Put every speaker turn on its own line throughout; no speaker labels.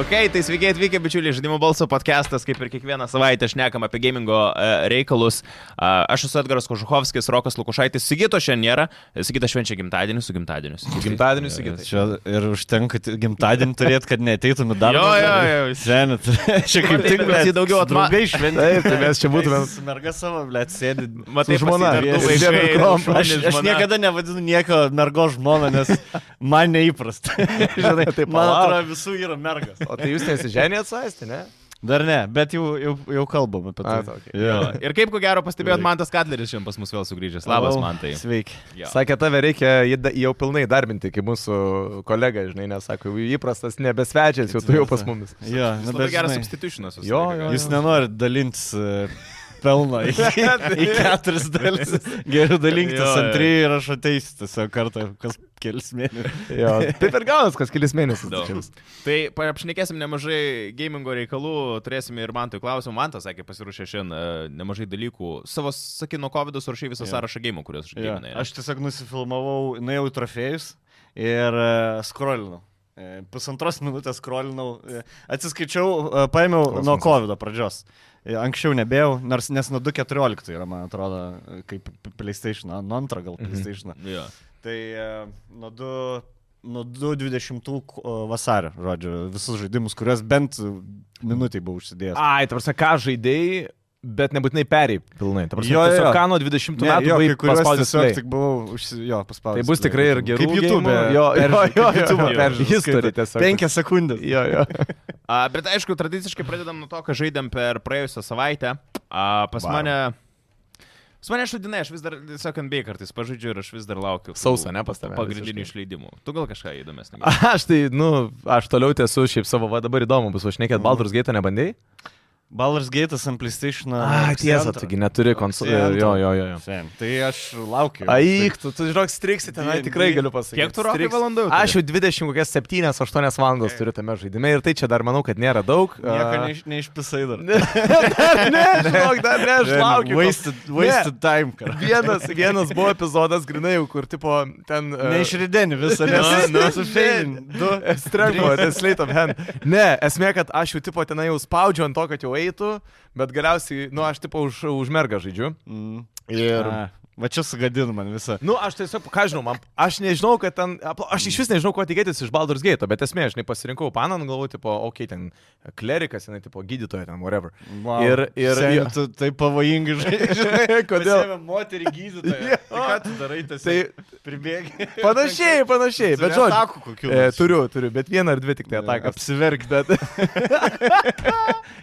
Ok, tai sveiki atvykę, bičiuliai, žaidimų balso podcastas, kaip ir kiekvieną savaitę šnekam apie gamingo e, reikalus. A, Aš esu Edgaras Kožuhovskis, Rokas Lukušaitis, Sigito šiandien nėra, Sigito švenčia gimtadienį su gimtadieniu.
Gimtadienį
Tai
sakyt.
Čia ir užtenka ti- gimtadienį turėti, kad neateitumėt dar.
Jo, jo, jo.
Žemėt. Čia kaip
Matai,
tik
mes jį daugiau atma-
atmagai šventai.
Taip, tai mes čia būtume.
Merga savo, blėt, sėdi.
Matai,
Su žmona.
pas jį dar du
Jie-
vaikai,
jie-
du šunys,
Aš, aš
žmona.
niekada nevadinu nieko mergo žmona, nes man neįprasta. Žinai,
tai
man
palauk.
atrodo visų yra mergas.
O tai jūs nesiženė atsaisti, ne?
Dar ne, bet jau, jau, jau kalbam apie tai.
A, tai okei.
Jo.
Ir kaip ko gero pastebėjot, man tas Katleris šiandien pas mus vėl sugrįžęs. Labas,
Hello.
man tai.
Sveiki.
Sakė, tave reikia jį da- jau pilnai darbinti, kaip mūsų kolega, žinai, nesako, jau įprastas nebesvečias, jau tu jau pas mumis.
Jo,
Jis
nu,
labai
bet
geras
žinai,
substitutionas. visą
Jo,
laiką.
jo, jo.
Jūs nenorit dalintis e, pelno į, į keturis dalis. Geriau
Jo,
dalinktis
jo.
ant trijų ir aš ateisiu tiesiog kartą kas kelias mėnesius.
Jo, taip ir gaunas kas kelias mėnesius.
Daug.
tačiau.
Tai pa- apšnekėsim nemažai gamingo reikalų, turėsim ir man tai klausimų. Man tas sakė, pasiruošė šiandien e, nemažai dalykų. Savo, sakė, nuo COVID surašė visą
Jo.
sąrašą gėjimų, kuriuos aš
Jo,
gėminai.
aš tiesiog nusifilmavau, nuėjau į trofėjus ir uh, skrolinau. E, Pusantros minutės skrolinau, e, atsiskaičiau, e, paėmiau
Kosmosas.
nuo COVID pradžios. E, Anksčiau nebėjau, nors, nes nuo 2.14 yra, man atrodo, e, kaip PlayStation, a, nuo antro gal PlayStation.
Jo.
Tai e, nuo du- nuo 2.20 ko- vasario, žodžiu, visus žaidimus, kuriuos bent minutiai buvau užsidėjęs.
Ai, tarsi ką žaidėjai, bet nebūtinai perėjai pilnai. Ta prasme,
Jo, jo,
tiesiog
jo.
Ką nuo 20
Ne,
metų
jo,
buvai
kai kuriuos
paspaudęs
tiesiog
play?
tik buvau užsi... jo, paspaudęs.
Tai bus tikrai ir gerų.
Kaip YouTube.
geimų.
Jo,
Jo, jo, jo,
YouTube
jo,
peržiūrų.
History tiesiog.
5 sekundės.
Jo, jo.
A, bet aišku, tradiciškai pradedam nuo to, ką žaidėm per praėjusią savaitę. A, pas
Vau.
mane... Pas mane šudinai, aš vis dar, sakant, bei kartais pažaidžiu ir aš vis dar laukiu. tų
Sausa, ne, pas tave
Pagrindinių
visiškai.
išleidimų. Tu gal kažką įdomesnį. gali?
Aš tai, nu, aš toliau tiesu šiaip savo, va dabar įdomu bus, aš nekėt Baldur's Gate nebandėjai?
Ballers Gate'as ant PlayStation.
A, tiesa, taigi neturi konsolės. Jo, jo, jo. jo.
Sen. Tai aš laukiu.
Aik, tu, tu žinok, striksi ten,
Tai
ai,
Dvi-
tikrai
dvi-
galiu pasakyti.
Kiek tu rokai
Striksi.
valandų?
Aš jau 20, kokias 7-8 valandas turiu tame žaidime ir tai čia dar manau, kad nėra daug.
Tai Nieko
A,
neiš, neišpisai dar.
dar ne, žinok, dar ne, aš laukiu. kol-
Wasted, wasted time, kad.
Vienas, vienas buvo epizodas, grinai, jau, kur tipo ten... e, a,
Neišrideni visą, nes
Ne,
nesufeilin. Du.
Strengvo,
Drinks.
tai slate of hand. Ne, esmė, kad aš jau tipo tenai jau spaudžiu ant to, kad jau eitų, bet galiausiai, nu, aš tipo už, už mergą žaidžiu.
Mm.
Ir...
A, Va čia sugadin man visą.
Nu, aš tiesiog, ką žinau, man, aš nežinau, kad ten, apla- aš iš vis nežinau, ko tikėtis iš Baldur's Gate, bet esmė, aš nepasirinkau paną, galvoju, tipo, okei, okay, ten klerikas, jinai, tipo, gydytoja, ten, whatever.
Wow.
Ir- ir-
Seni,
jo.
tu taip pavojingai žaidžiai.
Kodėl?
Moterį gydytoją. Tai Ką tu darai, tas
Tai
pribėgi.
panašiai, panašiai, bet žodžiu.
Atakų kokių.
E,
nors.
turiu, turiu, bet vieną ar dvi tik tai atakas.
Apsiverk, bet.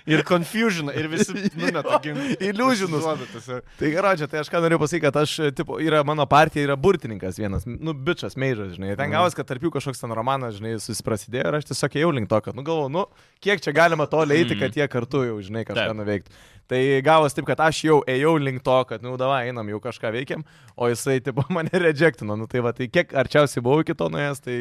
ir confusion, ir visi numeta ginklus.
Iliuzinus. Tai gerodžia, tai aš ką noriu pasakyti, kad aš, e, tipo, yra mano partija, yra burtininkas vienas, nu, bičias, meižas, žinai, ten gavos, kad tarp jų kažkoks ten romanas, žinai, susiprasidėjo ir aš tiesiog jau link to, kad, nu, galvoju, nu, kiek čia galima to leiti, kad jie kartu jau, žinai, kažką
Taip.
nuveiktų. Tai gavos taip, kad aš jau ėjau link to, kad, nu, davai, einam, jau kažką veikiam, o jisai, tipo, mane rejectino, nu, tai va, tai kiek arčiausiai buvau iki to nuėjęs, tai...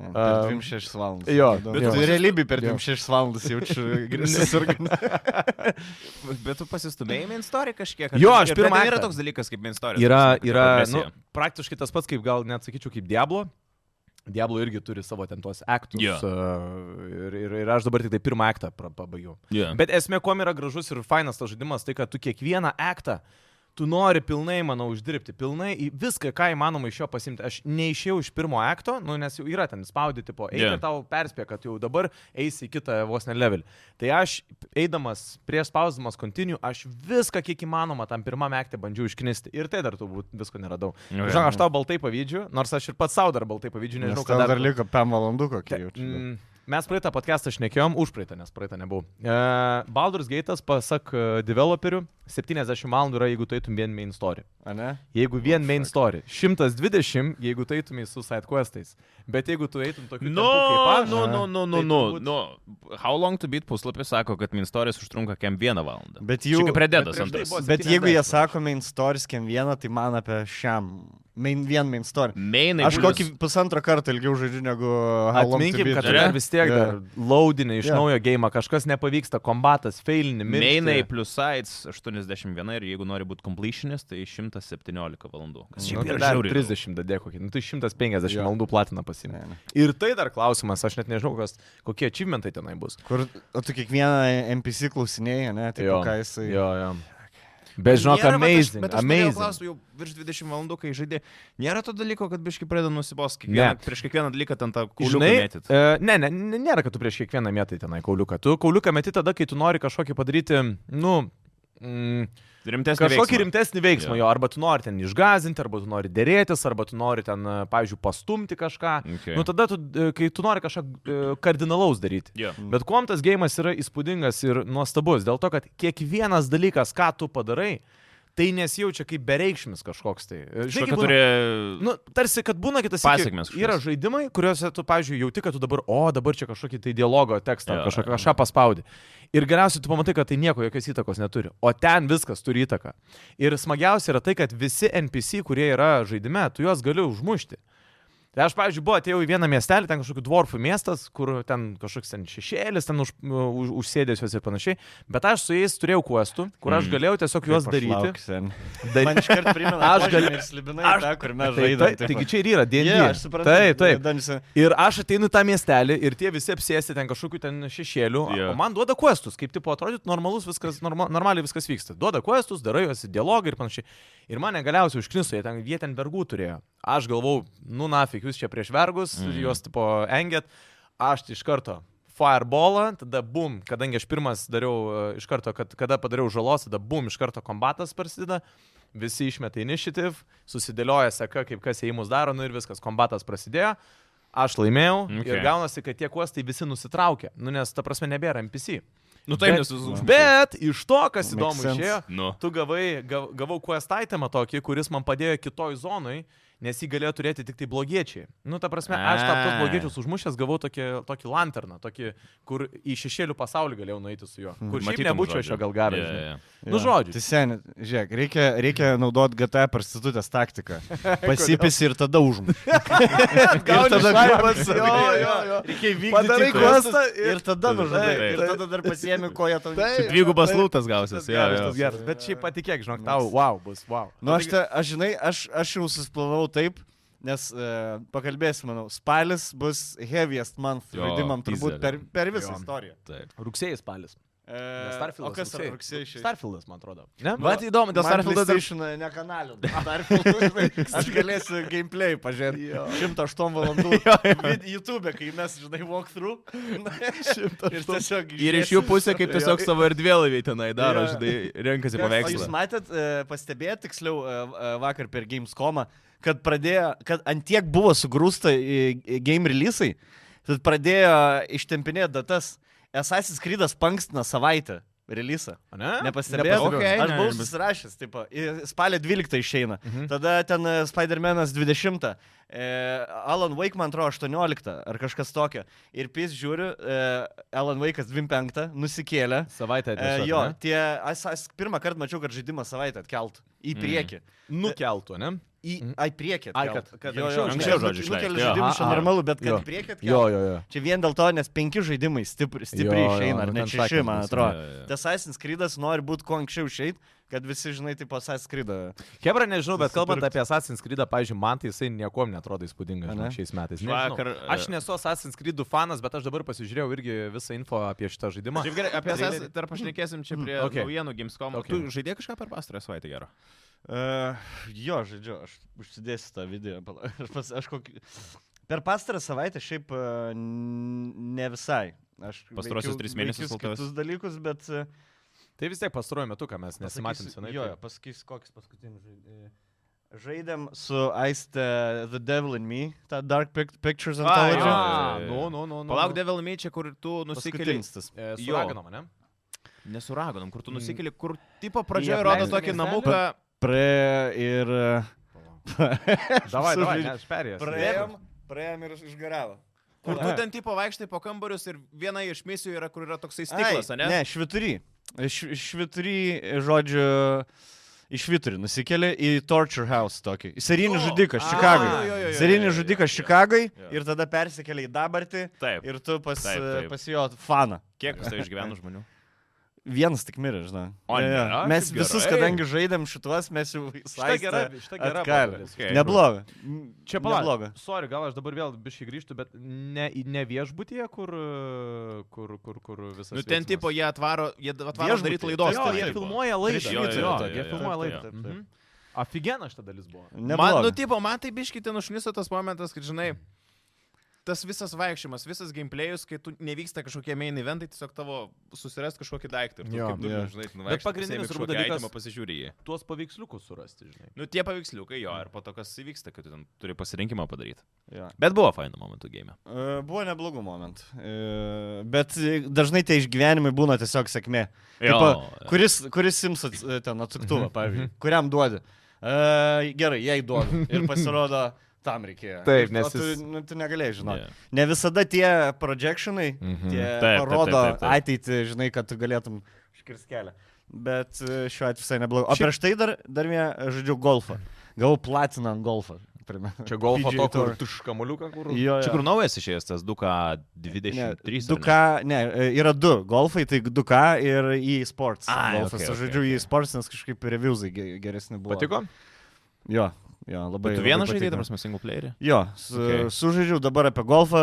Per 26 valandas.
Jo,
bet
jo.
tu realybė per
Jo.
26 valandas jaučiu grėsmės organizmą.
Bet tu pasistumėjai main story kažkiek. ar
Jo,
ne?
aš
Ir ten
pirmą
Yra
aktą.
toks dalykas kaip main story.
Yra,
ta prasme, kad
yra nu,
progresija.
praktiškai tas pats, kaip gal net sakyčiau, kaip Diablo. Diablo irgi turi savo ten tuos aktus.
Jo.
Uh, ir, ir, ir aš dabar tik tai pirmą aktą pra- pabaigiau.
Jo.
Bet esmė, kuom yra gražus ir fainas tas žaidimas, tai kad tu kiekvieną aktą, tu nori pilnai, manau, uždirbti, pilnai į viską, ką įmanoma iš jo pasimti. Aš neišėjau iš pirmo akto, nu, nes jau yra ten spaudyti po eiti,
Jo.
yeah. tau perspėja, kad jau dabar eisi į kitą vos ne level. Tai aš, eidamas prieš spausdamas continue, aš viską, kiek įmanoma, tam pirmam akte bandžiau išknisti. Ir tai dar turbūt visko neradau.
Jo, jo.
Žinau, aš tau baltai pavydžiu, nors aš ir pats savo dar baltai pavydžiu,
Nežinau,
nežinau,
kad
kada
dar liko 5 valandų kokie jaučiu.
Mm, Mes praeitą podcastą šnekėjom, už praeitą, nes praeitą nebuvau. E, Baldur's Gate'as, pasak e, developerių, 70 valandų yra, jeigu tu eitum vien main story.
A ne?
Jeigu
Oh,
vien main story. 120, jeigu tu eitum su side questais. Bet jeigu tu eitum tokiu...
Nu, nu, nu, nu, nu, nu, nu. How long to beat puslapis sako, kad minstorijas užtrunka kiem vieną valandą.
Bet
Čia
jų...
kaip rededas
bet prieš tai
antras.
buvo
Bet jeigu jie
70
sako main stories kiem vieną, tai man apie šiam Main, vien main story.
Mainai.
Aš kokį pusantro karto ilgiau žaidžiu negu How Long to
Atminkim,
Beat.
kad
Ne?
dar vis tiek
Jo.
dar laudinė iš
Jo.
naujo game, kažkas nepavyksta, kombatas, failini,
Mainai
miršti.
plus sites 81 ir jeigu nori būti completionist, tai 117 valandų. Kas
Nu,
šiaip
tai
yra
dar
žiauriai daug.
30 dadė kokį, nu, tai 150
Jo.
valandų platiną pasimė.
Ne, ne.
Ir tai dar klausimas, aš net nežinau, kas, kokie achievementai tenai bus.
Kur o tu kiekvieną NPC klausinėjai, ne? Tai ką jisai...
Jo, jo. Bet žinok,
Nėra, bet Aš,
amazing.
bet aš norėjau
amazing.
klausti, jau virš 20 valandų, kai žaidė, nėra to dalyko, kad biški pradeda nusibos. Kiekvieną,
Ne.
prieš kiekvieną dalyką ten tą kūliuką
Žinai,
mėtyt.
e, ne, ne, ne, nėra, kad tu prieš kiekvieną metai tenai kauliuką. Tu kauliuką meti tada, kai tu nori kažkokį padaryti, nu, mm,
Rimtesnį
kažkokį
veiksmą.
rimtesnį veiksmą
Jo.
jo, arba tu nori ten išgazinti, arba tu nori dėrėtis, arba tu nori ten, e, pavyzdžiui, pastumti kažką.
Okay.
Nu tada, tu, e, kai tu nori kažką e, kardinalaus daryti.
Jo.
Bet kuom tas gėjimas yra įspūdingas ir nuostabus, dėl to, kad kiekvienas dalykas, ką tu padarai, tai nesijaučia kaip bereikšmis kažkoks tai. E, žinai,
Žinai,
kaip
kad
būna-
turi...
Nu, tarsi, kad būna kitas
Pasekmės kažkokios.
Yra žaidimai, kuriuose tu, pavyzdžiui, jauti, kad tu dabar, o dabar čia kažkokį tai dialogo tekstą,
Jo,
kažką,
jo.
kažką paspaudi. Ir galiausiai tu pamatai, kad tai nieko, jokios įtakos neturi. O ten viskas turi įtaką. Ir smagiausia yra tai, kad visi NPC, kurie yra žaidime, tu juos gali užmušti. Tai aš, pavyzdžiui, buvau atėjau į vieną miestelį, ten kažkokių dvorfų miestas, kur ten kažkoks ten šešėlis, ten už, už, užsėdęs juos ir panašiai, bet aš su jais turėjau kuestų, kur aš
Mm.
galėjau tiesiog
Kaip
juos
aš
daryti.
lauksiu, sen.
Dar-
Man iškart primena,
Aš
aš
galiu-
galiu ir slibinai, aš... tą, kur mes
Taip,
žaidėme.
taip, taigi čia ir yra, dienė.
Yeah, aš suprantu.
Taip, taip.
Dungeons-
Ir aš ateinu į tą miestelį ir tie visi apsėsti ten kažkokiu ten šešėliu.
Jo.
Yeah. O man duoda questus, kaip tipo atrodytų normalus viskas, norma, normaliai viskas vyksta. Duoda questus, darai juos į dialogą ir panašiai. Ir mane galiausiai užkniso, jie ten, jie ten vergų turėjo. Aš galvau, nu nafik, jūs čia prieš vergus,
Mm.
mm. juos tipo engėt. Aš tai iš karto fireballą, tada bum, kadangi aš pirmas dariau e, iš karto, kad kada padariau žalos, tada bum, iš karto kombatas prasideda. Visi išmeta initiative, susidėlioja seka, kaip kas įimus daro, nu ir viskas, kombatas prasidėjo. Aš laimėjau okay.
Okay.
ir gaunasi, kad tie kuostai visi nusitraukė. Nu, nes ta prasme nebėra NPC.
Nu, taip,
Bet-
nes jūs užmušėt.
Bet iš to, kas
Makes
įdomu
sense.
išėjo,
Nu.
tu gavai, gav, gavau quest itemą tokį, kuris man padėjo kitoj zonai, nes jį galėjo turėti tik tai blogiečiai. Nu, ta prasme, aš tą tuos
A.
blogiečius užmušęs gavau tokį, tokį lanterną, tokį, kur į šešėlių pasaulį galėjau nueiti su juo.
Hmm,
Kur šiaip
Matytum,
nebūčiau aš jo
žodžiu.
gal gavęs.
Jo,
žinai.
jo, jo.
Nu, žodžiu.
Tai seniai, žiūrėk, reikia, reikia naudot GTA prostitutės taktiką. Pasipisi ir tada užmuš.
Gauni šaibas,
Jo, jo, jo. Reikia vykdyti.
Padarai
questus
questą ir-
ir tada nužudai.
Taip,
Ir tada dar pasiemi koją tau.
Taip.
Čia dvigubas
Taip,
lūtas gausis. Jo,
Geras, tas
jo.
geras. Bet šiaip patikėk, žinok, tau, wow, bus wow.
Nu, aš, te, aš žinai, aš, aš jau susplavau taip, nes e, pakalbėsim, manau, spalis bus heaviest month
Jo,
žaidimam turbūt
teaserį.
per, per visą
Jo.
istoriją.
Taip.
Rugsėjais spalis.
E, o
Starfieldas.
kas Nu, yra
rugsėjį.
rugsėjai išėjęs?
Starfieldas, man atrodo. Ne?
Bet Nu, įdomu, dėl Starfieldo dar...
PlayStation e, ne kanalio. Starfield. Aš galėsiu gameplay pažiūrėti. 108 valandų. vid- YouTube, kai mes, žinai, walkthrough. ir tiesiog.
Ir iš jų pusė, kaip tiesiog
Jo.
savo erdvėlaivį tenai daro,
Jo.
žinai, renkasi
O jūs
paveikslą.
matėt, e, pastebėjot tiksliau e, e, vakar per Gamescomą, kad pradėjo, kad antiek buvo sugrūsta į į game releasai, kad pradėjo ištempinėti datas. Assassin's Creed'as pankstina savaitę releasą.
Ne?
Nepastebėjau.
Nepastebėjau.
Aš
Ne,
buvau
ne, bet-
susirašęs, taip, spalio 12 išeina. Mhm. Tada ten e, Spider-Man'as 20. E, Alan Wake, man atrodo, 18 ar kažkas tokio. Ir pys žiūriu, e, Alan Wake'as 25 nusikėlė.
Savaitę
E,
atėjo.
jo, tie, aš, aš pirmą kartą mačiau, kad žaidimą savaitę atkeltų į
Mm.
priekį. Mm.
Nukeltų, ne?
Į,
Mm.
ai, priekį.
Ai,
atkelt.
kad-
kad
jo,
jo,
jo,
jo,
anksčiau žodžiu
Nukelia
išleist, jo.
žaidimus, čia
Aha.
normalu, bet
Jo.
kad į priekį
Jo,
atkeltų.
jo, jo.
Čia vien dėl to, nes penki žaidimai stipri, stipriai
Jo, jo,
išeina, ar
nu
net
ten
šeši,
sakė,
man
ten
atrojo.
Jo, jo, jo.
Tas Assassin's Creed'as nori būti kuo anksčiau išeit, kad visi, žinai, taip Assassin's Creed'ą.
Hebra, nežinau, bet kalbant
Nusipirkt.
apie Assassin's Creed, pavyzdžiui, man tai jisai nieko netrodo įspūdingas
Ane?
žinok, šiais metais.
Vakar, e-
Nežinau. Aš nesu Assassin's Creed fanas, bet aš dabar pasižiūrėjau irgi visą info apie šitą žaidimą.
Šiaip gerai, apie esas dar pašnekėsim čia prie
Okay.
okay. naujienų Gamescom.
Okay.
Okay. Tu žaidė kažką per pastarąją savaitę gero?
Uh, jo, žaidžiu, aš užsidėsiu tą video. pala- Aš, pas, aš kokį... Per pastarą savaitę šiaip uh, ne visai. Aš
Pastaruosius
veikiau-
tris mėnesius
veikiau
kol kas.
kitus dalykus, bet... Uh,
Tai vis tiek pastaruoju metu, ką mes nesimatėm
Pasakysiu-
senai.
Jo, jo,
tai-
pasakysiu, koks paskutinis žaidimas. e, Žaidėm su Aiste The Devil in Me, tą Dark Pic- Pictures
A,
anthology.
jo.
Ah,
jo, jo,
Nu,
jo.
nu, nu, nu.
Palauk, Devil May čia, kur tu nusikeli.
Paskutinis tas.
E, Su
Jo.
raganom, ne?
Nesuraganom, kur tu
Mm.
nusikeli, kur tipo
Į
pradžioje rodo
apleistą
tokį
miestelį?
namuką.
Praėjo ir... e,
Davai,
Su
davai,
žaid-
ne, aš perėjęs.
Praėjom, praėjom ir išgaravo.
Kur tu ten tipo vaikštai po kambarius ir viena iš misijų yra, kur yra toksai stiklas,
Ai,
ne?
Ne, švituri. Š, švituri, e, žodžiu, iš Viturį nusikeli į Torture House tokį. Į Serinį
O,
žudiką
a, jo, jo, jo,
Čikagai.
jo, jo,
Serinį
jo,
žudiką
jo.
Čikagai
Jo.
ir tada persikeli į dabartį
Taip.
ir tu pas, e,
Taip, taip.
pas jo faną.
Kiek pas tai išgyveno žmonių?
Vienas tik mirė, žinai.
O,
Jo, jo.
nėra,
Mes
kaip
visus,
gerai.
kadangi žaidėm šituos, mes jau
Šitą gerą, šitą gerą.
Atkalė.
pavardę.
Okay.
Neblogai.
Čia
Nebloga.
palauk. Sorry, gal aš dabar vėl biškai grįžtu, bet ne, į- ne viešbutyje, kur, e, kur, kur, kur visas.
Nu ten
veiksmas.
tipo jie atvaro, jie atvaro
Viešbutį.
daryti laidos.
Jo,
tenai,
jie
tipo.
filmuoja
Jo,
laidą.
jo,
Jie
jo,
taip,
jo,
jie
jo,
filmuoja
taip,
laidą.
taip,
taip.
Mhm. Aфиgenas šitą dalis buvo.
Man,
Nebloga.
nu, tipo, man tai biškite nušniso tas momentas, kad, žinai, tas visas vaikščiamas, visas gameplayus, kai tu nevyksta kažkokie main eventai, tiesiog tavo susiras kažkokį daiktą. Ir tu,
Jo,
kaip du,
jo.
žinai, nu,
Bet pagrindinis turbūt dalykas-
pasižiūri į jį.
Tuos paveiksliukus surasti, žinai.
Nu, tie paveiksliukai jo, ir po to, kas įvyksta, kad tu ten turi pasirinkimą padaryti.
Jo.
Bet buvo fainų momentų game.
E, Buvo neblogų momentų. E, Bet e, dažnai tie išgyvenimai būna tiesiog sėkmė. Tipo, kuris, kuris sims ats, e, ten atsuktuvą,
Mhm.
pavyzdžiui, kuriam duodi. E, Gerai, jai duodu. Ir pasirodo, tam reikėjo.
Taip,
Ir-
nes
o tu,
jis-
nu, tu negalėjai žinoti.
Jo.
Ne visada tie projectionai
Mhm.
tie
Taip, taip,
parodo
taip, taip, taip.
ateitį, žinai, kad tu galėtum iškirsti kelią. Bet e, šiuo atveju visai neblogai. O
Šiaip-
prieš tai dar, dar vieną žodžiu golfą. Gavau platiną ant golfą. primenu.
Čia golfo
PGA
to,
Tour.
kur tuškamuliuką, kur.
Jo, jo.
Čia kur naujas išėjęs tas 2K23.
2K, ne, e, yra du golfai, tai 2K ir e-sports.
Ai,
Golfas,
okei,
okay,
okei,
žodžiu,
okei.
okay, e-sports, nes kažkaip reviewsai ge- geresni buvo.
Patiko?
Jo, jo labai.
Bet tu
labai
vieną
patiko.
žaidėjai, tarsi, single playerį.
Jo, su,
Okei.
okay. sužaidžiau, dabar apie golfą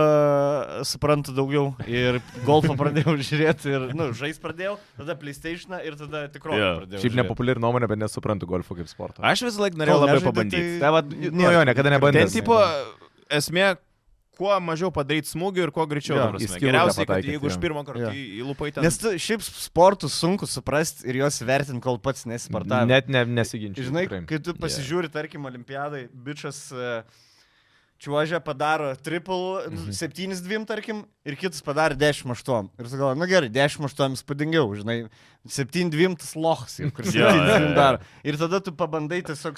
suprantu daugiau ir golfą pradėjau žiūrėti ir, na, nu, žais pradėjau, tada PlayStation ir tada tikrovę
Jo,
yeah. pradėjau.
Šiaip
žiūrėt.
nepopuliari nuomonė, bet nesuprantu golfo kaip sporto.
Aš vis laik norėjau labai
nežaidai,
pabandyti.
tai-
Tai va, nu jo, niekada
Ten,
nebandęs.
tipo, esmė, kuo mažiau padaryti smūgių ir kuo greičiau.
Jo,
ta prasme.
į skylutę
Geriausiai, kad
pataikyt,
jeigu iš
jo.
pirmo karto
Jo.
į- įlupai ten.
Nes tu, šiaip sportus sunku suprasti ir juos vertinti, kol pats nesisportavai.
Net ne, nesiginčiu.
Žinai,
tikrai.
kai tu pasižiūri, yeah. tarkim, olimpiadai, bičias čiuožia padaro
Mhm.
triple, mm -hmm. 7-2, tarkim, ir kitas padaro 10-8. Ir tu galvoji, nu gerai, 10-8 spūdingiau, žinai, 7-2 tas lohas, jau, kur 7-2
Jo, jo, jo.
daro. Ir tada tu pabandai tiesiog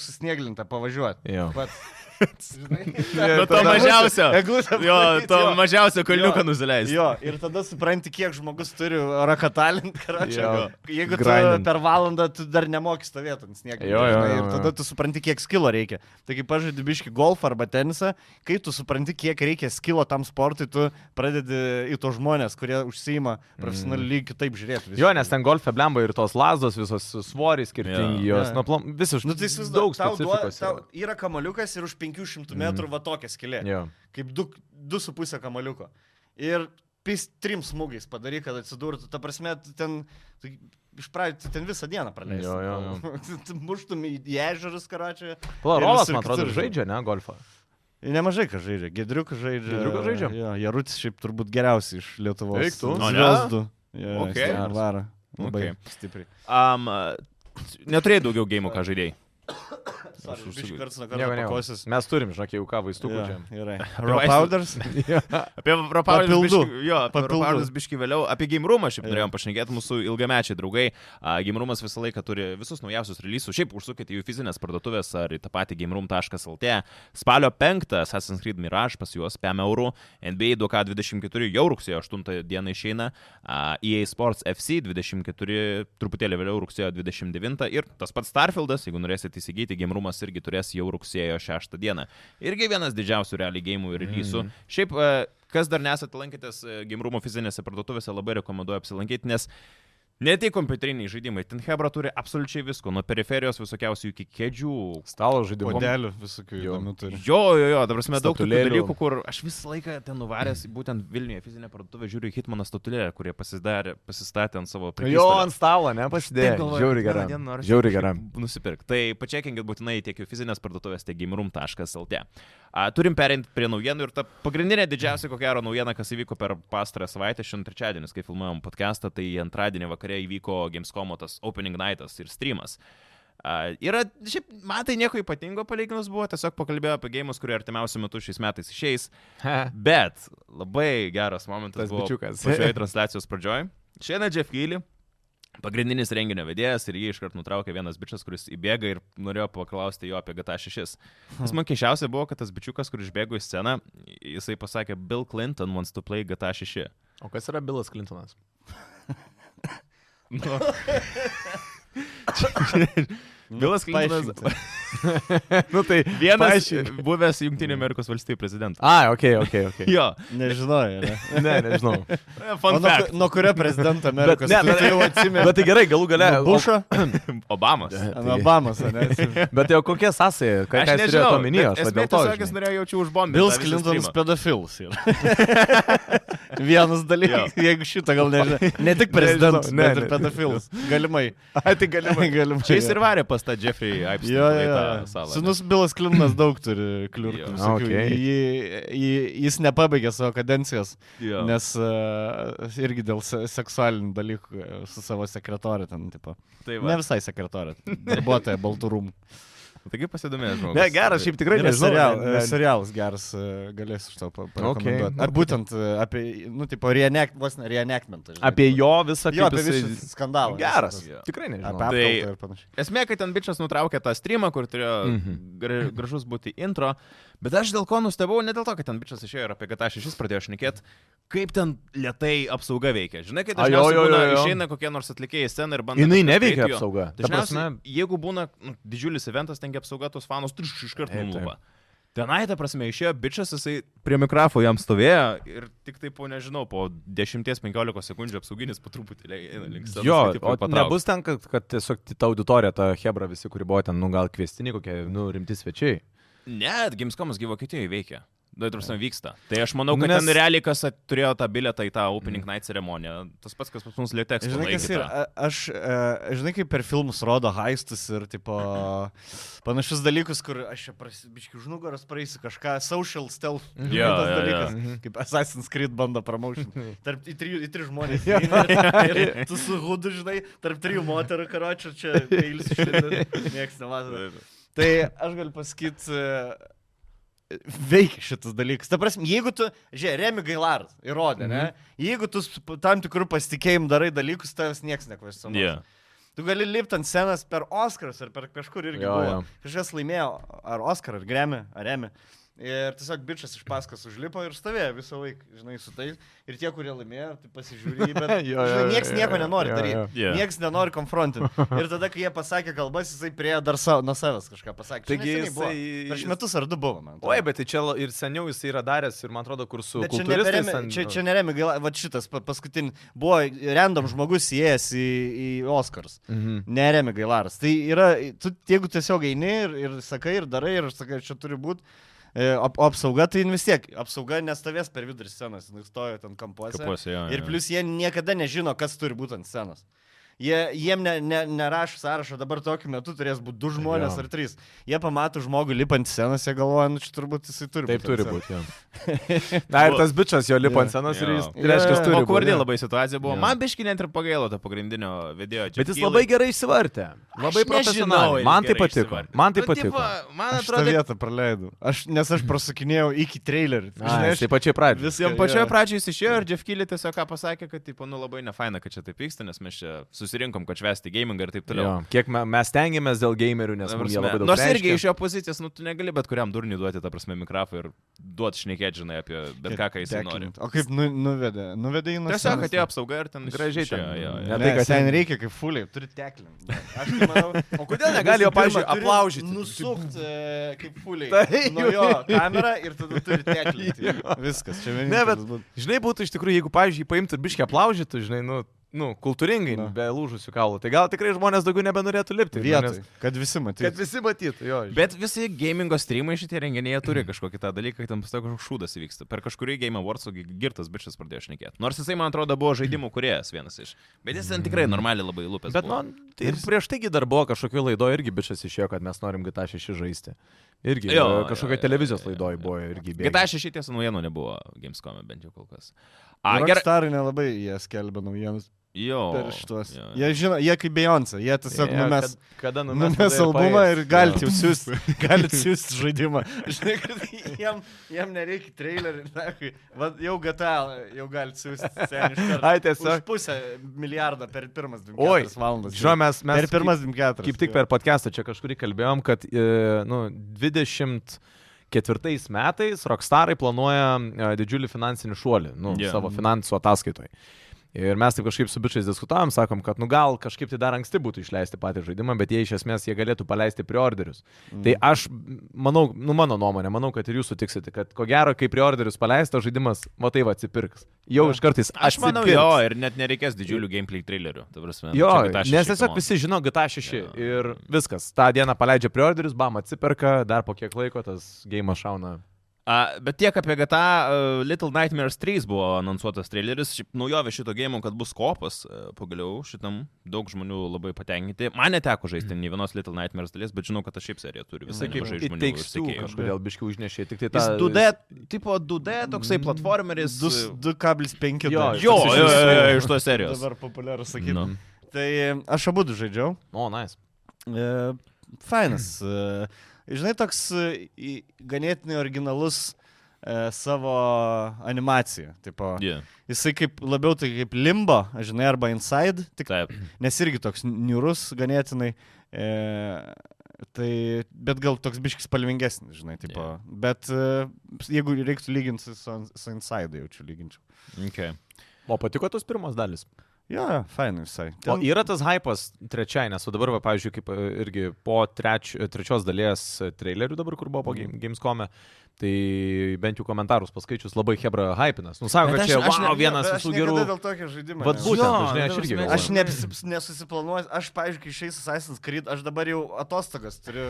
susnieglintą pavažiuoti.
Jo.
Pats.
Nu, to mažiausio.
Eglutę
Jo,
padaryt,
to
jo.
mažiausio
Jo.
kalniuką nusileisti.
Jo, ir tada supranti, kiek žmogus turi rakatalint, karočią.
Jo.
Jeigu tu
Grindint.
per valandą tu dar nemoki stovėti ant sniego.
Jo, jo,
žinai,
jo,
Ir
jo.
tada tu supranti, kiek skilo reikia. Tai kai pažaidži biški golfą arba tenisą, kai tu supranti, kiek reikia skilo tam sportui, tu pradedi į to žmonės, kurie užsima profesionaliai lyg kitaip žiūrėti.
Mm. Jo, nes ten golfe blemba ir tos lazdos visos svoriai skirtingi,
Jo.
jos,
Jo.
nu, plom, visiškai.
Nu, tai jis vis daug
daug
tau duoda.
specifikos
Tau
yra. Mm.
yra kamaliukas ir už 500 metrų va tokia skilė.
Jo.
kaip 2,5 kamaliuko. Ir pis trim smūgiais padaryk, kad atsidurtų. Ta prasme, tu ten tu iš pradžių tu ten visą dieną praleisi.
Jo, jo,
Muštum į į ežerus karačią.
Pala,
Ir
Rolas,
visur
man atrodo,
kitur.
žaidžia, ne, golfą.
Nemažai ką žaidžia. Gedriukas žaidžia.
Giedriukas žaidžia?
Jo, Jarutis šiaip turbūt geriausiai iš Lietuvos.
Eik tu.
O ne?
Zvezdų. Jo,
Ok.
jis ten varo. Labai
Ok.
stipriai.
Am, Neturėjai daugiau gėjimų, ką žaidėjai.
Aš
užsigūdžiau.
už karts nuo
Nieko,
karto
nieko.
pakosis.
Mes turim, žinok, jau ką vaistų
Jo,
čia.
Gerai.
vaistus.
Raw powders.
Apie Rapalus
Papildų.
biški, jo, apie
Papildų.
Rapalus biški vėliau. Apie Game Roomą šiaip
Jo.
norėjom pašnekėti mūsų ilgamečiai draugai. A, Game Roomas visą laiką turi visus naujausius releasus. Šiaip užsukite į jų fizinės parduotuvės ar į tą patį gameroom.lt. Spalio 5 Assassin's Creed Mirage pas juos 5 eurų. NBA 2K24 jau rugsėjo 8 dieną išeina. A, EA Sports FC 24 truputėlį vėliau rugsėjo 29 ir tas pats Starfieldas, jeigu norėsite įsigyti, Game Roomas irgi turės jau rugsėjo 6 dieną. Irgi vienas didžiausių realiai gėjimų ir releasų.
Mhm.
Mm. Šiaip, e, kas dar nesate lankytės gimrumo fizinėse parduotuvėse, labai rekomenduoju apsilankyti, nes ne tik kompiuteriniai žaidimai, ten Hebra turi absoliučiai visko, nuo periferijos visokiausių iki kėdžių.
Stalo žaidimų.
Podelių visokių
Jo.
įdomių turi.
Jo, jo, jo, dabar mes daug tokių
Statulėlių.
dalykų, kur aš visą laiką ten nuvaręs, būtent Vilniuje fizinė parduotuvė, žiūriu į Hitmaną statulėlę, kurie pasidarė, pasistatė ant savo
Jo,
prekystalio.
ant stalo, ne,
Taip
pasidėjo.
galvoju,
Žiauri
kiekvieną
gera.
dieną noriu
Žiauri
kažkaip
gera.
Nusipirk. Tai pačiakinkit būtinai tiek jų fizinės parduotuvės, tiek gimrum.lt. A, Turim perinti prie naujienų ir ta pagrindinė didžiausia, ko gero, naujiena, kas įvyko per pastarą savaitę, šiandien trečiadienis, kai filmuojam podcastą, tai antradienį vakare įvyko Gamescomo tas opening nightas ir streamas. A, Yra, šiaip, man tai nieko ypatingo palyginus buvo, tiesiog pakalbėjau apie gėjimus, kurie artimiausiu metu šiais metais išeis. Bet labai geras momentas.
Tas
buvo
bičiukas.
Pačioje transliacijos pradžioje. Šiandien Jeff Healy, pagrindinis renginio vedėjas, ir jį iškart nutraukė vienas bičias, kuris įbėga ir norėjo paklausti jo apie GTA 6. Kas man keščiausia buvo, kad tas bičiukas, kuris išbėgo į sceną, jisai pasakė, Bill Clinton wants to play GTA 6.
O kas yra Bilas Clintonas?
Nu. Bilas Klintonas.
paaiškink.
nu tai
Vienas
paaiškink.
buvęs Junktinių Amerikos valstybių prezidentas.
A, ok, ok, ok.
Jo,
Nežinojau. Ne?
Ne, nežinau.
O
nu,
fun
Nuo,
fact.
ku- nuo kurio prezidento
Bet,
Amerikos?
ne, bet,
jau atsimenu.
bet tai gerai, galų gale.
Nuo Bušo,
Obamas.
nuo Obamas, ne?
o- Bet tai o kokie sąsajai,
Aš
ką aš nežinau,
nežinau,
omenyje, aš
bet
va
esmė
dėl to.
tiesiog, jis
žinai.
norėjo jaučiu užbombinti.
Bill
tą visą
Clinton's
strymą.
pedofilas yra. Vienas dalykas, jeigu šitą gal nežinai. Ne tik prezidentas,
Nežinau, ne,
bet ir
ne.
pedofilas. Galimai.
Ai, tai galimai.
Galimai.
Čia jis ir varė pas tą Jeffrey Epstein.
Jo,
į
jo,
tą
jo.
salą,
Sūnus Bilas Klintonas daug turi kliurkų.
Jo.
visokių.
Okay.
Jį- jį- Jis nepabaigė savo kadencijos,
Jo.
nes uh, irgi dėl se- seksualinių dalykų e, su savo sekretorė ten, tipo.
Tai va.
Ne visai sekretorė, darbuotoja Balturumų.
Taigi pasidomėjęs žmogus.
Ne, geras, šiaip tikrai
Yra
nežinau.
serial,
ne- ne-
serialas geras, e, galės už to pakalbėti.
nu,
Ar būtent e, apie, nu, tipo, reenact, vos ne reenactment. žinai,
Apie
tipo.
jo visą
jo,
kaip
apie
jisai-
e,
visą skandalą.
Geras.
Jo.
Tikrai
Apie
nežinau.
apkaltą
Tai-
ir panašiai.
Esmė, kad ten bičias nutraukė tą streamą, kur turėjo
Mhm.
gra gražus būti intro, bet aš dėl ko nustebau, ne dėl to, kad ten bičias išėjo ir apie GTA 6 pradėjo šnekėti, kaip ten lietai apsauga veikia. Žinai, kai
A, jo,
dažniausiai
jo,
būna,
jo, jo.
išeina kokie nors atlikėjai į sceną ir bando...
Jinai
kažką
neveikia
prieiti jo.
apsauga. Ta
Dažniausiai,
prasme,
jeigu būna nu, didžiulis eventas, tengi apsauga tos fanus, tu iš karto
Taip, taip.
nulupa. Tenai, ta prasme, išėjo bičias, jisai prie mikrofo jam stovėjo ir tik tai po, nežinau, po 10-15 sekundžių apsauginis po truputį le- eina link scenos. tai
Jo,
kad jį
o
patrauktų.
nebus ten, kad, kad tiesiog ta auditorija, ta Hebra visi, kuri buvo ten, nu gal kvestiniai kokie, nu rimti svečiai.
Ne, Gamescomas gi Vokietijoje veikia. Na, tarsi vyksta. Tai aš manau,
Nu,
kad
nes-
nes... ten realiai kas at- turėjo tą biletą į tą Opening Night ceremoniją. Tas pats, kas pas mus lėteks.
Žinai, kas yra, a- aš, e, žinai, kaip per filmus rodo haistus ir, tipo, panašius dalykus, kur aš čia, pras- biški, už nugaros praeisiu kažką, social stealth. žinai,
Jo,
tas
jo, jo.
dalykas,
Mhm.
Kaip Assassin's Creed bando promotion. Tarp į trijų, į trijų žmonės. įeina ir- ir Tu su hudu, žinai, tarp trijų moterų, karočių, čia peilis išlindęs. Niekas nemato. Tai aš galiu pasakyti, e, veikia šitas dalykas. Ta prasme, jeigu tu, žiūrėk, Remi Gailaras įrodė, mm -hmm. ne? Jeigu tu su p- tam tikrų pasitikėjimų darai dalykus, tavęs niekas
Yeah.
nekvestionuoja. Tu gali lipti ant scenas per Oscars ar per kažkur irgi.
Jo,
Jo,
jo.
jo. Kažkas laimėjo ar Oscar, ar Grammy, ar Remi. Ir tiesiog bičias iš paskos užlipo ir stovėjo visą laiką, žinai, su tais. Ir tie, kurie laimėjo, tai pasižiūrėjo, bet
Jo, jo,
žinai, niekas
jo,
nieko
jo,
nenori
jo,
daryti.
jo.
Jo.
Niekas nenori konfrontinti. Ir tada, kai jie pasakė kalbas, jisai prie dar savo, nuo savęs kažką pasakė. Čia
Taigi
neseniai buvo.
jisai-
Prieš metus ar du buvo, man. atrodo.
Oi, bet tai čia la- ir seniau jis yra daręs ir man atrodo, kur su
Bet čia neremi,
kultūristais. ten-
čia, čia neremi, gaila, va šitas pa- paskutinis buvo random žmogus įėjęs į, į Oscars.
Mhm.
Neremi gailaras. Tai yra, tu jeigu tiesiog eini ir, ir sakai ir darai ir sakai, čia turi būti. Ap, o apsauga, tai jin vis tiek, apsauga nestovės per vidurį scenos, jis stovi ten kampuose.
Kapuose, jo,
ir
jo.
plus jie niekada nežino, kas turi būti ant scenos. Jie, jiem ne, ne, nerašo sąrašo, dabar tokiu metu turės būti du žmonės
Jo.
ar trys. Jie pamato žmogų lipant scenos, jie galvoja, nu čia turbūt jisai turi
Taip
ant
turi
scenos."
būti. jo. Na ir tas bičias jo lipo ant
Jo.
senos ir
Jo.
jis, tai
Jo.
reiškia, turi.
O
būt,
kurdė
jo.
labai situacija buvo.
Jo.
Yeah. Man biški net ir pagailo to pagrindinio video.
Bet jis labai gerai įsivartė. Labai profesionaliai. Man tai patiko. Man
Nu,
tai patiko.
Man
Aš tą
atrodo,
vietą praleidau. Aš, nes aš prasukinėjau iki trailerį.
Žinai, taip tai pačiai pradžioje.
viską,
Jam pačioje
jo.
pradžioje jis išėjo ir Jeff Kelly tiesiog ką pasakė, kad, tipo, nu labai nefaina, kad čia taip vyksta, nes mes čia susirinkom, kad švesti gamingą ir taip toliau.
Jo. Kiek me- mes tengiamės dėl gamerių, nes
Ta
mums jie
prasme,
labai daug.
Nors
reiškia.
irgi iš jo pozicijos, nu, tu negali bet kuriam durniui duoti, ta prasme, mikrofą ir duoti šnekėti, žinai, apie bet ką, ką jis nori.
O kaip nu, nuvedė? Nuvedė į nusikaltimą.
Tiesiog atėjo apsauga ir ten
Gražiai ten.
išėjo, jo,
Ne
jo.
Ne,
tai,
tai,
kad
kad ten
ten-
reikia kaip fuliai, turi teklinti. Aš tai manau, o kodėl
negali jo, pavyzdžiui, aplaužyti?
Nusukti kaip fuliai. Tai
Taip.
nuo jo kamerą ir tada turi teklinti. Viskas, čia vienintelis.
Ne, bet,
būdas.
žinai, būtų iš tikrųjų, jeigu, pavyzdžiui, paimtų ir biškiai aplaužytų, žinai, nu, nu kultūringai,
Na.
be lūžusių kaulų, tai gal tikrai žmonės daugiau nebenorėtų lipti. nu,
Vietoj,
Nes,
tai
tai-
kad visi matytų.
kad visi matytų, jo. žinai.
Bet visi gamingo streamai šitie renginiai jie turi kažkokį tą dalyką, kad tam pastoviai kažkoks šūdas įvyksta. Per kažkurį Game Awards girtas bičias pradėjo šnekėti. Nors jisai, man atrodo, buvo žaidimų kuriejas vienas iš. Bet jis ten tikrai normaliai labai lūpęs.
Bet,
buvo.
nu, tai ir prieš taigi dar buvo kažkokio laido irgi bičias išėjo, kad mes norim GTA 6 žaisti. Irgi
Jo,
jo,
jo, jo,
kažkokio televizijos
jo, jo,
laidoje
jo.
buvo irgi. bėgiai.
GTA 6 tiesa naujienų nebuvo Gamescom, e, bent jau kol kas. A,
A,
gerai.
gerai. Starai nelabai jie skelbia naujienas
Jo.
per šitos.
jo, jo.
Jie žino, jie kaip Beyoncé, jie tiesiog
Jo,
numes.
kad- Kada numes?
Numes
tada
albumą
paės.
ir galite jau siūsti, galite siūsti žaidimą. Žinai, kad jam, jam nereikia trailerį, nahui. Va, jau GTA, jau galite siūsti. seni, iš karto.
Ai, tiesiog.
Už pusę milijardo per pirmas 24
Oi,
valandas.
Žinau, mes, mes
per pirmas 24.
Kaip tik per podcastą čia kažkurį kalbėjom, kad e, nu, 24 metais Rockstarai planuoja e, didžiulį finansinį šuolį nu,
Jo.
yeah. savo finansų ataskaitoje. Ir mes taip kažkaip su bičiais diskutavom, sakom, kad nu gal kažkaip tai dar anksti būtų išleisti patį žaidimą, bet jie iš esmės jie galėtų paleisti preorderius. Mm. Tai aš manau, nu mano nuomonė, manau, kad ir jūs sutiksite, kad ko gero, kai preorderius paleistas žaidimas, va tai va atsipirks. Jau iš kartais
Aš
atsipirks.
manau, jo, ir net nereikės didžiulių gameplay trailerių. ta prasme.
Jo,
Čia GTA 6
nes tiesiog
komanda.
visi žino GTA 6
Jo.
ir viskas. Ta diena paleidžia preorderius, bam, atsiperka, dar po kiek laiko tas gėjimas šauna.
A, bet tiek apie GTA uh, Little Nightmares 3 buvo anonsuotas traileris. Šiaip naujovė šito gėjimo, kad bus kopas, uh, pagaliau šitam daug žmonių labai patenkinti. Man neteko žaisti nei vienos Little Nightmares dalies, bet žinau, kad aš šiaip serija turi visai
Mhm. Sakyk,
nemažai
it
žmonių.
takes two
sekėjų.
kažkodėl biškių užnešė, tik tai
Jis
tas
2D, tipo 2D toksai platformeris.
Du-
uh,
2,5.
Jo,
dar.
Mm. Jo,
Toks
jo,
iš
jo,
visų.
jo, iš tos serijos.
Dabar populiarų sakyti.
Nu.
Tai aš abu du žaidžiau.
O, nice.
E, Fainas. E, Žinai, toks e, į- ganėtinai originalus e, savo animacija. Tipo,
Yeah.
jisai kaip labiau tai kaip limbo, žinai, arba inside, tik,
Taip.
nes irgi toks niurus ganėtinai. E, tai, bet gal toks biškis palvingesnis, žinai, tipo.
Jo.
Yeah. Bet e, jeigu reiktų lyginti su, su inside, jaučiu lyginčiau.
Okay.
O patiko tos pirmos dalis.
Jo, jo, fainai visai.
O yra tas hypas trečiai, nes va dabar, va, pavyzdžiui, kaip e, irgi po treč, trečios dalies e, trailerių dabar, kur buvo po game, Gamescom'e, tai bent jau komentarus paskaičius labai Hebra hypinas. Nu, sako,
Bet
kad
aš-
čia,
aš ne-
wow, vienas
bet
visų
aš
gerų.
niekada Dėl tokio žaidimo.
Vat
nežaidžiu.
būtent,
Jo,
žinai, aš
ta
irgi
prasme,
galvoju.
Aš neapsi- nesusiplanuoju, aš, pavyzdžiui, kai išeis Assassin's Creed, aš dabar jau atostogas turiu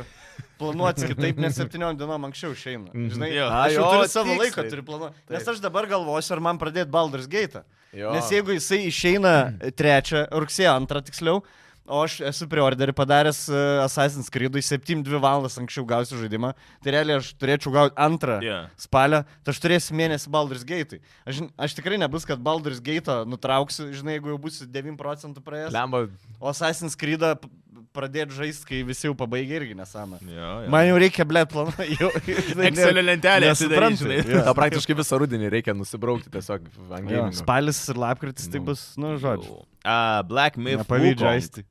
planuoti kitaip, nes septyniom dienom anksčiau išeina. Žinai,
Jo.
aš jau
A, jo,
turiu savo
tiksliai.
laiką, turiu planuoti. Nes aš dabar galvosiu, ar man pradėti Baldur's Gate.
Jo.
Nes jeigu jisai išeina trečią, rugsėjo antrą tiksliau, o aš esu preorderį padaręs e, Assassin's Creed'ui 7-2 valandas anksčiau gausiu žaidimą, tai realiai aš turėčiau gauti antrą
Yeah.
spalio, tai aš turėsiu mėnesį Baldur's Gate'ui. Aš, žin- aš tikrai nebus, kad Baldur's Gate'ą nutrauksiu, žinai, jeigu jau būsiu 9 procentų praėjęs.
Lemba,
O Assassin's Creed'ą p- pradėt žaisti, kai visi jau pabaigė irgi nesąmonę.
Jo, jo.
Man jau reikia blėt planą, jau.
Excelio lentelė atsidaryt,
nesuprantu.
žinai.
Jo.
tą praktiškai visą rudenį reikia nusibraukti tiesiog ant
Jo,
gėjimus.
Spalis ir lapkritis tai bus, nu, žodžiu.
Uh, Black Myth.
Nepavydžiu
Wukong.
žaisti.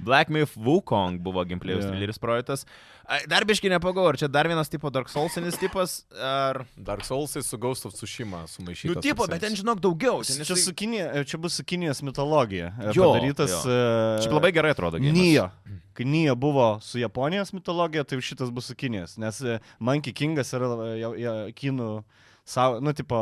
Black Myth Wukong buvo gameplayus
Jo.
yeah. lyris projektas. Ai, Dar biškai nepagau, ar čia dar vienas tipo Dark Soulsinis tipas, ar...
Dark Soulsai su Ghost of Tsushima sumaišyti.
Nu, tipo, bet ten žinok daugiau. Ten
Čia, su Kinija, čia bus su Kinijos mitologija. e,
Jo,
padarytas.
jo.
e,
Šiaip labai gerai atrodo. gėjimas.
Nijo. Kai Nijo buvo su Japonijos mitologija, tai šitas bus su Kinijos, nes e, Monkey Kingas yra e, jau- jau kinų, sau, nu, tipo,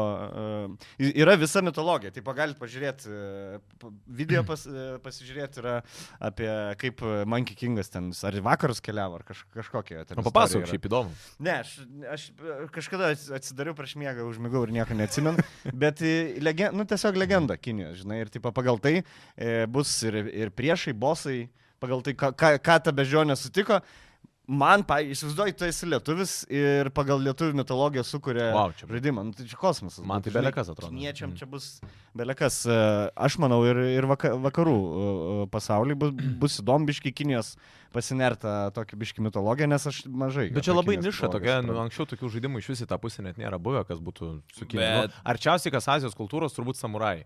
e, y- yra visa mitologija, tai galite pažiūrėti, e, p- video pas, e, pasižiūrėti yra apie kaip e, Monkey Kingas ten, ar į vakarus keliavo, ar kaž, kažkokie. ten
Nu,
istorija
papasakok,
yra.
šiaip įdomu.
Ne, aš, aš e, kažkada ats- atsidariau prieš miegą, užmigau ir nieko neatsimenu. Bet e, legen, nu, tiesiog legenda Kinijos, žinai, ir tipo, pagal tai e, bus ir, ir priešai, bosai, pagal tai, ką, ką- ką ta bežionė sutiko. Man, pavyzdžiui, įsivaizduoju, tu esi lietuvis ir pagal lietuvių mitologiją sukuria
Vau, čia-
žaidimą. Nu, tai čia kosmosas.
Man tai
Žinai,
belekas atrodo.
Kiniečiam
Mm.
čia bus belekas. E, Aš manau, ir, ir vaka- vakarų pasaulyje bus, bus įdomu biški Kinijos pasinerta tokį biški mitologiją, nes aš mažai.
Bet čia
apie
labai
Kinijos
niša
mitologiją
tokia, nu,
suprantu.
anksčiau tokių žaidimų iš vis į tą pusę net nėra buvę, kas būtų su Kinija.
Bet-
Nu, arčiausiai kas Azijos kultūros turbūt samurai.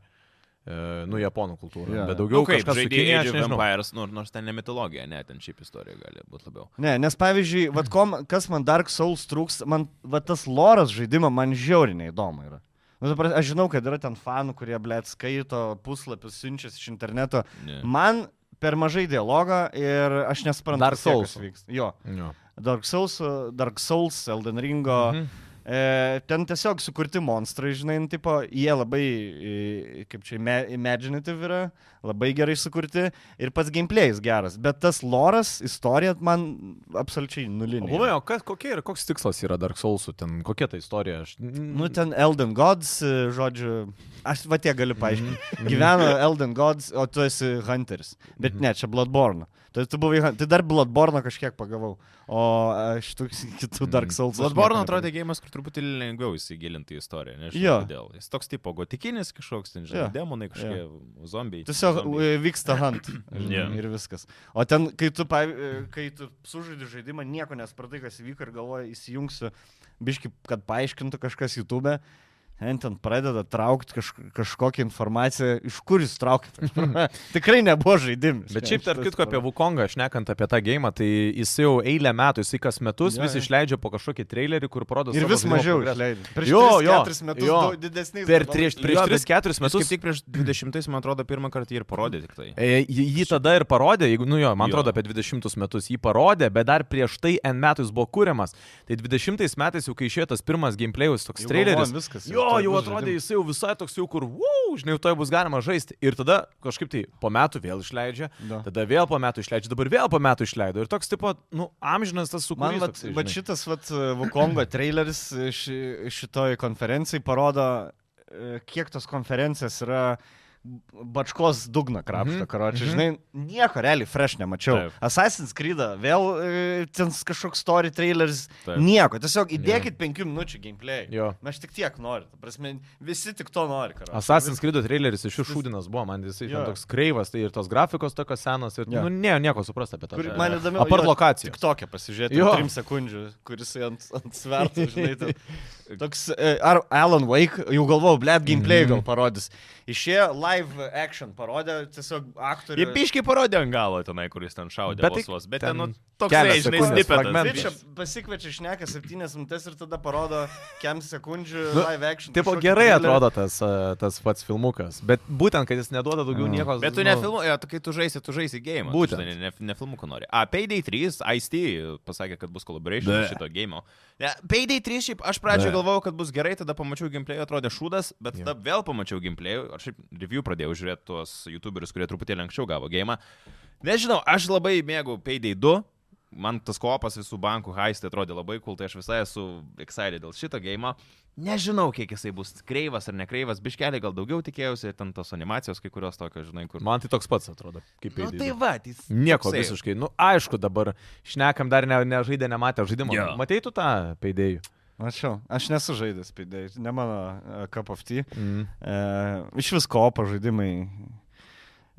E, nu, japonų kultūra.
Jo.
Yeah. Bet
Nu,
daugiau nu,
kaip
kažkas su
žaidėjai
Kinija,
Age
aš
of
nežinau.
Empires, nu, nors ten ne mitologija, ne, ten šiaip istorija gali būti labiau.
Ne, nes pavyzdžiui, vat, kom, kas man Dark Souls trūks, man vat, tas loras žaidimą man žiauriniai įdomu yra. Nu, ta prasme, aš žinau, kad yra ten fanų, kurie, ble, skaito puslapius, siunčiasi iš interneto.
Ne.
Man per mažai dialogo ir aš nesuprantu,
Dark
vis tiek, kas
Soulsų.
vyks. Jo,
Jo.
Dark Souls, Dark Souls, Elden Ringo. Mhm. E, ten tiesiog sukurti monstrai, žinai, nu, tipo, jie labai, e, kaip čia, ima- imaginative yra, labai gerai sukurti ir pats gameplay'is geras, bet tas loras, istorija man absoliučiai
O
nulinė.
buvai, o kas, kokie yra, koks tikslas yra Dark Soulsų, ten kokia ta istorija? Aš...
Nu, ten Elden Gods, e, žodžiu, aš va tiek galiu paaiškinti.
Mhm.
Gyveno Elden Gods, o tu esi Hunteris. Bet ne, čia Bloodborne. Tai tu buvai, Hun- tai dar Bloodborne kažkiek pagavau, o e, šitų kitų Dark Souls. aš
Bloodborne
nieko
atrodė gėjimas, kur truputį lengviau įsigilinti į istoriją, nežinau
Jo.
kodėl. Jis toks tipo gotikinis kažkoks, ten,
Jo.
žinai, demonai kažkokie, zombiai.
Tiesiog
zombiai.
e, vyksta hunt. žinai,
Jo.
Ir viskas. O ten, kai tu, pav- e, kai tu sužaidži žaidimą, nieko nespratai, kas įvyko ir galvoji, įsijungsiu, biški, kad paaiškintų kažkas YouTube. Ten ten pradeda traukti kaž, kažkokią informaciją, iš kur jūs traukit. Tikrai nebuvo žaidimas.
Bet šiaip, tarp kitko, apie Wukongą, šnekant apie tą gėjimą, tai jis jau eilę metų, jis kas metus
Jo,
vis
jo.
išleidžia po kažkokį trailerį, kur parodo.
Ir
savo
vis
žaidimo
mažiau
progresą.
išleidžiu.
Jo, jo,
keturis metus
jo.
daug didesniais.
Per
dabar-
prieš, prieš
Jo,
3-4
Mes
metus.
kaip tik prieš 20, man atrodo, pirmą kartą jį ir parodė tik tai.
E, Jį jį tada ir parodė, jeigu, nu jo, man
Jo.
atrodo, apie 20 metus jį parodė, bet dar prieš tai N metais buvo kuriamas. Tai 20 metais jau kai išėjo tas pirmas gameplayus toks
Jau
traileris.
galvojom, viskas, jau
Jo,
tuoj
jau
bus
atrodė
žaidimas.
jis jau visai toks jau kur, wow, žinai, jau to bus galima žaisti. Ir tada kažkaip tai po metų vėl išleidžia,
Da.
tada vėl po metų išleidžia, dabar vėl po metų išleido. Ir toks tipo, nu, amžinas tas
Man
sukūrimas.
vat, vat šitas vat, e, Vukongo traileris e, ši, šitoj konferencijai parodo, e, kiek tos konferencijos yra bačkos dugna krapšto, mm
Mhm,
-hmm. karočiui. Žinai, nieko realiai fresh nemačiau.
Taip.
Taip. Assassin's Creed, vėl e, ten kažkoks story traileris,
Taip.
Taip. nieko. Tiesiog įdėkit 5 minučių gameplay.
Jo.
Mes tik tiek noriu. ta Prasme, visi tik to nori, karočiui.
Assassin's Creed traileris iš jų šūdinas buvo, man jisai
Jo.
yeah. toks kreivas, tai ir tos grafikos tokios senos, ir,
Jo.
yeah. nu, ne, nieko suprast apie tą.
Kur,
žaidimą.
man įdomu.
Apart lokacijų.
Tik tokia pasižiūrėti.
Jo.
Jo. 3 sekundžių, kuris ant, ant svertų, žinai. Ten. Toks, e, ar Alan Wake, jau galvojau, bleb,
Mhm.
gameplay gal parodys. Išėjo live action, parodė tiesiog aktorių.
Jie piškiai parodė ant galo tenai, kuris ten šaudė.
Bet
Bet,
tai
vos, vos. bet
ten
ten, ten nu, toks, žinai,
kelios sekundės
snipetas.
fragmentas.
biškį.
Taip, čia pasikviečia išneka 7 minutės ir tada parodo 5 sekundžių
Nu,
live action.
Taip,
kažkokį
gerai
trailerį.
atrodo tas, e, tas pats filmukas, bet būtent, kad jis neduoda daugiau
Mm.
nieko. nu,
Bet tu nefilmuoji, kai tu žaisi, tu žaisi game.
Būtent.
Ne, ne, ne filmuko nori. A, Payday 3, IST pasakė, kad bus collaboration
Bleh.
iš šito game. Ne, Payday 3, šiaip aš pradžioje
Bleh.
galvojau, kad bus gerai, tada pamačiau gameplay, atrodė šūdas, bet tada vėl pamačiau gameplay, aš šiaip review pradėjau žiūrėti tuos youtuberius, kurie truputėlį anksčiau gavo game. Nežinau, aš labai mėgau Payday 2. Man tas kopas visų bankų haistai atrodė labai cool, tai aš visai esu excited dėl šito game. Nežinau, kiek jisai bus kreivas ar nekreivas, biškeliai gal daugiau tikėjausi, ten tos animacijos kai kurios tokios, žinai, kur
Man tai toks pats atrodo, kaip
Nu,
Payday
tai
du.
va, tai jis
Nieko
toksai.
visiškai. Nu, aišku, dabar šnekam dar nežaidę, ne nežaidė, nematė žaidimo.
Jo.
Matei tu tą peidėjų?
Mačiau, aš nesu žaidęs, pidai, ne mano uh, cup of tea.
Mm.
E, iš visko opo žaidimai.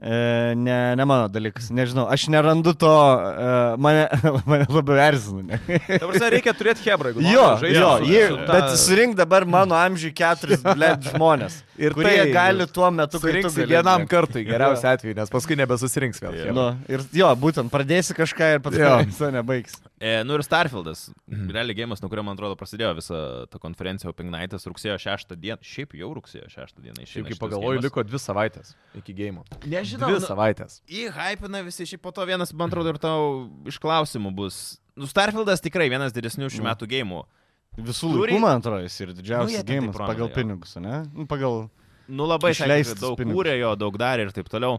E, ne, ne mano dalykas, nežinau, aš nerandu to, e, mane, mane labiau erzina. ne.
Dabar reikia turėti hebrą, jeigu
Jo, jo, jie, bet surink dabar mano amžiui keturis bled žmonės,
Ir
ir kurie
tai
tai gali tuo metu, kai tu
surinksi
gali,
vienam
žinai.
kartui, geriausiu atveju, nes paskui nebesusirinks vėl.
Jo.
chebra.
Nu, ir jo, būtent pradėsi kažką ir pats
Jo.
to nebaigs.
E, nu ir Starfieldas,
Mhm.
realiai gėjimas, nuo kurio, man atrodo, prasidėjo visa ta konferencija Open Nightas rugsėjo 6 dieną. Šiaip jau rugsėjo 6 dieną išėjo.
Šiaip kaip pagalvoju, liko dvi savaitės iki gėjimo.
Nežinau. nu,
nu-
Dvi savaitės.
Į hypina visi, šiaip po to vienas, man atrodo, ir tau iš klausimų bus. Nu, Starfieldas tikrai vienas didesnių šių
Nu.
metų gėjimų.
Visų
Turi-
laikų, man atrodo, jis ir
Nu, jie ten
didžiausias nu, gėjimas
taip rodo,
pagal
jo.
pinigus, ne? Nu, Pagal...
Nu labai sakė, kad
Išleistus
daug
pinigus.
kūrė jo, daug darė ir taip toliau.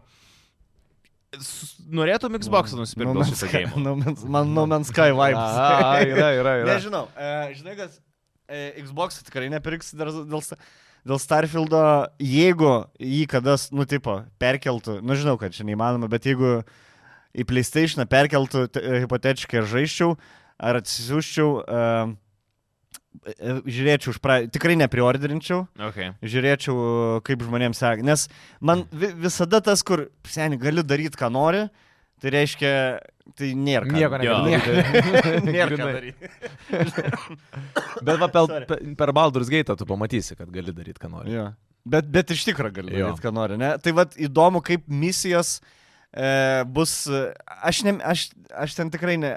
S- Norėtum Xbox nusipirkti
No
no,
Man's
šitą
Sky-
gėjimą.
No Man's- Man No Man's Sky vibes.
A, a, Yra, yra, yra.
Nežinau, e, žinai, kas e, Xbox tikrai nepirks dar dėl, sta- dėl Starfieldo, jeigu jį kada, nu, tipo, perkeltų, nu, žinau, kad čia neįmanoma, bet jeigu į PlayStation perkeltų t- e, hipotetiškai ir žaisčiau, ar atsisiųščiau, e, e, žiūrėčiau už praeitį, tikrai nepriorderinčiau.
Okay.
Žiūrėčiau, kaip žmonėms seka. Nes man vi visada tas, kur, seniai, gali daryti, ką nori, tai reiškia, tai nėra. ką-
Jo.
Nieko negali.
nėra ką
tai- Grynai.
daryti.
Bet va, pel,
Sorry.
pe- per Baldur's Gate tu pamatysi, kad gali daryti, ką nori.
Jo. Bet, bet iš tikrųjų gali
Jo.
daryti, ką nori. Ne? Tai vad įdomu, kaip misijos e, bus. e, Aš, ne, aš, aš ten tikrai ne.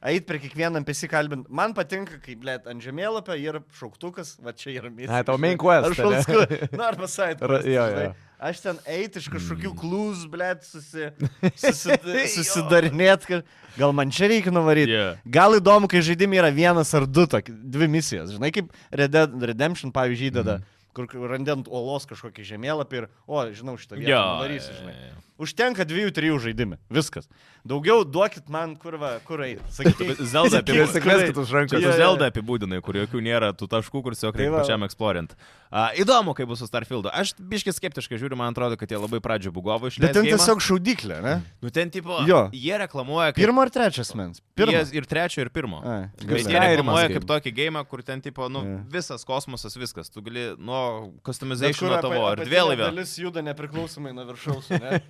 Ait per kiekvieną pesi kalbint. Man patinka, kaip, blėt, ant žemėlapio yra šauktukas, va čia yra misija.
Ai, tau main quest,
Aš
ane?
šauktukas. Na, arba side.
Ra-
quest,
jo, Mm.
žinai.
jo.
Aš ten eit iš kažkokių klūz, blėt, susi, susi, susidarinėt. Kad... Gal man čia reikia nuvaryti.
Yeah.
Gal įdomu, kai žaidimai yra vienas ar du, tokie, dvi misijos. Žinai, kaip Red Dead Redemption, pavyzdžiui, įdeda,
Mhm.
mm. kur randant uolos kažkokį žemėlapį ir, o, žinau, šitą vietą darysiu, žinai. Užtenka dviejų, trijų žaidimų. Viskas. Daugiau duokit man, kur, va, kur eiti. Sakykit,
Zelda
Ir
apibūdinai.
įsikveskit už
Čia
rankos.
tu Zelda apibūdinai, kur jokių nėra tų taškų, kur tiesiog reikia
Tai va.
pačiam eksplorint. Uh, įdomu, kaip bus su Starfieldu. Aš biškai skeptiškai žiūriu, man atrodo, kad jie labai pradžio bugovo iš
bet ten tiesiog šaudyklė, ne?
Nu ten tipo,
Jo.
jie reklamuoja kaip...
Pirmo ar trečias mens?
Jie
Pirmo.
ir trečio, ir pirmo.
Ai,
Bet
gerai.
jie reklamuoja
Skyrimas
kaip
game.
tokį gėjimą, kur ten tipo, nu,
Jo.
visas kosmosas, viskas. Tu gali nuo
Bet kur
customization
apa-
tavo
apatinė
erdvėlaivio.
Dalis juda nepriklausomai nuo viršaus. Ne?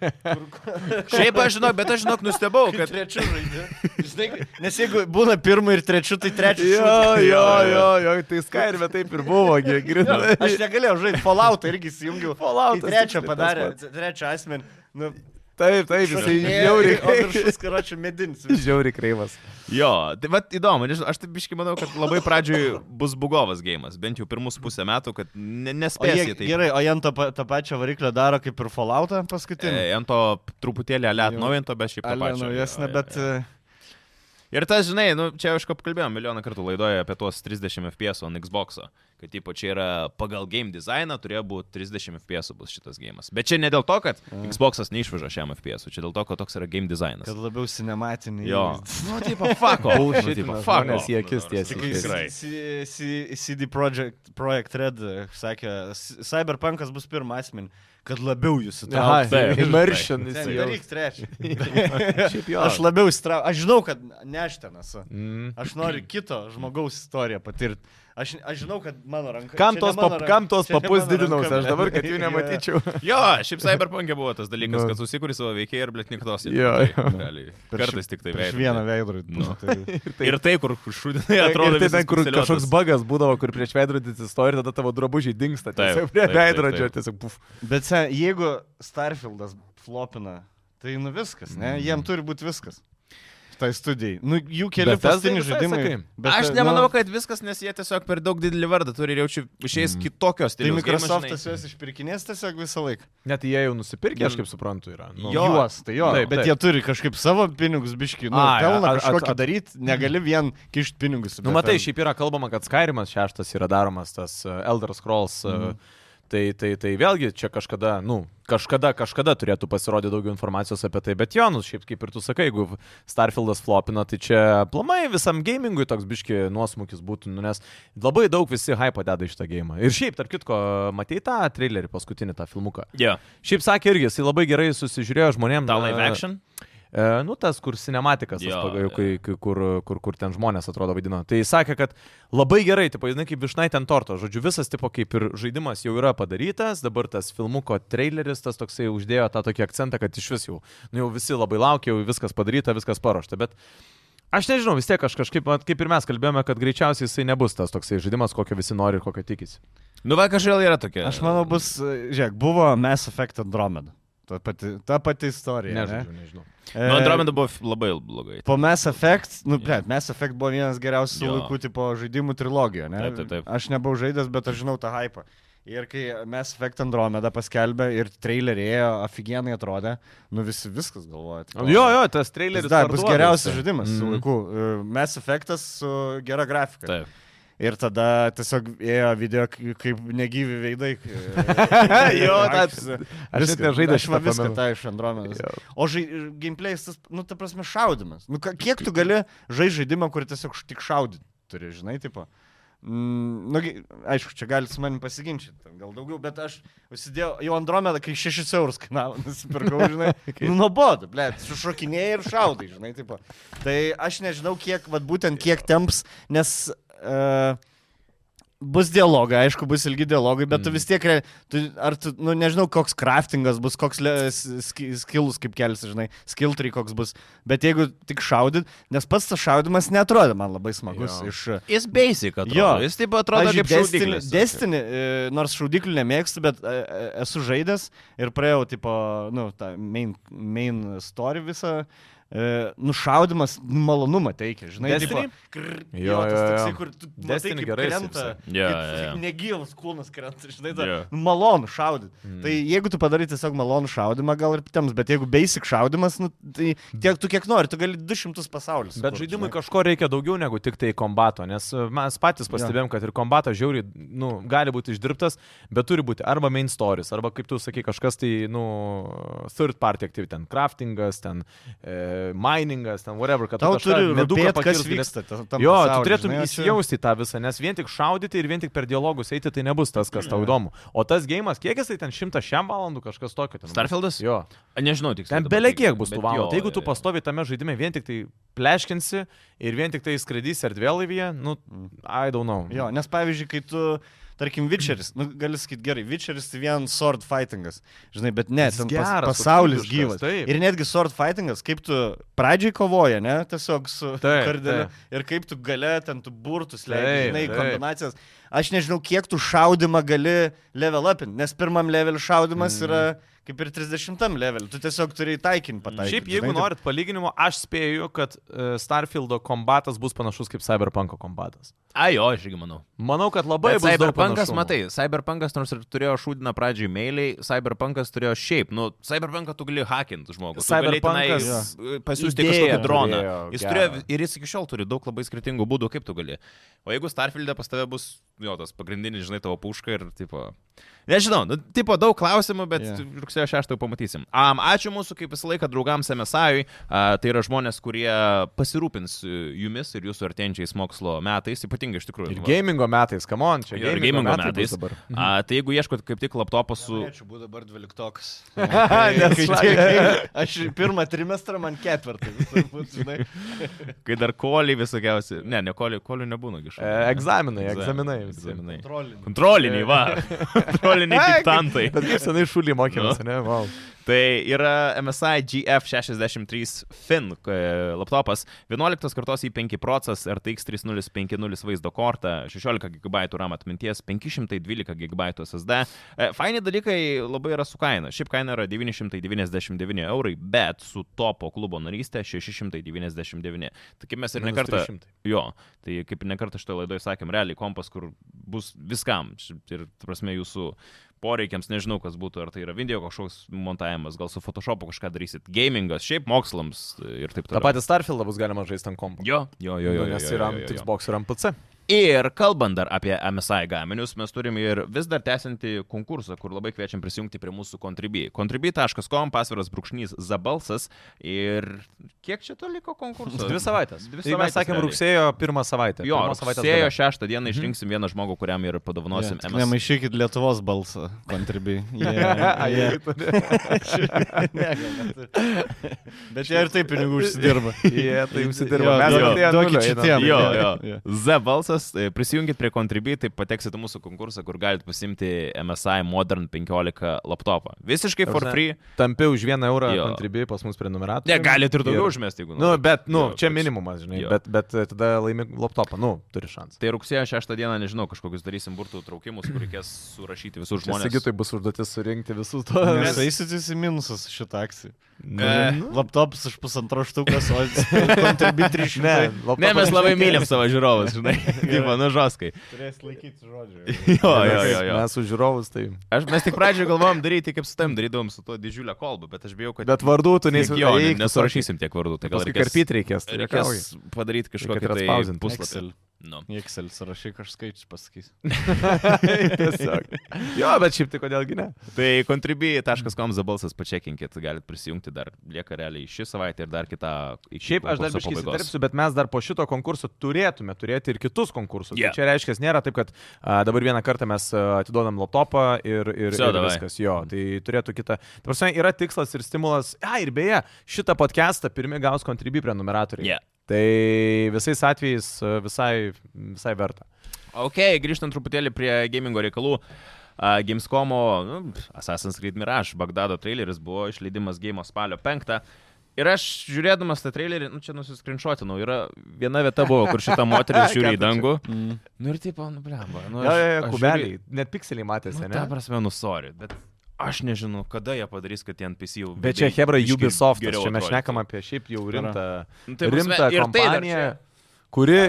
Šiaip aš žinau, bet aš žinok nustebau,
Kad
kad...
trečiu žaidžiu. Žinai, nes jeigu būna pirmu ir trečiu, tai trečiu.
Jo,
šūdas.
jo, jo, jo, tai Skyrim'e taip ir buvo, girdėjau.
Aš negalėjau žaisti Fallout irgi įsijungiau.
Falloutas
Į trečią
tiksliai tas
padarė,
pats.
trečią asmenį. Nu,
Taip, taip, jisai žiauriai
O
kreivas.
viršus, karočiui, medinis.
Žiauriai kreivas.
Jo, tai vad įdomu, nežinau, aš taip biškai manau, kad labai pradžioj bus bugovas gėjimas, bent jau pirmus pusę metų, kad ne,
O jie,
nespėsi. Tai
gerai, o jie ant tą, pa- tą pačią variklę daro kaip ir Falloutą paskutinį.
e, Ant to truputėlį ale
Jo.
atnaujinto, bet šiaip tą
Ale,
pačią.
naujesnė,
Jo, jo,
bet... e,
jo. Ir tas, žinai, nu, čia jau iš ko kalbėjome milijoną kartų laidoje apie tuos 30 FPS on Xbox, kad ypač čia yra pagal game dizainą turėjo būti 30 FPS bus šitas gėjimas. Bet čia ne dėl to, kad Xbox neišveža šiam FPS, čia dėl to, kad toks yra game dizainas.
Kad labiau cinematinį.
Jo. Nu, tipo, fuck off. Nu, tipo,
Bullshitina,
fuck
žmonės
off.
į akis
Nu,
tiesiai
tikrai.
žiūri.
Tikrai.
C- C- CD Projekt, Projekt Red e, sakė, s- Cyberpunkas bus pirmas asmenį, kad labiau jūs
Aha,
tai-
įtrauktumėte.
immersion jisai jau.
Daryk trečią.
Šiaip jo.
Aš labiau įsitraukiu. Aš žinau, kad ne aš ten esu.
Mm.
Aš noriu kito žmogaus istoriją patirti. Aš, aš žinau, kad mano ranka.
Kam
čia ne
tos,
mano
pap,
ranka-
kam tos
čia ne
papus
mano
didinausi,
ranka,
aš dabar, kad jų
blet.
nematyčiau.
Jo, šiaip Cyberpunk'e buvo tas dalykas,
Nu.
kad susikūri savo veikėjai ir blėt niktos.
Jo, jo.
Kartais tik tai
Prieš
veikia.
vieną veidrodį.
Nu.
Nu. Tai...
Ir tai, kur šūdinai atrodo.
Ir tai
visas
ten, kur
pikseliuotas.
kažkoks bagas būdavo, kur prieš veidrodį atsistoji ir tada tavo drabužiai dingsta.
Taip,
Tiesiog prie
taip, taip,
veidrodžio
taip.
tiesiog puf.
Bet se, jeigu Starfieldas flopina, tai nu viskas, ne? Mm. Jiem turi būti viskas. Tai studijai. Nu, jų keli
Bethesda
paskutiniai
visai
žaidimai.
sakai.
Bet,
tai-
aš nemanau, nu, kad viskas, nes jie tiesiog per daug didelį vardą turi ir jaučiu išėjęs mm. kitokios
Tai
stiliaus gėjimas,
Microsoft'as juos išpirkinės tiesiog visą laiką.
Net jie jau nusipirkė,
Mm.
aš kaip suprantu, yra. Nu,
Jo.
Juos, tai jo.
Taip,
Taip, bet
taip.
taip. jie turi kažkaip savo pinigus biški, nu,
Ai,
pelną
a- a-
kažkokį
a-
daryti, negali vien kišti pinigus. į
Nu, matai,
Bethesda.
šiaip yra kalbama, kad Skyrimas šeštas yra daromas tas e, Elder Scrolls. Mm.
Mhm.
Tai, tai, tai vėlgi čia kažkada, nu, kažkada, kažkada turėtų pasirodyti daugiau informacijos apie tai, bet Jonus, šiaip kaip ir tu sakai, jeigu Starfieldas flopina, tai čia plamai visam gamingui toks biški nuosmukis būtų, nu, nes labai daug visi hype deda iš tą gėjimą. Ir šiaip, tarp kitko, matei tą trailerį, paskutinį tą filmuką.
žinai. Jo.
Šiaip sakė irgi, jis labai gerai susižiūrėjo žmonėms.
Tau live action?
E, nu, tas, kur cinematikas, tas,
Jo,
pagal-
jo.
kai- kai- kur, kur, kur ten žmonės atrodo vadino. Tai sakė, kad labai gerai, tipo, žinai, kaip višnai ten torto. Žodžiu, visas, tipo, kaip ir žaidimas jau yra padarytas, dabar tas filmuko traileris, tas toksai uždėjo tą tokį akcentą, kad iš vis jau, nu, jau visi labai laukia, jau viskas padaryta, viskas paruošta. Bet aš nežinau, vis tiek aš kažkaip, vat kaip ir mes kalbėjome, kad greičiausiai jisai nebus tas toksai žaidimas, kokio visi nori ir kokio tikisi.
Nu, va, kažkaip yra tokia.
Aš manau, bus, e, žiūrėk, buvo Mass Effect Andromeda. Ta pati, ta pati istorija. E,
Nežinau, nežinau.
Nu, Andromeda buvo f- labai blogai.
Po Mass Effect, nu, ble, Mass Effect buvo vienas geriausių
Jo.
laikų tipo žaidimų trilogijoje, ne?
Taip, taip, taip.
Aš nebuvau žaidęs, bet aš žinau tą hypą. Ir kai Mass Effect Andromeda paskelbė ir trailerėjo, afigienai atrodė, nu visi viskas galvoja. tipo,
Jo, jo, tas traileris
Jis dar bus
parduoda
geriausias
jisai.
žaidimas mm. su
Mhm.
laiku. E, Mass Effectas su gera grafika.
Taip.
Ir tada tiesiog ėjo video k- kaip negyvi veidai. e,
Jo, tą- aš net nežaidęs
Aš va
šito
viską
pamenu.
tą iš Andromedos.
Jo.
O žai, gameplay'is, tas, nu, ta prasme, šaudimas. Nu, ka- kiek tu gali žaisti žaidimą, kur tiesiog š- tik šaudyti turi, žinai, tipo. Mm, nu, gi- aišku, čia galit su manim pasiginčyti, ten gal daugiau, bet aš užsidėjau jau Andromedą, kai 6 eurus kainavo, nusipirkau, žinai. nu, nuobodu, ble, sušokinėjai ir šaudai, žinai, tipo. Tai aš nežinau, kiek, vad būtent kiek temps, nes... Uh, Bus dialogai, aišku, bus ilgi dialogai, bet mm. tu vis tiek, re- tu, ar tu, nu, nežinau, koks craftingas bus, koks le, ski, skilus kaip kelsi, žinai, skill tree koks bus, bet jeigu tik šaudyt, nes pats tas šaudimas netrodo man labai smagus.
Jo.
Jo. Iš,
Jis basic
Jo.
atrodo. Jis taip atrodo
Pavyzdžiui,
kaip šaudiklis.
Destiny, e, nors šaudiklių nemėgstu, bet e, e, esu žaidęs ir praėjau, tipo, nu, tą main, main story visą. E, nušaudimas malonumą teikia, žinai,
Destiny?
tipo, krr,
Jo,
jo, tas
jo, jo.
toksai, kur tu matai,
Destiny
kaip
gerai jisai
krenta,
visai.
Jo, jo, jo.
kaip negyvas kūnas krenta, žinai, ta,
Jo.
malonu šaudyti. Mm. Tai jeigu tu padarai tiesiog malonų šaudimą, gal ir tiems, bet jeigu basic šaudimas, nu, tai tiek tu kiek nori, tu gali 200 pasaulius.
Bet
sukurt,
žaidimui
žinai.
kažko reikia daugiau negu tik tai kombato, nes e, mes patys pastebėjom, kad ir kombatas žiauriai, nu, gali būti išdirbtas, bet turi būti arba main stories, arba kaip tu sakai, kažkas tai, nu, third party aktyvi, ten craftingas, ten e, miningas, ten whatever, kad
Tau
tu
turi
kažką meduką
rūpėti, kas
pakirst galėtum.
vyksta. ta- tam
Jo,
pasauly,
tu turėtum
žinai, o čia-
įsijausti į tą visą, nes vien tik šaudyti ir vien tik per dialogus eiti, tai nebus tas, kas
Mhm.
tau įdomu. O tas gėjimas, kiek jisai ten šimtą šiam valandų kažkas tokio. ten bus?
Starfieldas?
Jo.
Nežinau, tik
Ten belė kiek bus tų valandų. Tai
e.
jeigu tu pastovi tame žaidime vien tik tai pleškinsi ir vien tik tai skraidys erdvėlaivyje, nu, I don't know.
Jo, nes pavyzdžiui, kai tu tarkim, Witcheris, nu, gali sakyti gerai, Witcheris tai vien sword fightingas, žinai, bet ne,
Jis
ten
geras,
pas, pasaulis
kokybiškas,
gyvas.
taip.
Ir netgi sword fightingas, kaip tu pradžiai kovoja, ne, tiesiog su
Taip,
kardeliu,
taip.
ir kaip tu gale ten tu burtus leidai,
Taip,
žinai,
taip.
kombinacijas. Aš nežinau, kiek tu šaudimą gali level upin, nes pirmam level šaudimas yra
Mm.
kaip ir 30 level, tu tiesiog turi į taikinį pataikyti.
Šiaip, jeigu
žinai, taip.
norit palyginimo, aš spėju, kad e, Starfieldo kombatas bus panašus kaip Cyberpunko kombatas.
Ai, jo, aš irgi manau.
Manau, kad labai
Bet
bus daug
Cyberpunkas,
panašumų.
matai, Cyberpunkas nors ir turėjo šūdiną pradžiai mailiai, Cyberpunkas turėjo šiaip, nu, Cyberpunką tu gali hakinti žmogų. tu gali
Cyberpunkas
tenai pasiūsti
idėją
kažkokį droną.
turėjo
Jis
gerą.
turėjo ir jis iki šiol turi daug labai skirtingų būdų, kaip tu gali. O jeigu Starfield'e pas tave bus, jo, tas pagrindinis, žinai, tavo puška ir, tipo, Nežinau, nu, tipo daug klausimų, bet
Jo.
yeah. rugsėjo 6 pamatysim. Um, ačiū mūsų, kaip visą laiką, draugams MSI. Uh, tai yra žmonės, kurie pasirūpins uh, jumis ir jūsų artėjančiais mokslo metais, ypatingai iš tikrųjų.
Ir
va,
gamingo metais, come on, čia
Ir gamingo
metai
metais.
bus dabar.
A, tai jeigu ieškot kaip tik laptopą su...
Norėčiau būti dabar dvyliktokas. tai-
Nes
Kai
šla-
tiek- Aš pirmą trimestrą man ketvirtą. turbūt, žinai.
Kai dar koliai visokiausi. Ne, ne koliai, koliai nebūna
E,
gišai.
Egzaminai, egzaminai. visi. E.
Egzaminai.
Trollinį.
Kontroliniai, va. Kontroliniai diktantai.
Bet kaip senai šulį mokėmės, ne? Wow.
Tai yra MSI GF63 Fin e, laptopas, 11 kartos į 5 proces, RTX 3050 vaizdo kortą, 16 GB RAM atminties, 512 GB SSD. E, Faini dalykai labai yra su kaina. Šiaip kaina yra 999 eurai, bet su topo klubo narystė 699. Tai kaip mes ir
Minus
nekartą...
300.
Jo, tai kaip ir nekartą šitoje laidoje sakėm, realiai kompas, kur bus viskam. Šiaip Ir, ta prasme, jūsų poreikiams, nežinau, kas būtų, ar tai yra video kažkoks montavimas, gal su Photoshopu kažką darysit, gamingas, šiaip mokslams ir taip
Ta
toliau.
pati Starfieldą bus galima žaisti ant kompo.
Jo, jo, jo, jo. jo,
Nes
jo,
ir
jo,
ant
jo, jo.
Xbox, ir ant PC.
Ir kalbant dar apie MSI gaminius, mes turim ir vis dar tęsiantį konkursą, kur labai kviečiam prisijungti prie mūsų Contribui. Contribui.com, pasviras brūkšnys Zabalsas ir kiek čia to liko konkurso?
Dvi savaitės.
Dvi
Tai mes
savaitės.
sakėm
realiai.
rugsėjo pirmą savaitę.
Jo,
Pirmos savaitės
rugsėjo
gale. Mhm.
6 dieną išrinksim vieną žmogų, kuriam ir padovanosim
Tik
MSI.
Nemaišykit Lietuvos balsą, kontribui.
Ai,
Yeah,
tu-
yeah. Bet jie ir taip pinigų užsidirba.
Jie tai
Jo,
užsidirba.
jo,
Mes atėjome
duokit
nulio,
šitiem.
einam.
Jo,
Jo,
jo.
jo.
Z balsas, e, prisijungit prie Contribui, tai pateksit į mūsų konkursą, kur galite pasimti MSI Modern 15 laptopą. Visiškai
Ta
for
prasme,
free.
Tampi už vieną eurą
Jo.
kontribijai pas mus prie numeratų.
Ne, galite ir daugiau užmesti, jeigu
Nu,
norite.
bet, nu,
Jo,
čia
toks-
minimumas, žinai,
jo.
bet, bet e, tada laimi laptopą, nu, turi šansą.
Tai rugsėjo 6 dieną, nežinau, kažkokius darysim burtų traukimus, kur reikės surašyti visus
Čia
žmonės. tai
Sigitui bus užduotis surinkti visus to.
Nes eisit jūs į minusus šitą akciją.
E,
nu,
Laptopas už pusantro štukas, o kontribui 300.
Ne,
Ne, mes labai mylim savo žiūrovus, žinai. Taip, nu žoskai.
Turės laikyti žodžiu.
Jo, jo, jo. jo.
Mes už žiūrovus, tai.
Aš, mes tik pradžioje galvom daryti, kaip su tam darydavom su to didžiulę kolbą, bet aš bijau, kad...
Bet vardų
Jo,
tu
ne,
neįsivaizduoji.
nesurašysim tiek vardų, tai gal
Paskui
reikės,
karpyti reikės. tai juokauji.
reikės padaryti kažkokį
Reikia
tai
atspausdint.
puslapį.
Excel.
Nu.
Excel, surašyk, aš skaičius pasakysiu.
Tiesiog. Jo, bet šiaip tai kodėlgi ne.
Tai contribui.com zabalsas pačekinkit, galite prisijungti dar, lieka realiai šį savaitę ir dar kitą iki
Šiaip aš dar
konkurso
biškai
pabaigos.
įsiterpsiu, bet mes dar po šito konkurso turėtume turėti ir kitus konkursus.
Jo.
Yeah. Čia reiškia, nėra taip, kad a, dabar vieną kartą mes a, atiduodam laptopą ir, ir,
Vsio,
ir
davai.
viskas jo. Tai turėtų kitą. Ta prasme, yra tikslas ir stimulas. A, ir beje, šitą podcastą pirmie gaus kontribui prie numeratoriai.
Yeah.
Tai visais atvejais a, visai, visai verta.
Ok, grįžtant truputėlį prie gamingo reikalų. Uh, Gamescomo nu, Assassin's Creed Mirage Bagdado traileris buvo išleidimas game spalio 5. Ir aš žiūrėdamas tą trailerį, nu čia nusiskrinšuotinau, yra viena vieta buvo, kur šita moteris žiūri į dangų. Nu ir taip, nu blemba. Nu,
Jo,
aš-
jo, jo,
aš
kubeliai, net pikseliai matėsi,
žiūriu- Nu,
ne?
ta prasme, nusori, bet aš nežinau, kada jie padarys, kad tie NPC jau...
Bet čia Hebra
biškį
Ubisoft,
geriau
čia mes
atrodytų.
šnekam apie šiaip jau rimtą,
Nu, tai prasme,
tai
ir
rimtą
tai dar
kompaniją,
čia.
kuri,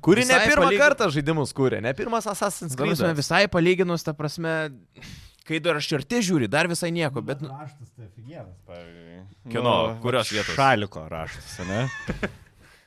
kuri ne
visai
pirmą
palygi-
kartą žaidimus kūrė, ne pirmas Assassin's
Ta prasme,
Creed.
visai palyginus, ta prasme, kai dar aš arti žiūri, dar visai nieko, bet... Nu,
Raštas tai aфиgenas, pavyzdžiui. Nu,
Kieno? Kurios vietos?
Šaliko raštas, ne?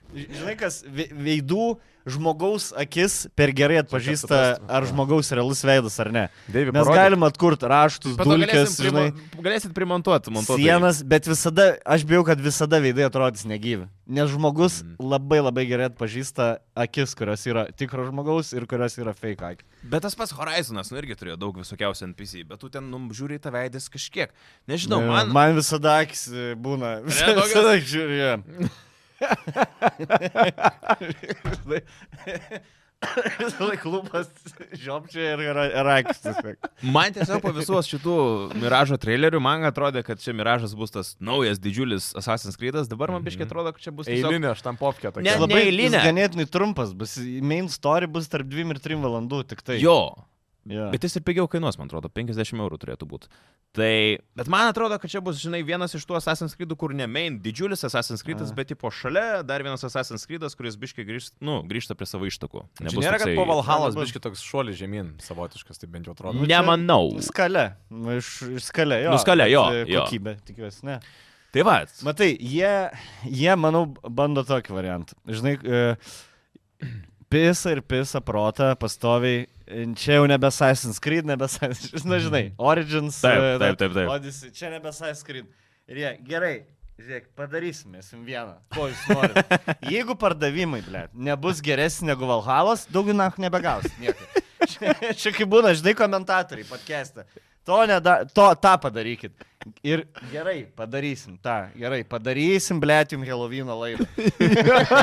Žinai, kas ve- veidų žmogaus akis per gerai atpažįsta,
suprastum.
ar žmogaus realus veidas ar ne.
Deivi,
Mes
parodyk.
galim atkurti raštus,
Po to
dulkes,
galėsim
žinai,
primo- Galėsit tai. primontuoti, montuoti.
sienas, bet visada, aš bijau, kad visada veidai atrodys negyvi. Nes žmogus
Mm.
labai labai gerai atpažįsta akis, kurios yra tikro žmogaus ir kurios yra fake akis.
Bet tas pats Horizonas, nu irgi turėjo daug visokiausių NPC, bet tu ten, nu, žiūri į tą veidės kažkiek. Nežinau, man...
man visada akis e, būna. Visada,
tokios?
visada žiūrėjau. Visą laiką lūpas žiopčia ir yra rakis.
Man tiesiog po visos šitų Miražo trailerių, man atrodė, kad čia Miražas bus tas naujas didžiulis Assassin's Creed'as, dabar man biškai atrodo, kad čia bus tiesiog...
Eilinė, aš tam popkė
Ne,
tokia.
ne.
Labai jis
Neeilinė.
ganėtinai trumpas, bus, main story bus tarp 2 ir 3 valandų tik tai.
Jo,
Yeah.
Bet jis ir pigiau kainuos, man atrodo, 50 eurų turėtų būti. Tai, bet man atrodo, kad čia bus, žinai, vienas iš tų Assassin's Creed'ų, kur ne main didžiulis Assassin's Creed'as,
A.
bet tipo šalia dar vienas Assassin's Creed'as, kuris biškai grįžta, nu, grįžta prie savo ištakų.
Čia nėra, kad po Valhalos
Nebus-
biški toks šuolis žemyn savotiškas, tai bent jau atrodo.
Ne.
Nemanau.
Skalė. Nu, Iš, iš skalė, jo.
Nu, skalė, jo,
Bet, e,
jo.
Kokybė, tikiuosi, ne.
Tai va.
Matai, jie, jie, manau, bando tokį variantą. Žinai, e, pisa ir pisa protą pastoviai. E, Čia jau nebe Assassin's Creed, nebe Assassin's Creed. Na, žinai, Origins.
Mhm. Taip,
e,
taip, taip, taip.
Odyssey, čia nebe Assassin's Creed. Ir jie, gerai, žiūrėk, padarysime jums vieną. Ko jūs norite? Jeigu pardavimai, ble, nebus geresni negu Valhalas, daugiau nach nebegausit. nieko. Čia, čia kaip būna, žinai, komentatoriai, podcast'ą. To, neda, to, tą padarykit. Ir gerai, padarysim tą. Gerai, padarysim, ble, jums Helovino laidą.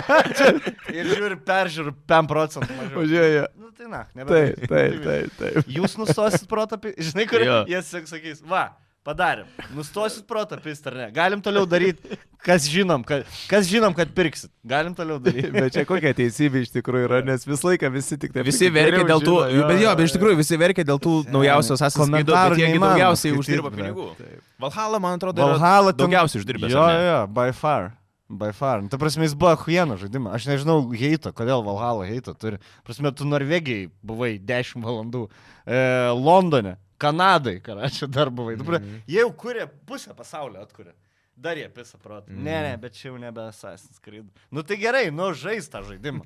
Ir žiūri, peržiūri 5 procentų mažiau.
Važiuoja.
Nu tai na,
Taip,
nebedarysim.
taip, taip, taip.
Jūs nustosit protapį, žinai, kur
Jo.
jie sak- sakys, va, padarėm, nustosit protapį, ar ne, galim toliau daryti, kas žinom, kad, kas žinom, kad pirksit, galim toliau daryti.
Bet čia kokia teisybė iš tikrųjų yra, nes visą laiką visi tik tai...
Visi verkia dėl tų, bet jo, bet iš tikrųjų visi verkia dėl tų naujausios Assassin's Creed'ų,
Komentarų
bet jiegi
neįmanoma
daugiausiai
skaityt,
uždirba
blet.
pinigų. Valhalla, man atrodo,
Valhalla
Valhalla
ten-
daugiausiai uždirbęs.
Jo,
ar ne?
jo, by far. By far. Nu, Ta prasme, jis buvo Huijeno žaidimas. Aš nežinau, heito, kodėl Valhalla heito turi. Prasme, tu Norvegijai buvai 10 valandų, e, Londone, Kanadai, ką čia dar buvai. Mm -hmm. Jie jau kūrė pusę pasaulio, atkūrė. Dar jie pisa protą. Mm. Ne, ne, bet čia jau nebe Assassin's Creed. Nu tai gerai, nu žais tą žaidimą.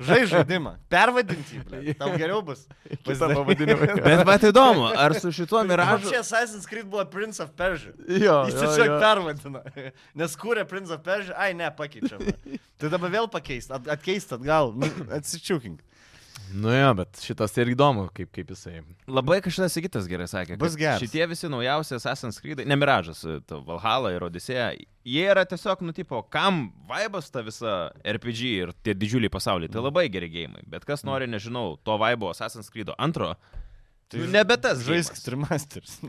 Žais žaidimą. Pervadinti, ble. Tau geriau bus.
Visą pavadinimą.
Bet va, tai įdomu, ar su šituo
Miražu...
Miražu...
Čia Assassin's Creed buvo Prince of Persia.
Jo,
Jis
jo,
tiesiog
jo.
pervadino. Nes kūrė Prince of Persia, ai ne, pakeičiam. Tai dabar vėl pakeist, at, atkeist atgal, nu, atsičiūkink.
Nu jo, bet šitas tai ir įdomu, kaip, kaip jisai.
Labai kažkas kitas gerai sakė. kad
Bus geras.
Šitie visi naujausi Assassin's Creed, ne Miražas, ta Valhalla ir Odisėja, jie yra tiesiog, nu, tipo, kam vaibas ta visa RPG ir tie didžiuliai pasauliai,
Mhm.
tai labai geri gėjimai. Bet kas nori, nežinau, to vaibo Assassin's Creed antro, tai nu, nebe tas
Žaisk
žaidimas.
trimasters.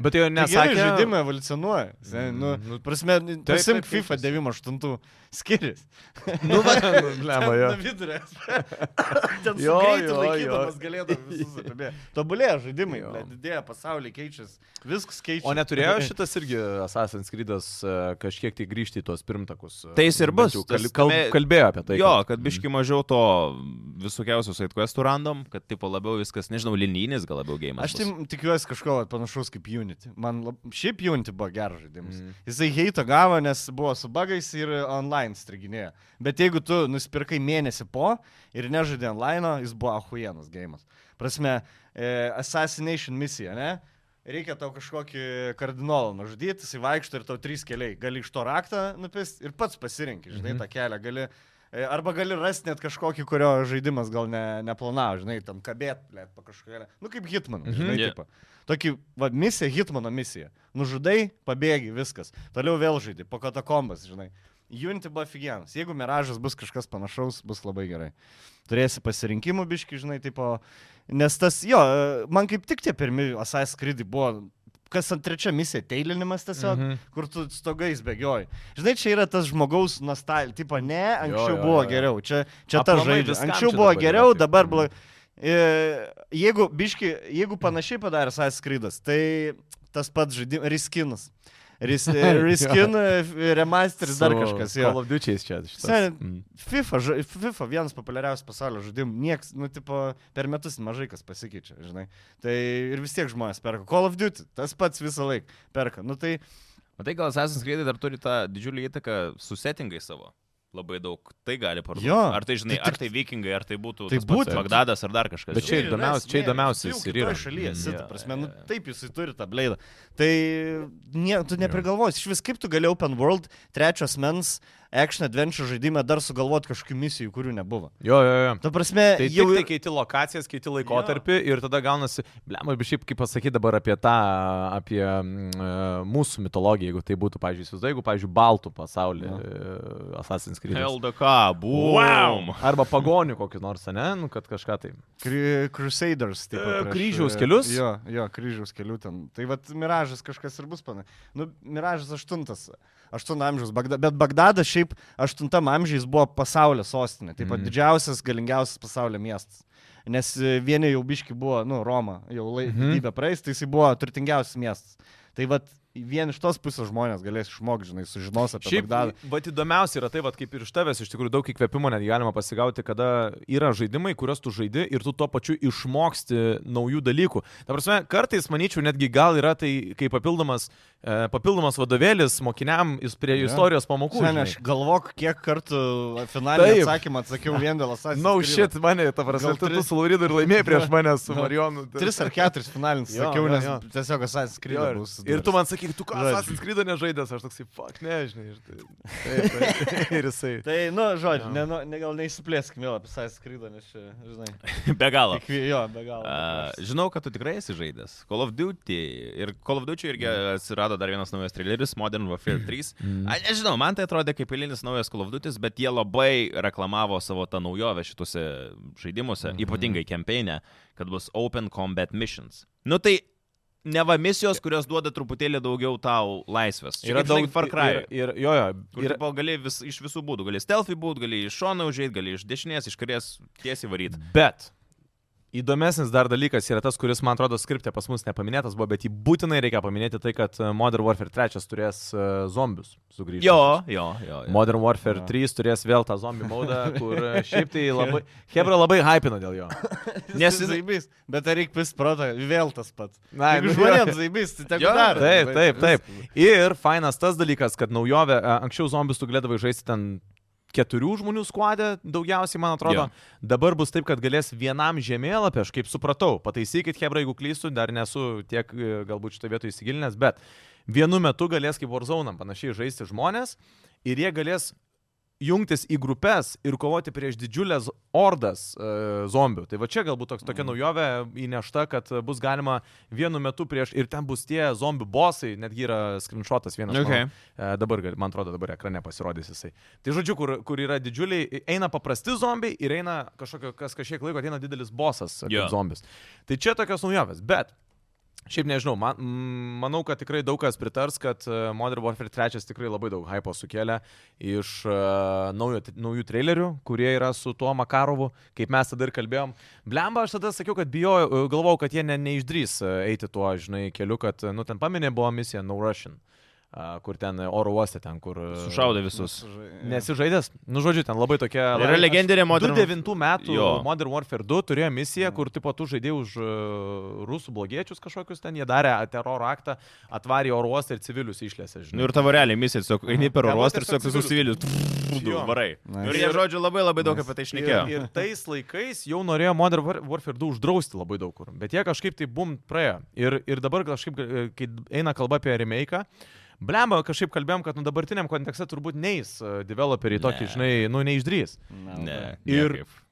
Bet jo
Nesakė,
nesakė.
žaidimai evoliucionuoja. Se- Nu, prasme, pasimk
Mm, taip, taip,
FIFA 98 skiriasi.
Nu, va, lemba, jo.
Vidurė. Ten
Jo,
jo, jo,
jo,
laikydamas
jo.
galėtum visus apibėgti. Tobulėja žaidimai,
Jo.
bet didėja pasauliai keičiasi, viskas keičiasi.
O neturėjo šitas irgi Assassin's Creed'as e, kažkiek tai grįžti į tuos pirmtakus. e,
Tai jis ir bus,
bent jau
tas
Kal, kal,
me-
kalbėjo apie tai.
Jo, kad
Mhm.
biški mažiau to visokiausių sidequestų random, kad tipo labiau viskas, nežinau, linijinis gal labiau gėjimas.
Aš tai tikiuosi kažko vat panašaus kaip Unity. Man lab... šiaip Unity buvo geras žaidimas.
Mhm.
Mm. Jisai heito gavo, nes buvo su bagais ir online striginėjo. Bet jeigu tu nusipirkai mėnesį po ir nežaidė online, jis buvo ahuienas gėjimas. Prasme, e, Assassination misija, ne? Reikia tau kažkokį kardinolą nužudyti, jisai vaikšto ir tau trys keliai. Gali iš to raktą nupisti ir pats pasirinkti, žinai, tą kelią. Gali, e, arba gali rasti net kažkokį, kurio žaidimas gal ne, neplanavo, žinai, tam kabėt, blėt, po kažkokią. Nu, kaip Hitman, žinai,
Jo.
yeah. tipo. Tokį, va, misiją, Hitmano misiją. Nužudai, pabėgi, viskas. Toliau vėl žaidži, po katakombas, žinai. Junti buvo aфиgenas. Jeigu miražas bus kažkas panašaus, bus labai gerai. Turėsi pasirinkimų biški, žinai, tipo. Nes tas, jo, e, man kaip tik tie pirmi Assassin's Creed buvo, kas ant trečia misija, teilinimas tiesiog, mm
Mhm.
-hmm. kur tu stogais bėgioji. Žinai, čia yra tas žmogaus nostalgija, tipo, ne, anksčiau jo, jo,
Jo, jo,
buvo
jo, jo.
geriau, čia, čia ta
Aplamai
žaidžia.
viskam
Anksčiau
čia
buvo
dabar yra
geriau,
taip.
dabar
Mhm.
blogai. E, Jeigu, biški, jeigu panašiai padarė Assassin's Creed'as, tai tas pats žaidimas, Riskinas. Ris, e, riskin, e, remasteris, dar kažkas. Jo.
Call of Duty's čia šitas.
Seniai,
Mm.
FIFA, ža- FIFA vienas populiariausių pasaulio žaidimų, nieks, nu, tipo, per metus mažai kas pasikeičia, žinai. Tai ir vis tiek žmonės perka. Call of Duty, tas pats visą laiką perka. Nu, tai
Matai, gal Assassin's Creed dar turi tą didžiulį įtaką su settingai savo. Labai daug tai gali parduoti.
Jo.
Ar tai, žinai,
Tai tik-
ar tai vikingai, ar tai būtų
Tai
tas pats
būtent.
Bagdadas, ar dar kažkas.
Bet čia
žinai.
yra
įdomiaus- čia
esmė,
įdomiausias
jis
ir
jau kitoj
yra.
Šalyje,
Mm,
sit,
jo,
prasme,
jo,
nu,
jo.
taip jisai turi tą bleidą. Tai nie, tu neprigalvosi, iš vis kaip tu gali open world trečios mens action adventure žaidime dar sugalvoti kažkokių misijų, kurių nebuvo.
Jo, jo, jo.
Ta prasme,
Tai jau
jau
tai keiti lokacijas, keiti laikotarpį ir tada gaunasi, blemai, bet šiaip kaip pasakyti dabar apie tą, apie mm, e, mūsų mitologiją, jeigu tai būtų, pavyzdžiui, įsivaizduoju, jeigu, pavyzdžiui, Baltų pasaulį e, Assassin's Creed.
LDK,
Wow!
boom.
Arba pagonių kokį nors, ne, nu, kad kažką tai.
Cru- Crusaders. Taip,
E,
prieš,
kryžiaus
e,
kelius?
Jo, jo, kryžiaus kelių ten. Tai vad miražas kažkas ir bus pana. Nu, miražas aštuntas. Aštuntas amžiaus. Bagda, bet Bagdadas šiaip aštuntam amžiais buvo pasaulio sostinė. Taip pat
Mhm.
mm. didžiausias, galingiausias pasaulio miestas. Nes e, vieni jau biški buvo, nu, Roma, jau
Mhm.
laivybė mm. praeis, tai jis buvo turtingiausias miestas. Tai vad vien iš tos pusės žmonės galės išmokti, žinai, sužinos apie
Šiaip,
Bagdadą.
va, įdomiausia yra tai, va, kaip ir iš tavęs, iš tikrųjų daug įkvėpimo net galima pasigauti, kada yra žaidimai, kuriuos tu žaidi ir tu tuo pačiu išmoksti naujų dalykų. Ta prasme, kartais, manyčiau, netgi gal yra tai kaip papildomas, e, papildomas vadovėlis mokiniam is- prie
Jo.
ja. istorijos pamokų.
Sen,
žinai.
aš galvok, kiek kartų e, finalinį
Taip.
atsakymą atsakiau vien dėl asasų.
Na, no shit, mane, ta
Gal
prasme, tu, tu
tris-
su Lauridu ir laimėjai prieš mane su tai
Jo.
Marijonu.
Tris ar keturis finalinis
Jo,
sakiau,
jo,
nes
jo.
tiesiog Assassin's Creed
Jo, ir-
bus.
Ir tu man sakai, tu ką,
Žodžiu.
Assassin's Creed nežaidęs, aš toksai, fuck, nežinai. Ir, tai, taip, taip, ir jisai.
Tai, nu, žodžiu,
Jo.
ne, nu, ne, gal neįsiplėskime vėl apie Assassin's Creed, nes, čia, žinai,
Be galo.
kiekvie- jo, be galo.
A, žinau, kad tu tikrai esi žaidęs. Call of Duty. Ir Call of Duty irgi
Mhm.
atsirado dar vienas naujas trileris, Modern Warfare 3. A, nežinau, man tai atrodė kaip eilinis naujas Call of Duty, bet jie labai reklamavo savo tą naujovę šituose
Mhm.
žaidimuose, ypatingai kampeinę, kad bus Open Combat Missions. Nu tai neva misijos, kurios duoda truputėlį daugiau tau laisvės. Čia
Yra
kaip, žinai,
daug
Far Cry.
Ir, ir, jo, jo,
Kur
ir,
ir... gali vis, iš visų būdų, gali stealthy būti, gali iš šono užėjti, gali iš dešinės, iš kairės tiesiai varyti.
Bet. Įdomesnis dar dalykas yra tas, kuris, man atrodo, skriptė pas mus nepaminėtas buvo, bet jį būtinai reikia paminėti tai, kad e, Modern Warfare 3 turės e, zombius sugrįžti.
Jo, jo, jo. jo.
Modern Warfare
Jo.
3 turės vėl tą zombie modą, kur e, šiaip tai labai... Hebra labai hypina dėl jo.
nes-
Nes jis zaibys, bet ar reikia vis protą, vėl tas pats.
Na,
Jeigu
nu,
žmonėms
jo.
zaibys, tai tegu
Jo,
dar.
Taip, taip, taip. Ir fainas tas dalykas, kad naujovė, e, anksčiau zombius tu galėdavai žaisti ten keturių žmonių skuadė, daugiausiai, man
Jo.
atrodo. Yeah. Dabar bus taip, kad galės vienam žemėlapį, aš kaip supratau, pataisykit, Hebra, jeigu klystu, dar nesu tiek e, galbūt šitoje vietoje įsigilinęs, bet vienu metu galės kaip Warzone panašiai žaisti žmonės ir jie galės jungtis į grupės ir kovoti prieš didžiulės ordas e, zombių. Tai va čia galbūt toks, tokia naujovė įnešta, kad e, bus galima vienu metu prieš ir ten bus tie zombių bosai, netgi yra screenshotas vienas.
Okay.
mano, E, dabar, gal- man atrodo, dabar ekrane pasirodys jisai. Tai žodžiu, kur, kur yra didžiuliai, e, eina paprasti zombiai ir eina kažkokio, kas kažkiek laiko ateina didelis bosas yeah.
Jo.
kaip zombis. Tai čia tokios naujovės, bet Šiaip nežinau, man, mm, manau, kad tikrai daug kas pritars, kad e, Modern Warfare 3 tikrai labai daug hypo sukėlė iš uh, naujo, naujų trailerių, kurie yra su tuo Makarovu, kaip mes tada ir kalbėjom. Blemba, aš tada sakiau, kad bijojau, e, galvojau, kad jie ne, neišdrys e, eiti tuo, žinai, keliu, kad, e, nu, ten paminė buvo misija No Russian, e, kur ten e, oro uoste, ten kur... e,
Sušaudė visus.
Nesižaidęs, nu žodžiu, ten labai tokia...
Yra legendinė
Modern...
moteris.
2009 metų jo.
Jo.
Modern Warfare 2 turėjo misiją, kur tipo tu žaidėjai už e, rusų blogiečius kažkokius ten, jie darė teroro aktą, atvarė į oro uostą ir civilius išlėsė,
Nu
žinai.
ir tavo realiai misija, tiesiog eini per
Ten buvo
orostą ir
tiesiog
tiesiog visus civilius.
Jo.
Varai. Nu
Nice.
Ir jie, žodžiu, labai labai daug
Nice.
apie tai
Ir,
išnekėjo.
ir tais laikais jau norėjo Modern War- Warfare 2 uždrausti labai daug kur, bet jie kažkaip tai bum praėjo. Ir, ir dabar kažkaip, e, kai eina kalba apie remake, blemba, kažkaip kalbėjom, kad nu, dabartiniam kontekste turbūt neis e, developeriai tokį,
Ne.
žinai, nu neišdrys.
Ne.
Ir-
niekaip.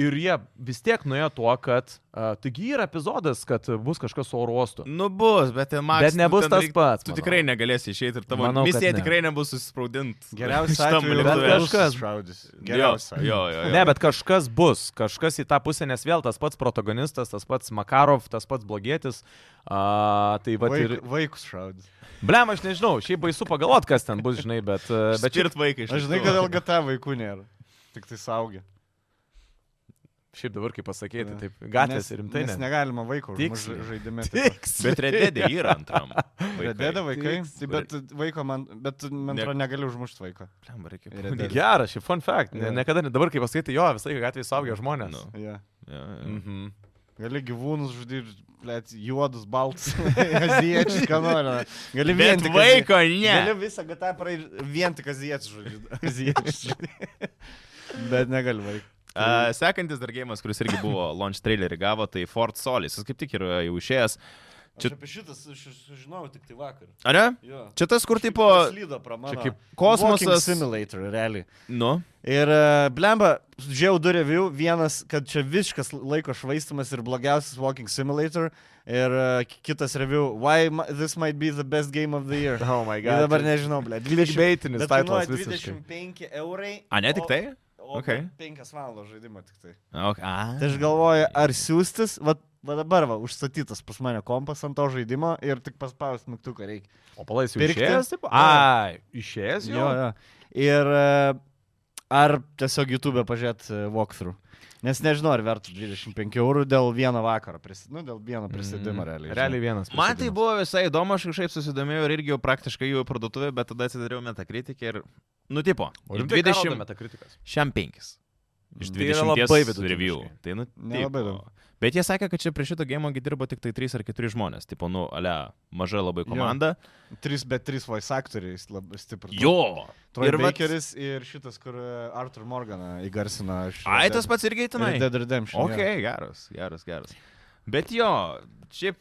Ir jie vis tiek nuėjo tuo, kad uh, taigi yra epizodas, kad bus kažkas su oro uostu.
Nu bus, bet ten man.
Bet nebus tas pats,
Tu
manau.
tikrai negalėsi išeiti ir tavo
Manau, kad
misija
ne.
tikrai nebus susispraudinti.
Geriausias atveju,
bet
Rusus
kažkas-
šaudys. Geriausias.
Geriausia. Jo, jo. jo.
Ne, bet kažkas bus, kažkas į tą pusę, nes vėl tas pats protagonistas, tas pats Makarov, tas pats blogietis. Uh, tai va ir...
Vaik- Vaikus šaudys.
Blem, aš nežinau, šiaip baisu pagalvot, kas ten bus, žinai, bet... Uh, bet
Bet ir vaikai. iš
Aš žinai,
lėktuvo.
kad LGT vaikų nėra. Tik tai saugia.
šiaip dabar, kaip pasakyti,
Jo.
taip, gatvės ir rimtai.
Nes
Ne.
negalima vaiko
Tiksliai.
ža- žaidime. taip pat.
Tiks.
Bet rededė yra antram. Vaikai.
Redėda vaikai.
Tiks.
Tai bet vaiko man, bet man
Ne-
atrodo negaliu užmušti vaiko.
Blemba, reikia
Red
pabandyti.
Dead.
Geras, šiaip fun fact. Ne,
Jo.
niekada, ne- dabar, kaip pasakyti, jo, visai gatvėje saugia žmonės.
Nu.
Yeah.
Jo, jo.
Mhm.
Gali gyvūnus žudyti, blėt, juodus, baltus, aziečius, ką nori. Gali vien
Bet
tik
vaiko
Ne. Gali
ne.
visą gatą praeiti vien tik aziečius žudyti. Aziečius žudyti. Bet negali vaiko.
A, Sekantis dar gėjimas, kuris irgi buvo launch trailerį gavo, tai Fort Solis. Jis kaip tik yra jau išėjęs. Čia-
Čia apie šitas aš aš sužinojau tik tai vakar.
Ar ne?
Jo.
Čia tas, kur tipo...
Slydo pro mano.
kaip
kosmosas-
Walking Simulator, realiai.
Nu.
Ir e, blemba, žiau du review. Vienas, kad čia visiškas laiko švaistimas ir blogiausias Walking Simulator. Ir e, ki- kitas review, why mi- this might be the best game of the year.
Oh my
Ir
god.
dabar nežinau, ble. 20
Clickbaitinis
bet kainuoja
titlas visiškai.
25 eurai.
A, ne tik tai?
O, o
Okay.
5 valandos žaidimo tik tai.
Okay. A.
Tai aš galvoju, ar siūstis, va, va dabar va, užstatytas pas mane kompas ant to žaidimo ir tik paspausti mygtuką reikia.
O palais jau
Pirkti?
išėjęs? Taip? Ai, išėjęs jau?
Jo, jo. Ir e, ar tiesiog YouTube pažiūrėt e, walkthrough. Nes nežinau, ar vertų 25 eurų dėl vieno vakaro, prisi... nu, dėl vieno prisidimo realiai.
Mm. Realiai vienas.
Man tai
prisėdimas.
buvo visai įdomu, aš kažkaip susidomėjau ir irgi jau praktiškai jau į parduotuvę, bet tada atsidariau metakritiką ir nutipo.
O rimtai ką rodo
20.
metakritikas.
Šiam 5. Iš
Tai yra
20
labai
review.
vidutiniškai.
Tai nu,
Nelabai
tipo.
daug.
Bet jie sakė, kad čia prie šito gėmo dirbo tik tai 3 ar 4 žmonės. Tipo, nu, ale, maža labai
Jo.
komanda.
3 bet 3 voice aktoriais labai stiprus.
Jo!
Ir
vat-
Vakeris ir šitas, kur e, Arthur Morganą įgarsino iš...
Ai, tas pats irgi tenai.
Red Dead Redemption.
Ok, geras, geras, geras. Bet jo, šiaip.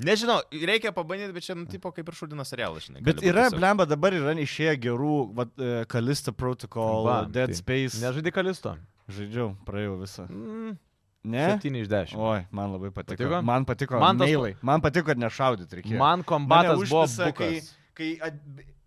Nežinau, reikia pabandyti, bet čia, nu, tipo, kaip ir šudino serialas, žinai.
Bet
gali būt
yra,
tiesiog-
blemba, dabar yra išėję gerų, vat, e, Kalista Protocol,
Va,
Va, Dead tai.
tai.
Space.
Nežaidė kalisto.
Žaidžiau, praėjau visą.
Mm,
Ne?
7 iš 10.
Oi, man labai patiko.
Patiko?
patiko? Man patiko.
Man
Man,
tas-
tas... man patiko, kad nešaudyti reikėjo.
Man kombatas
Mane
buvo
užknisa, kai,
bukas.
kai at...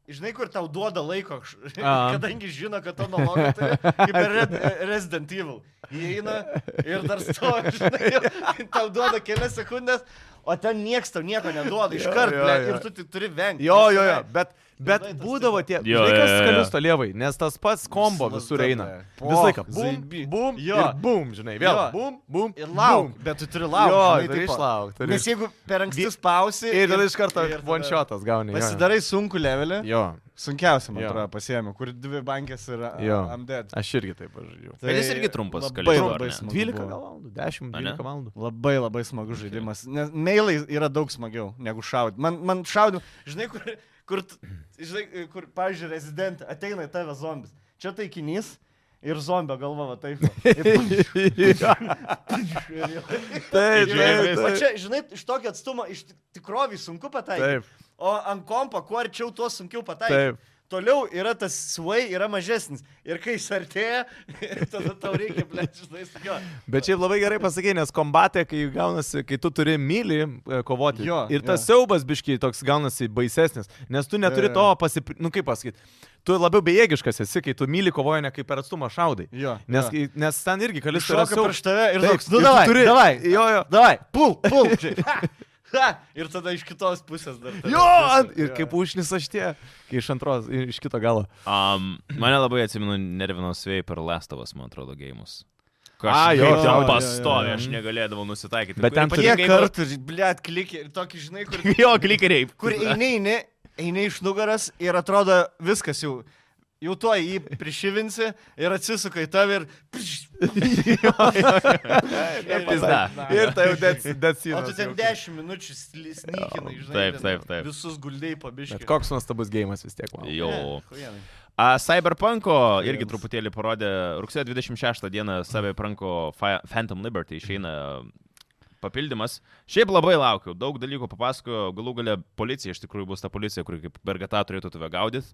Žinai, kur tau duoda laiko, kš-
A.
kadangi žino, kad to nologija turi, kaip ir Red, Resident Evil. Įeina ir dar stovi, žinai, ir tau duoda kelias sekundės, o ten niekas tau nieko neduoda iš
Jo, jo,
karto
jo.
ir tu tik turi vengti.
Jo, jo, jo, bet, bet
Žinai, tas
būdavo tie...
Jo,
Žinai, kas
jo, jo, jo.
skalius tolievai, nes tas pats kombo
Visą
visur
laiką.
eina.
Po,
Visą laiką. Bum,
zaibi.
bum,
Jo.
ir bum, žinai, vėl.
Jo.
Bum, bum.
Ir lauk,
bum.
bet tu turi
Jo,
laukti.
turi išlaukt, turi
Nes jeigu per anksti spausi.
Ir tada iš karto
ir tada
one shotas gauni. jo, jo.
Pasidarai sunku levelį.
Jo,
Sunkiausia, man
Jo.
atrodo, pasiemi, kur dvi bankės yra
Jo.
Amdead.
aš irgi taip pažaidžiau.
Bet jis irgi trumpas
Tai Labai,
kalėdų, ar
labai
ne?
smagu.
12
buvo.
gal valandų, 10,
Ane?
12 valandų.
Labai labai smagus žaidimas. Nes meilai yra daug smagiau negu šaudyti. Man, man šaudim, žinai, kur, kur, tu- žinai, kur, pavyzdžiui, rezident ateina į tave zombis. Čia taikinys ir zombio galva, va taip. va. Ir- ir jau-
Ir
Taip, taip,
žaidžiu.
O
taip.
čia, žinai, iš tokio atstumo, iš tik- tikrovį sunku pataikyti.
Taip,
O ant kompo, kuo arčiau, tuo sunkiau pataikyti.
taip.
Toliau yra tas svai, yra mažesnis. Ir kai jis artėja, tada tau reikia plėšti, žinai, su juo.
Bet šiaip labai gerai pasakė, nes kombatė, kai gaunasi, kai tu turi mylį e, kovoti.
Jo,
ir tas
jo.
siaubas biškiai toks gaunasi baisesnis, nes tu neturi
Jo, jo.
to pasipri... Nu kaip pasakyti, tu labiau bejėgiškas esi, kai tu myli kovoji ne kaip per atstumą šaudai.
Jo,
Nes,
jo.
kai- nes ten irgi kalis yra
Šoka prieš tave ir
Taip,
toks, nu
ir tu
davai,
turi-
davai,
Jo, jo.
davai, pul, pul. žinai. Ha, ha, ir tada iš kitos pusės dar. tave
Jo,
pusia.
ant, ir kaip užnisa šitie, kai iš antros, i- iš kito galo.
Um, mane labai atsimenu nervino svei per Lestovas, man atrodo, gėjimus.
A,
Aš
jo,
jau
jo, jo,
ten
jo,
pastovi,
jo.
aš negalėdavau nusitaikyti.
Bet ten
Kiek
Ypatingai, kur-
kartų, blėt, klikė ir tokį, žinai, kur,
Jo, klikeriai.
kur eini, eini, eini iš nugaras ir atrodo viskas jau. Jau tuo jį prišyvinsi ir atsisuka į tave ir... Ir
Pizda.
Ir tai jau that's, that's you.
O tu ten 10 minučių sli- snykinai, žinai.
Taip,
ten
taip, taip.
Visus guldai pabiškai.
Bet koks nuostabus gėjimas vis tiek. Wow.
Jo. A, Cyberpunko irgi truputėlį parodė, rugsėjo 26 dieną Cyberpunko Fi- Phantom Liberty išeina papildymas. Šiaip labai laukiu, daug dalykų papasakoju, galų gale policija, iš tikrųjų bus ta policija, kuri kaip bergata turėtų tave gaudyti,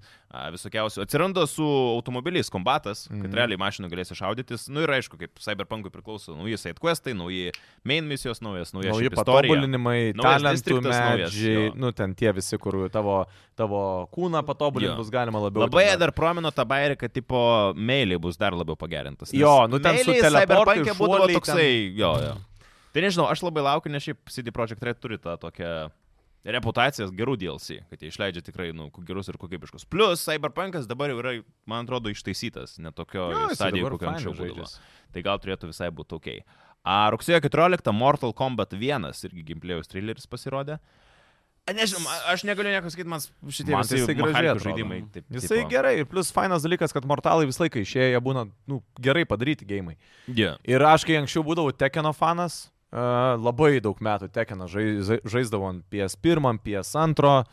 visokiausių. Atsiranda su automobiliais kombatas, mm -hmm.
Mhm.
kad realiai mašinų galėsi šaudytis. Na nu ir aišku, kaip Cyberpunkui priklauso nauji sidequestai, nauji main misijos, naujas, naujas
Nauji
Nu, istorija.
patobulinimai,
Naujas
talentų
distriktas, naujas,
medžiai,
jo.
nu ten tie visi, kur tavo, tavo kūną patobulinti
Jo.
bus galima labiau.
Labai
ten
dar promino tą bairį, kad tipo meiliai bus dar labiau pagerintas. nes
Jo, nu ten su
meiliai
teleportu
Cyberpunk'e
ir
būdavo
šuoliai
toksai. Jo, jo. Tai nežinau, aš labai laukiu, nes šiaip CD Projekt Red turi tą tokią reputacijas gerų DLC, kad jie išleidžia tikrai nu, gerus ir kokybiškus. Plus Cyberpunk'as dabar jau yra, man atrodo, ištaisytas, netokio
Jo, jisai
stadijoje,
dabar
kokio
fainai
anksčiau būdavo.
žaidžiasi.
Tai gal turėtų visai būti ok. A, rugsėjo 14 Mortal Kombat 1 irgi gimplėjus traileris pasirodė. A, Nežinau, a- aš negaliu nieko sakyti, man šitie
Man tai
visi
jisai gražiai
machaliukų
atrodo.
žaidimai. Taip,
Jisai
tipo-
gerai, ir plus fainas dalykas, kad mortalai visą laiką išėję jie būna nu, gerai padaryti gėjimai.
Yeah.
Ir aš, kai anksčiau būdavau Tekeno fanas, uh, labai daug metų Tekeno žai- žai- žaisdavau ant PS1, ant PS2,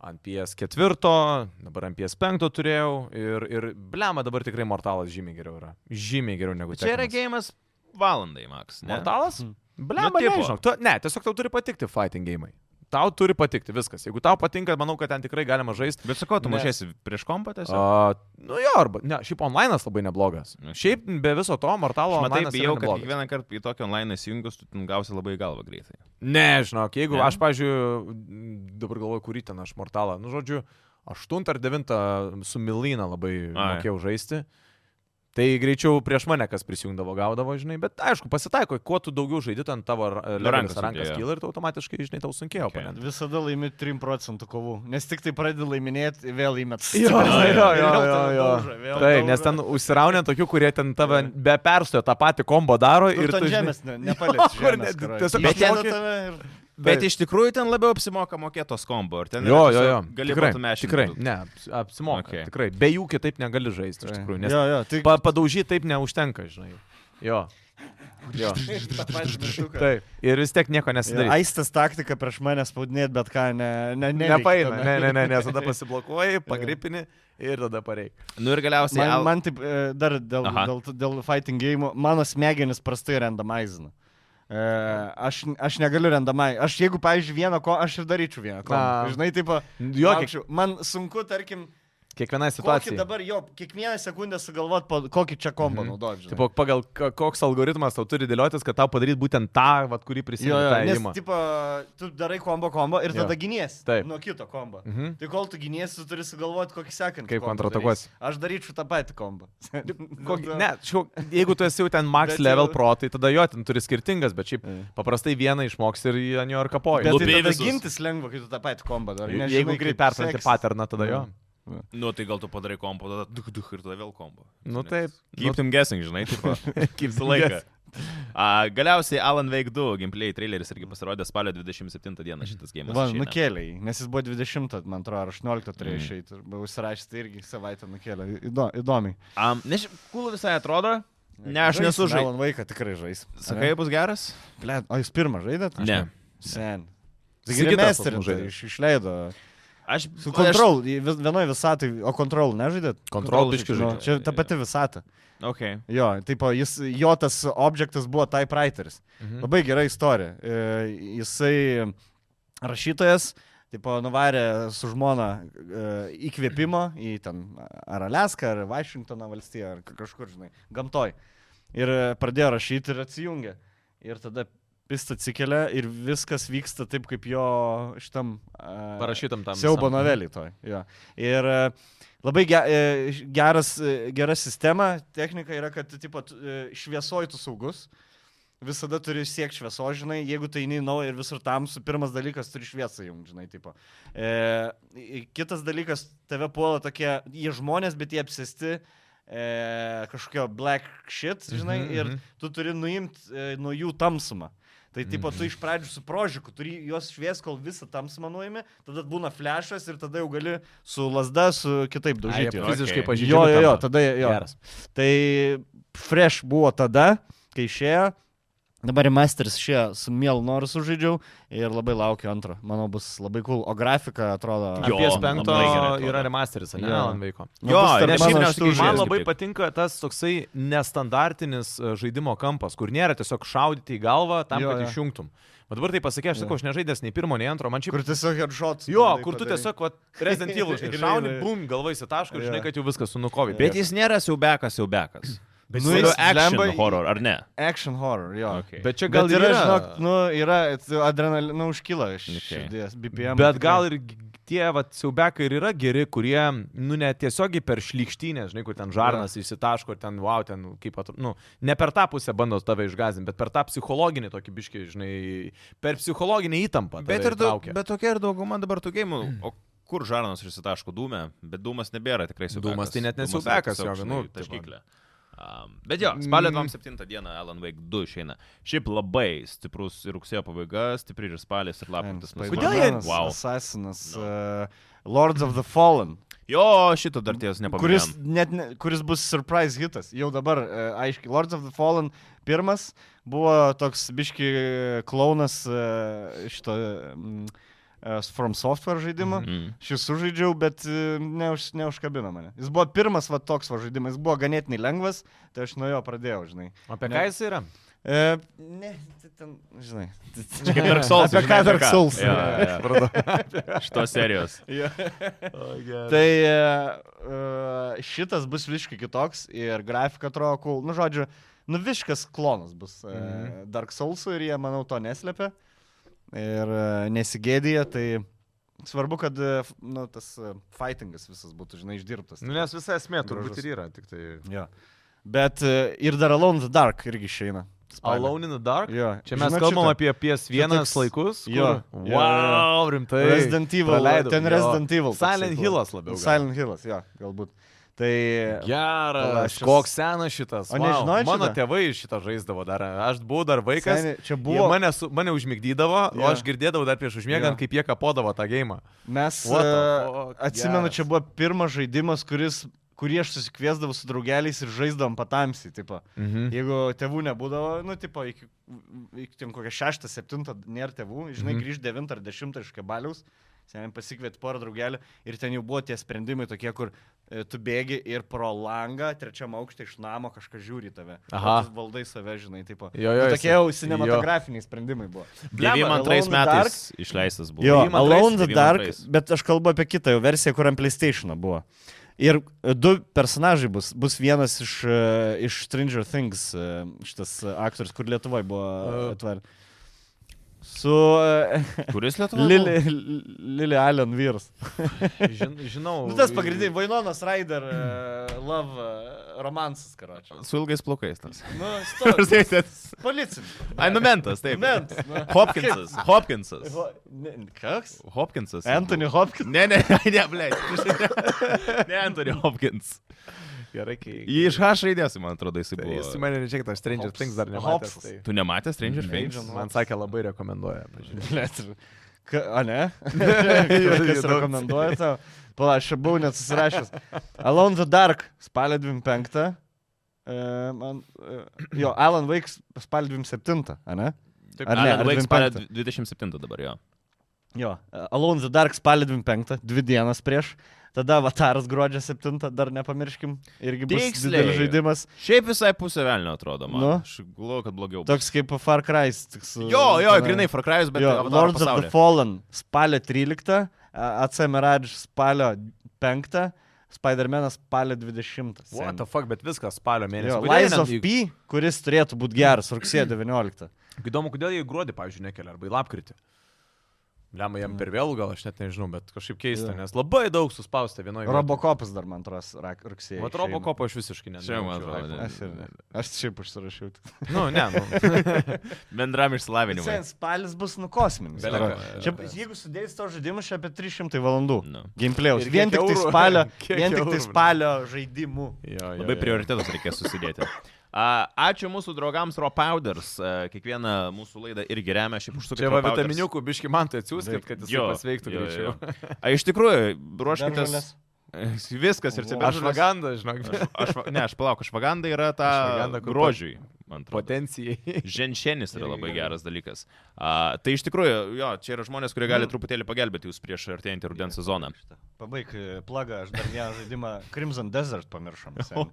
ant PS4, dabar ant PS5 turėjau ir, ir blema dabar tikrai mortalas žymiai geriau yra. Žymiai geriau negu
Čia yra
Tekenas.
gėjimas valandai, Max. Ne?
Mortalas?
Mm.
Blem,
Nu, tipo.
nu, tu, ne, tiesiog tau turi patikti fighting gėjimai. Tau turi patikti viskas. Jeigu tau patinka, manau, kad ten tikrai galima žaisti.
Bet sakau, tu
Ne.
mažėsi prieš kompą tiesiog.
Uh, nu jo, arba, ne, šiaip online'as labai neblogas.
Nu,
Šiaip be viso to, Mortalo
Matai,
online'as
bijau,
yra
kad
neblogas.
kiekvieną kartą į tokį online įsijungus, tu ten gausi labai į galvą greitai.
Ne, žinok, jeigu
Ne?
ne? aš, pažiūrėjau, dabar galvoju, kurį ten aš mortalą, nu, žodžiu, 8 ar 9 su Milina labai
Ai.
mokėjau žaisti. Tai greičiau prieš mane kas prisijungdavo, gaudavo, žinai, bet aišku, pasitaiko, kuo tu daugiau žaidži, ten tavo
rankas
rankas, rankas
sunkėja.
kyla ir tu automatiškai, žinai, tau sunkėjo.
Okay.
Okay.
Visada laimi 3 procentų kovų, nes tik tai pradedi laiminėti, vėl įmet.
Jo, jo, jo, jo, jo. Tai,
Taip,
nes ten užsiraunė tokių, kurie ten tave be perstojo tą patį kombo daro
Ir
ir
tu
tu
ant
žemės.
žemės ne, nepalieki.
kur ne- tiesiog
bet ten
išmoki-
tave ir...
Bet
Taip.
iš tikrųjų ten labiau apsimoka mokėtos kombo. ar ten
Jo,
yra
jo, jo.
tiesiog- Gali
tikrai,
būti mešinė.
Tikrai, ne, aps- apsimoka.
Okay.
Okay. Tikrai, be jų kitaip negali žaisti, iš tikrųjų. Nes
Jo, jo, tai tik...
pa, padaužyti taip neužtenka, žinai. Jo. jo. Taip. Ir vis tiek nieko nesidarys.
Aistas taktika prieš mane spaudinėti, bet ką, ne, ne, ne.
Nepaina, ne, ne, ne, nes tada pasiblokuoji, pagripini ir tada pareik.
Nu ir galiausiai...
Man,
Al-
man taip, e, dar dėl,
Aha.
dėl, dėl fighting game, mano smegenis prastai randomizina. E, aš, aš negaliu randomai. Aš jeigu, pavyzdžiui, vieną ko, aš ir daryčiau vieną ko.
Na.
Žinai, taip,
Jo, kiek,
laukčiau. man sunku, tarkim,
kiekviena
kokį
situacija. Mhm.
dabar, jo, kiekvieną sekundę sugalvot, po- kokį čia kombą naudoti.
Tipo, pagal k- koks algoritmas tau turi dėliotis, kad tau padaryt būtent tą, vat, kurį
Jo, jo, nes,
prisimeni.
tipo, tu darai kombo kombo ir
Jo.
tada giniesi
Taip.
nuo kito kombo.
Mhm.
Tai kol tu giniesi, tu turi sugalvoti, kokį sekantį.
Kaip
kombą
kontratakuosi.
darysi. Aš daryčiau tą patį kombą.
Kokį, ne, šiuo, jeigu tu esi Nu jau E. ten max
Bet jau-
level pro, tai tada jo, ten turi skirtingas, bet šiaip
Jo.
paprastai vieną išmoks ir jį ant jo ir kapoji.
Bet
Lupei
tai tada
visus.
gintis lengva, kai tu tą patį kombą darai.
Je-
nes
Jeigu
žinai,
greit
kaip
perpranti
seksis.
paterną, tada jo.
Nu tai gal tu padarai kombo, tada duh, duh, ir tada vėl kombo.
Nu taip.
Keep them guessing, žinai, tipo.
Kaip
Visą laiką. A, galiausiai Alan Wake 2 gameplay traileris irgi pasirodė spalio 27
Mhm.
dieną šitas gėjimas.
nu
Va, nukėlė, jį, nes jis buvo 20, man atrodo, ar 18 turėjo
Mm.
išeiti. Mm. Užsirašęs tai irgi savaitę nukėlė. Įdo, įdomiai.
Um, ne, kul visai atrodo. Ne, aš nesu žaidęs.
Man vaiką tikrai žais.
Sakai, bus geras?
Ble, o jūs pirmą žaidėt? Aš
Ne.
Sen.
Sigitas
Taigi
pas
mesterį
mus žaidė.
žaidė. Iš, išleido.
Aš
Su kontrol, į vis- vienoj visatai, o kontrol nežaidėt?
Control
biškį
biški
žaidžiu.
žaidžiu.
Nu, čia ta
jo.
pati visata.
Aš, okay.
Jo, taip, jis, jo tas objektas buvo Type Writeris.
Mhm.
Labai gera istorija. E, Jisai rašytojas, tipo, nuvarė su žmona e, įkvėpimo į ten ar Aleską, ar Vašingtoną valstiją, ar ka- kažkur, žinai, gamtoj. Ir e, pradėjo rašyti ir atsijungė. Ir tada pist atsikelia ir viskas vyksta taip, kaip jo šitam... e,
Parašytam tam.
Siaubo
visam.
novelį toj. Jo. Ir e, labai ge, e, š- geras, e, gera sistema, technika yra, kad tipo, tu, e, šviesoj tu saugus. Visada turi siekti švieso, žinai, jeigu tai eini į naują ir visur tamsu, pirmas dalykas turi šviesą jums, žinai, tipo. E, i- kitas dalykas, tave puola tokie, jie žmonės, bet jie apsėsti e, kažkokio black shit, žinai,
Mhm,
ir
mhm.
tu turi nuimti e, nuo jų tamsumą. Tai tipo,
Mhm.
tu iš pradžių su prožiku, turi juos švies, kol visą tamsumą nuimi, tada būna flešas ir tada jau gali su lasda, su kitaip
Ai, jie
daužyti. juos.
Fiziškai
Okay.
pažįstu.
Jo, jo, jo, tada jo.
Geras.
Tai fresh buvo tada, kai išėjo. Dabar remasteris išėjo su mielu noru sužaidžiau ir labai laukiu antro. Manau, bus labai cool. O grafika atrodo.
Jo,
Apie penkto
labai gerai atrodo.
yra remasteris, ne?
Jo.
Alan Wake'o.
Nu,
Jo,
bus tarp
nes
mano
šiaip
šitų
nes-
žaidimų.
Man
žaidžiu
labai
kaip tik.
patinka tas toksai nestandartinis e, žaidimo kampas, kur nėra tiesiog šaudyti į galvą tam,
Jo,
kad
jo.
išjungtum. Bet dabar tai pasakė, aš sakau, aš nežaidęs nei pirmo, nei antro, man šiaip...
Kur tiesiog headshots.
Jo,
bandai
kur tu
padaryt.
tiesiog, va, Resident Evil, žinai,
Žinai,
šauni,
žinai.
bum, galvai sitaškai,
Jo.
žinai, kad jau viskas sunukovė.
Bet jis nėra siaubekas, siaubekas.
Bet
Nu,
jis
jis action
blemba-
horror, ar ne?
Action horror, jo.
Okay.
Bet čia
Gal Bet
gal
yra,
ir
yra, žinok, nu, yra adrenalina užkyla iš
Okay.
okay. širdies, BPM.
Bet gal ir g- tie vat, siaubekai ir yra geri, kurie, nu, ne tiesiogiai per šlykštynę, žinai, kur ten žarnas įsitaško, ir ten, wow, ten, kaip atrodo, nu, ne per tą pusę bando tave išgazinti, bet per tą psichologinį tokį biškį, žinai, per psichologinį įtampą.
Bet, ir daug,
daugia.
bet tokia ir dauguma dabar tų gėjimų. O kur žarnas išsitaško dūmę, bet dūmas nebėra tikrai siaubekas. tai
Dūmas tai net ne
Dūmas
siaubekas,
tiesiog,
jo,
žinai,
nu,
taškyklė. Um, bet jo, spalio 27 dieną Alan Wake 2 išeina. Šiaip labai stiprus ir rugsėjo pabaiga, stipri ir spalis, ir lapkritis.
Spider-Manas,
Kodėl jie-
Wow.
Assassinas, uh, Lords of the Fallen,
Jo, šito dar ties
kuris,
nepamiršau.
net, ne, kuris bus surprise hitas. Jau dabar, uh, aiškiai, Lords of the Fallen pirmas buvo toks biški klaunas uh, šito... mm, e, From Software žaidimą.
Mhm.
Mm.
Šis sužaidžiau, bet e, neuž, neužkabino mane. Jis buvo pirmas va toks va žaidimas, jis buvo ganėtinai lengvas, tai aš nuo jo pradėjau, žinai.
Apie
Ne.
ką jis yra?
E, ne, tai ten, žinai.
Čia kaip Dark Souls.
Apie
žinai,
ką Dark Souls?
Jo,
yra,
jo,
supratau.
jo. Šitos serijos.
Tai e, šitas bus visiškai kitoks ir grafika atrodo, cool. nu žodžiu, nu visiškas klonas bus mhm.
Mhm.
Dark Souls ir jie, manau, to neslepia ir e, nesigėdija, tai svarbu, kad e, f- nu, tas e, fightingas visas būtų, žinai, išdirbtas.
Nu, nes visa esmė turbūt
Gražus.
ir yra. Tik tai...
Jo. Bet e, ir dar Alone in the Dark irgi išeina. spalį.
Alone in the Dark?
Jo.
Čia mes
Žinot
kalbam
šitą?
apie PS1
Čia toks-
laikus. Kur...
jo, jo, jo.
Wow, rimtai.
Resident Evil,
Tai Praleidau,
ten
jo.
Resident Evil toksai
Silent
buvo.
Hillas labiau. gal.
Silent Hillas, jo, galbūt. Tai...
Geras,
Palašęs.
koks senas šitas.
O
vau.
nežinojot
Mano
šitą?
tėvai šitą žaisdavo dar. Aš buvau dar vaikas.
Seni, čia
Buvo...
buvo...
Mane, su, mane užmigdydavo, yeah.
Jo.
o aš girdėdavau dar prieš
Jo.
užmiegant, yeah. kaip jie kapodavo tą gėjimą.
Mes,
What the
e,
fuck,
atsimenu,
geras.
čia buvo pirmas žaidimas, kuris, kurį aš susikviesdavau su draugeliais ir žaisdavom patamsiai, tipo.
Mhm.
Jeigu tėvų nebūdavo, nu, tipo, iki, iki ten kokią šeštą, septintą nėra tėvų, žinai,
Mhm.
grįžt devintą ar dešimtą iš kabaliaus, seniai pasikviet porą draugelių ir ten jau buvo tie sprendimai tokie, kur e, tu bėgi ir pro langą, trečiam aukštą iš namo kažkas žiūri į tave.
Aha.
O tu Valdai save, žinai, tipo.
Jo, jo,
Nu,
jis-
tokie jau cinematografiniai sprendimai buvo.
Blemba,
92
Alone in the
metais išleistas buvo.
Jo,
Devym antrais,
Alone the
devym
Dark,
antrais.
bet aš kalbu apie kitą jau versiją, kur ant PlayStation buvo. Ir e, du personažai bus. Bus vienas iš, e, iš Stranger Things, e, šitas e, aktorius, kur Lietuvoje buvo
E.
atvar. Su e,
Kuris lietuvių?
Lily, Lily Allen Vyrs.
Žin, žinau.
Nu, tas pagrindinis Vainonas Ryder e, Love e, romansas, karočią.
Su ilgais plaukais. tas.
Nu,
Ar
stovi.
tai tas-
Policininkas.
Ai, numentas, taip.
Numentas, nu.
Hopkinsas. Hopkinsas.
Ho- ne- Koks?
Hopkinsas.
Anthony Hopkins.
Ne, ne, ne, blei. Ne, Anthony Hopkins.
Gerai, kai.
Jį iš H raidės, man atrodo, jisai
Tai Jis su
buvo.
manimi čia, kad aš Stranger
Hops-
Things dar
Hopsas.
nematęs. Tai...
Tu nematęs Stranger
Ne.
Things?
Stranger
Man sakė, labai rekomenduoja. pažiūrėk.
Blet, ir- Ka, a ne? Kažkas
Įdomu.
rekomenduoja tau. Pala, aš čia buvau net susirašęs. Alone the Dark, spalio 25. E, man, e, jo, Alan Wake spalio 27, a ne?
Taip,
Ar ne,
Alan
ar
Wake spalio
25?
27 dabar jo.
Jo, e, Alone the Dark spalio 25, dvi dienas prieš. Tada Avataras gruodžio 7, dar nepamirškim. Irgi bus
Tiksliai.
didelis žaidimas.
Šiaip visai pusė velnio atrodo, man.
Nu.
Aš galvoju, kad blogiau. bus.
Toks kaip Far Cry.
Jo, jo, grinai, Far Cry'us, bet
Jo,
tai
Avatar
Lords of
pasaulyje.
the Fallen spalio 13, a- AC Mirage spalio 5, Spider-Man'as spalio 20.
What
seni.
the fuck, bet viskas spalio mėnesį.
Jo,
Kodėl
Lies
jie net
of
į-
P, kuris turėtų būti geras rugsėjo 19.
Įdomu, kodėl jie į gruodį, pavyzdžiui, nekelia arba į lapkritį. Lema jam per vėlų, gal aš net nežinau, bet kažkaip keista,
Jo.
nes labai daug suspausta vienoje.
Robocopas dar man atrodo ra- rugsėjo.
Mat
išeina.
Robocopo aš visiškai nežinau.
Čia, man atrodo, ne.
Aš, ir ne. aš šiaip užsirašiau.
Nu, ne. Nu.
Bendram išsilavinimui.
Sen spalis bus nu kosminis.
Beleka.
yra. Čia, jeigu sudėjus to žaidimus, čia apie 300 valandų.
Nu.
Gameplayaus.
Ir
Vien
kiek
tik tai
eurų-
spalio,
kiek
vien tik tai
eurų, ne?
spalio žaidimų.
Jo, jo,
Labai prioritetus reikės susidėti. A, Ačiū mūsų draugams Ropowders. A, Kiekvieną mūsų laidą irgi remia. Šiaip užsukite.
Čia va
Ropowders.
vitaminiukų biški man tai atsiųskit, kad jis
Jo,
pasveiktų
jo,
greičiau.
jo. A, iš tikrųjų, ruoškitės.
Beržolės.
Viskas ir
Wow.
čia
Aš vaganda, žinok,
Aš, va- ne, aš palauk, aš vaganda yra ta
Ashwagandha, kur
grožiui, man atrodo.
potencijai.
Ženšenis yra labai
Irgi gerai.
geras dalykas. A, tai iš tikrųjų, jo, čia yra žmonės, kurie
Nu.
gali truputėlį pagelbėti jūs prieš artėjantį rudens sezoną.
Pabaig e, plagą, aš dar vieną žaidimą Crimson Desert pamiršom. seni.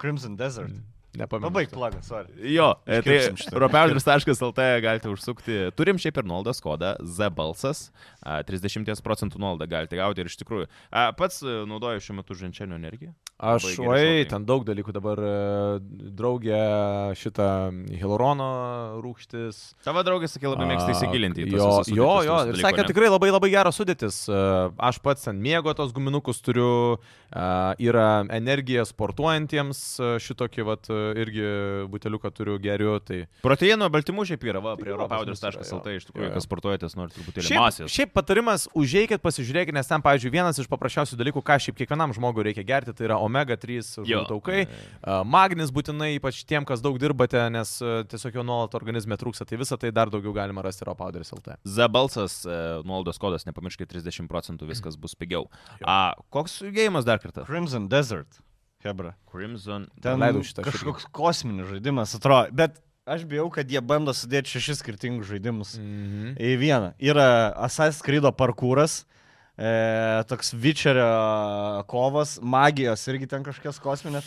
Crimson Desert.
Nepamiršau.
Pabaig plagą, sorry.
Jo, e, tai
Iškirpsim šitą.
ropeldris.lt galite užsukti. Turim šiaip ir nuolaidos kodą ZBalsas. 30 procentų nuolaidą galite gauti ir iš tikrųjų. a, Pats e, naudoju šiuo metu žančianio energiją.
Aš,
Labai geri
oi,
šokai.
ten daug dalykų dabar e, draugė šitą hilurono rūkštis.
Tavo draugė sakė, labai mėgsta
A,
įsigilinti į tuos.
Jo,
visus
jo,
sudėtis,
jo.
visus
Ir
dalykus,
sakė,
ne?
tikrai labai labai geras sudėtis. E, Aš pats ten mėgo tos guminukus turiu, e, yra energija sportuojantiems, e, šitokį vat e, irgi buteliuką turiu geriu. Tai
Proteino baltymų šiaip yra, va, prie
Jo, pas mus yra,
ropeldris.lt
jo.
iš tikrųjų,
Jo, jo.
kas sportuojatės, nori truputėlį
šiaip,
masės.
šiaip patarimas, užėjkit, pasižiūrėkit, nes ten, pavyzdžiui, vienas iš paprasčiausių dalykų, ką šiaip kiekvienam žmogui reikia gerti, tai yra omega 3
Jo.
taukai.
Jo,
A, Magnis būtinai, ypač tiem, kas daug dirbate, nes a, tiesiog jo nuolat organizme trūksta, tai visą tai dar daugiau galima rasti Ropowderis LT.
Zabalsas, e, nuolaidos kodas, nepamirškite, 30 procentų viskas bus pigiau. A, koks judėjimas dar kartą?
Crimson Desert. Hebra.
Crimson.
Ten
Leidau šitą aš irgi.
kažkoks kosminis žaidimas atrodo, bet Aš bijau, kad jie bando sudėti šešis skirtingus žaidimus.
Mhm.
Į vieną. Yra Assassin's Creed parkūras, e, toks Witcherio э, kovas, magijos irgi ten kažkas kosminės.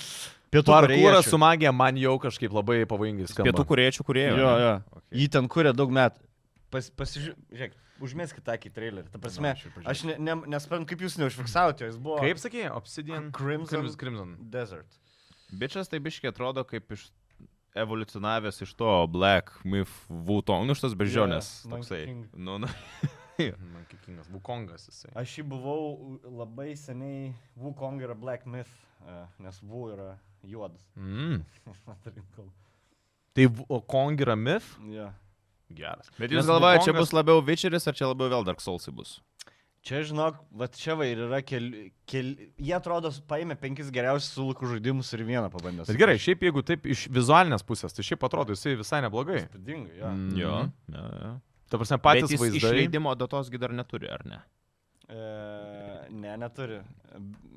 Pietų
Parkūras
korėjiečių.
su magija man jau kažkaip labai pavojingai skamba.
Pietų kuriečių kuriejo.
Jo, jo. Okay. Jį ten kuria daug metų. Pas, Pasižiūrėk, užmėskit akį į trailerį. Ta prasme,
Na, aš ir pažiūrėsiu.
aš ne, ne, nesprantu, kaip jūs neužfiksavote, jis buvo.
Kaip sakė, Obsidian.
Crimson.
Crimson. Crimson.
Desert.
Bičias tai biškiai atrodo kaip iš evoliucionavęs iš to Black Myth Wutong, nu šitas bežionės.
Jo, jo,
toksai.
Monkey King.
Nu, nu.
Hm, Man kikingas. Vukongas jisai.
Aš jį buvau u- labai seniai. Wukong yra Black Myth, e, nes Wu yra juodas.
Mm.
Atrinkau.
Tai v- o Kong yra mif?
Ja.
Geras.
Bet jūs galvojate, čia bus labiau Witcheris ar čia labiau vėl Dark Soulsai bus?
Čia, žinok, va čia va ir yra keli... keli jie atrodo, s- paėmė penkis geriausius sulukų žaidimus ir vieną pabandė.
Bet gerai, šiaip jeigu taip iš vizualinės pusės, tai šiaip atrodo jisai visai neblogai.
Spūdingai, jo.
Mm.
Jo. jo, jo.
Ta prasme,
Mm-hmm. Bet
patys
jis
vaizdai.
Išleidimo datosgi dar neturi, ar ne?
E, ne, neturi.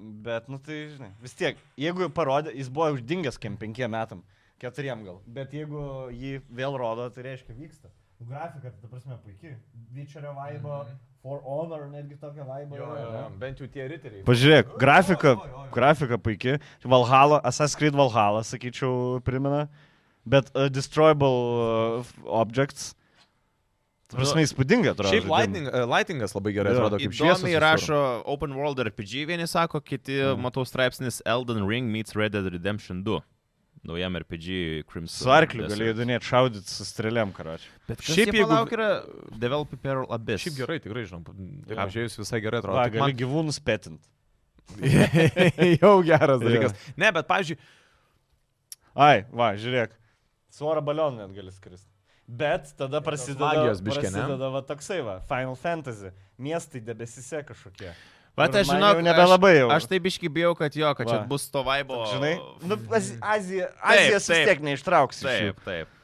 Bet, nu tai, žinai, vis tiek, jeigu parodė, jis buvo uždingęs kiem penkiem metam, keturiem gal. Bet jeigu jį vėl rodo, tai reiškia vyksta. Grafika, tai ta prasme, puikiai. Vyčerio vaibo, mm. For Honor, netgi tokia vaibo.
Mhm. Jo, jo, jo. Bent jau tie riteriai.
Pažiūrėk, grafika, grafika puikiai. Valhalla, Assassin's Creed Valhalla, sakyčiau, primena. Bet uh, Destroyable uh, Objects. Ta prasme, įspūdinga atrodo.
Nu, Šiaip
žaidimas.
lighting, eh, lightingas labai gerai
Jo.
atrodo, kaip šviesa.
Įdomiai rašo Open World RPG, vieni sako, kiti, mm. matau, straipsnis Elden Ring meets Red Dead Redemption 2. Naujam RPG Crimson.
Su arkliu
Desert.
gali judinėti, šaudyti su strėliam, karoči.
Bet
Šiaip
šiaip
jeigu-
jau lauk yra Developer Peril Abyss.
Šiaip gerai, tikrai žinom. Taip,
Jo.
apžiūrėjus visai gerai atrodo.
Va,
Tik
gali man... gyvūnus petint.
jau geras dalykas. Ne, bet, pavyzdžiui,
Ai, va, žiūrėk. Su oro balionu net gali skristi. Bet tada prasideda,
magijos biškį, ne?
prasideda va, toksai, va, Final Fantasy. Miestai debesise kažkokie.
Bet
Ir
aš
Nu, man
žinau,
jau nebelabai jau.
Aš tai biški bijau, kad jo, kad Va.
Va.
čia bus to vaibo.
Žinai, nu, Az- Azija,
Taip,
Azijos vis
taip.
tiek neištrauksi.
Taip, taip.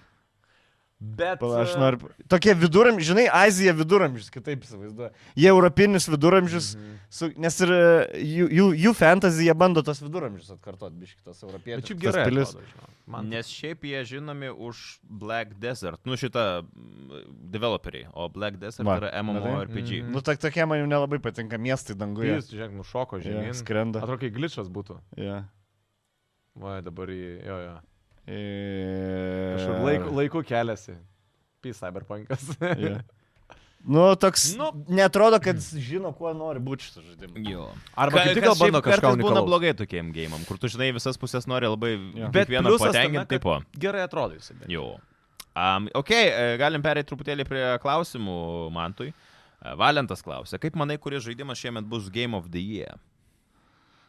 bet... e,
Pala, aš noriu. Tokie viduramžiai, žinai, Azija viduramžius, kitaip įsivaizduoju. Jie europinius viduramžius,
Mhm.
mm -hmm. su, nes ir e, jų, jų, jų fantasy, jie bando tos viduramžius atkartoti, biškit, tos europiečius.
Bet šiaip gerai.
pilis.
atrodo, žinok.
Man.
Man
Nes šiaip jie žinomi už Black Desert, nu šitą mm, developeriai, o Black Desert
Va,
Va. yra
matai?
MMORPG.
Mhm.
Mm.
Nu, tak tokie man jau nelabai patinka miestai danguje.
jis, žiūrėk, nušoko
Jie
žemyn.
skrenda.
Atrodo, kai glitšas būtų.
Yeah.
Va, dabar į... Jo, jo. Kažkur E.
Kažkur
laiku, laiku keliasi. Pys cyberpunkas.
Yeah. Nu, toks. Nu,
Nu.
netrodo, kad jis žino, kuo nori būti šitas žaidimas.
Jo.
Arba kaip tik gal bando kažką
būna
unikalaus.
blogai tokiem gėjimam, kur tu žinai visas pusės nori labai
Jo.
ja.
Bet
vieną
pliusas tame,
patenkinti
kad-
tipo.
Gerai atrodo jis.
Jo. Um, ok, e, galim perėti truputėlį prie klausimų Mantui. E, Valentas klausė, kaip manai, kuris žaidimas šiemet bus Game of the Year?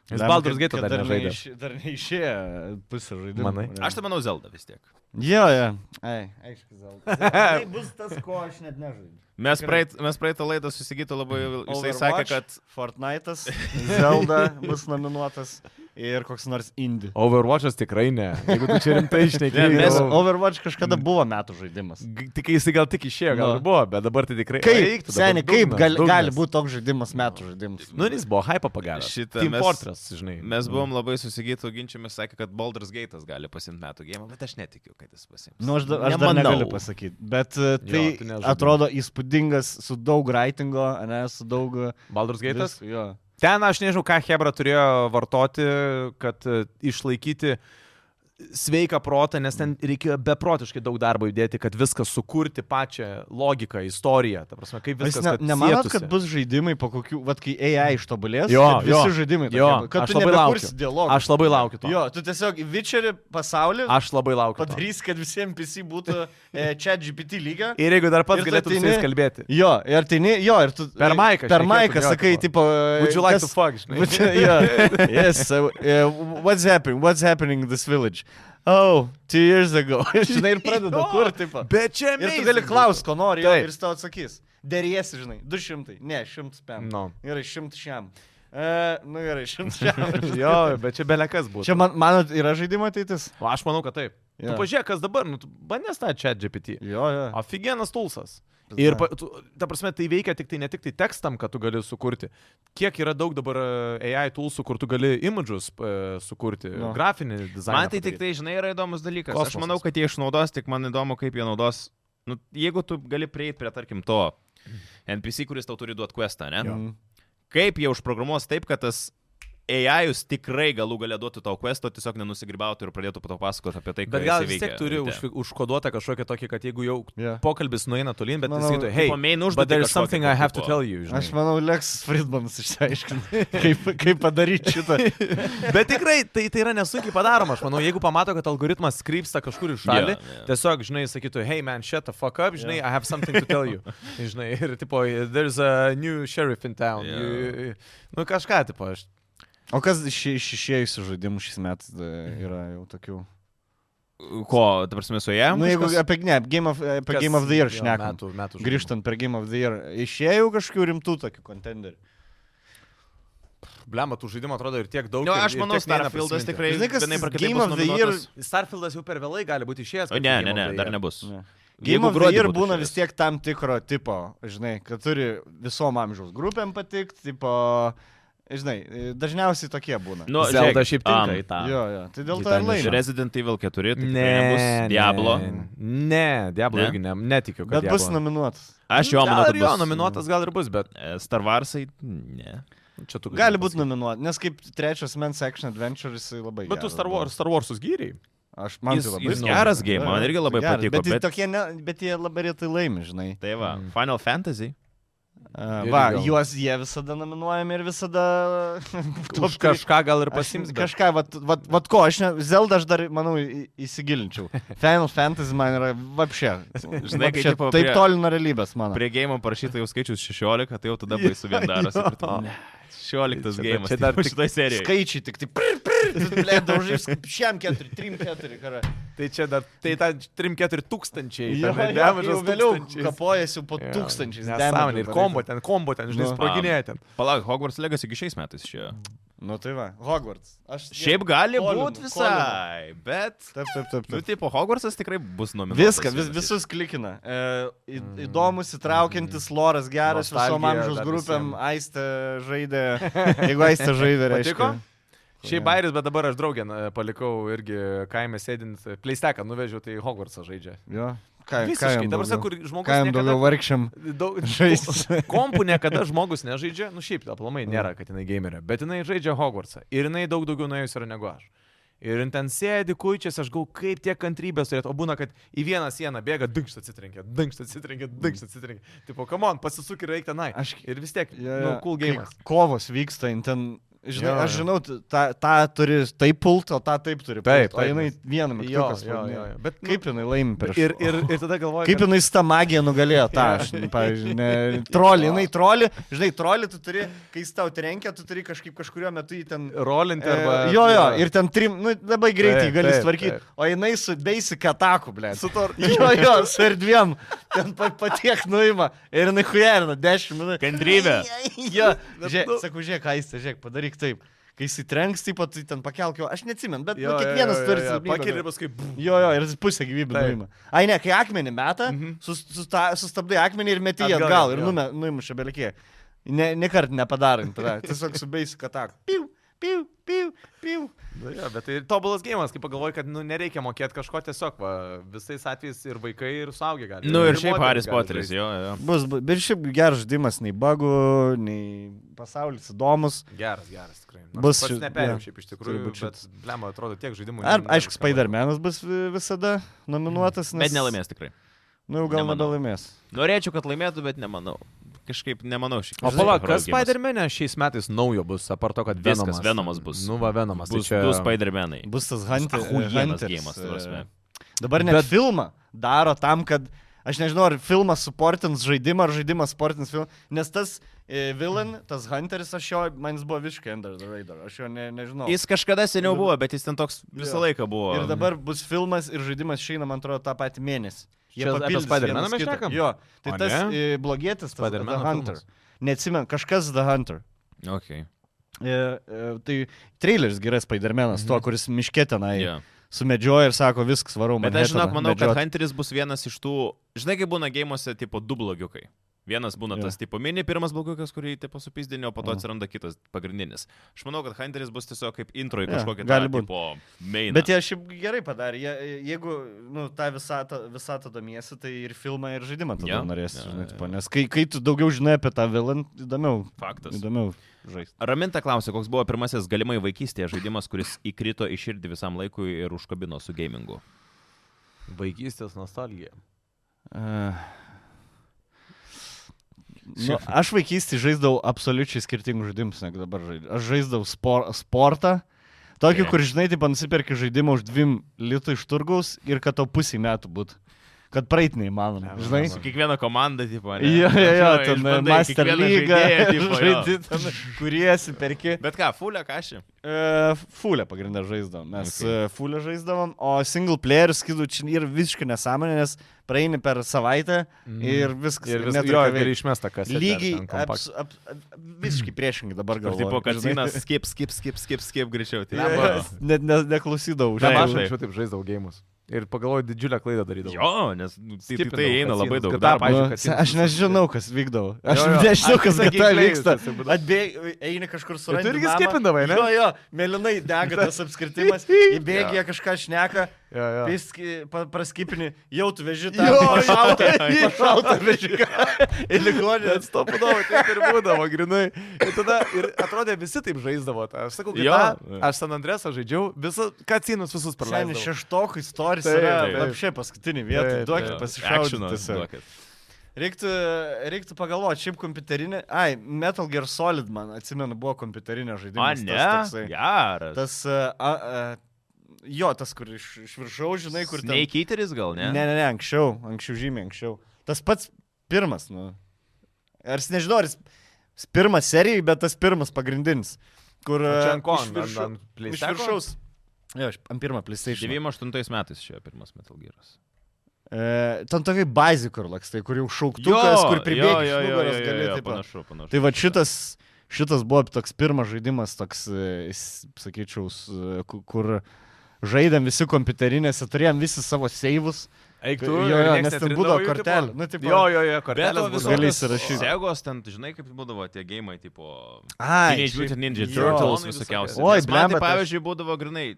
Jis
Lemon,
Baldur's
kad-
Gate
kad
dar nežaidė.
neiš- Dar neišėjo pusė žaidimo.
Manai?
Aš tai manau Zelda vis tiek.
Jo, jo. Ai, aišku, Zelda. Tai bus tas, ko aš net nežaidžiu.
Mes,
Gerai.
praeit, mes praeitą laidą susigyto labai,
Mhm.
jisai sakė, kad
Fortnite'as, Zelda bus nominuotas ir koks nors Indie.
Overwatch'as tikrai ne. Jeigu tu čia rimtai išnekėjai.
Nes
jau-
Overwatch kažkada buvo metų žaidimas.
G- Tik kai jisai gal tik išėjo, gal
Nu.
ir buvo, bet dabar tai tikrai... Eik
Kaip,
tu dabar,
seniai, kaip
dugnas,
gali,
dugnas.
gali būti toks žaidimas metų žaidimas?
Nu, ir jis buvo hype pagavęs.
Šitą
Team
mes-
Fortress, žinai. Nu.
mes
Mhm.
buvom labai susigyto ginčiamis, sakė, kad Baldur's Gate'as gali pasimti metų gėjimą, bet aš netikiu, kad jis pasims.
Nu, aš, da, aš dar
Nemanau.
negaliu pasakyti, bet e, tai
tu
jo,
nežaidi.
atrodo įspūdingas su daug writingo, ne, su daug...
Baldur's Gate'as.
vis- Jo.
Ten aš nežinau, ką Hebra turėjo vartoti, kad e, išlaikyti sveiką protą, nes ten reikėjo beprotiškai daug darbo įdėti, kad viską sukurti, pačią logiką, istoriją. Ta prasme, kaip
Vis,
viskas.
ne,
kad
nemanot,
sietųsi.
kad bus žaidimai po kokių, vad kai AI ištobulės,
Jo,
kad visi
jo,
žaidimai, tokie
jo,
bus, kad
aš
tu
labai
nebekursi
laukiu.
dialogų.
Aš labai laukiu to.
Jo, tu tiesiog į Witcherį pasaulį
Aš labai laukiu. to.
padarys, kad visiems PC būtų e, čia GPT lygio.
Ir jeigu dar pats
Ir tu
galėtum su jais
ateini-
kalbėti.
Jo, ir tai ne, jo, ir tu...
Per maiką
Per
šnekėtum,
maiką
jo,
sakai,
tipo,
tipo... e,
Would you like to
kas-
fuck, žinai?
But, uh, yeah. yes. So, uh, what's happening? What's happening in this village? Oh, two years ago. žinai, ir pradeda
Jo,
kur, tipo.
Bet čia
Ir tu
amazing
gali
būtų.
klausti, ko nori, jo,
Taip.
ir jis tau atsakys. Deriesi, žinai, 200, ne, 100 pėm.
No.
Gerai, 100 šiam. Uh, nu gerai, 100 šiam.
jo, bet čia belekas būtų.
Čia, man, manot, yra žaidimo ateitis?
O aš manau, kad taip.
Jo.
Tu pažiūrėk, kas dabar, nu, bandės tą čia GPT.
Jo, jo.
Aфиgenas tulsas. Ir, pa- tu, ta prasme, tai veikia tik tai ne tik tai tekstam, kad tu gali sukurti. Kiek yra daug dabar e, AI toolsų, kur tu gali imidžus e, sukurti,
Jo.
grafinį dizainą.
Man tai tik tai, žinai, yra įdomus dalykas. Kosmosas.
Kosmosas.
Aš manau, kad jie išnaudos, tik man įdomu, kaip jie naudos. Nu, jeigu tu gali prieiti prie, tarkim, to NPC, kuris tau turi duoti questą, ne?
Mm.
Kaip jie užprogramuos taip, kad tas AI'us tikrai galų galę duotų tau questą, tiesiog nenusigribautų ir pradėtų po to pasakoti apie tai, ką
Bet gal vis tiek turi užfi- užkoduotą kažkokią tokį, kad jeigu jau
Yeah.
pokalbis nueina tolyn, bet jis
Manau,
sakytų, hey,
main
but
užduotį.
there is something I have to tell you. žinai.
Aš manau, Leksas Friedmanas išsiaiškina, kaip, kaip padaryti šitą.
Bet tikrai tai, tai yra nesunkiai padaroma. Aš manau, jeigu pamato, kad algoritmas krypsta kažkur į
Jo,
šalį, yeah,
jo.
yeah. tiesiog, žinai, sakytų, hey man, shut the fuck up, žinai,
Jo.
yeah. I have something to tell you. žinai, ir tipo, there's a new sheriff in town.
Jo.
Yeah. You, nu kažką, tipo, aš.
O kas iš iš išėjusių žaidimų šis metas e, yra jau tokių?
Ko, dabar mes su jie?
Na, nu, jeigu apie, ne, apie Game of, apie
kas-
Game of the Year
jo,
šnekam.
Metų, metų žaidimų.
Grįžtant prie Game of the Year, išėjau kažkokių rimtų tokių kontenderių.
Blemba, tų žaidimų atrodo ir tiek daug.
Nu,
ir-
aš
ir
manau,
tiek vieną
Starfieldas
prisiminti.
tikrai.
Žinai, kas
vienaip ar kitaip
Game
bus
of the Year-
nominuotas.
Starfieldas jau per vėlai gali būti išėjęs.
O,
kad
Ne,
Game
ne,
of
ne,
the
dar
Year.
nebus.
Ne.
Jeigu
Game of the
gruodį
Year
būtų
būna
išėjęs.
vis tiek tam tikro tipo, žinai, kad turi visom amžiaus grupėm patikti, tipo, žinai, dažniausiai tokie būna.
Nu,
Zelda
žiūrėk,
šiaip
am,
tinka į tą.
Jo, jo, tai dėl
Į
to
tą
ir laimi.
Resident Evil 4, tai ne, nebus Diablo.
Ne, ne Diablo
Ne?
ne? irgi ne, netikiu. kad
Bet bus
Diablo-
nominuotas.
Aš jo manau,
gal
kad
ir jo
bus.
nominuotas gal ir bus, bet
E, Star Warsai, ne.
čia tu. gali
Gali būti
pasakyt.
nominuotas, nes kaip trečias Men's Action Adventure jisai labai.
Bet tu
geras
Star,
buvo.
Wars, Star Warsus gyriai.
Aš man
Jis-
tai labai.
jis
įdomu.
geras game,
Jo,
man
jo,
irgi labai
geras,
patiko,
Bet, bet...
bet-
Tokie ne, bet jie labai retai laimi, žinai.
Tai va,
Mm.
Final Fantasy.
A,
Irgi
Va,
gal.
juos jie visada nominuojami ir visada... top
Už
three.
kažką gal ir
Aš
pasims. Bet...
Kažką, vat, vat, vat ko, aš ne, Zelda aš dar, manau, į- įsigilinčiau. Final Fantasy man yra vapšė.
Žinai, kai tipo
taip
prie-
toli nuo realybės, man.
Prie game parašyta jau skaičius 16, tai jau tada baisu vien darosi.
Jo.
kur tu, ne, 16
Čia-
game.
čia dar tik
šitoj serijai.
Skaičiai tik tai... Pir, pir, Leido už šiam keturi, trim keturi karą.
Tai čia dar, tai ta 3-4 tūkstančiai.
Jo,
ten,
jo,
damage'as
jau vėliau
tūkstančiais.
kapojasi po
Jo,
tūkstančiais.
Nesąmonė. Ir
damage'ų
kombo ten, kombo ten, žinai,
Nu.
sproginėja ten.
Palauk, Hogwarts Legacy iki šiais metais išėjo.
Nu tai va, Hogwarts. Aš
Šiaip gali
Kolinu,
būti visai, bet...
Taip, taip, taip.
Nu,
taip.
tipo, Hogwartsas tikrai bus nominuotas.
Viską, vis, visus klikina. E, į, įdomus, įtraukiantis, loras geras, visom
Mm. Nostalgija
amžiaus
dar
grupėm,
visiem.
aistė žaidė. Jeigu aistė žaidė, reiškia.
Patiko? Šiaip bairis, bet dabar aš draugę na, palikau irgi kaime sėdint, e, pleisteką nuvežiau, tai Hogwartsą žaidžia.
Jo. Ką,
Visiškai, dabar sakau, kur žmogus...
Ką jam
niekada-
daugiau vargšiam?
Daug,
Žaist.
kompų niekada žmogus nežaidžia, nu šiaip aplamai nėra, kad jinai gamerė, bet jinai žaidžia Hogwartsą ir jinai daug daugiau nuėjus yra negu aš. Ir jin ten sėdi, kuičias, aš gau, kaip tiek kantrybės turėtų, o būna, kad į vieną sieną bėga, dinkšt atsitrenkia, dinkšt atsitrenkia, dinkšt atsitrenkia. Tipo, come on, pasisuk ir eik tenai.
Aš-
Ir vis tiek,
Jo,
yeah, nu,
jo,
cool
kai
game.
Kovos vyksta, jin ten. Žinai,
Jo,
aš
jo.
žinau, t- tą, tą turi taip pult, o tą taip turi.
Taip,
pult, o
taip,
jinai
nes-
vieną
Jo,
mygtuką
jo, jo,
spaudinėja.
jo. Bet nu,
Kaip jinai laimi prieš
Ir, ir, ir tada galvoju,
Kaip
kad-
jinai tą magiją nugalėjo tą, aš, pavyzdžiui, ne, trolį, jinai trolį, žinai, trolį tu turi, kai jis tau trenkia, tu turi kažkaip kažkurio metu jį ten...
rolinti arba...
E, jo, jo, ir ten trim, nu, labai greitai
Taip,
gali
taip,
tvarkyti,
taip.
o jinai su basic ataku, ble.
Su to-
Jo, jo, su erdviem, ten pa- patiek nuima ir jinai hujerina 10 minučių.
Kantrybė.
Jo, žiūrėk, sakau, žiūrėk, aistė, žiūrėk, padaryk taip. Kai jis įtrenks, taip pat ten pakelk jo, aš neatsimenu, bet jo, nu, kiekvienas turi silpnybę.
Pakeli ir paskui...
Jo, jo, ir jis pusę gyvybę
Taip.
nuima. Ai ne, kai akmenį meta,
Mhm.
mm -hmm. susta, sustabdai akmenį ir meti jį
Atgal,
atgal, atgal ir
jo.
nume- nuimuša belikė. Ne, nekart nepadarant tada, tiesiog su basic attack. Piu, piu, piu, piu.
Nu, jo, bet tai tobulas gėjimas, kai pagalvoji, kad nu, nereikia mokėti kažko tiesiog, va, visais atvejais ir vaikai, ir suaugę gali.
Nu ir šiaip
moterys
Haris
gali
Potteris,
žaisti.
jo, jo.
Bus, bu- bet šiaip geras žaidimas, nei bagų, nei pasaulis įdomus.
Geras, geras, tikrai.
Bus
Bus
ši-
šitas. Neperėjau
jo.
šiaip iš
Turi
tikrųjų,
būt
bet, blemo, atrodo, tiek žaidimų.
Ar,
ne-
aišku,
nebeliko.
Spider-Man'as bus vi- visada nominuotas, nes...
Bet nelaimės tikrai.
Na, nu, jau gal
Nemanau.
nebelaimės.
Norėčiau, kad laimėtų, bet nemanau. Kažkaip nemanau šį
O palauk, kas Spider-Man'e šiais metais naujo bus, aparto, kad
Viskas, Venomas
Venomas.
bus.
Nu, va, Venomas.
Bus
tai
du Spider-Manai.
Bus tas Hunter.
Ahujenas
Hunters,
gėjimas, ta prasme.
e, Dabar net bet... filmą daro tam, kad aš nežinau, ar filmas suportins žaidimą, ar žaidimas suportins filmą, nes tas e, villain, tas Hunteris, aš jo, man jis buvo visiškai under the radar, aš jo ne, nežinau.
Jis kažkada seniau buvo, bet jis ten toks visą
Jo.
laiką buvo.
Ir dabar bus filmas ir žaidimas išeina, man atrodo, tą patį mėnesį.
Čia apie
papildys
Spider-Maną
vienas
mes
kitą.
šnekam?
Jo, tai
O
tas
ne?
e, blogietis, tas The
Spider-Mano
Hunter.
filmas.
Neatsimenu, kažkas The Hunter.
Okay.
Mhm.
E, e, tai traileris geras Spidermenas, mm -hmm. tuo, kuris miškė tenai.
Yeah.
sumedžioja ir sako, viskas varom.
Bet aš žinok, manau, kad Hunteris bus vienas iš tų, žinai, kaip būna gėjimuose, tipo, du blogiukai. Vienas būna
Jo.
tas, tipo, mini pirmas blogiukas, kurį, tipo, supizdinio, po to
Jo.
atsiranda kitas pagrindinis. Aš manau, kad Hunteris bus tiesiog kaip intro į
Jo,
kažkokį
gali
tą,
būt.
tipo, main.
Bet jie šiaip gerai padarė. Jie, jeigu nu, tą visatą, visatą domiesi, tai ir filmą, ir žaidimą tada
Jo.
yeah. norėsi.
Jo,
Yeah, žinai,
jo,
tipo,
jo.
nes kai, kai tu daugiau žinai apie tą vilan, įdomiau.
Faktas.
Įdomiau žaisti.
Raminta klausė, koks buvo pirmasis galimai vaikystėje žaidimas, kuris įkrito į širdį visam laikui ir užkabino su gamingu.
Vaikystės nostalgija.
Uh. Nu, aš vaikystį žaisdavau absoliučiai skirtingus žaidimus, negu dabar žaidžiu. Aš žaisdavau spor, sportą, tokį,
Jo.
kur žinai, tai nusipirki žaidimą už dviem litų iš turgaus ir kad to pusį metų būtų. Kad praeit neįmanoma.
Ne,
Žinai,
ne,
Su kiekviena komanda, tipo, ne?
Jo, jo, jo, ten
išbandai
Master
kiekvieną
League,
žaidėją, tipo, jo.
žaidži, ten, kuriesi, perki.
Bet ką, fulę kažį?
E, Fulę pagrindą žaisdavom, mes
Okay.
okay. fulę žaisdavom, o single player skidų čia yra visiškai nesąmonė, nes praeini per savaitę ir viskas.
Ir vis
neturi
jo,
ką
ir
veikt.
išmesta kas.
Lygiai, abs, ab, ab, visiškai priešingai dabar
Gal
galvoju.
tipo, kad
žinai.
Zinas skip, skip, skip, skip, skip greičiau. Tai
Jo,
yeah.
Net ne,
Ne,
neklausydavau.
Aš
žinai.
taip.
anksčiau taip žaisdavau gėjimus. Ir pagalvoju, didžiulę klaidą darydavau.
Jo, nes tai, tai, tai
Skipinau,
eina
kad
labai
Zinas
daug
GTA,
darbo.
pavyzdžiui,
Nu,
kad
se-
jis
aš
visas-
nežinau, kas vykdavo. Aš
Jo, jo.
nežinau, kas
Sakyk,
gata
leidus, tai
vyksta.
jisai būdavo.
Atbėgi, eini kažkur su
Bet tu irgi skipindavai, ne?
Jo, jo, melinai dega tas apskritimas, įbėgi, jie kažką šneka,
Jo, jo.
piski, pa, praskipini, jau tu veži tą
Jo,
pašautą,
jo, jo.
pašautą veži. Ir ligoninė.
Bet stopudavo, taip ir būdavo, grinai. Ir tada, ir atrodė, visi taip žaisdavo. tą. Aš sakau,
Jo.
kad aš San Andresą žaidžiau, visą, kacinus visus
Seniai
praleidžiau.
šeštokų istorija
Taip,
yra
taip.
apšė paskutinį vietą.
Taip,
Duokit
taip.
Actiono
tai pasišaudyti.
duokit.
Reiktų, reiktų pagalvoti, šiaip kompiuterinė. Ai, Metal Gear Solid, man atsimenu, buvo kompiuterinė
A,
žaidimas.
ne?
tas toksai.
Geras.
Tas, a, a, jo, tas, kur iš, iš viršaus, žinai, kur ten.
Neikiteris gal, ne?
Ne, ne, ne, anksčiau, anksčiau žymiai anksčiau. Tas pats pirmas, nu. Ar jis nežinau, ar jis jis pirmas serijai, bet tas pirmas pagrindinis. Kur... a,
Čia ant ko?
iš
Ant-
viršau-
ant- ant
Iš
PlayStation?
viršaus. Jo, aš ant pirmą PlayStation.
98 metais šio pirmas Metal Gear'as.
E, ten tokia bazė, kur lakstai, kur jau šauktukas, kur pribėga iš nugaros gali. taip,
panašu, panašu.
Tai va šitas, šitas buvo toks pirmas žaidimas, toks, e, s- sakyčiau, s- e, ku- kur žaidėm visi kompiuterinėse, turėjom visi savo seivus.
Eik
Jo, jo, nes ten būdavo kortelė. Nu, tipo-
Jo, jo, jo,
Bet
kortelė.
to
visos-
viso
gali įsirašyt.
Segos ten, žinai, kaip būdavo tie gėjimai, tipo...
Ai,
Teenage Mutant Ninja
jo.
Turtles
Oi,
visokiausi.
blemba,
Nes man tai,
tas-
pavyzdžiui, būdavo grinai...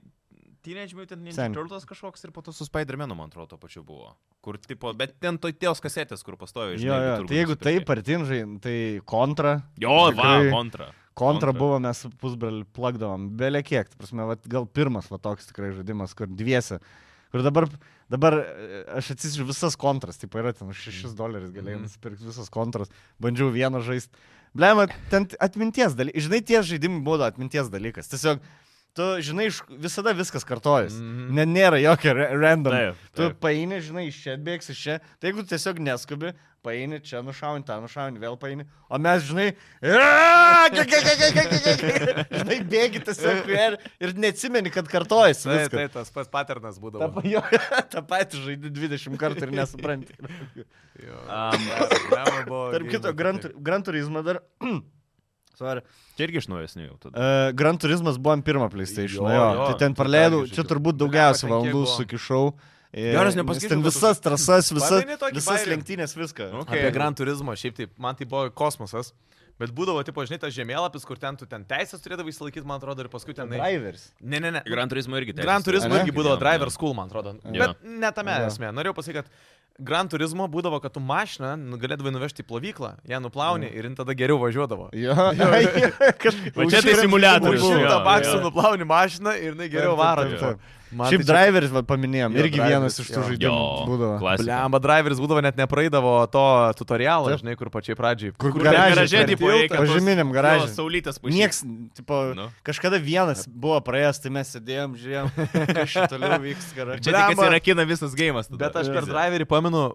Teenage Mutant Ninja
Seni.
Turtles kažkoks ir po to su Spider-Man'u, man atrodo, to pačiu buvo. Kur, tipo, bet ten to tėvos kasetės, kur pastovi,
Jo,
žinai,
jo,
turbūt
tai jeigu taip,
nusipirkai.
partinžai, tai kontra.
Jo, va,
Tikrai.
kontra. Kontra.
Kontra buvo, mes su pusbraliu plakdavom, belė kiek, ta prasme, vat, gal pirmas va toks tikrai žaidimas, kur dviesi. Kur dabar, dabar e, aš atsižiūriu visas kontras, tai yra ten už 6 dolerius galėjai
Mhm.
nusipirkti visas kontras, bandžiau vieną žaisti. Blema, ten t- atminties dalykas, žinai, tie žaidimai buvo atminties dalykas. Tiesiog, tu žinai, iš- visada viskas kartojas.
Mhm.
Ne, nėra jokio ra- random.
Taip,
Tu
taip.
paini, žinai, iš čia atbėgs, iš čia. Tai jeigu tu tiesiog neskubi, paini, čia nušauni, ten nušauni, vėl paini. O mes, žinai, "Aaa, ge, ge, ge, ge, ge, ge, ge, ge." žinai, bėgi tiesiog ir, ir neatsimeni, kad kartojasi.
Tai,
viską.
tai tas pats paternas
Ta,
būdavo.
pa- jo, tą patį žaidži 20 kartų ir nesupranti.
Jo.
Am,
Problema buvo
Tarp kito,
gėjimas, taip.
Gran Turismo dar. Sorry.
Čia irgi iš naujesnių jau tada.
Uh, Gran Turismas buvo ant pirmo PlayStation.
Jo,
Jo, jo.
jo.
Tai ten
Tu
praleidau,
dargi
čia
žaidžiau.
turbūt
Blemba,
daugiausia
ten kiek
valandų
buvo?
sukišau. Ir
Jo, aš
nes
nepasakyčiau,
Ten
kad tu-
visas trasas, visas,
Pameni tokį
visas
bajerį?
lenktynės, viską.
Nu,
Okay. Apie
Okei.
Gran Turismo, šiaip taip, man tai buvo kosmosas. Bet būdavo, tipo, žinai, tas žemėlapis, kur ten tu ten teisės turėdavai įsilaikyti, man atrodo, ir paskui ten...
Drivers.
Ne, ne, ne.
Gran Turismo irgi taip.
Gran Turismo
Ane?
irgi būdavo driver school, man atrodo.
Jo.
Bet ne tame
Jo.
esmė. Norėjau pasakyti, kad Gran Turismo būdavo, kad tu mašiną nu, galėdavai nuvežti į plovyklą, ją nuplauni ir jin tada geriau važiuodavo.
Jo,
Jo, jo.
kažkaip.
Va čia tai simuliatorius.
Už šimtą
Jo,
baksų
jo.
nuplauni mašiną ir jinai geriau
Taip,
varo.
taip,
tipo. Man
Šiaip
tai čia-
driveris, va, paminėjom,
Jo,
irgi
driveris,
vienas iš tų
jo.
Jo,
žaidimų būdavo.
klasika.
Blemba, driveris būdavo net nepraeidavo to tutorialo,
Taip.
žinai, kur pačiai pradžiai.
Kur
Ten
Garaže,
Garaže,
per
tipo,
tiltą.
reikia.
Požeminiam garaže.
Saulytas
Niekas, tipo,
Nu.
kažkada vienas buvo praėjęs, tai mes sėdėjom, žiūrėjom, kas čia toliau vyks
Čia
karai.
tik
Blemba.
atsirakina visas gėjimas.
Bet aš per
drąsiai.
driverį pamenu,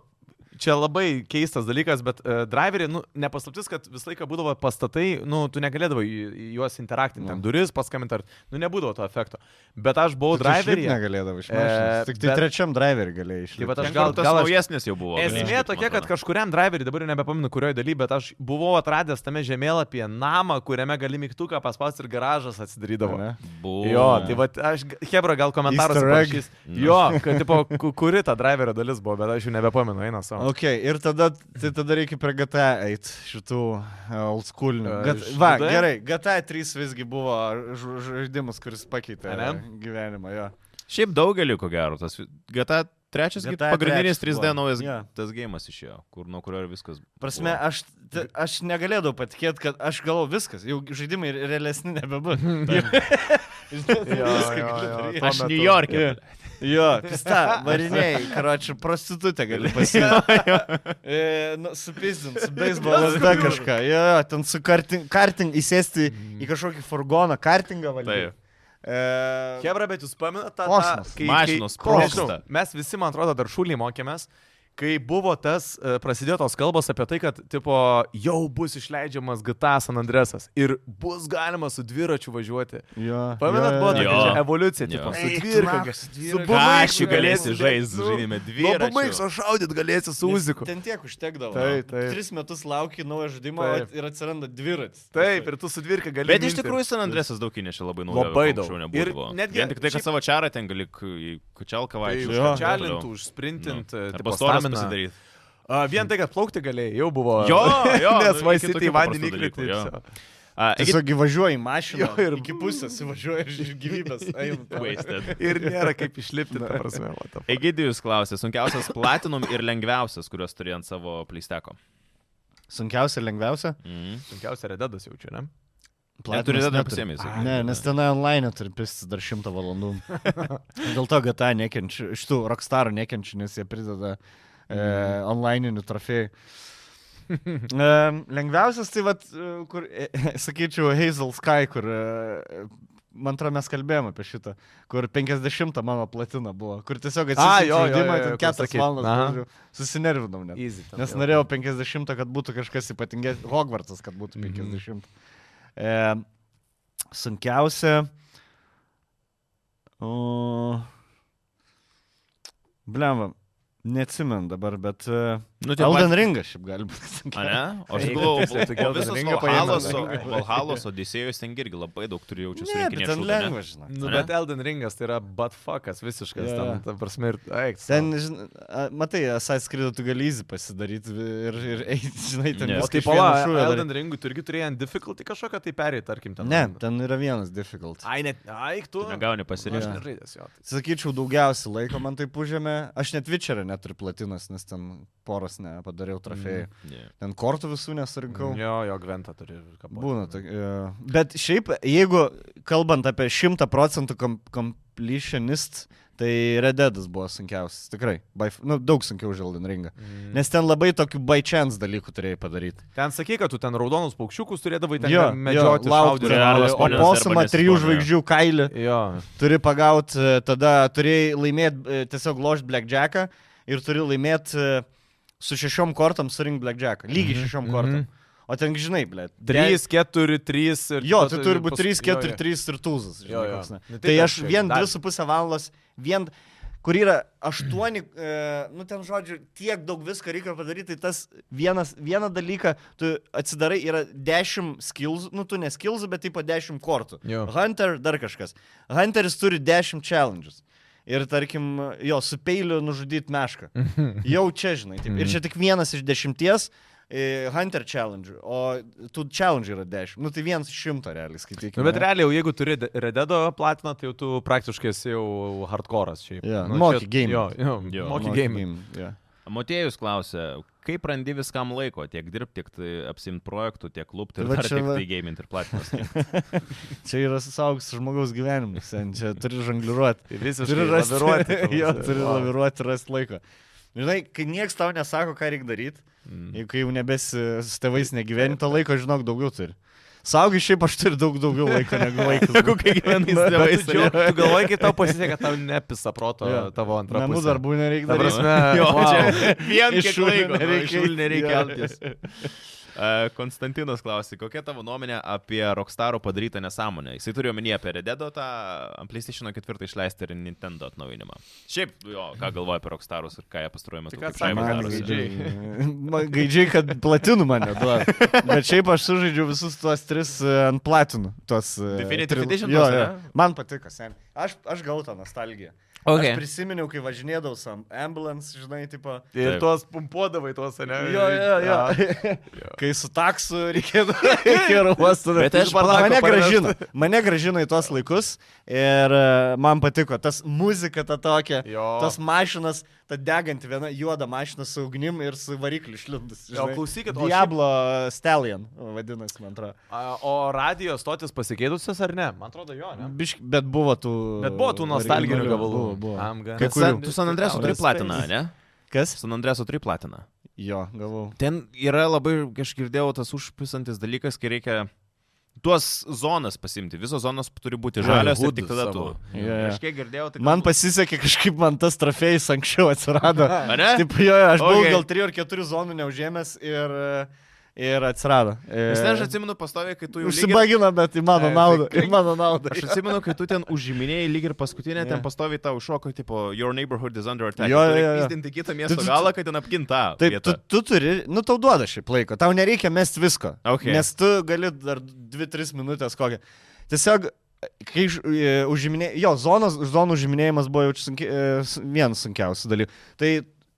čia labai keistas dalykas, bet uh, driverį, nu, nepaslaptis, kad visą laiką būdavo pastatai, nu, tu negalėdavo į, į juos interaktinti, ten duris paskambinti, ar, nu, nebūdavo to efekto. Bet aš buvau driverį.
negalėdavo išmesti.
E,
Tik tai
bet-
trečiam driverį galėjai
Tai vat
išmesti.
aš
Ten,
gal-
gal tas
gal aš-
naujesnis jau buvo.
Esmė tokia, kad kažkuriam driveriui, dabar jau nebepaminu, kurioje dalyje, bet aš buvau atradęs tame žemėlapyje namą, kuriame gali mygtuką paspausti ir garažas atsidarydavo. Ne?
Buvo.
Jo, tai va, aš, Hebra, gal komentaras
Easter egg.
parašys. Jo, kad, tipo, ku- kuri ta driverio dalis buvo, bet aš jau nebepamenu, eina savo.
Ok, ir tada, tai tada reikia prie GTA eiti šitų e, old schoolinių.
E,
Gat,
iš
va,
VD?
gerai, GTA 3 visgi buvo ž- žaidimas, kuris pakeitė
Ane?
e, gyvenimą. Jo.
Šiaip daugeliu, ko gero, tas GTA trečias, gi
GTA
pagrindinis
trečias
3D
buvo.
naujas
Jo.
tas gėjimas išėjo, kur nuo kurio ir viskas.
Prasme,
buvo.
aš, t- aš negalėdavau patikėti, kad aš galvoju viskas, jau žaidimai re- realesni nebebus.
Jo, jo, jo.
aš
tuo metu-
New York'e.
Jo, pista, variniai, karočiui, prostitutę gali pasiimti. E, nu, Supizdint, su beisbolo lazda kažką. Jo, jo, ten su karting, karting įsėsti
Mhm.
į kažkokį furgoną, kartingą valdyti.
Taip.
E,
Hebra, bet jūs pamenate tą
Kosmos,
tą- kai-
mašinos,
kai- nežinau,
sprogsta.
Mes visi, man atrodo, dar šūlį mokėmės, kai buvo tas, e, prasidėjo tos kalbos apie tai, kad, tipo, jau bus išleidžiamas GTA San Andresas ir bus galima su dviračiu važiuoti.
Jo,
Pamenat,
jo,
buvo
jo.
Jo.
tokia evoliucija,
Jo.
tipo, su
Eik tu
dviračiu.
nafta, su dviračiu.
Ką aš jau
Bumaiksu
galėsi
galėsi,
žaisti,
nu,
žaidime
Nuo
dvi.
pabaigsio šaudyt galėsi su Uziku.
Ten tiek užtekdavo.
Taip, taip.
Tris metus lauki naujo žaidimo
Taip.
ir atsiranda dviratis.
Taip, ir tu su dvirka gali.
Bet iš
minti.
tikrųjų San Andresas daug įnešė labai naujo.
Labai
ko anksčiau
daug. Ir
Nebūdavo.
netgi
Vien tik tai, kad
šiaip-
savo čarą ten gali k- į kučelką
Tai
vaikščioti.
užkačialintų,
Nu,
užsprintintų,
Arba
tipo
storas
stamina.
pasidaryti.
A, Vien tai, kad plaukti galėjai, jau buvo.
Jo, jo,
nes
nu, iki
vaisyti
tokių
į
paprastų
vandenį įkriti.
dalykų, jo.
ir viso.
A, Egid-
Tiesiog įvažiuoji į mašiną.
Jo, ir-
iki pusės įvažiuoji iš iš gyvybės. Eim, tau.
Wasted.
Ir nėra kaip išlipti, ta prasme. what the fuck.
Egidijus klausė, sunkiausias platinum ir lengviausias, kuriuos turėjant savo pleisteko.
Sunkiausia ir lengviausia?
Mhm.
Sunkiausia rededas jaučiu, ne?
Neturi
Platinas
dar
neturi.
nepasiėmė. jisai.
Ne, nes ten online turi pistis dar šimtą valandų. Dėl to GTA nekenčiu, šitų rockstarų nekenčiu, nes jie prideda e,
Mhm.
online'inių trofėjų. E, lengviausias tai, vat, e, kur, e, sakyčiau, Hazel Sky, kur, e, man atrodo, mes kalbėjome apie šitą, kur 50 mano platina buvo, kur tiesiog
A, jo, jo, jo,
atsiprašau,
jo,
ten
kur
4
sakei. Aha.
valandas, žodžiu, susinervinau net.
Easy. ten Mhm.
Nes
jau.
norėjau 50, kad būtų kažkas ypatingesnis. Hogwartsas, kad būtų 50. E, sunkiausia. O... Blemba, neatsimenu dabar, bet... E,
Nu, tie
Elden Ringas šiaip gali būti
A,
sunkiausia.
ne? O aš
Jeigu tiksliai, tai
galvoju,
gal
o visos
Elden Ringą paėmėm.
Valhalos, Valhalos Odisėjus ten irgi labai daug turi jaučiu
Ne, bet
surinkinėti.
ten lengva, žinai.
Nu,
Ane?
bet Elden Ringas tai yra butfuckas visiškas.
Jo,
Ten,
jo.
ta prasme, ir... Eik,
Ten, žinai, matai, Assassin's Creed tu gali įzį pasidaryti ir, ir eiti, žinai, ten...
Ne.
O
viską
tai
iš vieno
pala,
šūvio daryt.
Elden Ringui turgi turėjai ant difficulty kažkokią tai perėti, tarkim, ten.
Ne, ten yra vienas difficult.
Ai, net. Eik, tu.
Negauni
Aš
pasirinkti.
Jo.
nežaidęs jo. tai-
Sakyčiau, daugiausiai laiko man tai užėmė. Aš net Witcher'ą neturiu platinas, nes ten poros nepadariau
Mhm.
trofėjų. Mm.
Ne.
Ten kortų visų nesurinkau. Mm,
Jo, jo, Gventą turi. ir kapoti.
Būna tokia. e, Bet šiaip, jeigu kalbant apie 100 procentų kom completionist, tai Red Dead'as buvo sunkiausias. Tikrai. By, f- nu, daug sunkiau už Elden Ringą.
Mm.
Nes ten labai tokių by chance dalykų turėjai padaryti.
Ten sakė, kad tu ten raudonus paukščiukus turėdavai ten
Jo,
medžioti,
jo, laukt,
šaudyti.
kurie arba
O
Nes
posumą
arba
trijų
nesispaudė.
žvaigždžių kailį.
Jo.
turi pagauti, e, tada turi laimėti, tiesiog lošti blackjacką ir turi laimėti su šešiom kortom surinkti blackjacką. Lygiai šešiom
mhm.
kortom. O ten, gi žinai, ble.
3, 4, 3 ir...
Jo,
tada
tai
tu-
turi būti 3,
paskui- jo, jo.
4, 3 ir tūzas.
Jo,
Žinai,
jo.
koks, ne.
Nu, tai
Tai
ten
aš
čia
vien
dar-
2,5 valandos, vien kur yra 8, e, nu ten žodžiu, tiek daug visko reikia padaryti, tai tas vienas, vieną dalyką, tu atsidarai, yra 10 skills, nu tu ne skills, bet tipo 10 kortų.
Jo.
Hunter, dar kažkas. Hunteris turi 10 challenges. Ir tarkim, jo, su peiliu nužudyti mešką. Jau čia, žinai. Taip.
Mhm.
Ir čia tik vienas iš dešimties e, Hunter challenge, o tų challenge yra dešimt. Nu tai vienas iš šimto realiai skaitykime.
Nu, bet realiai, jau jeigu turi de- Rededo platiną, tai jau tu praktiškai esi jau hardcore'as šiaip.
Jo,
nu,
moki
čia-
game.
Jo, jo,
Jo.
jo. Moki game.
Yeah.
Motėjus klausė, kaip randi viskam laiko, tiek dirbti, tiek tai apsimti projektų, tiek lūpti,
Va
ir dar
čia
tik
va.
tai gaming ir platinimas.
Čia yra susaugus žmogaus gyvenimas, sen, čia turi žongliruoti.
Tai Visiškai.
Turi rasti
laviruoti ta
jo,
prasme.
turi
Vau.
laviruoti, rasti laiko. Žinai, kai niekas tau nesako, ką reikia daryti,
Mm.
jeigu jau nebesi su tėvais negyveni, to laiko, žinok, daugiau turi. Saugiai šiaip aš turiu daug daugiau laiko negu vaikas.
Jeigu kai gyvenai su
Bet
tėvais. tai
tu džiaug- tu galvoji, kai tau pasisekė, tau nepisa proto
Jo.
tavo antrą
Namų
pusę.
darbų nereikia
Ta
daryti.
prasme,
Jo,
wow.
čia vien
Iš
iš
šulinio
laiko
nereikia
nereikia, nereikia
jo.
keltis. E, Konstantinas klausė, kokia tavo nuomonė apie Rockstaro padarytą nesąmonę? Jisai turėjo omenyje apie Rededo tą ant PlayStation 4 išleistą ir Nintendo atnaujinimą. Šiaip, jo, ką galvoja apie Rockstarus ir ką jie pastaruoju metu
Tik
kaip šaibą
atsakė,
daro.
kad
Man gaidžiai, kad platinų man neduoda. Bet šiaip aš sužaidžiu visus tuos tris e, ant platinų. Tuos, e,
Definitive
tril-
Edition
jo,
tuos,
jo.
ane?
Man patiko, sen. Aš, aš gavau tą nostalgiją.
Okay.
Aš prisiminiau, kai važinėdavau su ambulance, žinai, tipo.
Taip.
Ir tuos pumpuodavai tuos, ne?
Jo, jo, jo. Kai su taksu reikėdavo iki oro uosto.
Bet aš
bardako
mane
parvežt.
gražino, mane gražino į tuos laikus ir e, man patiko tas muzika ta tokia,
Jo.
tas mašinas, ta deganti viena juoda mašina su ugnim ir su varikliu išlindus.
Jo, klausykit, o šiaip-
Diablo Stallion vadinasi, man atrodo.
A, O radijos stotis pasikeitusios ar ne? Man atrodo, jo, ne?
Bišk, bet buvo tų...
Bet buvo tų nostalginių
originalių,
gabalų.
Buvo, buvo.
Am, gan-
Kai
San-
kurių.
Tu San Andresu turi
Outer
platiną,
Space.
ne?
Kas?
San Andresu turi platiną.
Jo, gavau.
Ten yra labai, aš girdėjau, tas užpisantis dalykas, kai reikia tuos zonas pasimti. Visos zonos turi būti žalios ir tik tada tu.
savo.
Jo, jo.
Aš kiek girdėjau, tai...
Man pasisekė kažkaip man tas trofėjus anksčiau atsirado.
Ar ne?
Taip, jo, jo, aš buvau
Okay.
okay. gal 3 ar 4 zonų neužėmęs ir, ir atsirado.
Nes ten aš atsimenu pastoviai, kai tu jau... lyg ir-
Užsibagino, bet į mano
E,
naudą.
tai
Į mano naudą.
Aš atsimenu, kai tu ten užiminėjai lyg ir paskutinę, yeah. ten
Jo.
pastoviai tau šoko, tipo, your neighborhood is under attack.
Jo, jo, jo.
Įstinti kitą miesto
Tu- tu-
galą, kad ten apginta.
Taip, tu, tu turi, nu tau duoda šiaip laiko, tau nereikia mest visko.
Okay.
Nes tu gali dar 2-3 minutės kokią. Tiesiog, kai ž- e, užiminė, jo, zonos, zonų užiminėjimas buvo jau sunki, e, s- vienas sunkiausių dalykų. Tai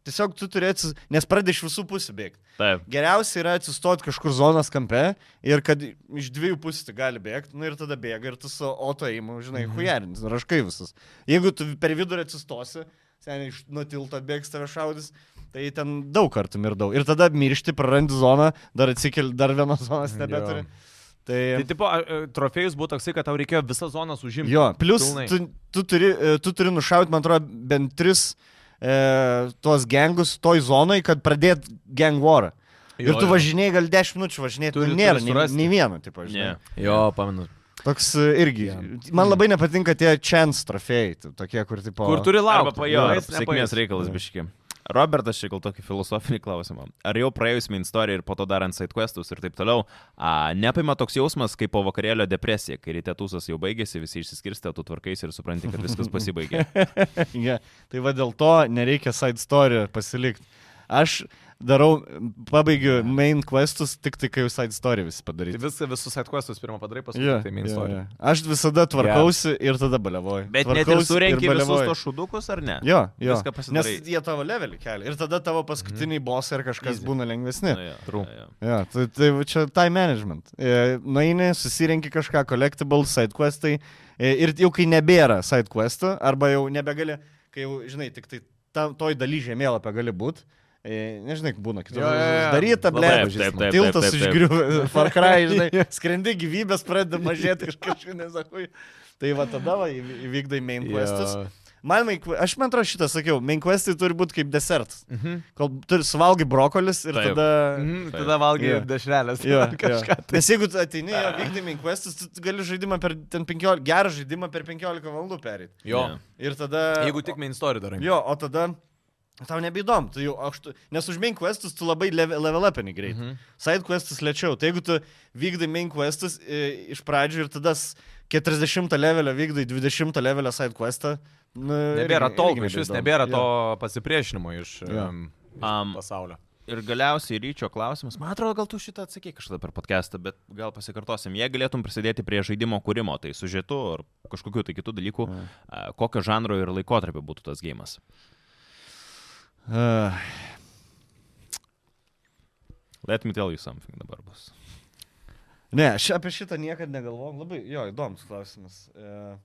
tiesiog tu turėsi, nes pradedi iš visų pusių bėgti.
Taip.
Geriausia yra atsistoti kažkur zonos kampe ir kad iš dviejų pusių tai gali bėgti, nu ir tada bėga ir tu su auto įimu, žinai, mm -hmm. hujerins, raškai visus. Jeigu tu per vidurį atsistosi, seniai iš nutilto bėgs tave šaudys, tai ten daug kartų mirdau. Ir tada miršti, prarandi zoną, dar atsikeli, dar vienos zonos nebeturi.
Tai
Tai,
tipo, a, a, trofėjus buvo toksai, kad tau reikėjo visą zoną užimti.
jo, plus
pilnai.
tu, tu, turi, e, tu turi nušauti, man atrodo, bent tris e, tuos gengus toj zonai, kad pradėt gang warą. Ir tu važinėjai gal 10 minučių važinėti,
Turi-
tu nėra
turi
nei,
surasti.
nei vieno, tipo, žinai.
Ne.
Yeah.
Jo, pamenu.
Toks e, irgi. Man labai nepatinka tie chance trofėjai, t- tokie, kur tipo...
Kur turi
Arba
laukti.
pajo,
Nueis, nepaeis.
sėkmės reikalas
Jo.
biški. Robertas čia gal tokį filosofinį klausimą. Ar jau praėjus min istoriją ir po to darant sidequestus ir taip toliau, a, nepaima toks jausmas kaip po vakarėlio depresija, kai ryte tūsas jau baigėsi, visi išsiskirstė, tu tvarkais ir supranti, kad viskas pasibaigė.
yeah. Tai va dėl to nereikia side story pasilikti. Aš darau, pabaigiu main questus tik tai, kai jau side story visi
Tai
padaryti.
vis, visus atkuestus pirmą padarai, paskui
Jo,
yeah, tai
jo,
main story.
jo. Aš visada tvarkausi yeah. ir tada balevoju.
Bet net ir
Tvarkausi
surenki visus
baliavoju.
tos šudukus, ar ne?
Jo, jo.
Viską
Nes
pasidarai.
jie tavo levelį kelia. Ir tada tavo paskutiniai mm. bosai ir kažkas būna lengvesni.
Nu jo,
True.
jo, jo.
Ja, tai, tai va čia time management. E, Nueini, susirenki kažką, collectibles, sidequestai. E, ir jau kai nebėra sidequestų, arba jau nebegali, kai jau, žinai, tik tai ta, toj daly žemėlapio gali būti. E, nežinai, kaip būna, kitur
Jo, jo, jo.
daryta, ble,
Labai pažįstama. Taip, taip, taip,
tiltas
taip, taip.
išgriuvo, farkrai, žinai, skrendi gyvybės, pradeda mažėti kažkaip, nesakui. Tai va tada va, įv- įvykdai main questus.
Jo.
Man, main que- aš man atrodo šitą sakiau, main questai turi būti kaip desertas. Mhm. Kol turi suvalgai brokolis ir
Taip.
taip. tada...
Mhm, tada valgai
Jo.
yeah. dešrelės.
Jo,
ar kažką. tai.
jo. Nes jeigu tu ateini jo vykdymai questus, tu- tu gali žaidimą per ten 15, gerą žaidimą per 15 valandų perėti.
Jo.
Ne.
Ir tada...
Yeah. Jeigu tik main story darai.
Jo, o tada... Tau nebeįdomu, tu jau, aš, tu, nes už main questus tu labai level, level upini greit.
Mhm.
Mm -hmm. Side questus lėčiau. Tai jeigu tu vykdai main questus e, iš pradžių ir tada s- 40 levelio vykdai 20 levelio side questą. Nu,
Nebėra
irgi-
tol,
irgi
iš vis
nebeįdomu.
nebėra to
Jo.
pasipriešinimo iš
Jo.
um,
Am,
pasaulio.
Ir galiausiai ryčio klausimas, man atrodo, gal tu šitą atsakyk kažkada per podcastą, bet gal pasikartosim, jei galėtum prisidėti prie žaidimo kūrimo, tai sužetu ar kažkokiu tai kitų dalykų,
Mm.
a, kokio žanro ir laikotarpio būtų tas gėjimas.
Ah,
Let me tell you something dabar bus.
Ne, aš apie šitą niekada negalvojom. Labai, jo, įdomus klausimas. E,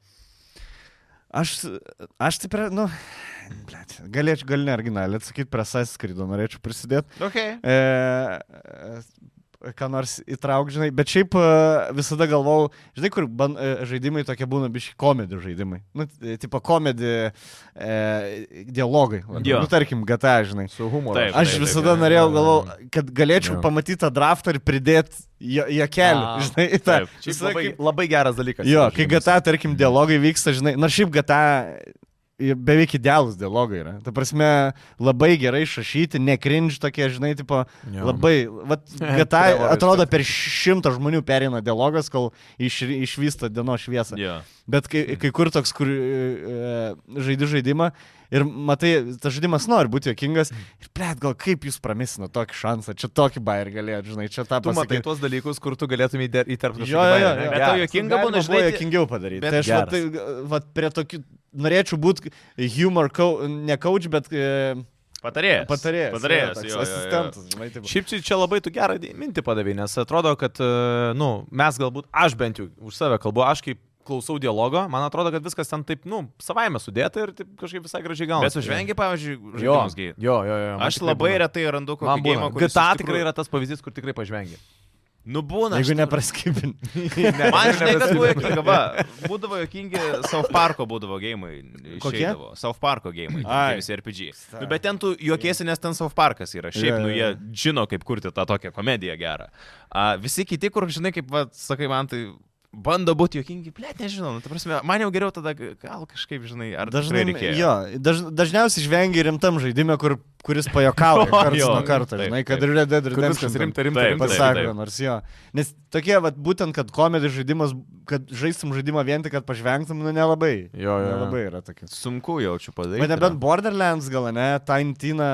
Aš, aš taip, yra, nu, blėt, galėčiau, gal ne originaliai atsakyti, prie Saiskrido norėčiau prisidėti.
Okay.
E, e, ką nors įtrauk, žinai, bet šiaip e, visada galvau, žinai, kur ban, e, žaidimai tokie būna biški komedijų žaidimai. Nu, t- tipo komedijų e, dialogai. labiau.
Jo.
Nu, tarkim, GTA, žinai.
Su humoru.
Taip.
Aš visada norėjau, galvau, kad galėčiau
Jo.
pamatyti tą draftą ir pridėti jo kelią,
A,
žinai, į tą.
taip.
Šiaip
visada
labai,
kaip-
labai geras dalykas.
Jo,
yra
kai
žaidimas.
GTA, tarkim, dialogai vyksta, žinai, nors šiaip GTA i- beveik idealus dialogai yra. Ta prasme, labai gerai išrašyti, nekrinž tokie, žinai, tipo,
Jo.
labai, vat,
Trevor
GTA atrodo per šimtą žmonių perina dialogas, kol iš, išvysta dienos šviesą.
Jo.
Bet
Mhm.
kai, kai kur toks, kur e, žaidži žaidimą ir matai, tas žaidimas nori būti jokingas
Mhm.
ir, blėt, gal kaip jūs pramisino tokį šansą, čia tokį bairį galėt, žinai, čia tą
Tu matai
pasakyti.
tuos dalykus, kur tu galėtum įder- įterpti
Jo, jo, jo.
Bet tau
jo.
juokinga būna,
Galima buvo
žinai, ti-
juokingiau padaryti.
bet
Tai aš
geras.
vat, vat prie tokių, norėčiau būti humor, kau, ne coach, bet e,
patarėjas.
patarėjas.
Patarėjas, jo,
jo, toks
jo, jo.
Asistentas, žinai, tai taip.
Šiaip čia, čia labai tu gerą mintį padavai, nes atrodo, kad, e, nu, mes galbūt, aš bent jau už save kalbu, aš kaip klausau dialogo, man atrodo, kad viskas ten taip, nu, savaime sudėta ir taip kažkaip visai gražiai gaunasi.
Bet sužvengi, pavyzdžiui,
Jo,
žaidimus gėjai.
jo, jo, jo. man
Aš
tikrai
labai
būna.
retai randu kokį
Man
gėjimą,
būna.
kuris... iš
GTA
tikrųjų-
tikrai yra tas pavyzdys, kur tikrai pažvengi.
Nu būna.
Jeigu
aš-
nepraskipin.
ne,
Man žinai, kas
aš nebesu-
buvo juokinga, va, būdavo juokingi South Parko būdavo gėjimai.
Kokie?
South Parko gėjimai,
Ai.
visi RPG. Nu, bet ten tu juokiesi, nes ten South Parkas yra. Šiaip,
Jo,
nu,
jo,
jie žino, kaip kurti tą tokią komediją gerą. A, visi kiti, kur, žinai, kaip, va, sakai, man tai... Bando būti juokingi, blėt, nežinau, nu, ta prasme, man jau geriau tada gal kažkaip, žinai, ar
Dažnai,
dažnai reikėjo.
jo, daž, dažniausiai žvengi rimtam žaidimė, kur, kuris pajokauja
Jo,
karts
jo,
nuo karto,
taip,
žinai, kad
taip.
ir Red Dead
Kur Viskas
Redemption ten
rimta, rimta,
Taip,
rimta.
taip.
pasako, nors jo. Nes tokie, vat, būtent, kad komedijos žaidimas, kad žaistum žaidimą vien tik, kad pažvengtum, nu nelabai.
Jo, jo, jo.
Nelabai yra tokia.
Sunku jaučiu padaryti.
Bet nebent Borderlands gal, ne, Taintina.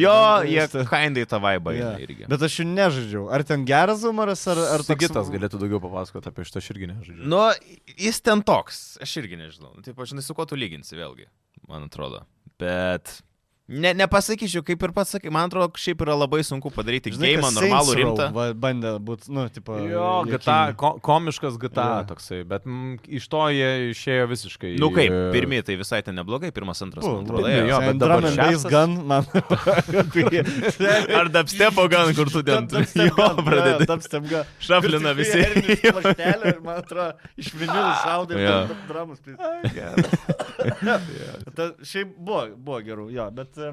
Jo, jie kindai tą vaibą yeah. irgi.
Bet aš jų nežaidžiau. Ar ten geras humoras, ar, ar toks-
Sigitas galėtų daugiau papasakoti apie šitą, aš irgi nežaidžiu.
Nu, jis ten toks, aš irgi nežinau. Nu, Taip, aš žinai, su kuo tu lyginsi vėlgi, man atrodo. Bet ne, nepasakyčiau, kaip ir pats sakai, man atrodo, šiaip yra labai sunku padaryti
Žinai,
gėjimą
kas
normalų
Saints Row
rimtą.
va- Bandė būti, nu, tipo.
Jo,
juokingi.
GTA, ko, komiškas GTA
Jo.
toksai, bet mm, iš to jie išėjo visiškai.
Nu kaip,
e,
pirmieji tai visai ten neblogai, pirmas, antras,
Nu,
man atrodo.
pirmi,
ėjo.
jo.
Ten
bet dabar
Drum and Bass
šeštas-
Gun, man.
Ar dapstepo gan, kur tu ten jo pradedi.
Tapstam gun.
Šaflina visi.
Plaktelė, ir, man atrodo, iš vinilų šaudė ir
Jo.
ten dramus. plis- Ta, šiaip buvo, buvo gerų, jo, bet. e,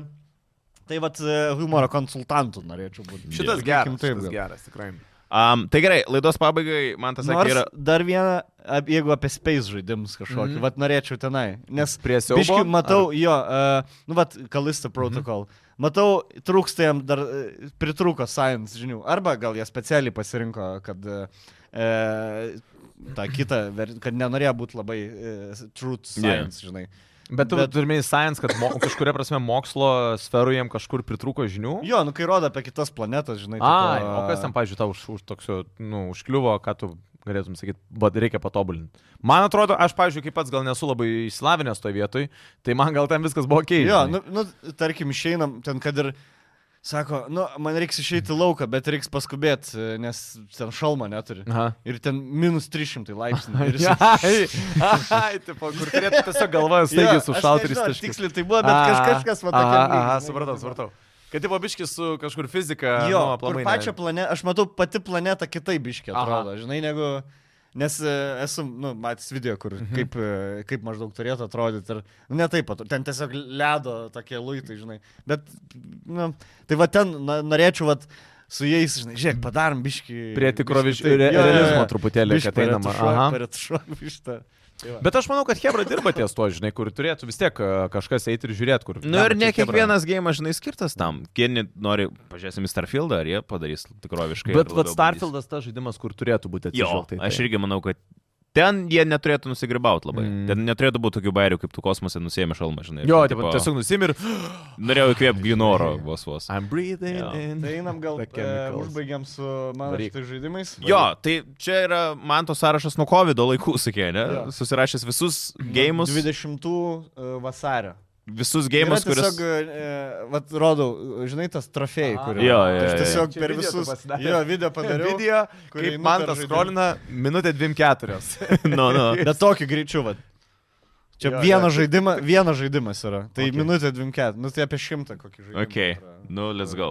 Tai vad humoro konsultantų norėčiau būti.
Šitas
Sakykim
geras,
taip
šitas
gal.
geras, tikrai.
Um, tai gerai, laidos pabaigai, man tas sakė,
Nors
yra...
dar vieną, ap- jeigu apie space žaidimus kažkokį, mm -hmm. vat norėčiau tenai. Nes
Prie siaubo, Mhm.
biškį matau, ar... jo, uh, nu vat, Kalista protokol. Mm -hmm. Matau, trūksta jam dar, e, pritrūko science žinių. Arba gal jie specialiai pasirinko, kad e, e, tą kitą, ver- kad nenorėjo būti labai e, truth
Yeah.
science, yeah. žinai.
Bet tu
Bet-
turime į science, kad mo, kažkuria prasme mokslo sferų jiem kažkur pritrūko žinių.
Jo, nu kai rodo apie kitas planetas, žinai.
Ai,
tipo, e,
o kas ten, pažiūrėjau, tau už, už toksio, nu, užkliuvo, ką tu galėtum sakyti, bet reikia patobulinti. Man atrodo, aš, pažiūrėjau, kaip pats gal nesu labai išsilavinęs to vietoj, tai man gal ten viskas buvo keista.
Jo, nu, nu, tarkim, išeinam ten, kad ir sako, nu, man reiks išeiti į lauką, bet reiks paskubėti, e, nes ten šalmo neturi.
Aha.
Ir ten minus 300 laipsnių. Ir jis-
Ai, ai, tipo, kur turėtų tiesiog galvoje
Jo,
staigiai
aš
sušalti ir
nežinau, ar
ištaškyti.
Tiksliai tai buvo, bet kaž- kažkas tai va tokia.
Aha, supratau, supratau. Kad tipo biškis su kažkur fizika.
Jo,
nu,
kur
aplamai ne-
pačią planetą, aš matau pati planetą kitaip biškiai
Aha.
atrodo, žinai, negu... Nes e, esu, nu, matęs video, kur
Mhm.
kaip, e, kaip maždaug turėtų atrodyti ir nu, ne taip, atro- ten tiesiog ledo tokie luitai, žinai. Bet, nu, tai va ten na, norėčiau, va, su jais, žinai, žiūrėk, padarom biški.
Prie tikroviš- re- realizmo truputėlį, kad einama, aha.
Aha.
Bet aš manau, kad Hebra dirba ties to, žinai, kur turėtų vis tiek e, kažkas eiti ir žiūrėti, kur.
Nu ir
bet
ne
čia Chebra-
kiekvienas gėjimas, žinai, skirtas tam. Kieni nori, pažiūrėsim į Starfieldą, ar jie padarys tikroviškai. ir
Bet
labiau
vat,
bandys.
Starfieldas tas žaidimas, kur turėtų būti
Jo,
atsižvelgta. į tai.
aš irgi manau, kad ten jie neturėtų nusigribauti labai.
Mm.
Mm. Ten neturėtų būti tokių bairių, kaip tu kosmose nusėmė šalmą, žinai.
Jo,
Kad,
tipo,
tipo,
tiesiog nusimir.
Norėjau įkvėpti gynoro vos vos.
I'm breathing
Jo.
in.
Tai einam gal,
The
e,
chemicals.
užbaigiam su mano
Varyk.
šitais žaidimais.
Jo, tai čia yra man to sąrašas nuo COVID laikų, sakė, ne?
Jo. Nu,
Susirašęs visus gėjimus,
20 e, vasario.
visus
Gėjimas,
gėjimus,
kuris...
kuris...
Tiesiog, e, vat, rodau, žinai, tas trofėjai,
Aha.
kur...
Jo, jo,
Aš
jo,
tiesiog
jo.
per
Čia video tu
visus...
pasidarei.
Jo, video padariau.
Video,
kur
kaip
einu
man
per
tas
žaidimą.
skrolina, minutė 24.
No, no.
Bet tokiu greičiu, vad. Čia
Jo,
jo,
jo.
vienas, jo. Žaidima, vienas žaidimas yra. Tai
Okay.
okay. minutė 24, nu tai apie šimtą kokį žaidimą.
Ok,
yra.
nu, let's go.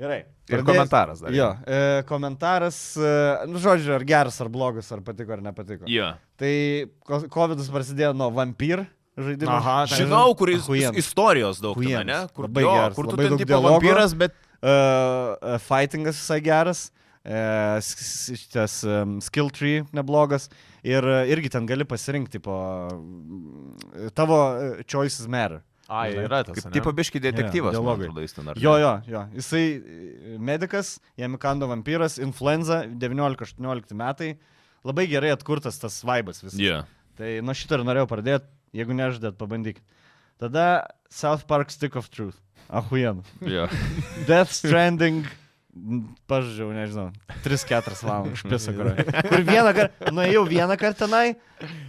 Gerai.
Ir komentaras dar.
Jo, e, komentaras, e, nu, žodžiu, ar geras, ar blogas, ar patiko, ar nepatiko.
Jo.
Tai ko- COVID prasidėjo nuo Vampyr žaidimo.
Aha, ten-
Žinau, kuris
Huijens.
istorijos daug, tame,
Huijens.
ne? Kur,
Labai
jo,
geras,
kur tu
labai
ten
daug
tipo
dialogo.
vampyras, bet...
Uh, fightingas visai geras, uh, šitas um, skill tree neblogas ir uh, irgi ten gali pasirinkti po mm, tavo uh, choices matter.
Ai,
Žinai,
yra tas.
Kaip tipo biški detektyvas, man
dialogai.
atrodo, jis ten ar ne?
Jo, jo, jo. Jisai e, medikas, jam įkando vampyras, influenza, 19-18 metai. Labai gerai atkurtas tas vaibas visas.
Jo.
Tai nuo šito ir norėjau pradėti, jeigu nežadėt, pabandykit. Tada South Park Stick of Truth. Ahujen.
Jo.
Death Stranding. n- Pažiūrėjau, nežinau, 3-4 valandas špisa, kur. Kur vieną kartą, nuėjau vieną kartą tenai,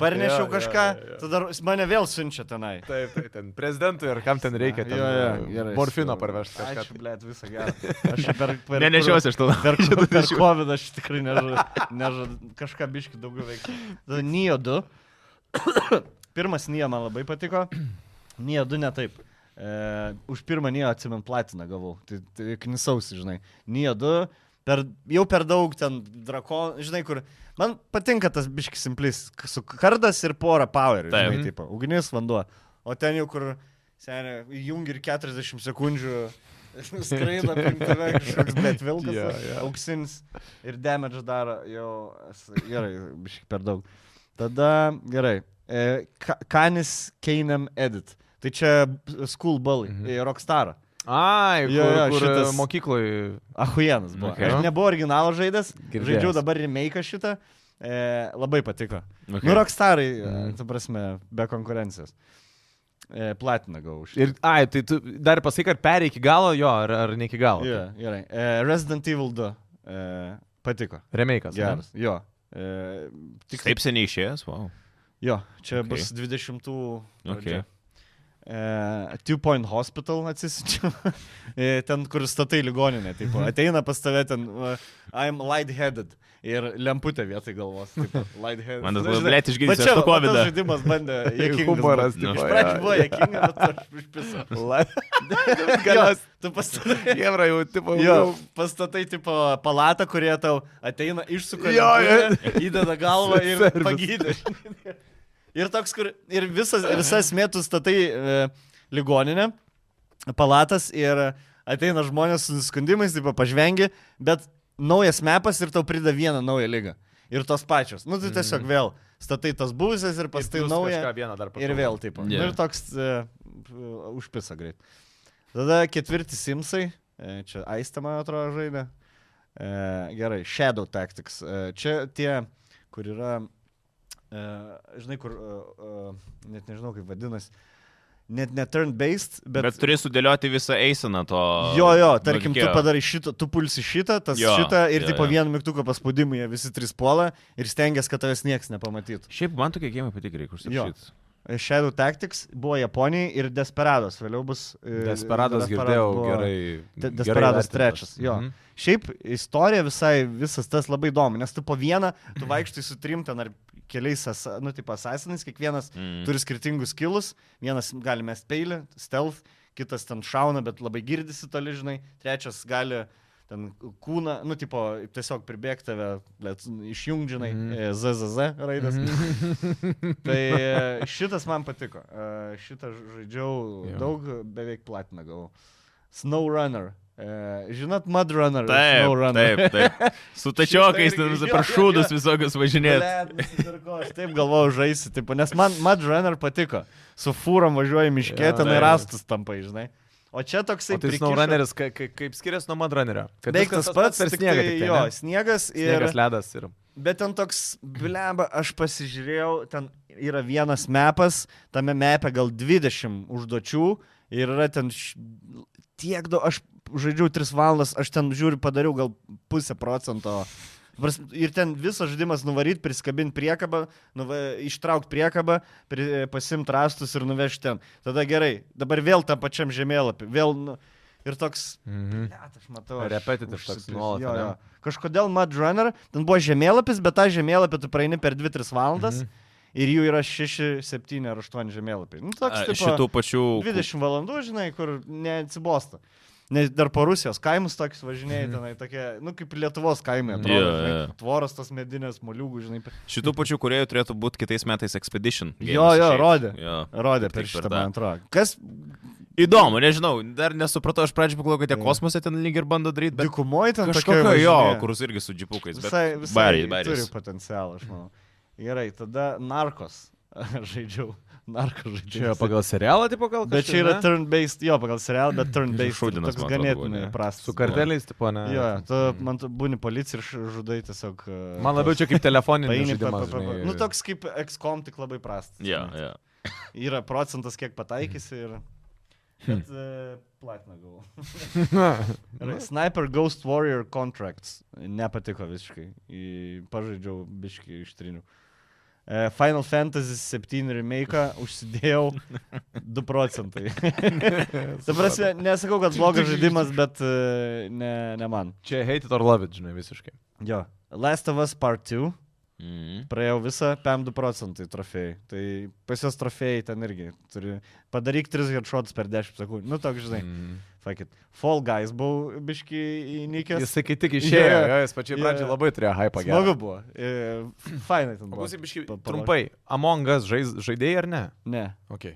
parnešiau
Jo, jo,
kažką,
jo, jo.
tada mane vėl siunčia tenai.
Taip, taip, ten prezidentui ar kam ten reikia. Ten, e,
Jo, jo, gerai,
morfino
su-
parvežti kažką.
Ačiū, blėt, visą gerą. Aš čia per... per
Nenešiuosi aš to.
Per, per, per COVID aš tikrai nežadu, nežadu kažką biški daugiau veikti. Tada Nijo 2. Pirmas Nijo man labai patiko. Nijo 2 ne taip. E, už pirmą Nijo atsimint platiną gavau. Tai, tai knisausi, žinai. Nijo 2. Per, jau per daug ten drakonų, žinai, kur. Man patinka tas biškis simplis, k- su kardas ir pora power,
Taip.
žinai, tipo, ugnis, vanduo. O ten jau kur, seniai, jungi ir 40 sekundžių, skraido aplink tave kažkoks, bet vilkas
Jo,
yeah,
jo.
yeah. auksinis ir damage daro jau, es- gerai, biškai per daug. Tada, gerai, e, Ka- Kanis Keinem Edit. Tai čia School Bully,
Mhm.
mm -hmm. Rockstar.
Ai,
Jo, jo,
kur, kur
šitas-
mokykloj.
Ahuienas buvo.
Okay.
Okay. Aš nebuvau originalo žaidęs,
Girdėjęs.
žaidžiau dabar remake šitą, e, labai patiko.
Okay.
Okay. Nu, Rockstarai,
Mhm.
mm. tu prasme, be konkurencijos. E, platina gavau šitą.
Ir, ai, tai tu dar pasakyk, ar perėjai iki galo jo, ar, ar ne iki galo.
Jo, gerai. E, Resident Evil 2 e, patiko.
Remeikas.
Geras. Jo. E,
Tik taip seniai išėjęs, wow.
Jo, čia
Okay.
okay. bus 20.
Okay.
Okay. Uh, Two Point Hospital atsisičiau. E, ten, kur statai ligoninę. Tipo,
Mhm.
ateina pas tave ten, uh, I'm light-headed. Ir lemputė vietoj galvos. Tipo, light-headed.
Man tas
Nu,
buvo,
žinai,
blet, išgydysiu
va čia
aš nuo
va tas
COVID-o.
Žaidimas bandė. juokingas būt.
Humoras,
Nu,
tipo,
Iš
jo.
pradžių buvo jėkinga, bet aš išpisau.
Galas.
Tu pastatai.
Jevra jau, tipo,
Jo, pastatai tipo palatą, kurie tau ateina išsuka,
Jo,
lemputę, įdeda galvą ir
Servis.
pagydė. Ir toks, kur ir visas, visas metus statai e, ligoninę, palatas ir ateina žmonės su nusiskundimais, taip pažvengi, bet naujas mepas ir tau prideda vieną naują lygą. Ir tos pačios. Nu, tai tiesiog vėl statai tas buvusias ir pastatai naują. Ir vėl taip.
Jo.
Yeah. Ir toks uh, užpisa greit. Tada ketvirti Simsai. E, Čia Aista, man atrodo, žaidė. E, gerai, Shadow Tactics. E, čia tie, kur yra, e, žinai, kur, e, e, net nežinau kaip vadinasi, net ne turn-based,
Bet,
bet...
bet turi sudėlioti visą eiseną to.
Jo, jo, tarkim, tu
veikėjo.
padarai šitą, tu pulsi šitą, tas
Jo,
šitą ir
jo,
tik po
jo.
vieną mygtuką paspaudimą jie visi trys puola ir stengiasi, kad tavęs niekas nepamatytų.
Šiaip man tokie gėjimai patikė, reikia
Jo.
užsirašyti.
Shadow Tactics buvo Japonijai ir Desperados, vėliau bus. e,
Desperadas girdėjau
buvo-
gerai.
Te-
gerai
Desperados
vertintas.
trečias. Jo.
Mhm.
Šiaip istorija visai, visas tas labai įdomu, nes tu po vieną, tu vaikštai su trim ten ar keliais, asa- nu, tipo asasinais, kiekvienas
Mhm.
Mm.
turi skirtingus kilus, vienas gali mest peilį, stealth, kitas ten šauna, bet labai girdisi toli, žinai, trečias gali ten kūną, nu, tipo, tiesiog pribėgti tave, išjungdžinai,
Mhm.
mm. ZZZ raidės. Mm. Tai e, šitas man patiko. E, Šitą ž- žaidžiau
Jo.
jo. daug, beveik platiną gavau. SnowRunner. E, Žinot, MudRunner.
Taip,
SnowRunner.
taip, taip. Su tačiokais, ten
Šitą tai irgi-
visi
jo,
per
jo,
šūdus
jo.
visokius važinėti.
Blet, nusipirkau, Aš taip galvojau žaisti, tipo, nes man MudRunner patiko. Su fūrom važiuoji miške,
Jo,
ten ir
taip.
rastus tampai, žinai. O čia toksai...
O tai
prikišo-
snowrunneris, ka- ka- kaip skiriasi nuo madrunnerio?
Beveik tas pats,
per
tik
sniegą.
tai
tik tai,
Jo,
ne?
sniegas ir...
Sniegas, ledas ir...
Bet ten toks, bleba, aš pasižiūrėjau, ten yra vienas mepas, tame mepe gal 20 užduočių ir yra ten š... tiek daug, aš žaidžiau 3 valandas, aš ten žiūriu, padariau gal pusę procento. Pras- Ir ten visas žaidimas nuvaryti, priskabinti priekabą, nuva, ištraukti priekabą, pri, pasimti rastus ir nuvežti ten. Tada gerai, dabar vėl tam pačiam žemėlapį, vėl... Nu, ir toks
Mhm.
Net, aš matau. aš
Repetitive toks
užsipils-
nuolat,
jo,
ane?
jo. Kažkodėl Mad Runner, ten buvo žemėlapis, bet tą žemėlapį tu praeini per 2-3 valandas
Mhm.
mm -hmm. ir jų yra 6, 7 ar 8 žemėlapiai. Nu, toks,
A,
tipo,
Šitų pačių.
20 valandų, žinai, kur neatsibosta. Nes dar po Rusijos kaimus toks važinėjai tenai, tokie, nu kaip Lietuvos kaimai, atrodo.
Mhm. Jo,
žinai,
jo.
Tvoros tas medinės, moliūgų, žinai. pe-
Šitų pačių kuriejų turėtų būti kitais metais Expedition.
Jo,
games
jo,
išeit.
rodė.
Jo.
Rodė per
Tik per
šitą,
tą.
man atrodo. Kas
Įdomu, nežinau, dar nesupratau, aš pradžioje pagalvojau, kad tie kosmose ten lyg ir bando daryti, bet...
dykumoje ten
Kažkokio
tokie
jo,
važinėja?
kurus irgi su džipukais. bet
Visai, visai
Baris,
turi
baris.
potencialą, aš manau. Gerai, tada narkos. žaidžiau. Narkos
Čia
žaidžiau.
yra pagal serialą, tipo gal kažkas.
Bet čia yra
ne?
turn-based, jo, pagal serialą, bet turn-based.
Šūdinas, man
toks
atrodo, buvo,
ganėtinai
ne? Mm.
prastas.
Su karteliais, tipo, ne.
Jo, tu, man tu būni policija ir š- žudai tiesiog. e,
Man labiau
tuos-
čia kaip telefoninis
paeini, pa- pa-
žaidimas.
pa- pa-
žinai.
Nu, toks kaip XCOM, tik labai prastas.
Jo,
žinai.
jo.
Yra procentas, kiek pataikysi ir... Bet e, platina gavau. Gerai, Sniper Ghost Warrior Contracts. Nepatiko visiškai. Į- Pažaidžiau biški iš trinių. E, Final Fantasy 7 remake užsidėjau 2 procentai. Ta prasme, nesakau, kad blogas žaidimas, bet e, ne, ne man.
Čia hate it or love it, žinai, visiškai.
Jo. Last of Us Part 2.
Mhm.
Praėjau visą PM2 procentai trofėjai. Tai pas jos trofėjai ten irgi turi. Padaryk 3 headshots per 10 sekundžių. Nu, toks, žinai.
Mm.
Fakit. Fall guys buvau biški įnikęs.
Jisai kai tik
Jo,
išėjo,
jo.
jo, jis pačiai
Jo,
pradžioje
jo.
labai turėjo hype
Smagu buvo. E, Fainai ten buvo.
Paklausyk, biškai,
Pa- paro-
trumpai. Among Us žais, žaidėjai ar ne?
Ne.
Ok.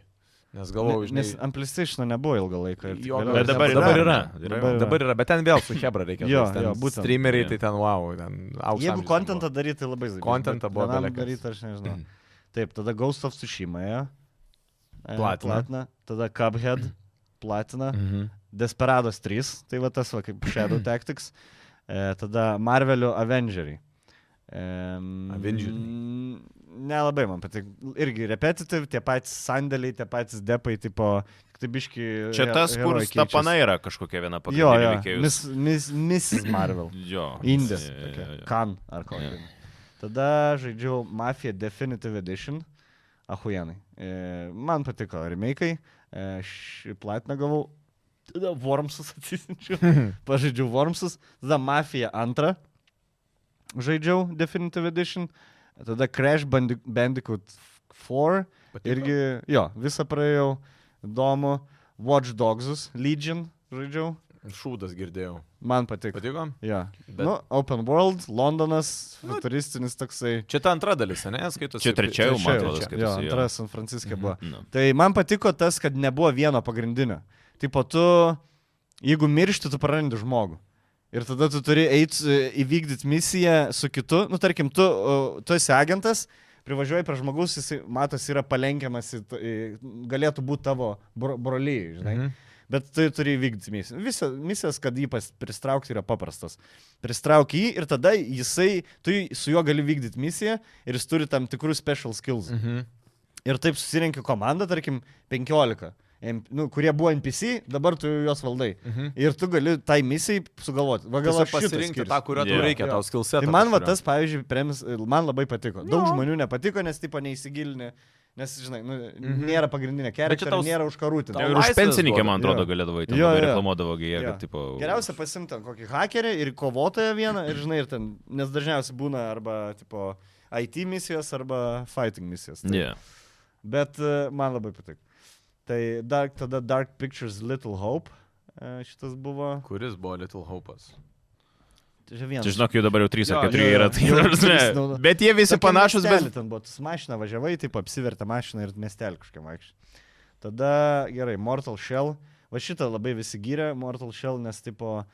Nes
Galvau,
galvoju, žinai.
nes Amplistišno nebuvo ilgą laiką. ir tik
Jo,
vėliau-
Bet dabar
dabar
yra.
Tai yra.
Yra.
Dabar-
Dabar yra, bet ten vėl su Hebra reikia.
Jo,
žaist, ten
jo, būtent.
Streameriai,
Jo.
tai ten wow, ten aukštas.
Jeigu kontentą daryti, tai labai zaibi.
Kontentą buvo belekas. Mhm.
daryti, aš nežinau. Taip, tada Ghost of Tsushima. ėjo. E,
Platina.
Platina. Tada Cuphead. Platina.
Mhm.
Desperados 3, tai va tas va kaip Shadow Tactics, e, tada Marvelio Avengeriai. Um,
Avengeriai.
Nelabai man patinka. Irgi repetitive, tie patys sandėliai, tie patys depai, tipo, tik tai biški.
Čia
he-
tas, kur
herojai keičiasi.
stapana yra kažkokia viena
Jo, jo,
pagrindinė veikėjų.
mis, mis, Mrs. Marvel.
Jo.
Indės.
Jo, jo, jo, jo.
Kan ar
Jo.
kokia. Tada žaidžiau Mafia Definitive Edition. Ahujenai. E, man patiko remake'ai. E, aš platiną gavau. Tada Wormsus atsisinčiau. Pažaidžiau Wormsus. Tada Mafia 2. Žaidžiau Definitive Edition. Tada Crash Bandi- Bandicoot 4.
Patiko?
Irgi, jo, visą praėjau. Įdomu. Watch Dogs, Legion žaidžiau.
Šūdas girdėjau.
Man patiko.
Patiko?
Jo.
Bet-
Bet... Nu, Open World, Londonas,
Nu,
futuristinis toksai.
Čia ta antra dalis, ne? Skaitosi.
Čia trečia jau, man
Trečia
atrodo,
čia.
skaitosi,
Jo,
jo.
antra San Franciske buvo.
Nu.
Tai man patiko tas, kad nebuvo vieno pagrindinio. Tipo, tu, jeigu miršti, tu prarandi žmogų. Ir tada tu turi eiti įvykdyti misiją su kitu. Nu, tarkim, tu, o, tu esi agentas, privažiuoji prie žmogus, jis matos yra palenkiamas, į, t- į, galėtų būti tavo bro, brolyje, žinai. Mhm. Bet tu turi įvykdyti misiją. Visa, misijas, kad jį pas- pristraukti yra paprastas. Pristrauk jį ir tada jisai, tu jį- su juo gali vykdyti misiją ir jis turi tam tikrus special skills.
Mhm.
Ir taip susirenki komandą, tarkim, 15. em- Nu, kurie buvo NPC, dabar tu juos valdai.
Mhm.
Ir tu gali tai misijai sugalvoti. Va, gal
Gal
aš
aš
šitą
pasirinkti
skirsiu.
tą, kurio tau
Jo.
Jo.
reikia, tau skilsetą.
Tai man va
kažkurio.
tas, pavyzdžiui, premis, man labai patiko. Daug žmonių nepatiko, nes tipo neįsigilinė, nes, žinai, nu, nėra pagrindinė kelia,
Mhm. Bet čia tau s-
nėra užkarūtinė.
Tai
tau
ir už
laisvės
pensininkę,
duoda.
man atrodo,
Jo.
galėdavo įti.
Jo,
Ir
jo.
reklamuodavo gėją,
Jo.
kad, tipo...
Geriausia pasimti ten kokį hakerį ir kovotoją vieną, ir žinai, ir ten, nes dažniausiai būna arba tipo IT misijos, arba fighting misijos. Tai.
Ne.
Bet e, man labai patiko. Tai dark, tada Dark Pictures Little Hope. e, Šitas buvo. Tai
Kuris buvo Little Hope'as?
Čia vienas.
Čia žinok, jau dabar jau 3
Jo,
ar 4
jo,
yra.
jo.
tai
Jau
ta prasme,
trys naudo-
Bet jie visi panašus, bet...
Ten buvo, tu su mašina važiavai, taip apsivertė mašina ir miestelį kažkam vaikščiai. Tada, gerai, Mortal Shell. Va šitą labai visi gyrė, Mortal Shell, nes tipo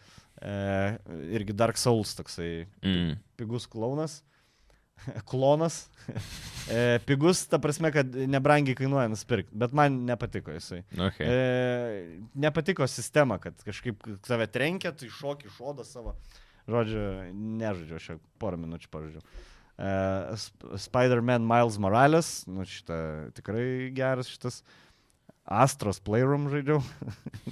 e, irgi Dark Souls toksai
Mm.
pigus klaunas. Klonas. E, pigus, ta prasme, kad nebrangiai kainuoja nusipirkti, bet man nepatiko jisai.
Okay.
E, nepatiko sistema, kad kažkaip tave trenkia, tai šoki šodą savo. Žodžiu, nežaidžiu, aš jau porą minučių pažaidžiu. E, Sp- Spider-Man Miles Morales, nu šitą tikrai geras šitas. Astros Playroom žaidžiau,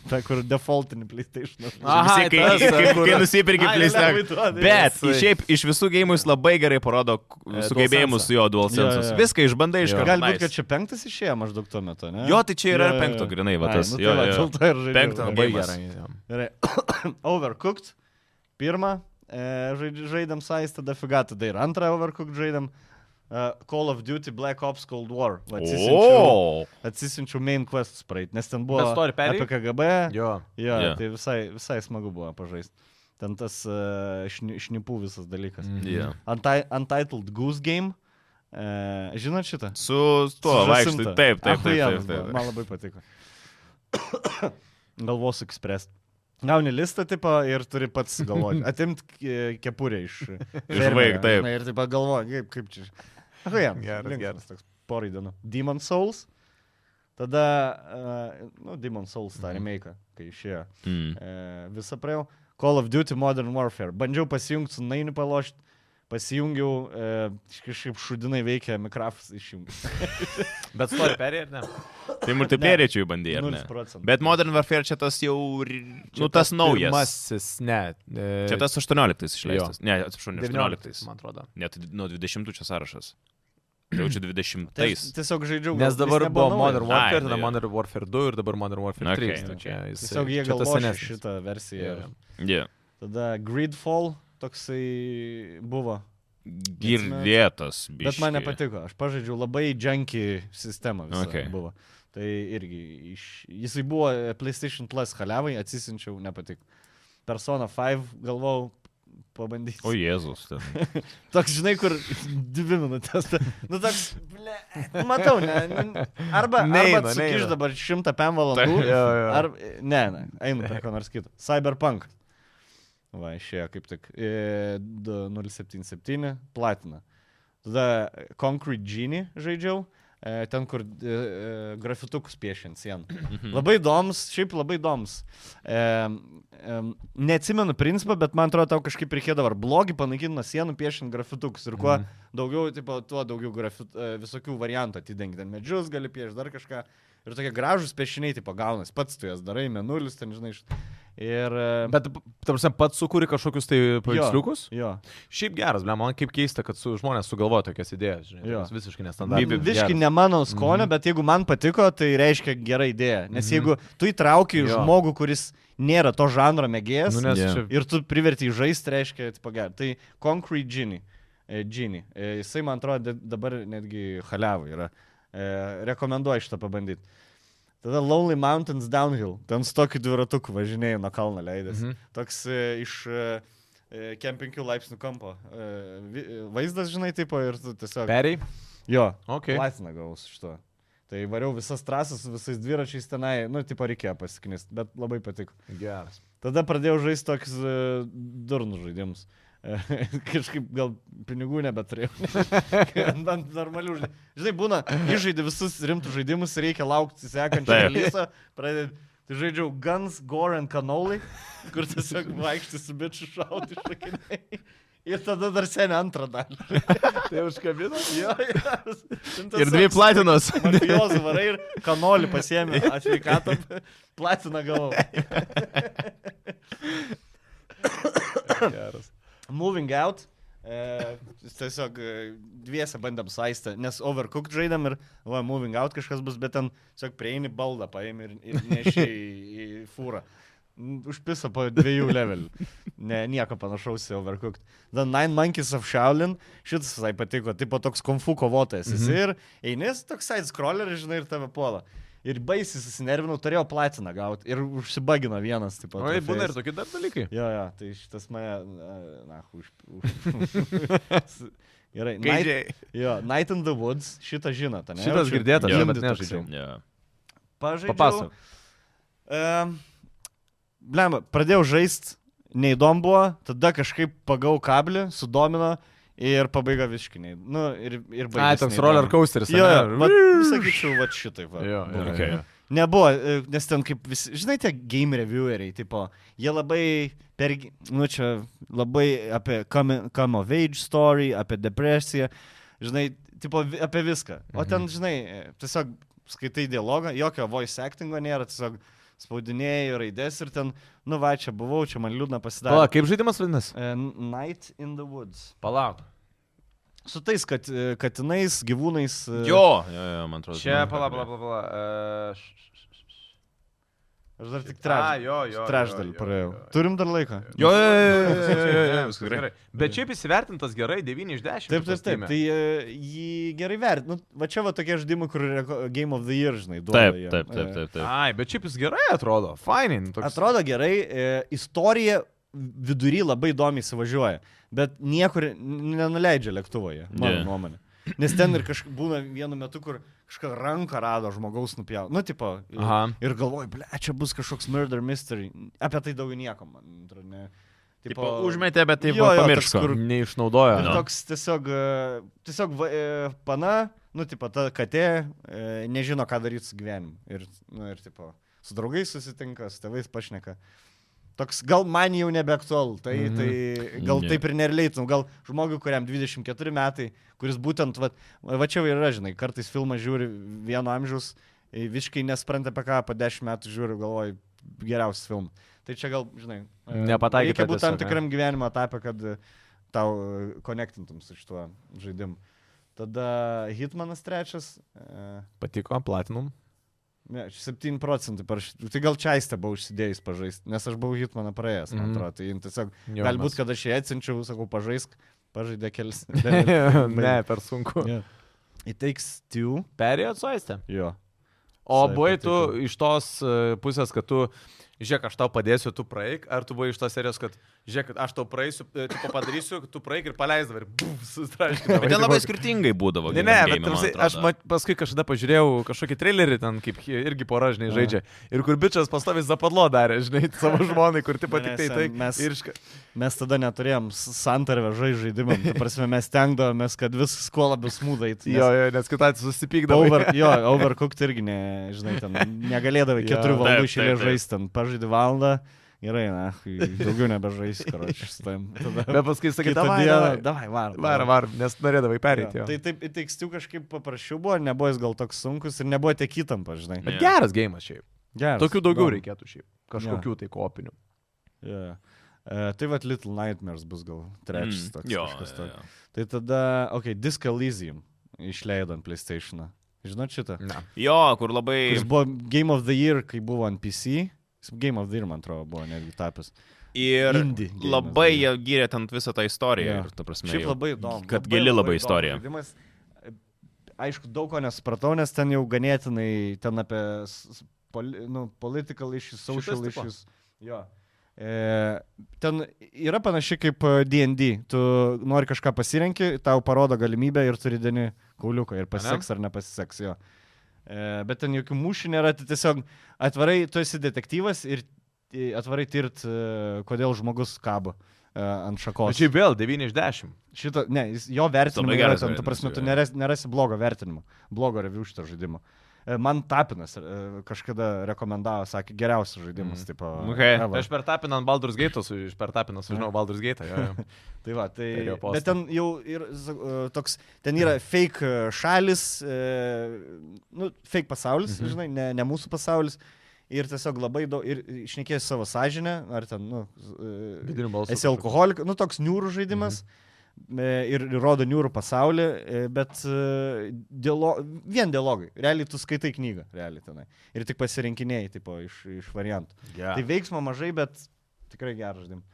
ta kur defaultinį PlayStation.
Aha,
Visi, kai,
tas,
kai, kai,
kur-
kai nusipirki
Ai, lengvai
plėsnę.
duoda,
Bet
jisai.
šiaip iš visų gėjimų jis labai gerai parodo k-
E,
sugebėjimus
DualSense'ą.
su jo DualSense'us.
Jo, jo.
Viską išbandai iš
Jo.
karto.
Galbūt, kad
nice.
čia penktas išėjo maždaug tuo metu, ne?
Jo, tai čia yra
Jo,
ir
jo,
penkto
jo.
grinai, va
Ai,
tas.
nu tai
Jo,
va,
jo.
dėl to ir žaidžiau.
Penktą
Labai
Gėjimas.
gerai. jo.
Gerai. overcooked. Pirmą e, žaid- žaidėm Sais, tada Figata, tada ir antrą Overcooked žaidėm. uh, Call of Duty Black Ops Cold War. Va, Atsisinčiau,
O,
atsisinčiau main questus praeit, nes ten
Bet
buvo
story perėjai?
apie KGB.
Jo.
Jo,
Jo.
yeah. tai visai, visai smagu buvo pažaisti. Ten tas uh, šni, šnipų visas dalykas.
Mhm.
Mm.
jo.
Unti Untitled Goose Game. Uh, žinot šitą?
Su tuo
Su
vaikštai.
žąsinta.
Taip, taip, taip. taip, taip,
Achujenas buvo,
taip.
Man labai patiko. Galvos eksprest. Gauni listą tipo ir turi pats galvoti. Atimt ke- kepurę iš... fermerio,
vaiko, taip.
žinai, Ir taip galvoji, kaip, kaip čia. Ah, jam.
Geras, geras.
toks porai dienų. Demon Souls. Tada, uh, nu, Demon Souls
Mhm.
tą remake, kai išėjo.
Mm.
E, visą praėjau. Call of Duty Modern Warfare. Bandžiau pasijungti su Nainiu palošti, pasijungiau, e, kažkaip šudinai veikia mikrofas išjungti.
Bet stovi perėjai, ar ne?
Tai multiplėriai čia jų bandė, ar ne?
0 procentų.
Bet Modern Warfare čia tas jau, ri- nu tas naujas.
Masis, ne. e,
Čia tas 18 išleistas. Ne, atsiprašau, ne
19,
18.
man atrodo.
Net nuo 20 nu, čia sąrašas. Jau čia 20.
Tai aš tiesiog žaidžiau. gal
Nes
jis
dabar
nebuvo
buvo
naujas.
Modern Warfare,
Ai, nu
tada
jo.
Modern Warfare 2 ir dabar Modern Warfare
Okay,
3.
okay.
Tai čia jis-
Tiesiog jie
čia tas
galvoja
senesnis.
šitą versiją.
Jo,
Yeah.
jo.
Yeah.
Tada Gridfall toksai buvo.
Girdėtas.
Bet man nepatiko. Aš pažaidžiau labai junky sistemą.
Okay.
Okay. Buvo. Tai irgi iš... Jisai buvo e, PlayStation Plus halevai, atsisinčiau, nepatiko. Persona 5 galvau pabandyti.
O Jėzus. ten.
Toks, žinai, kur dvi minutės. ta- Nu, toks, ble, matau, ne, ne, arba,
Neina,
arba atsakyš
neina.
dabar šimtą pem
Jo,
valandų.
jo.
Ar, ne, ne, einu per ką nors kitą. Cyberpunk. Va, išėjo kaip tik e, du- 077 platina. Tada Concrete Genie žaidžiau. e, Ten, kur e, e, grafitukus piešint sieną. Labai įdomus, šiaip labai įdomus. E, e, neatsimenu principą, bet man atrodo, tau kažkaip reikėdavo ar blogį panaikinti nuo sienų piešint grafitukus. Ir kuo daugiau, tipo, tuo daugiau grafit, e, visokių variantų atidengi. Ten medžius gali piešti, dar kažką. Ir tokie gražūs piešiniai, tipo, gaunas. Pats tu jas darai, menulis, ten, žinai, iš... Ir... e,
Bet, tam prasme, pats sukūri kažkokius tai paveiksliukus.
Jo.
Šiaip geras, ble, man kaip keista, kad su žmonės sugalvoja tokias idėjas, žinai,
Jo.
tokias visiškai
Vi-
nestandartinės.
Viški ne
Mhm.
mano skonio, mm -hmm. bet jeigu man patiko, tai reiškia gera idėja. Nes mm -hmm. jeigu tu įtrauki
Mhm. Jo.
žmogų, kuris nėra to žanro mėgėjas,
Nu,
nu,
nes
Jo.
čia...
ir tu priverti jį žaisti, reiškia, tipo gerai. Tai Concrete Genie. e, Genie. E, Jisai, man atrodo, da- dabar netgi haliavai yra. E, Rekomenduoju šitą pabandyti. Tada Lonely Mountains Downhill. Ten su tokiu dviratuku važinėjai nuo kalno leidęs.
Mhm.
Mm -hmm. Toks e, iš e, e, kem 5 laipsnių kampo. E, vi- e, Vaizdas, žinai, tipo ir tu tiesiog...
Perėjai?
Jo,
Okay.
Platina gaus iš to. Tai variau visas trasas su visais dviračiais tenai, nu, tipo reikėjo pasiknist, bet labai patiko.
Geras.
Tada pradėjau žaisti tokius uh, durnų žaidimus. Kažkaip gal pinigų nebeturėjau. Ant ant normalių žaidimų. Žinai, būna, įžaidė visus rimtus žaidimus, reikia laukti sekančio
Taip.
releaso. pradedi- Tai žaidžiau Guns, Gore and Canoli, kur tiesiog vaikščiai su bičiu šauti šakiniai. Ir tada dar seniai antrą dalį.
Tai užkabino?
Jo, jo.
Ir dvi platinos.
Mafiozų varai ir kanolį pasiemi, atveikatą platiną gavau.
Geras.
Moving out. E, tiesiog e, dviese bandėm saistę, nes overcooked žaidėm ir va, moving out kažkas bus, bet ten tiesiog prieini baldą, paimi ir, ir neši į, į fūrą. Užpisa po dviejų levelių. Ne, nieko panašaus į overcooked. The Nine Monkeys of Shaolin, šitas visai patiko, tipo toks konfu kovotojas. Jis
Mhm.
mm -hmm. ir einis toks side scrolleris, žinai, ir tave puola. Ir baisiai susinervinau, turėjau platiną gauti ir užsibagino vienas, tipo.
O, tai būna
trofėjus.
ir tokie dar dalykai.
Jo, jo, tai šitas mane, na, na už... už su- Gerai, Night,
Gaidžiai.
jo, Night in the Woods, šitą žinot, ne?
Šitas girdėtas,
Jo.
bet
Indie
nežaidžiau.
Yeah.
tai Pažaidžiau.
Papasakok.
Um, Blemba, pradėjau žaisti, neįdomu buvo, tada kažkaip pagau kablį, sudomino ir pabaiga viškiniai. Nu, ir, ir baigė.
Ai, toks roller coasteris.
Jo,
ane?
jo, va, sakyčiau, va šitaip. Va,
Jo,
buvo.
jo,
Okay.
jo.
Nebuvo, e, nes ten kaip visi, žinai, tie game revieweriai, tipo, jie labai, per, nu čia, labai apie come, come of age story, apie depresiją, žinai, tipo, vi- apie viską.
Mhm.
O ten, žinai, e, tiesiog skaitai dialogą, jokio voice actingo nėra, tiesiog spaudinėjai raidės ir ten, nu va, čia buvau, čia man liūdna
Pala,
pasidarė.
kaip žaidimas vadinasi?
E, Night in the Woods.
Palauk.
Su tais kat, e, katinais, gyvūnais. e,
Jo, jo, jo, man atrodo. žinau, ką kalbėjai.
pala.
Aš dar tik
A,
trečdalį.
jo, jo.
Trečdalį praėjau.
Tu...
Turim dar laiko.
Jo, jo, jo, jo, jo, jo, jo,
Viskas
viskas gerai.
gerai. Bet šiaip įsivertintas gerai, 9 iš 10.
Taip, taip, taip. Tai e, jį gerai vertinu. Nu, va čia va tokie žaidimai, kur reko- Game of the Year, žinai, duoda.
Taip,
jiem.
taip, taip, taip. taip.
Ai, bet šiaip jis gerai atrodo. Fainai. nu
E,
Toks...
Atrodo gerai, e, istorija vidury labai įdomiai įsivažiuoja, bet niekur n- nenuleidžia lėktuvoje, mano
Ne.
yeah. nuomonė. Nes ten ir kažkaip būna vienu metu, kur kažką ranką rado žmogaus nupjauti. Nu, tipo, e,
Aha.
ir galvoju, ble, čia bus kažkoks murder mystery. Apie tai daugiau nieko, man atrodo, ne.
Tipo, užmetė, bet taip
Jo, jo, toks,
pamirško.
kur-
Neišnaudojo.
Ir
Jo.
toks tiesiog, e, tiesiog va- e, pana, nu, tipo, ta katė e, nežino, ką daryti su gyvenimu. Ir, nu, ir, tipo, su draugais susitinka, su tėvais pašneka. Toks gal man jau nebeaktual, tai, mm
Mhm.
-hmm. tai gal
Ne.
yeah. taip ir nereleitum, gal žmogui, kuriam 24 metai, kuris būtent, va, va čia jau yra, žinai, kartais filmą žiūri vieno amžiaus, e, visiškai nespranta apie ką, po 10 metų žiūriu, galvoju, geriausias filmas. Tai čia gal, žinai, e,
Nepataikyta
Reikia būti tam
tiesiog, ne?
tikram gyvenimo etape, kad e, tau e, konektintum su šituo žaidimu. Tada Hitmanas trečias. e,
Patiko, platinum.
Ne, čia 7 procentai. paraš- Tai gal čia aistę buvau užsidėjęs pažaisti, nes aš buvau Hitmaną praėjęs, man
Mhm.
atrodo. Tai jin tiesiog,
Jo,
galbūt, kad aš jai atsinčiau, sakau, pažaisk, pažaidė kelias.
ne, per sunku.
Jo. It takes two.
Perėjo suaistę.
Jo.
O
Visai
buvai tu
patiko.
iš tos e, pusės, kad tu, žiūrėk, aš tau padėsiu, tu praeik, ar tu buvai iš tos serijos, kad, žiūrėk, aš tau praeisiu, e, tipo padarysiu, tu praeik ir paleisdavai ir buf, sustraškydavai.
Bet ten labai skirtingai būdavo.
Ne, ne,
Game Game'e,
bet
man
tarsi, aš
atrodo.
mat, paskui kažkada pažiūrėjau kažkokį trailerį ten, kaip hi- irgi pora, žinai, žaidžia. Ir kur bičias pastovis zapadlo darė, žinai, savo žmonai, kur tipo tik tai
Mes-
tai.
mes-
ir iška-
Mes tada neturėjom s- santarvę žai žaidimam. Tai prasme, mes tengdavomės, kad vis kuo labiau smūdai.
Jo, jo, nes kitą susipykdavo.
Over, jo, overcooked irgi, ne, žinai, ten negalėdavai
Jo.
keturių
Taip,
valandų išėlės
taip, taip.
žaisti, ten pažaidai valandą, gerai, na, daugiau nebežaisi, karoči, su tam. Tada
Bet paskui sakai,
kitą
davai,
dieną,
davai,
davai, var.
Var, var, nes norėdavai perėti.
Jo.
jo.
Tai taip, įteikstių kažkaip paprasčiau buvo, nebuvo jis gal toks sunkus ir nebuvo tiek įtampa, žinai.
Ne.
Bet geras gėjimas šiaip.
Geras.
Tokių daugiau
įdomu.
reikėtų šiaip. Kažkokių tai kopinių.
Jo. E, tai vad Little Nightmares bus gal trečias
Mm,
toks.
Jo,
kažkas
jo,
tokio.
jo.
Tai tada, okei, okay, Disc Elysium išleido ant PlayStation. Žinot šitą?
Na.
jo, kur labai...
Jis buvo Game of the Year, kai buvo ant PC. Jis Game of the Year, man atrodo, buvo netgi tapęs.
Ir
Indie gėjimas
labai
buvo.
jie gyrė ten visą tą istoriją.
Jo.
Ir, ta prasme,
Šiaip
jau-
labai įdomu.
Kad gili labai istorija.
žaidimas. Aišku, daug ko nesupratau, nes ten jau ganėtinai ten apie s- s- poli, nu, political issues, social
tipo?
issues. Jo. E, ten yra panašiai kaip e, DND. Tu nori kažką pasirenki, tau parodo galimybę ir turi deni kauliuką ir pasiseks ar nepasiseks jo. E, bet ten jokių mūšių nėra, tai tiesiog atvarai, tu esi detektyvas ir e, atvarai tirt, e, kodėl žmogus kabo e, ant
O
šakos.
čia vėl 9 iš 10.
Šito, ne, jis, jo vertinimas
Labai
yra
geras
ten, tu
vertinimas,
prasme,
jo,
tu
jo.
nerasi, nerasi blogo vertinimo, blogo review šito žaidimo. E, Man Tapinas e, kažkada rekomendavo, sakė, geriausias
Mhm.
žaidimas, mm. tipo.
Okay.
ever.
Aš per tapiną ant Baldur's Gate, aš per tapiną sužinau Baldur's Gate. Jo, jo.
Tai va, tai.
Ir jo postą.
Bet ten jau ir za- e, toks, ten yra fake e, šalis, e, nu, fake pasaulis,
Mhm.
mm -hmm. žinai, ne, ne mūsų pasaulis. Ir tiesiog labai daug, ir išnekėjai savo sąžinę, ar ten, nu, e,
Vidiniu balsu.
Esi alkoholikas, nu toks niūrų žaidimas.
Mhm.
e, Ir ir rodo niūrų pasaulį, e, bet e, dialo, vien dialogai. Realiai tu skaitai knygą, realiai tenai. Ir tik pasirinkinėjai, tipo, iš, iš variantų.
Yeah.
Tai veiksmo mažai, bet tikrai geras žaidimas.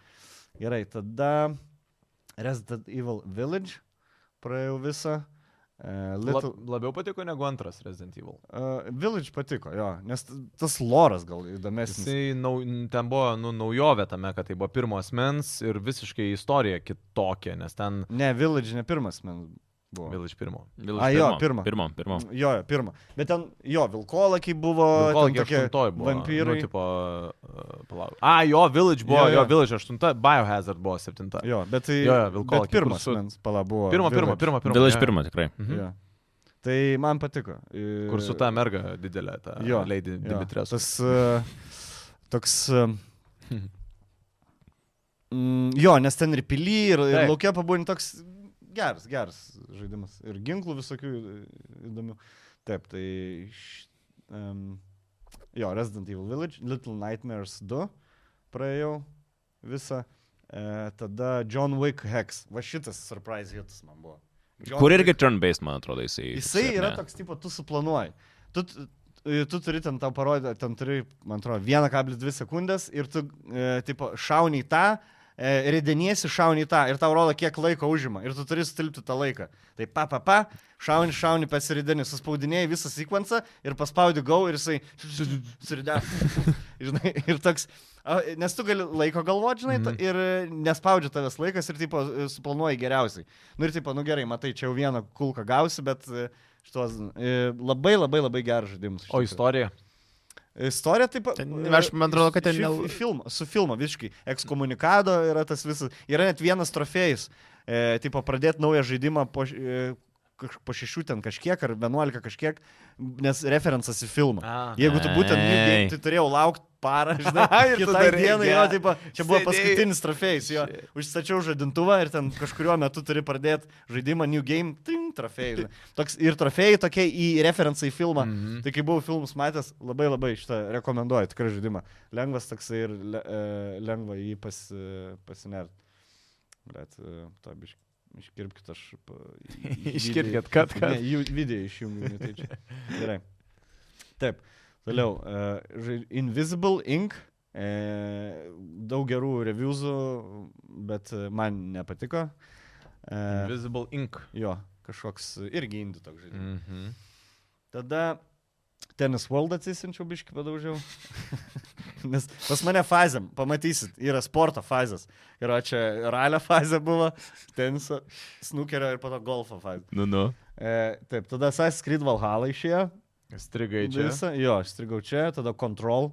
Gerai, tada Resident Evil Village praėjau visą. e,
Lab,
Little,
labiau patiko negu antras Resident Evil.
uh, Village patiko, jo, nes t- tas loras gal įdomesnis.
Jisai nau, ten buvo nu, naujovė tame, kad tai buvo pirmo asmens ir visiškai istorija kitokia, nes ten
Ne, Village ne pirmas man buvo.
vėl iš pirmo.
Vėl
A,
iš
jo, pirmo.
Pirmo, pirmo.
Jo, jo, pirmą. Bet ten, jo, vilkolakiai buvo.
Kol
ten
iki
tokie
aštuntoj buvo.
Vampyrai.
Nu, tipo, uh, palauk. A, jo, Village buvo,
Jo,
jo,
jo.
jo, Village aštunta, Biohazard buvo septinta.
jo, bet tai...
Jo, jo, vilkolakiai,
Bet pirmas,
kur su-
su... pala, buvo.
Pirmo, pirmo,
Village.
pirmo, pirmo.
Vėl
jo,
iš
jo.
pirmo, tikrai.
Mhm.
Jo. Tai man patiko. E, I-
Kur su ta merga didelė, ta
Jo,
Lady
jo.
Dimitrios.
Tas e, toks... e, mm, Jo, nes ten ir pily, ir, ir
Taip.
laukia pabūni toks geras, geras žaidimas. Ir ginklų visokių e, įdomių. Taip, tai... Š... Um, jo, Resident Evil Village, Little Nightmares 2 praėjau visą. E, tada John Wick Hex. Va šitas surprise hitas man buvo. John
Kur
Wick
irgi turn-based, man atrodo, jisai.
tai- Jisai
ar
yra
ne?
toks, tipo, tu suplanuoji. Tu, t- e, tu turi ten tą parodyti, ten turi, man atrodo, 1,2 sekundės ir tu, e, tipo, šauni į tą, e, redeniesi, šauni į tą ir tau rodo, kiek laiko užima ir tu turi stilpti tą laiką. Tai pa, pa, pa, šauni, šauni, pasirideni, suspaudinėjai visą sekvenciją ir paspaudi go ir jisai suridė. Žinai, ir toks, a, nes tu gali laiko galvoti, žinai, mm. ir e, nespaudžia tavęs laikas ir, tipo, e, suplanuoji geriausiai. Nu ir, tipo, nu gerai, matai, čia jau vieną kulką gausi, bet e, šitos e, labai labai labai geras žaidimas. iš
O
tikrųjų.
istorija.
Istorija taip pat.
Ten, aš man atrodo, kad ten ne-
Film, su filmo, visiškai. Ekskomunikado yra tas visas. Yra net vienas trofėjus. E, tipo, pradėti naują žaidimą po, š- e, kaž- po šešių ten kažkiek ar vienuolika kažkiek, nes referencas į filmą.
A.
Jeigu tu būtent, New Game,
Ei.
tai turėjau laukti parą, žinai,
Ir tu
kitai
dar
dienai,
irgi,
jo,
a,
tipo, čia buvo
sėdėjai.
paskutinis trofėjus, jo, užstačiau žadintuvą ir ten kažkurio metu turi pradėti žaidimą New Game, ting, trofėjai. žinai. Toks ir trofėjai tokie į referencą į filmą.
Mhm.
Tai kai buvau filmus matęs, labai labai šitą rekomenduoju, tikrai žaidimą. Lengvas toksai ir le, e, lengva į jį pas, e, pasinert. e, Bet, to biškai. Iškirpkite aš. pa- į- į-
Iškirpkit, kad, kad.
Ne, jų video išjungiu. ne, Tai čia. Gerai. Taip. Toliau. Uh, Invisible Ink. Uh, daug gerų reviewsų, bet e, man nepatiko. Uh,
Visible Ink.
jo, kažkoks irgi indų toks žaidimas.
Mhm.
Tada Tennis World atsisinčiau biški padaužiau. Nes pas mane fazėm, pamatysit, yra sporto fazės. Yra čia ralio fazė buvo, teniso, snukerio ir po to golfo fazė.
Nu, nu.
E, taip, tada Assassin's Creed Valhalla išėjo.
Strigai čia.
Visą, jo, aš strigau čia, tada Control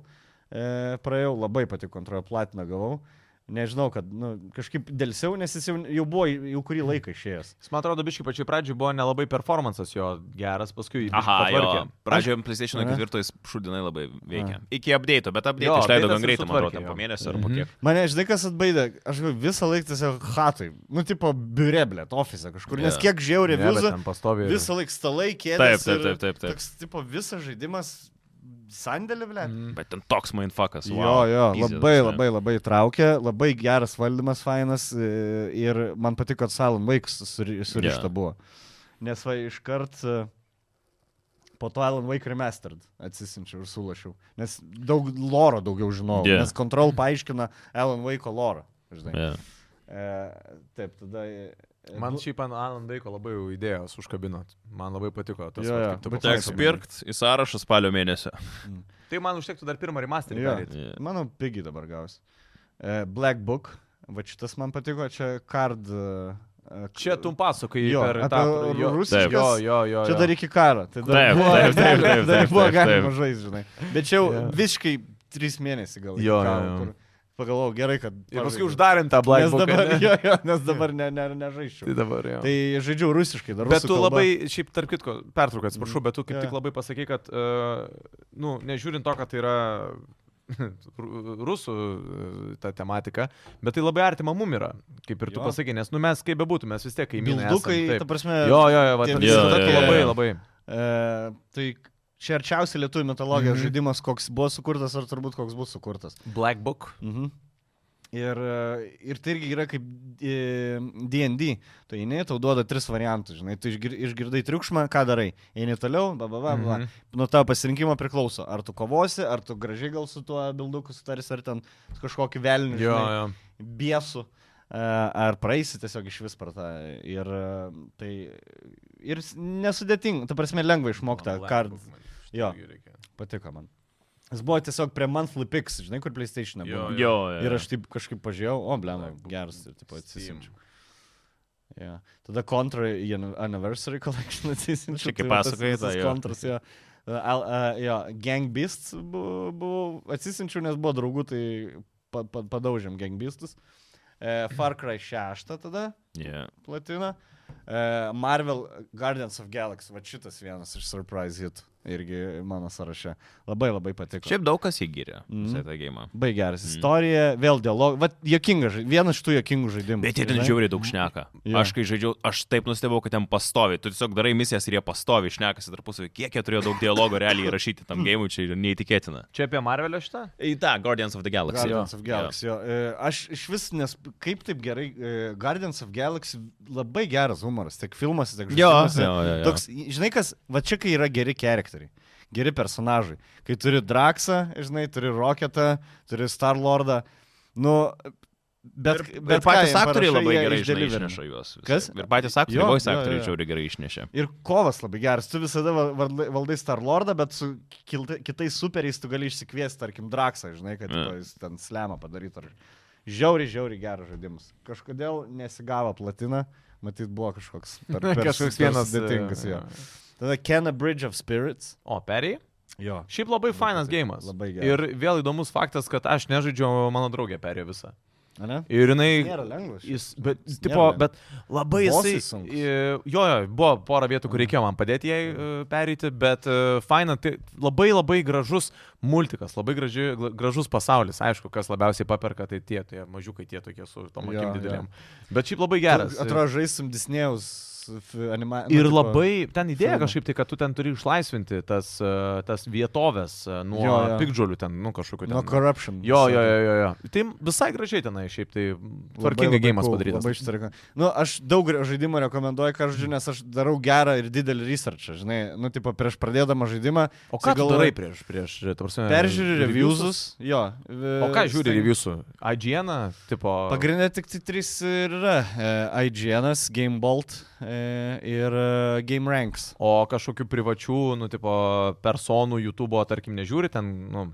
e, praėjau, labai patiko Control, platiną gavau. Nežinau, kad nu, kažkaip dėlsiau, nes jis jau, jau buvo jau kurį laiką išėjęs.
Jis, man atrodo, biškai pačioj pradžioj buvo nelabai performances jo geras, paskui jį biškį
Aha, jo.
patvarkė.
Pradžioje PlayStation
Ane?
4 jis šūdinai labai veikia. Iki update, bet update
Jo,
išleido
update'as
gan greitai, man
sutvarkė,
atrodo, ten
jo.
po mėnesio ar po kiek.
Mane, žinai, kas atbaidė, aš galvoju, visą laiką tiesiog hatai, nu, tipo, biureblėt, ofise kažkur, nes
Jo.
kiek žiaurių
Ne, bet
revizų,
ten pastoviai.
visą laiką stalai
Taip,
kėdės.
taip,
ir
taip, taip, taip.
Toks, tipo, visas žaidimas sandėlį, blė. Mm.
Bet ten toks mindfuckas.
Jo,
Wow,
jo,
Pizda,
labai,
ta prasme.
labai, labai traukė, labai geras valdymas, fainas e, ir man patiko, kad Salon Vaiks surišta
Jo.
yeah. buvo. Nes va iškart e, po to Alan Wake Remastered atsisinčiau ir sulašiau. Nes daug loro daugiau žinau.
Jo.
Yeah. Nes Control paaiškina Alan Wake'o lorą. Žinai.
Jo.
Yeah. E, taip, tada... E,
Man šiaip ant Alan Daiko labai jau idėjos užkabinot. Man labai patiko tas,
Jo,
vat,
jo,
kaip tu
bet
pasakei.
Teks pirkt į sąrašą spalio mėnesio.
Tai man užtektų dar pirmą remasterį.
Jo.
daryt.
Jo.
Manau, pigiai dabar gaus. E, Black Book, va šitas man patiko, čia Card. e,
Čia tu pasakai
Jo,
per
apie
tą jo,
rusiškas-
Jo, jo, jo.
Čia
jo.
dar iki karo. Tai dar
Taip,
buvo,
taip, taip, taip,
dar
taip,
buvo
taip,
galima
taip.
žaisti, žinai. Bet čia jau
Jo.
yeah. visiškai 3 mėnesiai gal. iki
Jo, jo,
karo,
jo.
kur Pagalvojau, gerai, kad...
Ir paskui
pažaidžiau.
uždarėm tą
Nes
blaivą.
dabar, jo, jo, nes dabar ne, ne,
Tai
nežaisčiau.
dabar, jo.
Tai žaidžiau rusiškai, dar
Bet
rusiškai.
tu labai, šiaip tarp kitko, pertrauką atsiprašau, bet tu kaip
Jo.
tik labai pasakai, kad, e, nu, nežiūrint to, kad tai yra ru- rusų e, ta tematika, bet tai labai artima mum yra, kaip ir tu
Jo.
pasakai, nes, nu, mes kaip bebūtų, mes vis tiek kaimynai.
Bildukai,
esam, taip.
ta prasme...
Jo, jo, jo, va,
tie
tai
visi
tokie
tokie-
labai, labai.
E, tai čia arčiausiai lietuvių
Mhm.
mitologijos mm. žaidimas, koks buvo sukurtas ar turbūt koks bus sukurtas.
Black Book.
Mhm. Ir, e, ir tai irgi yra kaip e, DND. Tu eini, tau duoda tris variantus, žinai, tu išgir, išgirdai triukšmą, ką darai. Eini toliau, baba, baba. Mm
Mhm.
-hmm. Nuo tavo pasirinkimo priklauso, ar tu kovosi, ar tu gražiai gal su tuo bilduku sutarsi, ar ten su kažkokiu velniu,
Jo,
žinai,
jo.
biesu, e, ar praeisi tiesiog iš vis per tą. Ir e, tai ir s- nesudėtinga, ta prasme lengva išmokta kart. Jo. Patiko man. Jis buvo tiesiog prie Monthly Pix, žinai, kur PlayStation
Jo,
buvo.
Jo,
Ir aš taip kažkaip pažiūrėjau, o, blem,
Black Book,
geras, ir taip
Steam.
atsisinčiau. Ja. Tada Contra į an- Anniversary Collection atsisinčiau.
Čia kaip
tai va tas
pasakojai tą,
visas
jo.
Contras, jo. Tada Al, a, jo, Gang Beasts bu- buvau, atsisinčiau, nes buvo draugų, tai pa, pa, padaužėm Gang Beastus. E, Far Cry 6 tada
Yeah.
platina. E, Marvel Guardians of Galaxy, va šitas vienas iš surprise hit irgi mano sąraše. Labai labai patiko.
Šiaip daug kas įgyrė
Mhm.
visą tą gėjimą.
Baigeras
Mhm.
istorija, vėl dialogas. Vat, jokinga, žai- vienas iš tų jokingų žaidimų.
Bet jie ten
žinai?
žiauriai daug šneka.
Jo.
Yeah. Aš kai žaidžiau, aš taip nustebau, kad ten pastovi. Tu tiesiog darai misijas ir jie pastovi, šnekasi tarpusavį. Kiek jie turėjo daug dialogo realiai įrašyti tam gėjimui, čia yra neįtikėtina.
Čia apie Marvelio šitą?
Į tą Guardians of the Galaxy.
Guardians of Galaxy. Jo. E, Aš iš vis, nes kaip taip gerai, e, Guardians of Galaxy labai geras humoras, tiek e, filmas, tiek
Jo,
žaidimuose.
jo, jo, jo.
Toks, žinai kas, va čia kai yra geri charakteriai. geri personažai. Kai turi Draksą, žinai, turi Rocketą, turi Star Lordą, nu, bet,
ir,
bet
ir patys
ką jiem
aktoriai
parašai,
labai
jie
gerai žinai,
išdeliverina.
išneša juos. vis
Kas?
tiek. Ir patys aktoriai,
Jo,
voice
jo, jo.
aktoriai žiauriai gerai išnešė.
Ir kovas labai geras. Tu visada va- valdai valdai Star Lordą, bet su kilta- kitais superiais tu gali išsikviesti, tarkim, Draksą, žinai, kad
Jo.
tipo jis ten slemą padarytų. ar- Žiauriai, žiauriai geras žaidimas. Kažkodėl nesigavo platina, matyt, buvo kažkoks per, per
Kažkoks
per
vienas
sudėtingas
e,
jo. Tada Ken a Bridge of Spirits.
O, perėjai?
Jo.
Šiaip labai fainas gėjimas.
Labai geras.
Ir vėl įdomus faktas, kad aš nežaidžiu, mano draugė perėjo visą.
Ne?
Ir
Nėra
jinai...
lengvas. šiaip.
Jis, bet,
nu, Jis
tipo,
nėra.
bet labai jisai...
Bosai sunkūs.
i- Jo, jo, buvo pora vietų, kur reikėjo man padėti jai
Mhm.
e, pereiti, bet e, faina, tai labai labai gražus multikas, labai graži, gla- gražus pasaulis. Aišku, kas labiausiai paperka, tai tie, tie mažiukai, tie tokie su tom
Jo,
akim
jo.
didelėm. Bet šiaip labai
Tu,
geras. e,
Atrodo, nu, žaisim Disnėjaus animaciją.
Ir labai ten idėja
filmą.
kažkaip tai, kad tu ten turi išlaisvinti tas, e, tas vietovės e, nuo
Jo, jo.
pikdžiolių ten, nu kažkokio.
Nuo
ten-
corruption.
Jo,
visokių.
jo, jo, jo, jo. Tai visai gražiai tenai, šiaip tai tvarkingai gėjimas padarytas.
Labai ištarikas. Nu, aš daug re- žaidimų rekomenduoju, ką aš žinau, nes aš darau gerą ir didelį researchą, žinai, nu, tipo, prieš pradėdama žaidimą.
O
galvoju-
ką gal darai prieš, prieš, tarsi,
Peržiūri reviewsus, jo. e, tai
O ką žiūri reviewsų? IGN, tipo.
Pagrindinė tik tai trys ir yra. E, IGN, GameBolt e, ir e, GameRanks.
O kažkokių privačių, nu, tipo, personų YouTube'o, tarkim, nežiūri ten, nu,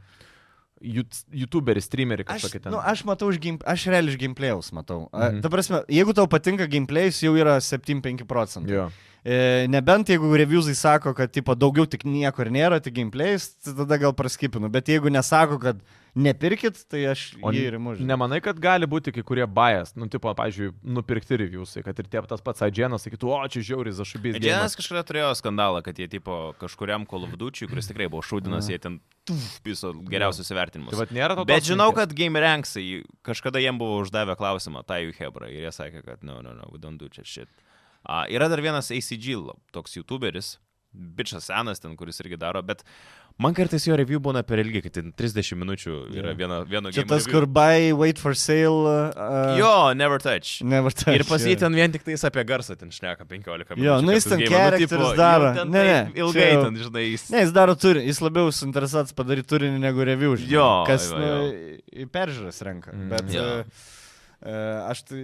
jut- YouTuberiai, streameriai
Aš,
kažkokie ten.
nu, aš matau iš game, aš realiai iš gameplayaus matau. Mhm.
Mhm.
Ta prasme, jeigu tau patinka gameplayus, jau yra 7-5 procentų.
Jo.
E, nebent jeigu reviewsai sako, kad tipo, daugiau tik nieko ir nėra, tik gameplay's, tai tada gal praskipinu. Bet jeigu nesako, kad nepirkit, tai aš
O
jį ir imu. žinai.
Nemanai, kad gali būti kai kurie bias, nu, tipo, pavyzdžiui, nupirkti reviewsai, kad ir tie tas pats IGN sakytų, o čia žiauriai zašubys.
Dienas kažkada turėjo skandalą, kad jie tipo kažkuriam kolovdučiui, kuris tikrai buvo šūdinas, jie ten tuf, piso geriausius įvertinimus.
Tai vat nėra to.
Bet
tos
žinau,
minties.
kad Game Ranks kažkada jiem buvo uždavę klausimą, tai jų Hebra, ir jie sakė, kad no, no, no, we don't do that shit. Uh, yra dar vienas ACG, lab- toks YouTuberis, bičias senas ten, kuris irgi daro, bet man kartais jo review būna per ilgi, kad ten 30 minučių yra
Jo.
viena, vieno
Čia
game
tas,
review.
kur buy, wait for sale. Uh,
Jo, never touch.
Nevartai.
Ir pas jį ten vien tik tais apie garsą ten šneka 15 minučių.
Jo, nu
kad
jis ten
game- nu, tipo,
characters
jau
daro.
ten
Ne,
taip
ne,
Ilgai
čia jau-
ten, žinai, jis.
Ne, jis daro turinį, jis labiau suinteresuotas padaryti turinį negu review. Žinai,
Jo,
kas
jo,
nu,
jo.
į- į peržiūras renka.
Mm.
Mm, Bet
Jo.
yeah. aš tai,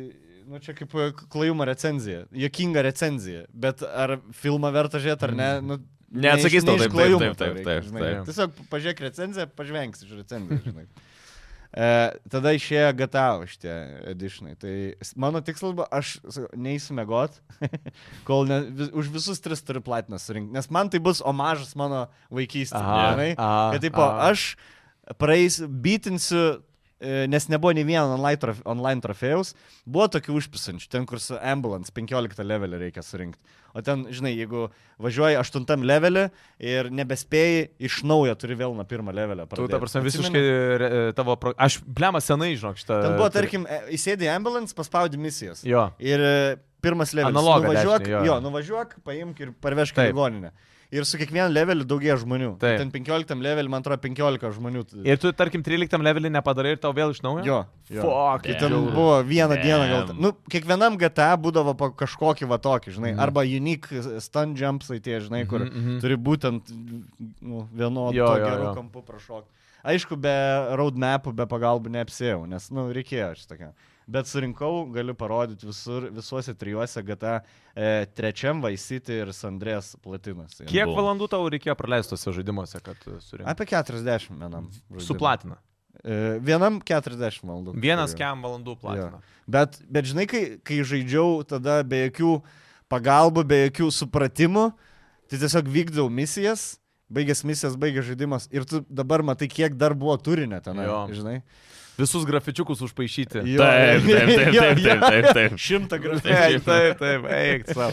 nu čia kaip e, klajumo recenzija, jokinga recenzija. Bet ar filmą verta žiūrėti ar ne? Nu,
Mm. Neatsakys tau
ne
taip,
iš- ne iš
taip,
klajumo
taip,
tau
taip,
reikia,
taip,
žinai.
taip.
Tiesiog pažiūrėk recenziją, pažvengsi iš recenzijos, žinai. E, tada išėjo GTA šitie editionai. Tai s- mano tikslas buvo, aš sakau, neįsimiegot, kol ne, vis, už visus tris turiu platiną surinkti. Nes man tai bus omažas mano vaikystės.
Aha,
Žinai,
aha,
kad tipo,
aha.
aš praeis, bitinsiu, e, nes nebuvo nei vieno online, trof, online trofėjaus, buvo tokių užpisančių, ten kur su ambulance 15 levelį reikia surinkti. O ten, žinai, jeigu važiuoji 8 levelį ir nebespėjai, iš naujo turi vėl nuo pirmo levelio
Tu,
pradėti.
ta prasme,
Atsimeni?
visiškai re, e, tavo... Pro... Aš, blema, senai, žinok, šitą...
Ten buvo, tarkim, e, įsėdi į ambulance, paspaudi misijas.
tai- Jo.
Ir e, pirmas levelis.
Analogą
nuvažiuok,
dešinį, jo.
jo, nuvažiuok, paimk ir parvežk į
Taip.
ligoninę. Ir su kiekvienu leveliu daugėja žmonių.
Taip.
Ten 15 levelį, man atrodo, 15 žmonių. t-
Ir tu, tarkim, 13 levelį nepadarai ir tau vėl iš naujo?
Jo. jo.
Fuck,
Tai
Damn.
ten buvo vieną
Damn.
dieną gal. Nu, kiekvienam GTA būdavo po kažkokį va tokį, žinai,
Mhm.
arba unique stun jumpsai tie, žinai, kur
Mhm, mhm.
turi būtent nu, vienodu
Jo, jo,
geru
jo.
kampu prašokti. Aišku, be roadmapų, be pagalbų neapsėjau, nes, nu, reikėjo aš tokia. Bet surinkau, galiu parodyti visur, visuose trijuose GTA e, trečiam Vaisyti ir Sandrės platinas. yra.
Kiek
Bum.
valandų tau reikėjo praleisti tose žaidimuose, kad e, surinktum?
Apie 40 vienam. žaidimui.
Suplatina.
E, vienam 40 valandų. turėjau.
Vienas kem valandų platina.
Bet, bet žinai, kai, kai žaidžiau tada be jokių pagalbų, be jokių supratimų, tai tiesiog vykdau misijas, baigęs misijas, baigęs žaidimas ir tu dabar matai, kiek dar buvo turinio ten,
Jo.
žinai.
Visus grafičiukus užpašyti.
Jo.
Taip, taip, taip,
Jo,
taip, taip,
jo.
taip, taip.
Šimtą
Taip,
gražių.
taip, taip, eik savo.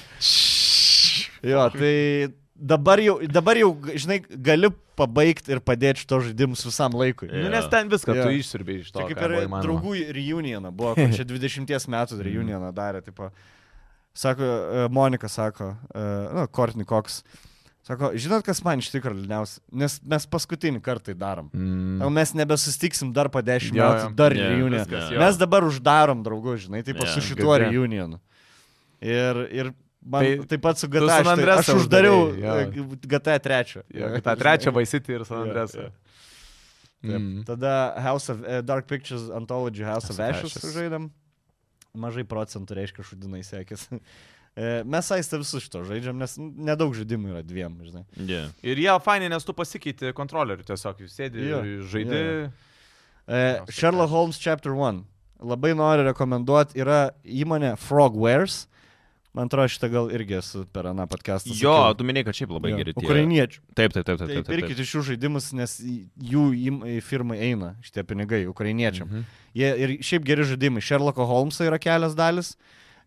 Jo, tai dabar jau, dabar jau, žinai, gali pabaigti ir padėti šito žaidimus visam laikui.
Jo.
Nu, nes ten viską
Jo.
tu išsirbė iš to.
Čia kaip
ką
ir
buvo įmanoma. Mhm.
draugų reunioną buvo, kur čia 20 metų reunioną darė, tipo, sako, e, Monika sako, e, nu, Kortni Koks, sako, žinot, kas man iš tikrųjų liūdniausia, nes mes paskutinį kartą tai darom. O
Mm.
mes nebesustiksim dar po 10
Jo, jo.
metų, dar
Jo,
reuniją.
viskas, jo.
Mes dabar uždarom draugų, žinai, taip
Jo.
su šituo
Gate.
reunionu. Ir, ir Man
Tai
tai, taip pat su
tu
GTA. Aš,
San
tai, aš
Andresą
uždariau
uždarei,
e, GTA 3.
Jo, kad tą trečią Vaisitį ir San Andresą. Mm.
Tada House of, e, Dark Pictures Anthology House of
House of
Ashes
Ashes.
žaidėm. Mažai procentų reiškia šudinai sekis. E, Mes aistą visus šito žaidžiam, nes n- nedaug žaidimų yra dviem, žinai.
Yeah.
Ir jie fainai, nes tu pasikeiti kontrolerių tiesiog, jūs sėdi,
Jo,
jo, žaidi.
jo,
Jo.
E,
House of
Sherlock
Ashes.
Holmes Chapter 1. Labai noriu rekomenduoti, yra įmonė Frogwares. Man atrodo, šitą gal irgi esu per aną podcastą.
Jo, tu minėjai, kad šiaip labai geri tie.
Ukrainiečių.
Taip, taip, taip, taip.
Tai
taip, taip,
pirkite šių žaidimus, nes į- jų im- firmai eina šitie pinigai ukrainiečiam. Mhm. Jie ir šiaip geri žaidimai. Sherlocko Holmesa yra kelias dalis.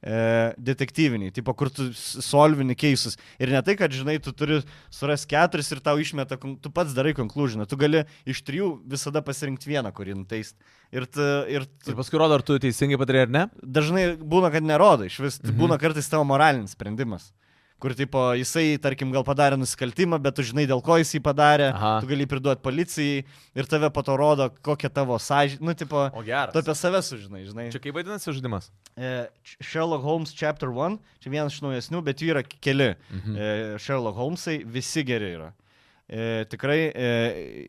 E, detektyviniai, tipo, kur tu s- solvini keisus. Ir ne tai, kad, žinai, tu turi suras keturis ir tau išmeta, kon- tu pats darai konklužiną. Tu gali iš trijų visada pasirinkti vieną, kurį nuteist. Ir, t, ir t,
Ir paskui rodo, ar tu teisingai padarė ar ne.
dažnai būna, kad nerodo, iš vis mhm. būna kartais tavo moralinis sprendimas. Kur, tipo, jisai, tarkim, gal padarė nusikaltimą, bet tu žinai, dėl ko jisai padarė, Aha.
Aha.
tu gali priduoti policijai ir tave po to rodo, kokia tavo sąžinė, nu, tipo,
O geras.
tu apie save sužinai, žinai.
Čia kaip vadinasi žaidimas?
E, Ch- Sherlock Holmes Chapter 1, čia vienas iš naujesnių, bet jų yra k- keli. Mhm. Sherlock Holmesai visi geri yra. E, Tikrai e,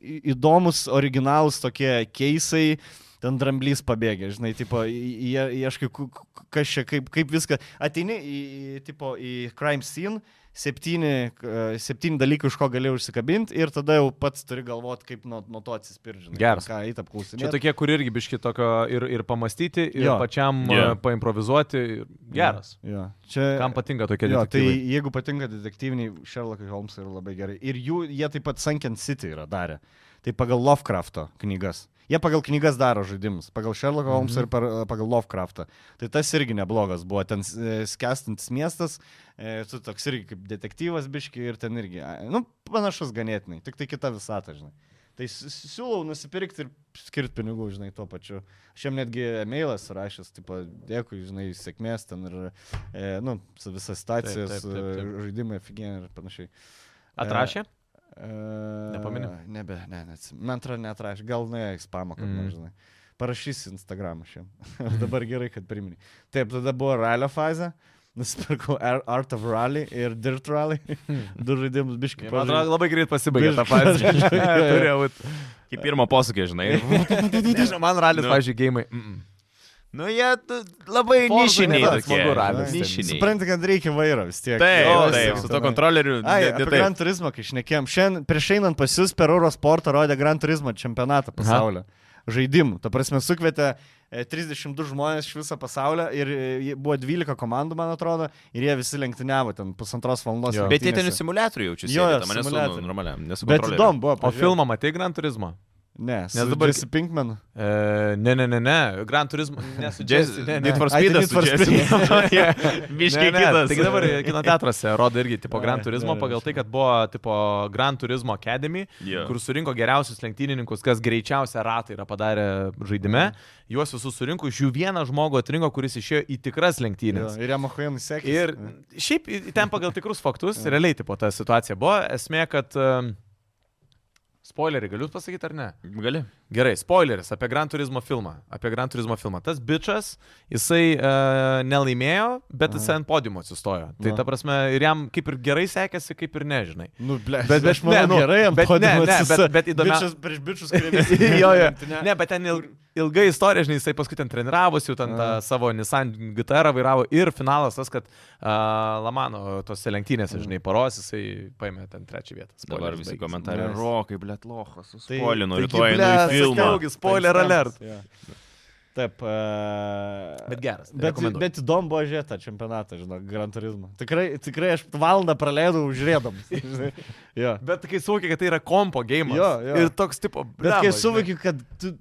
į- įdomus, originalus tokie keisai. Ten dramblys pabėgė, žinai, tipo, i- i- ieškai, ku- ku- kas čia, kaip, kaip viską. Ateini į, į, tipo, į crime scene, septyni, e, septyni dalykai, iš ko gali užsikabinti ir tada jau pats turi galvoti, kaip nuo, nuo to atsispiržinti.
Geras.
Ką įtapklausinti.
Čia tokie, kur irgi biški tokio ir, ir pamastyti, ir
Jo.
jo. pačiam
Jo.
yeah. paimprovizuoti. ir Geras.
Ja. Čia...
Kam patinka
E,
tokie
Jo, tai
detektyvai?
jeigu patinka detektyviniai, Sherlock Holmes yra labai gerai. Ir jų, jie taip pat Sunken City yra darę. Tai pagal Lovecrafto knygas. Jie pagal knygas daro žaidimus. Pagal Sherlock Holmes mm -hmm. ir
Mhm.
per, pagal Lovecraftą. Tai tas irgi neblogas buvo. Ten e, skęstantis miestas, e, tu toks irgi kaip detektyvas biški ir ten irgi. a, Nu, panašus ganėtinai. Tik tai kita visata, žinai. Tai s- s- siūlau nusipirkti ir skirti pinigų, žinai, tuo pačiu. Aš jam netgi emailas rašęs, tipo, dėkui, žinai, sėkmės ten ir, e, nu, su visa situacija,
taip,
su
taip, taip.
žaidimai, aфиgiai ir panašiai.
Atrašė?
E,
Nepameni?
Nebe, ne, neatsimenu. Man atrodo, netrašė. Gal nuėjo į spamą, kad mm.
Mm.
žinai. Parašys Instagram aš jam. Dabar gerai, kad priminė. Taip, tada buvo ralio fazė. Nusipirkau Ar- Art of Rally ir Dirt Rally. Du žaidimus biškai.
Man atrodo, labai greit pasibaigė tą
Biški
fazę.
pažaidžiau, jo.
Turėjau. būt.
taip. Kaip pirmo posūkio, žinai.
Nežinau, man ralis,
Nu.
pažiūrėjau, gėjimai. Mm.
nu, jie tu- labai
Forza
nišiniai.
nėra
tokie.
smagu ralis.
Nišiniai.
Supranti, kad reikia vairo vis tiek.
Taip,
Jo,
jo,
Jo,
taip,
jo.
su to kontroleriu.
Ai,
ne- ne
apie
taip.
Gran Turismo, kai šnekėjom, šiandien prieš einant pas jūs per Eurosportą rodė Gran Turismo čempionatą pasaulio žaidimų. Ta prasme, sukvietė e, 32 žmonės iš viso pasaulio ir e, jie- buvo 12 komandų, man atrodo, ir jie visi lenktyniavo ten pusantros valandos.
Jo.
Bet jie ten
lenktynėse.
simuliatorių jaučiasi.
Jo, jo,
manęs
simuliatorių.
normaliai. nu, Nesu
Bet įdomu buvo.
O
pažiūrėt.
filmą matai Gran Turismo?
Ne,
Nes
nes
dabar-
dabar esi Pinkman.
E, ne, ne, ne, ne. Gran Turismo. Nesu Jesse. Ne, ne.
Need for
Ai, tai
Speed.
Need for
Miškiai
Ne, ne,
kitas.
Taigi dabar kino teatruose rodo irgi tipo Gran
Ai,
Turismo
gerai,
pagal
aš
tai, kad buvo tipo Gran Turismo Academy,
Jo.
kur surinko geriausius lenktynininkus, kas greičiausią ratą yra padarę
Mhm.
žaidime. Juos visus surinko, iš jų vieną žmogų atrinko, kuris išėjo į tikras
Jo,
lenktynės.
ir Yamaha nusekė.
Ir šiaip į- ten pagal tikrus faktus, realiai tipo ta situacija buvo. Esmė, kad... em, Spoilerį galiu pasakyti ar ne?
Gali.
Gerai, spoileris apie Gran Turismo filmą. Apie Gran Turismo filmą. Tas bičias, jisai uh, nelaimėjo, bet jisai ant podiumo atsistojo. Tai
Na.
ta prasme, ir jam kaip ir gerai sekėsi, kaip ir nežinai.
Nu, ble,
Bet- bet
aš manau,
ne, nu,
gerai, jam
bet
podiumo
ne, ne,
atsisa-
bet- bet įdomia-
Bičas prieš bičius, kurie visi
jo, jo.
lenktynia-
Ne, bet ten il, ilga istorija, žinai, jisai paskui ten treniravosi, jau ten tą savo Nissan GTR vairavo ir finalas tas, kad uh, Lamano tose
Mm.
lenktynėse, žinai, paros jisai paėmė ten trečią vietą.
Dabar visi
baigėsi.
komentarai.
Nice.
Rokai, blėt, lochas.
Tai-
Spolinu,
taigi,
rytoj einu į
blet,
filmą.
sakiaugi, spoiler alert.
Jo. Taip. Uh,
Bet geras,
Bet,
rekomenduoju.
bet įdomu buvo žiūrėti tą čempionatą, žinok, Gran Turismo. Tikrai, tikrai aš valandą praleidau žiūrėdamas. žinai. jo.
Bet kai suvokė, kad tai yra kompo game.
Jo, jo.
Ir toks tipo...
Bet kai
blemba, žinai.
suvokiu, kad tu,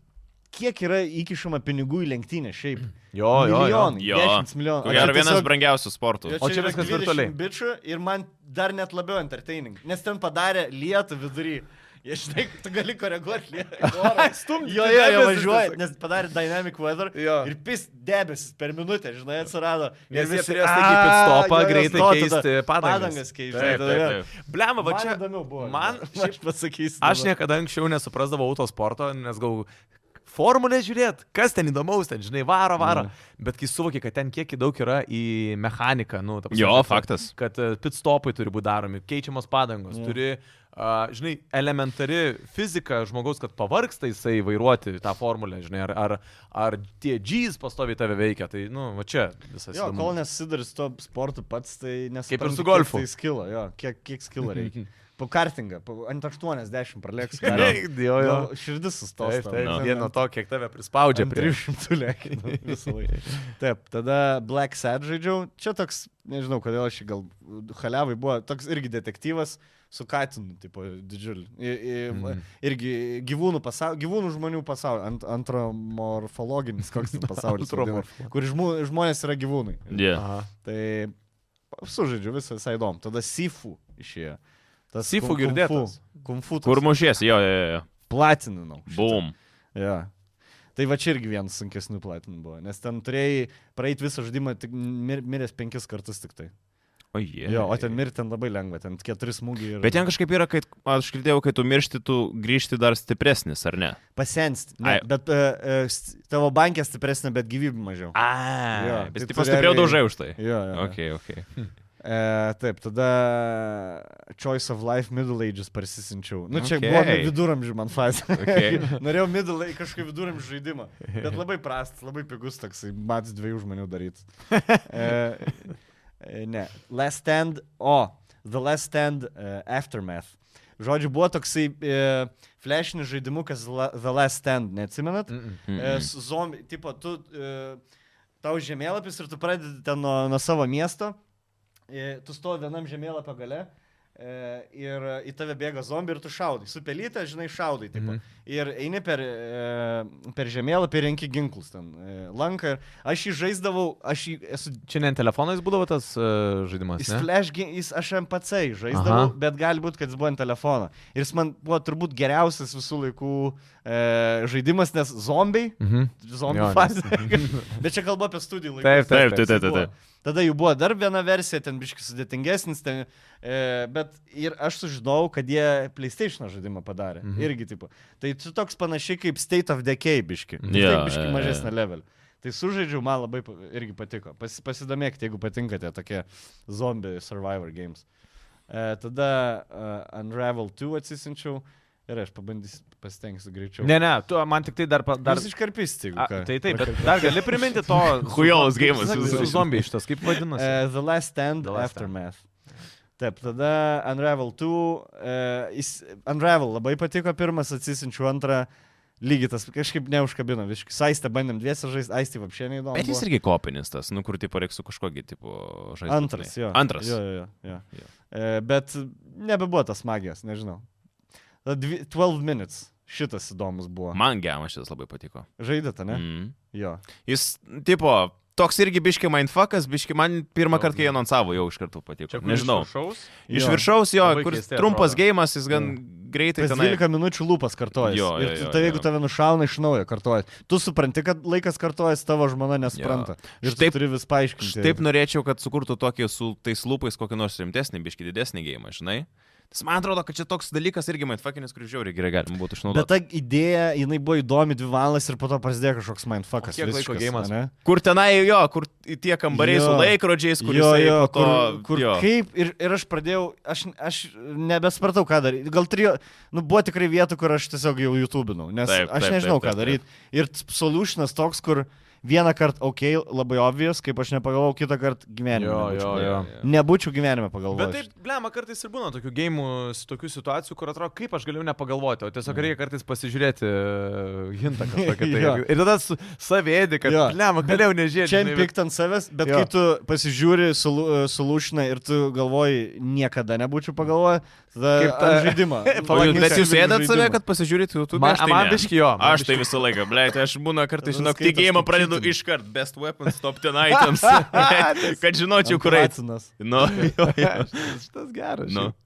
kiek yra įkišama pinigų į lenktynę šiaip.
Jo, jo, jo.
Milijonai.
Jo.
10 milijonų.
Ko
O
gero
čia
vienas
tiesiog-
brangiausių sportų.
Jo,
O čia
yra
viskas
20
virtualiai.
Bičių ir man dar net labiau entertaining, nes ten padarė lietų vidury. Jie, žinai, tu gali koreguoti lietų.
Stumdyti
Jo, jo, jo,
tai debesis
važiuoja,
tiesiog.
nes padarė dynamic weather.
Jo.
Ir pis debesis per minutę, žinai, atsirado.
Nes
Ir
jie
visi,
turėjo staigiai
"A,
pitstopą,
jo, jo,
greitai
stop,
keisti
tada
padangas."
Padangas keisti.
Taip, taip, taip.
Blemba, va
Man čia
čia.
įdomiau buvo.
man
žinai. aš pasakysiu.
Aš
dabar.
niekada anksčiau nesuprasdavau autosporto, nes gal formulę žiūrėt, kas ten įdomaus, ten, žinai, varo, varo.
Mhm.
Mm. Bet kai suvoki, kad ten kiek daug yra į mechaniką, nu, ta prasme,
Jo,
kad-
faktas.
Kad e, pitstopai turi būti daromi, keičiamos padangos, mm. turi, a, žinai, elementari fizika žmogaus, kad pavarksta jisai vairuoti tą formulę, žinai, ar, ar, ar tie džys pastoviai tave veikia. Tai, nu, va čia visas.
Jo,
įdomumas.
kol nesusidari su to sportu pats, tai nesuprantu.
Kaip ir su
kiek
golfu.
Tai skilo, jo, kiek, kiek skilo reikia. Po kartingą, po, ant 80 pralėks.
Jo, jo.
Nu, Širdis sustos.
Taip,
tau.
taip,
Nu.
vieno to, kiek tave prispaudžia
Ant
prie...
300 lėkinu visą laiką. Taip, tada Black Sad žaidžiau. Čia toks, nežinau, kodėl aš jį gal Halevai buvo, toks irgi detektyvas su Katinu, tipo, didžiuliu. I, i,
Mhm.
mm. Irgi gyvūnų, pasau, gyvūnų žmonių pasaulio, ant, antromorfologinis koks ten pasaulis. vadinasi,
Antromorfo-
kur žmo, žmonės yra gyvūnai.
Yeah.
Aha.
Tai sužaidžiu visą visai įdomu. Tada Sifu išėjo. Tas
Sifu
kung- kung fu-
girdėtas.
Kung fu.
Kur
toks.
mušiesi, jo, jo, jo.
Platininau. šitą.
Bum.
Jo. Tai va čia irgi vienas sunkesnių platinimų buvo, nes ten turėjai praeiti visą žaidimą, tik mir, miręs penkis kartus tik tai.
O jie.
Jo, o ten mirti ten labai lengva, ten keturi smūgiai ir
Bet ten kažkaip yra, kad aš girdėjau, kai tu miršti, tu grįžti dar stipresnis, ar ne?
pasensti.
Ai.
Ne, bet uh, uh, tavo bankė stipresnė, bet gyvybė mažiau. Jo,
A,
tai
bet
tu
taip pastiprėjau
realiai-
daužai už tai.
Jo, jo. jo.
Ok, ok.
E, taip, tada Choice of Life Middle Ages persisinčiau. Nu, čia
Okei.
okay. buvo viduramžių man fazė.
Okei.
Norėjau middle age kažkokį viduramžių žaidimą. Bet labai prastas, labai pigus toksai, matys dviejų žmonių daryti. E, e, ne, Last Stand, o, The Last Stand e, Aftermath. Žodžiu, buvo toksai e, flashinis žaidimukas La, The Last Stand, neatsimenat? Mm -mm. E, su zombi, tipo, tu, e, tau žemėlapis ir tu pradedi ten nuo, nuo savo miesto. E, tu stovi vienam žemėlapio gale e, ir į tave bėga zombi ir tu šaudai. Su pelytė, žinai, šaudai. Taip,
Mhm.
mm. Ir eini per, e, per žemėlapį ir renki ginklus ten. E, lanką. ir- Aš jį žaisdavau, aš jį esu...
Šiandien telefonais būdavo tas uh, žaidimas.
Jis,
ne?
flash, gi- jis aš MPC jį žaisdavau,
Aha.
Aha. bet gali būti, kad jis buvo ant telefono. Ir jis man buvo turbūt geriausias visų laikų e, žaidimas, nes zombiai,
Mhm.
zombių
Jo, nes-
fazė. bet čia kalba apie studijų laiką.
Taip,
Taip, taip,
taip,
taip,
tai buvo.
taip.
Tada jų buvo dar viena versija, ten biškis sudėtingesnis, ten, e, bet ir aš sužinojau, kad jie PlayStation žaidimą padarė.
Mhm.
Mm -hmm. Irgi tipo. Tai čia toks panašiai kaip State of Decay biški.
Jo,
Yeah, biški
jo,
yeah,
jo.
mažesnė yeah. level. Tai sužaidžiau, man labai pa- irgi patiko. Pas, pasidomėkite, jeigu patinka tie tokie zombie survivor games. E, tada uh, Unravel 2 atsisinčiau ir aš pabandysiu, pasitengsiu greičiau.
Ne, ne, tu man tik tai dar... pa- dar...
Dar... Jūs iškarpysite, jeigu
A,
ką.
tai taip, bet dar gali priminti to...
Chujovas
su-
geimas.
su- Su zombiai šitas, kaip vadinasi?
Uh, the Last Stand,
The
the last
Last
Aftermath. Taip, tada Unravel 2, uh, jis, Unravel labai patiko pirmas, atsisinčiau antrą, lygiai tas kažkaip neužkabino, visiškai saistę bandėm dviesę žaisti, aistį apšė neįdomu.
Bet jis
buvo.
irgi kopinis tas, nu kur tipo reiks su kažkogi tipo žaisti.
Antras, jo.
Antras.
Jo, jo, jo.
Jo.
jo. E, bet nebebuvo tas magijos, nežinau. Tada dvi- 12 minutes, šitas įdomus buvo.
Man gemas šitas labai patiko.
Žaidėte, ne? Mm.
Mm.
Jo.
Jis, tipo, toks irgi biški mindfuckas, biški man pirmą kartą, kai jie anonsavo, jau iš karto patiko. Nežinau. Iš
Jo.
viršaus jo,
Labai
kur
keistai
trumpas
atrodo.
geimas, jis gan greitai
Kas
tenai.
12 minučių lūpas kartojas.
Jo, jo,
ir tu,
jo,
tave,
jo.
jeigu tave nušauna iš naujo kartojas. Tu supranti, kad laikas kartojas tavo žmona nesupranta. Ir
Štaip-
taip turi vis paaiškinti.
Aš taip norėčiau, kad sukurtų tokį su tais lūpais kokį nors rimtesnį, biški didesnį gėjimą, žinai. Nes man atrodo, kad čia toks dalykas irgi mindfuckinis, kurį žiauriai gerai galima būtų
Bet
išnaudoti.
ta idėja, jinai buvo įdomi dvi valandas ir po to prasidėjo kažkoks mindfuckas.
O kiek laiko
visiškas,
geimas?
ane?
Kur tenai jo, kur tie kambariai su
Jo.
laikrodžiais, kur
jo,
jisai
jo,
po to,
kur, kur
jo.
kaip ir, ir aš pradėjau, aš, aš nebespratau, ką daryti. Gal trijo, nu buvo tikrai vietų, kur aš tiesiog jau YouTubinau, nes
Taip,
taip, aš
taip,
nežinau,
taip, taip,
taip, ką daryti. Ir t- solutionas toks, kur vieną kartą, okei, okay, labai obvious, kaip aš nepagalvojau, kitą kartą gyvenime.
Jo,
nebūčiau
jo,
pagalvojęs.
jo.
Nebūčiau gyvenime pagalvojęs.
Bet taip, blema, kartais ir būna tokių gėjimų, tokių situacijų, kur atrodo, kaip aš galiu nepagalvoti, o tiesiog reikia kartais pasižiūrėti e, hintą kažkokį. Tai.
Jo.
ir tada su, savėdi, kad,
Jo.
blema, galėjau nežiūrėti.
Čia
žinai, bet-
pikt ant savęs, bet
Jo.
jo. kai tu pasižiūri sulušiną ir tu galvoji, niekada nebūčiau pagalvojęs, tada
Kaip
kaip
ta-
tą žaidimą.
O jūs-
Palaikys
Bet
ten
jūs sėdat
žaidimą.
save, kad pasižiūrėt YouTube?
Man-
Aš tai
man
ne.
biškį jo, man
Aš tai visą laiką, blei, tai aš būna kartais,
Tada
žinok,
skaitos
tikėjimą
kaip
pradedu
cheating.
iškart, best weapons, top 10 items, kad žinočiau, kur eiti.
Platinas.
Nu, jo, jo.
Šitas geras.
nu.
šiaip.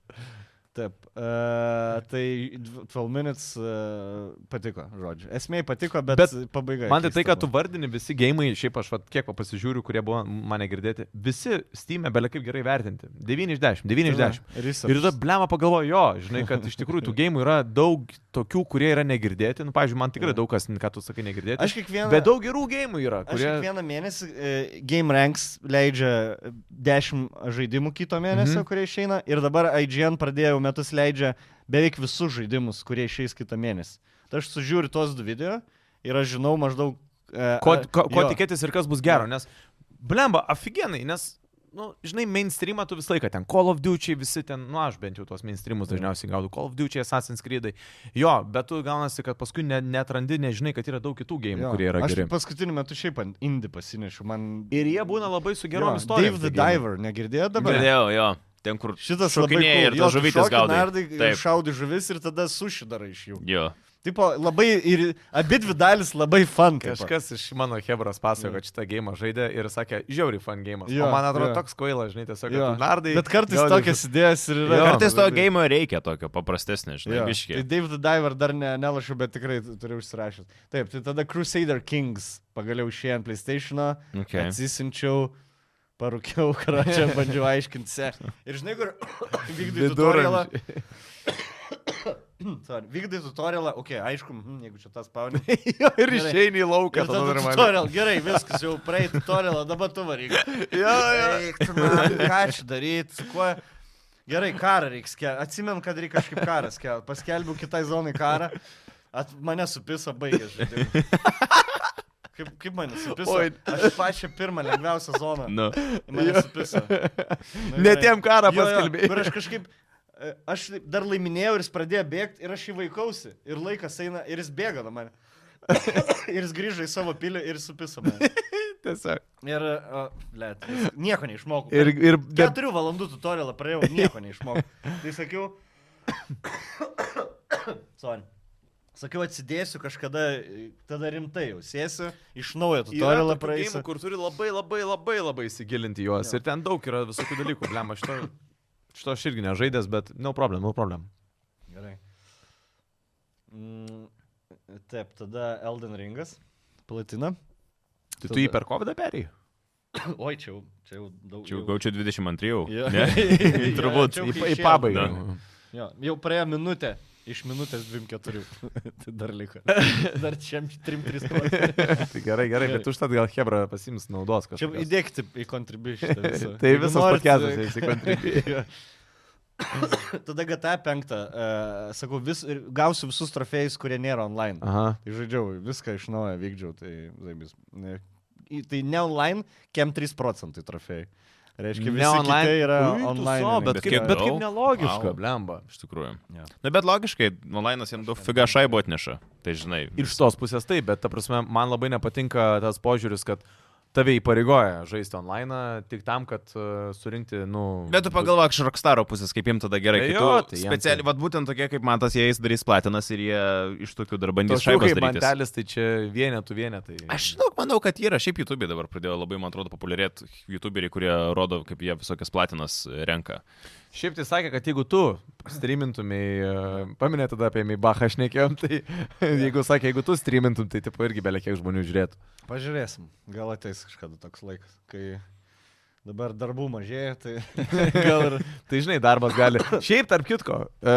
Taip. Uh, tai 12 minutes uh, patiko, žodžiu. Esmė patiko, bet, bet
Bet
pabaiga.
Man tai tai,
keista
kad tu vardini visi gėjimai, šiaip aš vat, kiek va pasižiūriu, kurie buvo mane girdėti, visi Steam'e belia kaip gerai vertinti. 9 iš 10, 9 iš 10.
buvo. Research.
Ir tada blema pagalvojo, jo, žinai, kad iš tikrųjų tų gėjimų yra daug tokių, kurie yra negirdėti. Nu, pavyzdžiui, man tikrai daug kas, ką tu sakai, negirdėti.
Aš kiekvieną...
Bet daug gerų gėjimų yra,
Aš
kurie...
kiekvieną mėnesį e, Game Ranks leidžia 10 žaidimų kito mėnesio,
Mhm.
mm -hmm. kurie išeina. Ir dabar IGN pradėjau metus leidžia beveik visus žaidimus, kurie išeis kitą mėnesį. Tai aš sužiūriu tuos du video ir aš žinau maždaug... E,
Ko,
ar-
ko, ko
jo.
tikėtis ir kas bus gero, nes blemba, aфиgenai, nes, nu, žinai, mainstreamą tu visą laiką ten, Call of Duty visi ten, nu, aš bent jau tuos mainstreamus dažniausiai gaudau, Call of Duty, Assassin's Creed, jo, bet tu gaunasi, kad paskui ne- netrandi, nežinai, kad yra daug kitų gėjimų,
Jo.
kurie yra
Aš
geri.
paskutiniu metu šiaip ant indį pasinešiu. Man...
Ir jie būna labai su
Jo,
gerom
Dave
istorijom.
the
tie gėjimai.
Diver, negirdėjot dabar?
Girdėjau, jo. Ten, kur
Šitas labai
šokinėja
cool.
ir
Jo,
tas
tu
žuvytės
šoki,
gaudai.
nardai,
Taip.
Šaudai žuvis ir tada sušidara iš jų.
Jo.
Tipo, labai ir abidvi dalis labai fan. tipo.
Kažkas iš mano Hebras pasakojo, kad šitą gėjimą žaidė ir sakė, žiauri fan gėjimas.
Jo,
O man atrodo
jo.
toks kvailas, žinai, tiesiog,
Jo.
kad nardai.
Bet kartais
gaudai
tokias idėjas ir yra.
Tai Jo. nu, tai-
Kartais to gėjimo reikia tokio paprastesnio, žinai,
Jo. Tai
biškiai.
Dave the Diver dar ne, nelašiau, bet tikrai tu- turiu užsirašęs. Taip, tai tada Crusader Kings pagaliau išėjo ant PlayStation'o, okay.
Okay.
atsisinčiau, parūkiau, kračią bandžiau aiškinti. se. Ir žinai, kur vykdai tutorialą.
Viduramžiai.
Sorry, Vykdai tutorialą, okei, okay, aišku, mhm, jeigu čia tas spaudė.
Ir išeini į lauką,
Ir
tada
tada
normaliai.
tutorial, gerai, viskas jau praeit tutorialą, dabar tu varyk.
Jo, jo.
Eik tu man, ką čia daryti, su kuo. Gerai, karą reiks kelti. Atsimenu, kad reikia kažkaip karas kelti. Paskelbiu kitai zonai karą. At mane supisa baigė žaidimas. Kaip, kaip mane supisa?
Oi.
Aš pačią pirmą lengviausią zoną.
Nu,
Mane supisa. Nu,
Ne
gerai.
tiem karą
Jo, jo, Ir
paskelbėjai.
aš kažkaip, e, aš dar laiminėjau ir jis pradėjo bėgti ir aš jį vaikausi. Ir laikas eina ir jis bėga nuo manęs. ir jis grįžo į savo pilį ir supisa mane.
Tiesiog.
Ir, blėt, nieko neišmokau.
Ir, ir bet,
Keturių valandų tutorialą praėjau, nieko neišmokau. Tai sakiau, sorry. Sakiau, atsidėsiu kažkada, e, tada rimtai jau sėsiu, iš naujo tutorialą praeisiu.
Kur turi labai labai labai labai įsigilinti juos.
Jo.
Ir ten daug yra visokių dalykų. Blem, aš to, šito aš irgi nežaidęs, bet no problem, no problem.
Gerai. Mm, Taip, tada Elden Ringas, platina.
Tai tu
Tada-
jį per COVID perėjai?
Oi, čia jau, čia jau daug.
čia jau gaučiau 22. jau.
Jo.
Ne?
Jo,
Turbūt.
čia jau
Į,
kai
į
išėjo.
pabaigą.
Na.
Jo, jau praėjo minutė. Iš minutės 24. tai dar liko. Dar čia 3-3 procentai.
Tai gerai, gerai,
Gerai.
bet užtat gal Hebra pasims naudos
Čia
kažkaip.
įdėkite į contribution.
Tai visas podcastas eis į
contribution. Tada GTA 5. e, Sakau, vis, ir gausiu visus trofėjus, kurie nėra online.
Aha.
Tai žaidžiau, viską iš naujo vykdžiau, tai zaibis. Ne, į- tai ne online, kem 3 procentai trofėjai. Reiškia,
Ne
visi
online.
kiti yra
Ui, tu
online.
so, bet,
Bet
kaip,
kiek
bet kaip
daug?
nelogiška,
Vau.
wow. blemba.
Iš tikrųjų.
Jo.
Na, bet logiškai, onlainas jam daug figa šaibo atneša. Tai žinai.
Iš tos pusės taip, bet ta prasme, man labai nepatinka tas požiūris, kad tave įpareigoja žaisti online tik tam, kad uh, surinkti, nu...
Bet tu pagalvok iš Rockstaro pusės, kaip jiems tada gerai.
Tai
kai
jo,
tu
tai jiem
specialiai,
tai-
vad būtent tokie kaip Matas, jie jais darys platinas ir jie iš tokių dar bandys
Tokių
šaibas
kaip
daryti.
mantelis, tai čia vienetų vienetai.
Aš daug manau, kad yra. Šiaip YouTube dabar pradėjo labai, man atrodo, populiarėti YouTuberiai, kurie rodo, kaip jie visokias platinas e, renka.
Šiaip tai sakė, kad jeigu tu streamintumai, paminė tada apie Mibachą šnekėjom, tai jeigu sakė, jeigu tu streamintum, tai tipo irgi beveik kiek žmonių žiūrėtų.
Pažiūrėsim, gal ateis kažkada toks laikas, kai dabar darbų mažėja, tai gal ir...
Tai žinai, darbas gali. Šiaip tarp kitko, e,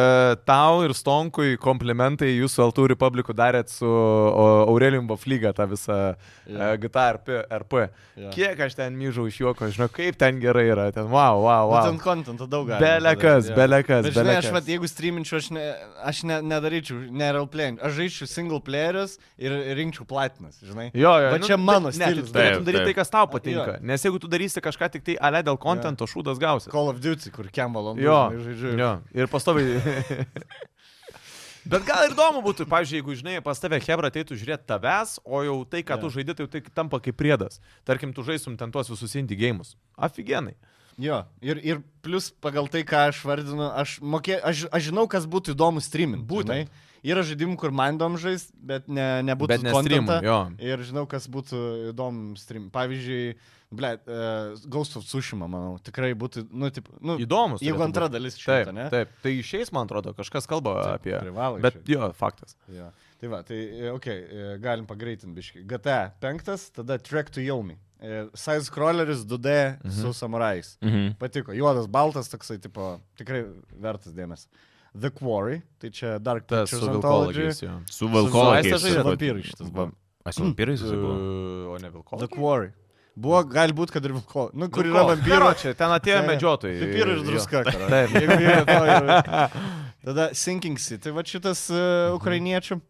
tau ir Stonkui komplimentai jūsų Altų Republikų darėt su o, Aurelium Baflyga tą visą e, GTA RP. RP.
Jo.
Kiek aš ten myžau iš juoko, žinau, kaip ten gerai yra, ten wow, wow,
Wow.
wow.
Nu, Ten kontentą daug galima.
Belekas,
padaryt, jo.
belekas,
Bet žinai, aš,
belekas.
vat, jeigu streaminčiau, aš, ne, aš ne, nedaryčiau, ne real playing, aš žaidžiu single playerius ir rinkčiau platinas, žinai.
Jo, jo. nu,
Va čia mano
ne,
stilius.
Tu turėtum
Taip,
daryti
taip.
tai, kas tau patinka. Nes jeigu tu darysi kažką tik tai ale dėl kontento, šūdas gausi.
Call of Duty, kur kiam valandom
Jo,
žaidžiu.
jo. Ir pastoviai. Bet gal ir įdomu būtų, pavyzdžiui, jeigu, žinai, pas tave Hebra ateitų žiūrėti tavęs, o jau tai, ką tu
Jo.
žaidai, tai jau tai tampa kaip priedas. Tarkim, tu žaisum ten tuos visus indie gėjimus. Afigenai.
Jo, ir, ir plus pagal tai, ką aš vardinu, aš, mokė, aš, aš žinau, kas būtų įdomu streaming.
Būtent.
Yra žaidimų, kur man įdomu žaisti, bet ne, nebūtų
Bet ne streamui,
contento.
jo.
Ir žinau, kas būtų įdomu stream. Pavyzdžiui, ble, uh, Ghost of Tsushima, manau, tikrai būtų, nu, taip, nu,
Įdomus.
Jeigu
turėtų
antra
būt.
dalis iš
Taip,
šito, ne?
taip, tai išeis, man atrodo, kažkas kalba
Taip,
apie...
privalo
Bet
išeit.
jo, faktas.
Jo. Tai va, tai, e, okei, okay, galim pagreitinti biškai. GTA 5, tada Track to Yomi. E, Size Crawleris 2D mhm. su samurais.
Mhm.
Patiko, juodas, baltas, toksai, tipo, tikrai vertas dėmesio. The Quarry, tai čia Dark
Tas
Pictures
su
Anthology.
vilkolakiais, jo.
Su
Su vaistais
Valkolais.
ir vampyrais šitas buvo.
Aš su vampyrais esu buvęs.
Uh, O ne
The
vilkolakiais.
Quarry. Buvo, gali būti, kad ir vilko. Nu, kur yra
Vilkolai.
vampyro.
Jo, Čia ten atėjo
Ne, ne.
medžiotojai.
Pipirų ir
Jo.
druska. karai.
Taip.
Jeigu yra to ir- Tada Sinking City, va šitas uh,
Mhm.
ukrainiečių.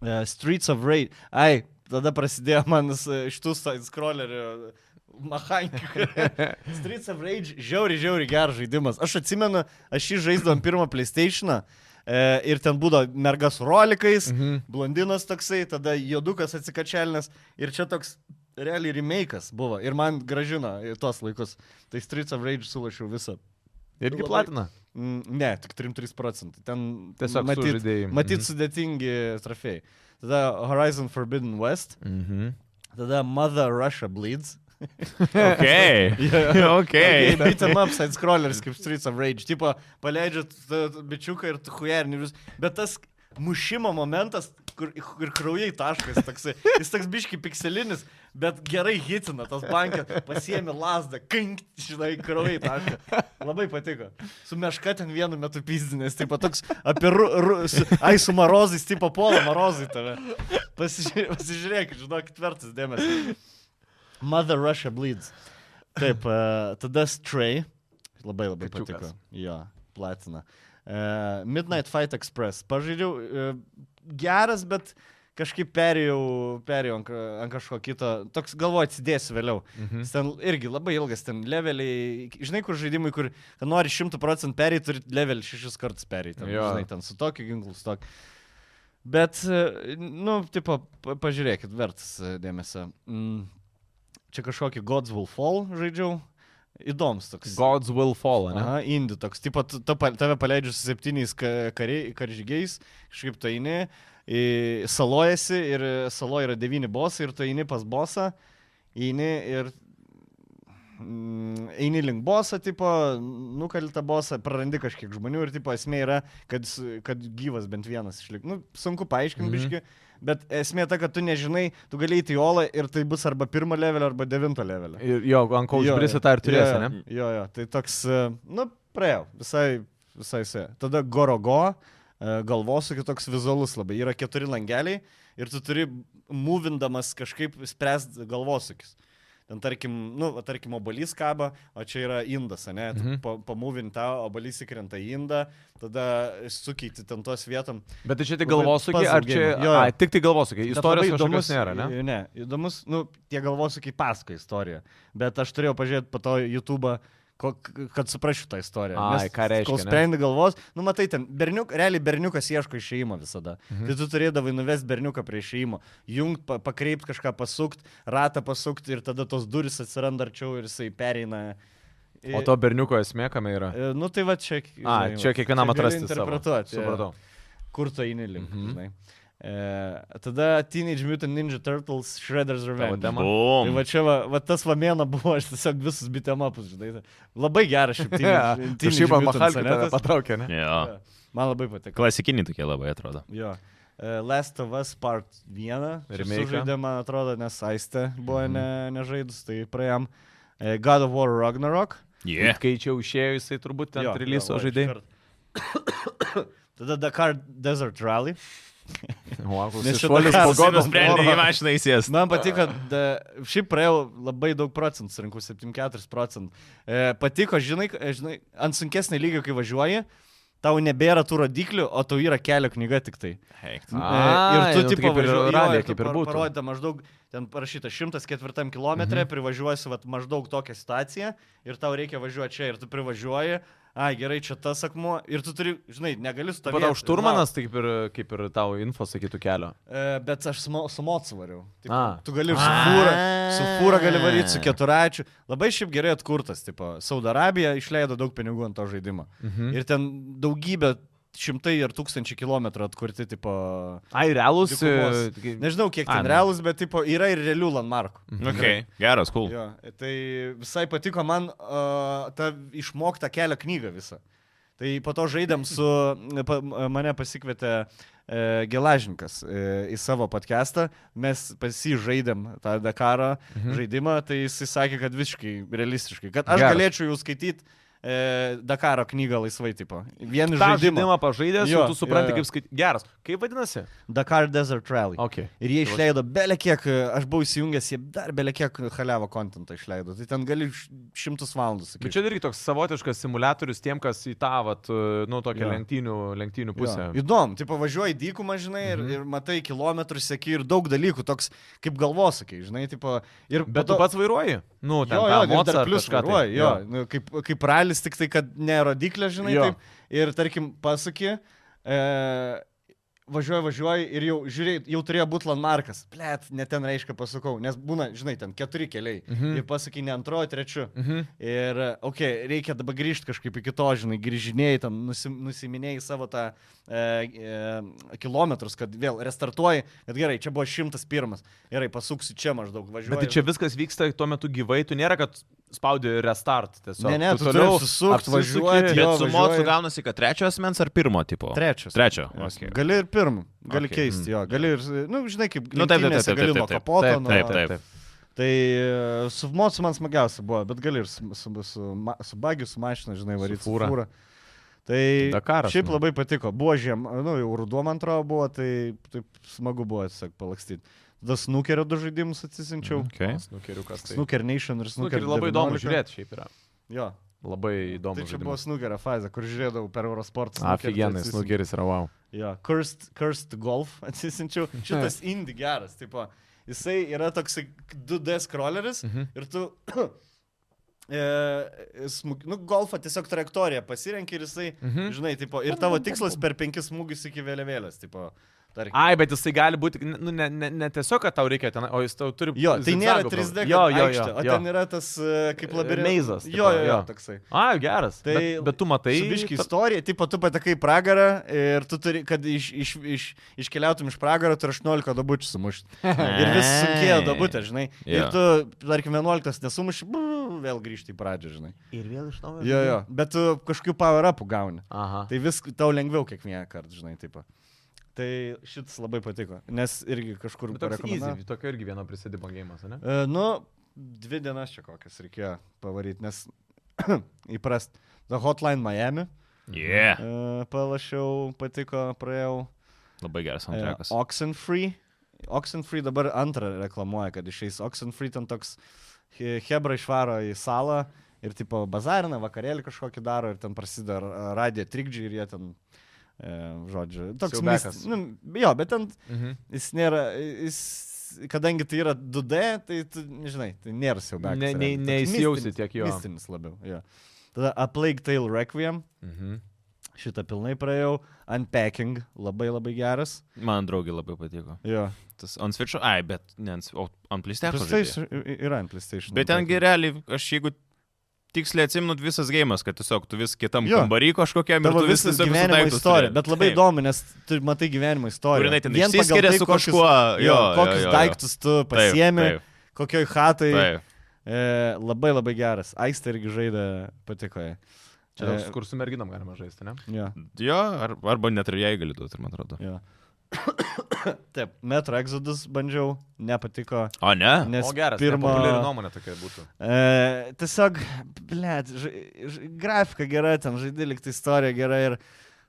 Uh, Streets of Raid. Ai, tada prasidėjo man uh, šitų side scrollerių. e, Mahankių. Streets of Rage, žiauri, žiauri geras žaidimas. Aš atsimenu, aš jį žaisdavom pirmą PlayStationą. E, ir ten būdavo merga su rolikais, mhm. blondinas toksai, tada jodukas atsikačelnės. Ir čia toks realiai remake'as buvo. Ir man gražino į tuos laikus. Tai Streets of Rage sulašiau visą.
Irgi
Labai-
platina.
Mm, Ne, tik 3-3 procentai. Ten
Tiesiog
matyt,
sužaidėjai.
matyt
Mhm.
sudėtingi trofėjai. Tada Horizon Forbidden West,
Mhm.
tada Mother Russia Bleeds.
Mhm. Ok.
Okay,
Ok.
beat em up side scrollers kaip Streets of Rage. Tipo, paleidžiat t- t- bičiuką ir hujernius. Bet tas mušimo momentas, kur ir kraujai taškas toksai. Jis toks biški pikselinis, bet gerai hitina tas bankė. Pasiemi lasdą, kink, žinai, kraujai taškas. Labai patiko. Su meška ten vienu metu pizdinės, tipo toks apie... Ru, ru, su, ai, su marozais, tipo polo marozai tave. Pasižiūrė, pasižiūrėkit, žinokit, vertas dėmesio. Mother Russia bleeds. Taip, uh, tada Stray. Labai labai
Kačiukas.
patiko. Jo, platina. Uh, Midnight Fight Express. Pažaidžiau. Uh, geras, bet kažkaip perėjau, perėjau ant, ka- ant kažko kito. Toks galvoju, atsidėsiu vėliau. Mhm. Ten irgi labai ilgas, ten leveliai. Žinai, kur žaidimai, kur kad nori 100 procentų perėti, turi levelį 6 kartus perėti.
Jo.
Žinai, ten su tokiu ginklu, su tokiu. Bet, e, nu, tipo, pa- pažiūrėkit, vertas e, dėmesio. Mm. Čia kažkokį God's Will Fall žaidžiau. Įdomus toks.
Gods will fall, ne?
Aha, indi toks. Tipo, tu- tu pa- tave paleidžia su septyniais ka- kariai- karžygiais, kažkaip tu eini, į- salojasi ir e, saloje yra devyni bosai ir tu eini pas bosą, eini ir mm, eini link bosą, tipo, nukali tą bosą, prarandi kažkiek žmonių ir, tipo, esmė yra, kad, s- kad gyvas bent vienas išlik. Nu, sunku paaiškinti,
Mhm.
mm -hmm. bet esmė ta, kad tu nežinai, tu gali įti į olą ir tai bus arba pirmo levelio, arba devinto levelio.
Ir jo, ant ko
Jo,
užbrisi
jo.
tą ir turėsi,
jo,
ne?
jo, Jo, jo, tai toks, e, nu, praėjau, visai, visai se. Tada gorogo, galvosūkis toks vizualus labai, yra keturi langeliai ir tu turi, mūvindamas kažkaip spręsti galvosūkis. Ten tarkim, nu, va, tarkim, obalys kaba, o čia yra indas, ne? Mhm. Pamūvinta, obalys įkrenta į indą, tada sukeiti ten tos vietom.
Bet tai čia tik
Labai
galvosūkiai, ar čia...
puzzle game. Jo, jo.
Ai, tik tai galvosūkiai.
Bet
Istorijos
labai
įdomus nėra, ne?
Ne, įdomus, nu, tie galvosūkiai pasako istoriją, bet aš turėjau pažiūrėti po to YouTube, ko- k- kad suprasčiau tą istoriją.
Ai, ką reiškia,
Kol
ne?
sprendi galvos, nu matai, ten berniuk, realiai berniukas ieško išeimo visada. Mhm. Tai tu turėdavai nuvesti berniuką prie išeimo, jungt, pa, pakreipti kažką pasukti, ratą pasukti ir tada tos duris atsiranda arčiau ir jisai pereina. į-
O to berniuko esmė kame yra?
e, Nu tai va čia.
A,
žinai,
čia
va,
kiekvienam
gali
atrasti. savo.
Interpretuoti. jo
Supratau.
kur tu eini link.
Mhm.
Mm -hmm. e, tada Teenage Mutant Ninja Turtles Shredder's Revenge.
tema.
Tai
Bum.
va čia, va, va tas vamėna buvo, aš tiesiog visus bitemapus, žinai. tai Labai geras šiaip
Ja,
Teenage,
Ir
Teenage
šiaip man
Mutant
Mahalkį tave
sonetas.
patraukė, ne?
Jo.
Man labai patiko.
Klasikiniai tokie labai atrodo.
Jo. E, Last of Us Part 1.
Remake.
Žaidė, man atrodo, nes Aiste buvo
Mhm.
ne, nežaidus, tai praėjom. E, God of War Ragnarok.
Jie.
Kai čia jau išėjo, jisai turbūt ten
Jo, jo,
trilyso
va,
žaidėjai.
iškart. Tada Dakar Desert Rally.
O, koks
Nes čia
šuolis
tokia
po
Pagodą
godos.
nusprendė į mašiną įsėsti.
Man patiko, da, šiaip praėjau labai daug procentų, surinkau 74 procentų. E, patiko, žinai, k- žinai, ant sunkesnio lygio, kai važiuoji, tau nebėra tų rodiklių, o tau yra kelio knyga tik tai.
A,
Eik.
Ai, nu, tai kaip ir
važiuoji,
ralyje,
jo, tu
kaip ir
par-
būtų.
Parodyta maždaug, ten parašyta 104 km, mhm. privažiuosi vat, maždaug tokią situaciją ir tau reikia važiuoti čia ir tu privažiuoji. ai gerai, čia tas akmuo ir tu turi, žinai, negali su tavimi.
Tada užturmanas, taip ir, tai kaip ir tau info sakytų kelio.
e, Bet aš su mo- su mocu variau. Taip,
A.
Tu gali ir su fūra, su fūra gali varyti, su keturračiu. Labai šiaip gerai atkurtas, tipo, Saudo Arabija išleido daug pinigų ant to žaidimo.
Mhm.
Ir ten daugybė šimtai ar tūkstančiai kilometrų atkurti, tipo,
Ai, realūs.
Dykumos.
e, tokie-
nežinau kiek
A, Mhm.
ten
nu.
realus, bet tipo, yra ir realių landmarkų.
Okay. Geras, cool.
Nu, Jo, tai visai patiko man uh, ta išmokta kelio knyga visa. Tai po to žaidėm su, pa, mane pasikvietė e, Gelažinkas e, į savo podcastą, mes pasižaidėm tą Dakaro mhm. žaidimą, tai jisai sakė, kad visiškai realistiškai, kad aš
Geras.
Geras. galėčiau jau skaityti e, Dakaro knygą laisvai, tipo. Vien
Tą
žaidimą.
žaidimą pažaidęs,
Jo,
jau tu
jo,
supranti,
jo.
kaip skait... Geras. Kaip vadinasi?
Dakar Desert Rally.
Ok.
Ir jie
Tai va-
išleido belekiek, aš buvau įsijungęs, jie dar belekiek haliavo kontentą išleido. Tai ten gali š- šimtus valandų,
Bet
sakyčiau.
čia irgi toks savotiškas simulatorius tiem, kas į tą, vat, e, nu, tokią
Jo.
lenktynių, lenktynių pusę. Mhm.
Jo. Įdomu, tai pavažiuoji dykumą, žinai, ir, ir matai kilometrus, sėki ir daug dalykų, toks kaip galvosakiai, žinai, tipo, ir
Bet tu pats vairuoji. Nu, ten
Jo,
tą
jo, ir
mocą
dar
ar
plius
kažką tai.
vairuoji, jo, nu, kaip, kaip ralis, tik tai, kad ne rodiklė, žinai,
Jo.
taip, ir tarkim pasakė, e, važiuoji, važiuoji ir jau, žiūrėjai, jau turėjo būti landmarkas, plėt, ne ten reiškia pasakau, nes būna, žinai, ten keturi keliai,
Mhm.
ir pasakė ne antrojo, trečiu.
Mhm.
Ir, okei, okay, reikia dabar grįžti kažkaip iki to, žinai, grįžinėjai, tam nusim, nusiminėjai savo tą e, e, kilometrus, kad vėl restartuoji, kad gerai, čia buvo šimtas pirmas, gerai, pasuksiu čia maždaug važiuoju.
Bet tai čia viskas vyksta tuo metu gyvai, tu nėra, kad spaudi restart tiesiog.
Ne, ne, tu turi apsisukt,
apsisuki.
važiuoti,
Bet
Jo,
su
važiuoju.
mocu gaunasi, kad trečio asmens ar pirmo tipo?
trečias.
Trečio.
Okay.
Okay.
Gali ir pirmą, gali
Okay.
okay. keisti jo, gali ir, nu, žinai, kaip,
Mhm. Nu, taip, taip,
lenktynėse
taip, taip,
gali
taip,
nuo
taip.
kapoto,
Taip,
nuo-
Taip, taip.
Tai e, su mocu man smagiausia buvo, bet gali ir su, su, su, ma- su bagiu, su mašina, žinai, varyti
fūra.
fūrą. Tai
Dakaras,
šiaip
nu.
labai patiko. Buvo žiem, nu, jau ruduo man atrodo buvo, tai taip smagu buvo, tiesiog palakstyti. Tada snukerio du žaidimus atsisinčiau.
Okay.
Snukeriukas. Tai.
Snuker Nation ir Snuker.
Snukeri labai
19.
įdomu žiūrėti šiaip yra.
Jo.
Labai įdomu.
Tai čia
žaidimas.
buvo snukerio fazė, kur žiūrėdavau per Eurosport. snukerį, tai
Aфиgenai,
atsisin-
snukeris yra wow.
Jo, Cursed, Cursed Golf atsisinčiau. Šitas indie geras, tipo, jisai yra toks 2D scrolleris
Mhm.
ir tu... E, smūg, nu, golfą tiesiog trajektoriją pasirenki ir jisai,
Mhm.
žinai, tipo, ir tavo tikslas per penkis smūgius iki vėliavėlės, tipo, tarkim.
Ai, bet jisai gali būti, nu, ne, ne, ne tiesiog, kad tau reikia ten, o jis tau turi
Jo, tai nėra
zigzagų
3D,
problemų.
jo, jo,
jo,
jo, o
jo.
ten yra tas e, kaip
E,
labirintas.
meizas, tipo,
Jo, jo, jo,
jo.
toksai.
Ai, geras.
Tai
Tai, bet, bet tu matai.
Tai biški
ta-
istorija, tipo, tu patekai į pragarą ir tu turi, kad iš, iš, iš, iškeliautum iš pragaro, turi 18 dabučių sumušti. Ir vis sunkėjo dabutė, žinai.
Jo.
Ir tu, tarkim, 11 nesumuši, brr, vėl grįžti į pradžią, žinai.
Ir vėl iš naujo.
Jo, jo, bet tu kažkokių power-upų gauni.
Aha.
Tai vis tau lengviau kiekvieną kartą, žinai, taip. Tai šitas labai patiko, nes irgi kažkur...
Bet Nu, toks
parekomendavo.
easy, tokio irgi vieno prisidimo gėjimas, ne?
E, Nu, dvi dienas čia kokias reikėjo pavaryti, nes įprast. The Hotline Miami.
Yeah.
E, Palašiau, patiko, praėjau.
Labai geras
E,
soundtrackas.
Oxenfree. Oxenfree dabar antrą reklamuoja, kad išeis Oxenfree ten toks he- Hebra išvaro į salą ir tipo bazarina, vakarėlį kažkokį daro ir ten prasideda ra- radijo trikdžiai ir jie ten, e, žodžiu, toks
Siaubiakas.
mis- Nu, jo, bet ten
Mhm.
jis nėra, jis, kadangi tai yra 2D, tai, tu, nežinai, tai nėra siaubiakas.
Ne- ne-
realiai, toks
neįsijausi
mistinis-
tiek jo.
Mistinis labiau, jo. Tada A Plague Tale Requiem,
Mhm.
šitą pilnai praėjau, Unpacking, labai labai geras.
Man draugė labai patiko.
Jo.
Tas ant switcho, ai, bet ne ant, o ant plisteko.
PlayStation yra ant PlayStation. nu, tai
Bet ten gereliai, aš jeigu tiksliai atsimnu visas gėjimas, kad tiesiog tu vis kitam
Jo.
kambarį kažkokiam ir
Tavo
tu vis
visas
tiesiog visus
gyvenimo
daiktus
istorija,
turi.
bet labai
Taip.
įdomu, nes tu matai gyvenimo istoriją.
Kur jinai ten
Vien pagal
išsiskiria
tai,
su
kokius-
kažkuo, jo, jo,
kokius
jo, jo.
daiktus tu pasiemi,
Taip,
kokioj hatai.
taip, taip.
E, labai labai geras. Aistė irgi žaidė, patiko jai. E-
Čia toks, kur su merginom galima žaisti, ne?
Jo,
Jo, ar, arba net ir jai galiu duoti, man atrodo.
jo. Taip, Metro Exodus bandžiau, nepatiko.
O nu, ne? ne.
Nes
o geras,
pirmo...
populiari nuomonė tokia būtų.
E, tiesiog, blėt, grafika gera, ten žaidė likti istorija gera ir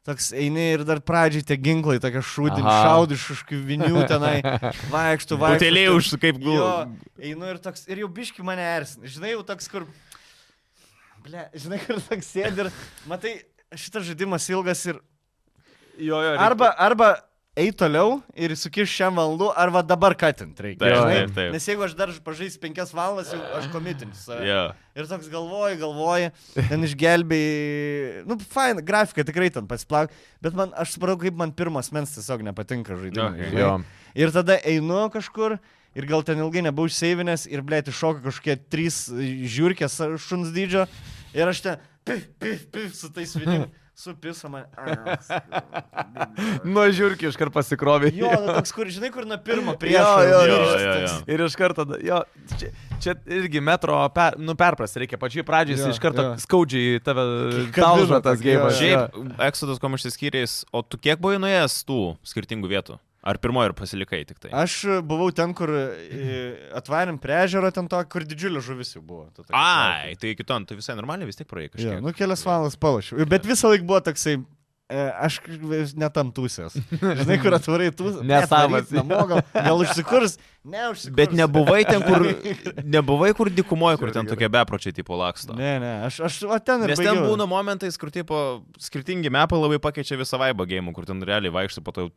toks eini ir dar pradžiai tie ginklai, tokie šūdini,
Aha.
šaudai iš kažkokių vinių tenai, vaikštų, vaikštų.
Utėlė
ten-
už kaip
Jo,
gulų.
einu ir toks, ir jau biški mane ersin. Žinai, jau toks, kur... Ble, žinai, kur toks sėdi ir matai, šitas žaidimas ilgas ir...
Jo, jo.
Arba, arba eiti toliau ir sukiš šiam valandu, arba dabar katint reikia.
Taip,
žinai?
taip, taip.
Nes jeigu aš dar pažaisiu penkias valandas, jau aš komitinsiu. save.
Jo.
Ir toks galvoji, galvoji, ten išgelbėjai, nu, fain, grafika tikrai ten pasiplauk, bet man, aš supratau, kaip man pirmas mens tiesiog nepatinka žaidimai.
Okay.
žinai.
Jo.
Ir tada einu kažkur ir gal ten ilgai nebuvau išseivinęs ir, blė, iššoka kažkokie trys žiūrkės šuns dydžio ir aš ten, pif, pif, pif, su tais vinim, su pisa man.
Nuo žiūrkių iškart pasikrovė.
Jo, nu, toks, kur, žinai, kur nuo pirmo
Jo,
priešo.
jo,
Jo,
ir-
jo, jo.
Ir iš karto, da- jo, čia, čia irgi metro per, nu, perprasti reikia. Pačiai pradžiai jis
Jo,
iš karto
jo.
skaudžiai tave
Kabino
talžo tas
tokį,
gėjimas.
jo,
Šiaip, Exodus kom išsiskyrės, o tu kiek buvai nuėjęs tų skirtingų vietų? Ar pirmoji ir pasilikai tik tai?
Aš buvau ten, kur e, atvarėm prie ežero, ten to, kur didžiulė žuvis jau buvo. Ta tokia plaukė.
Ai, tai iki to, tu visai normaliai vis tik praėjai
Jo,
kažkiek.
nu kelias valandas palašiau. Bet visą laiką buvo toksai, e, aš kaž- netam tūsės. Žinai, kur atvarai tūsės.
Ne savas, jo.
Namo gal, gal užsikurs. Ne, užsikurs.
Bet nebuvai ten, kur, nebuvai kur dikumoje, kur ten tokie bepročiai tipo laksto.
Ne, ne, aš, aš va ten ir
Nes ten
baigiau.
būna momentais, kur tipo, skirtingi mepai labai pakeičia visą vaibą gėjimų, kur ten realiai vaikštų po to jau.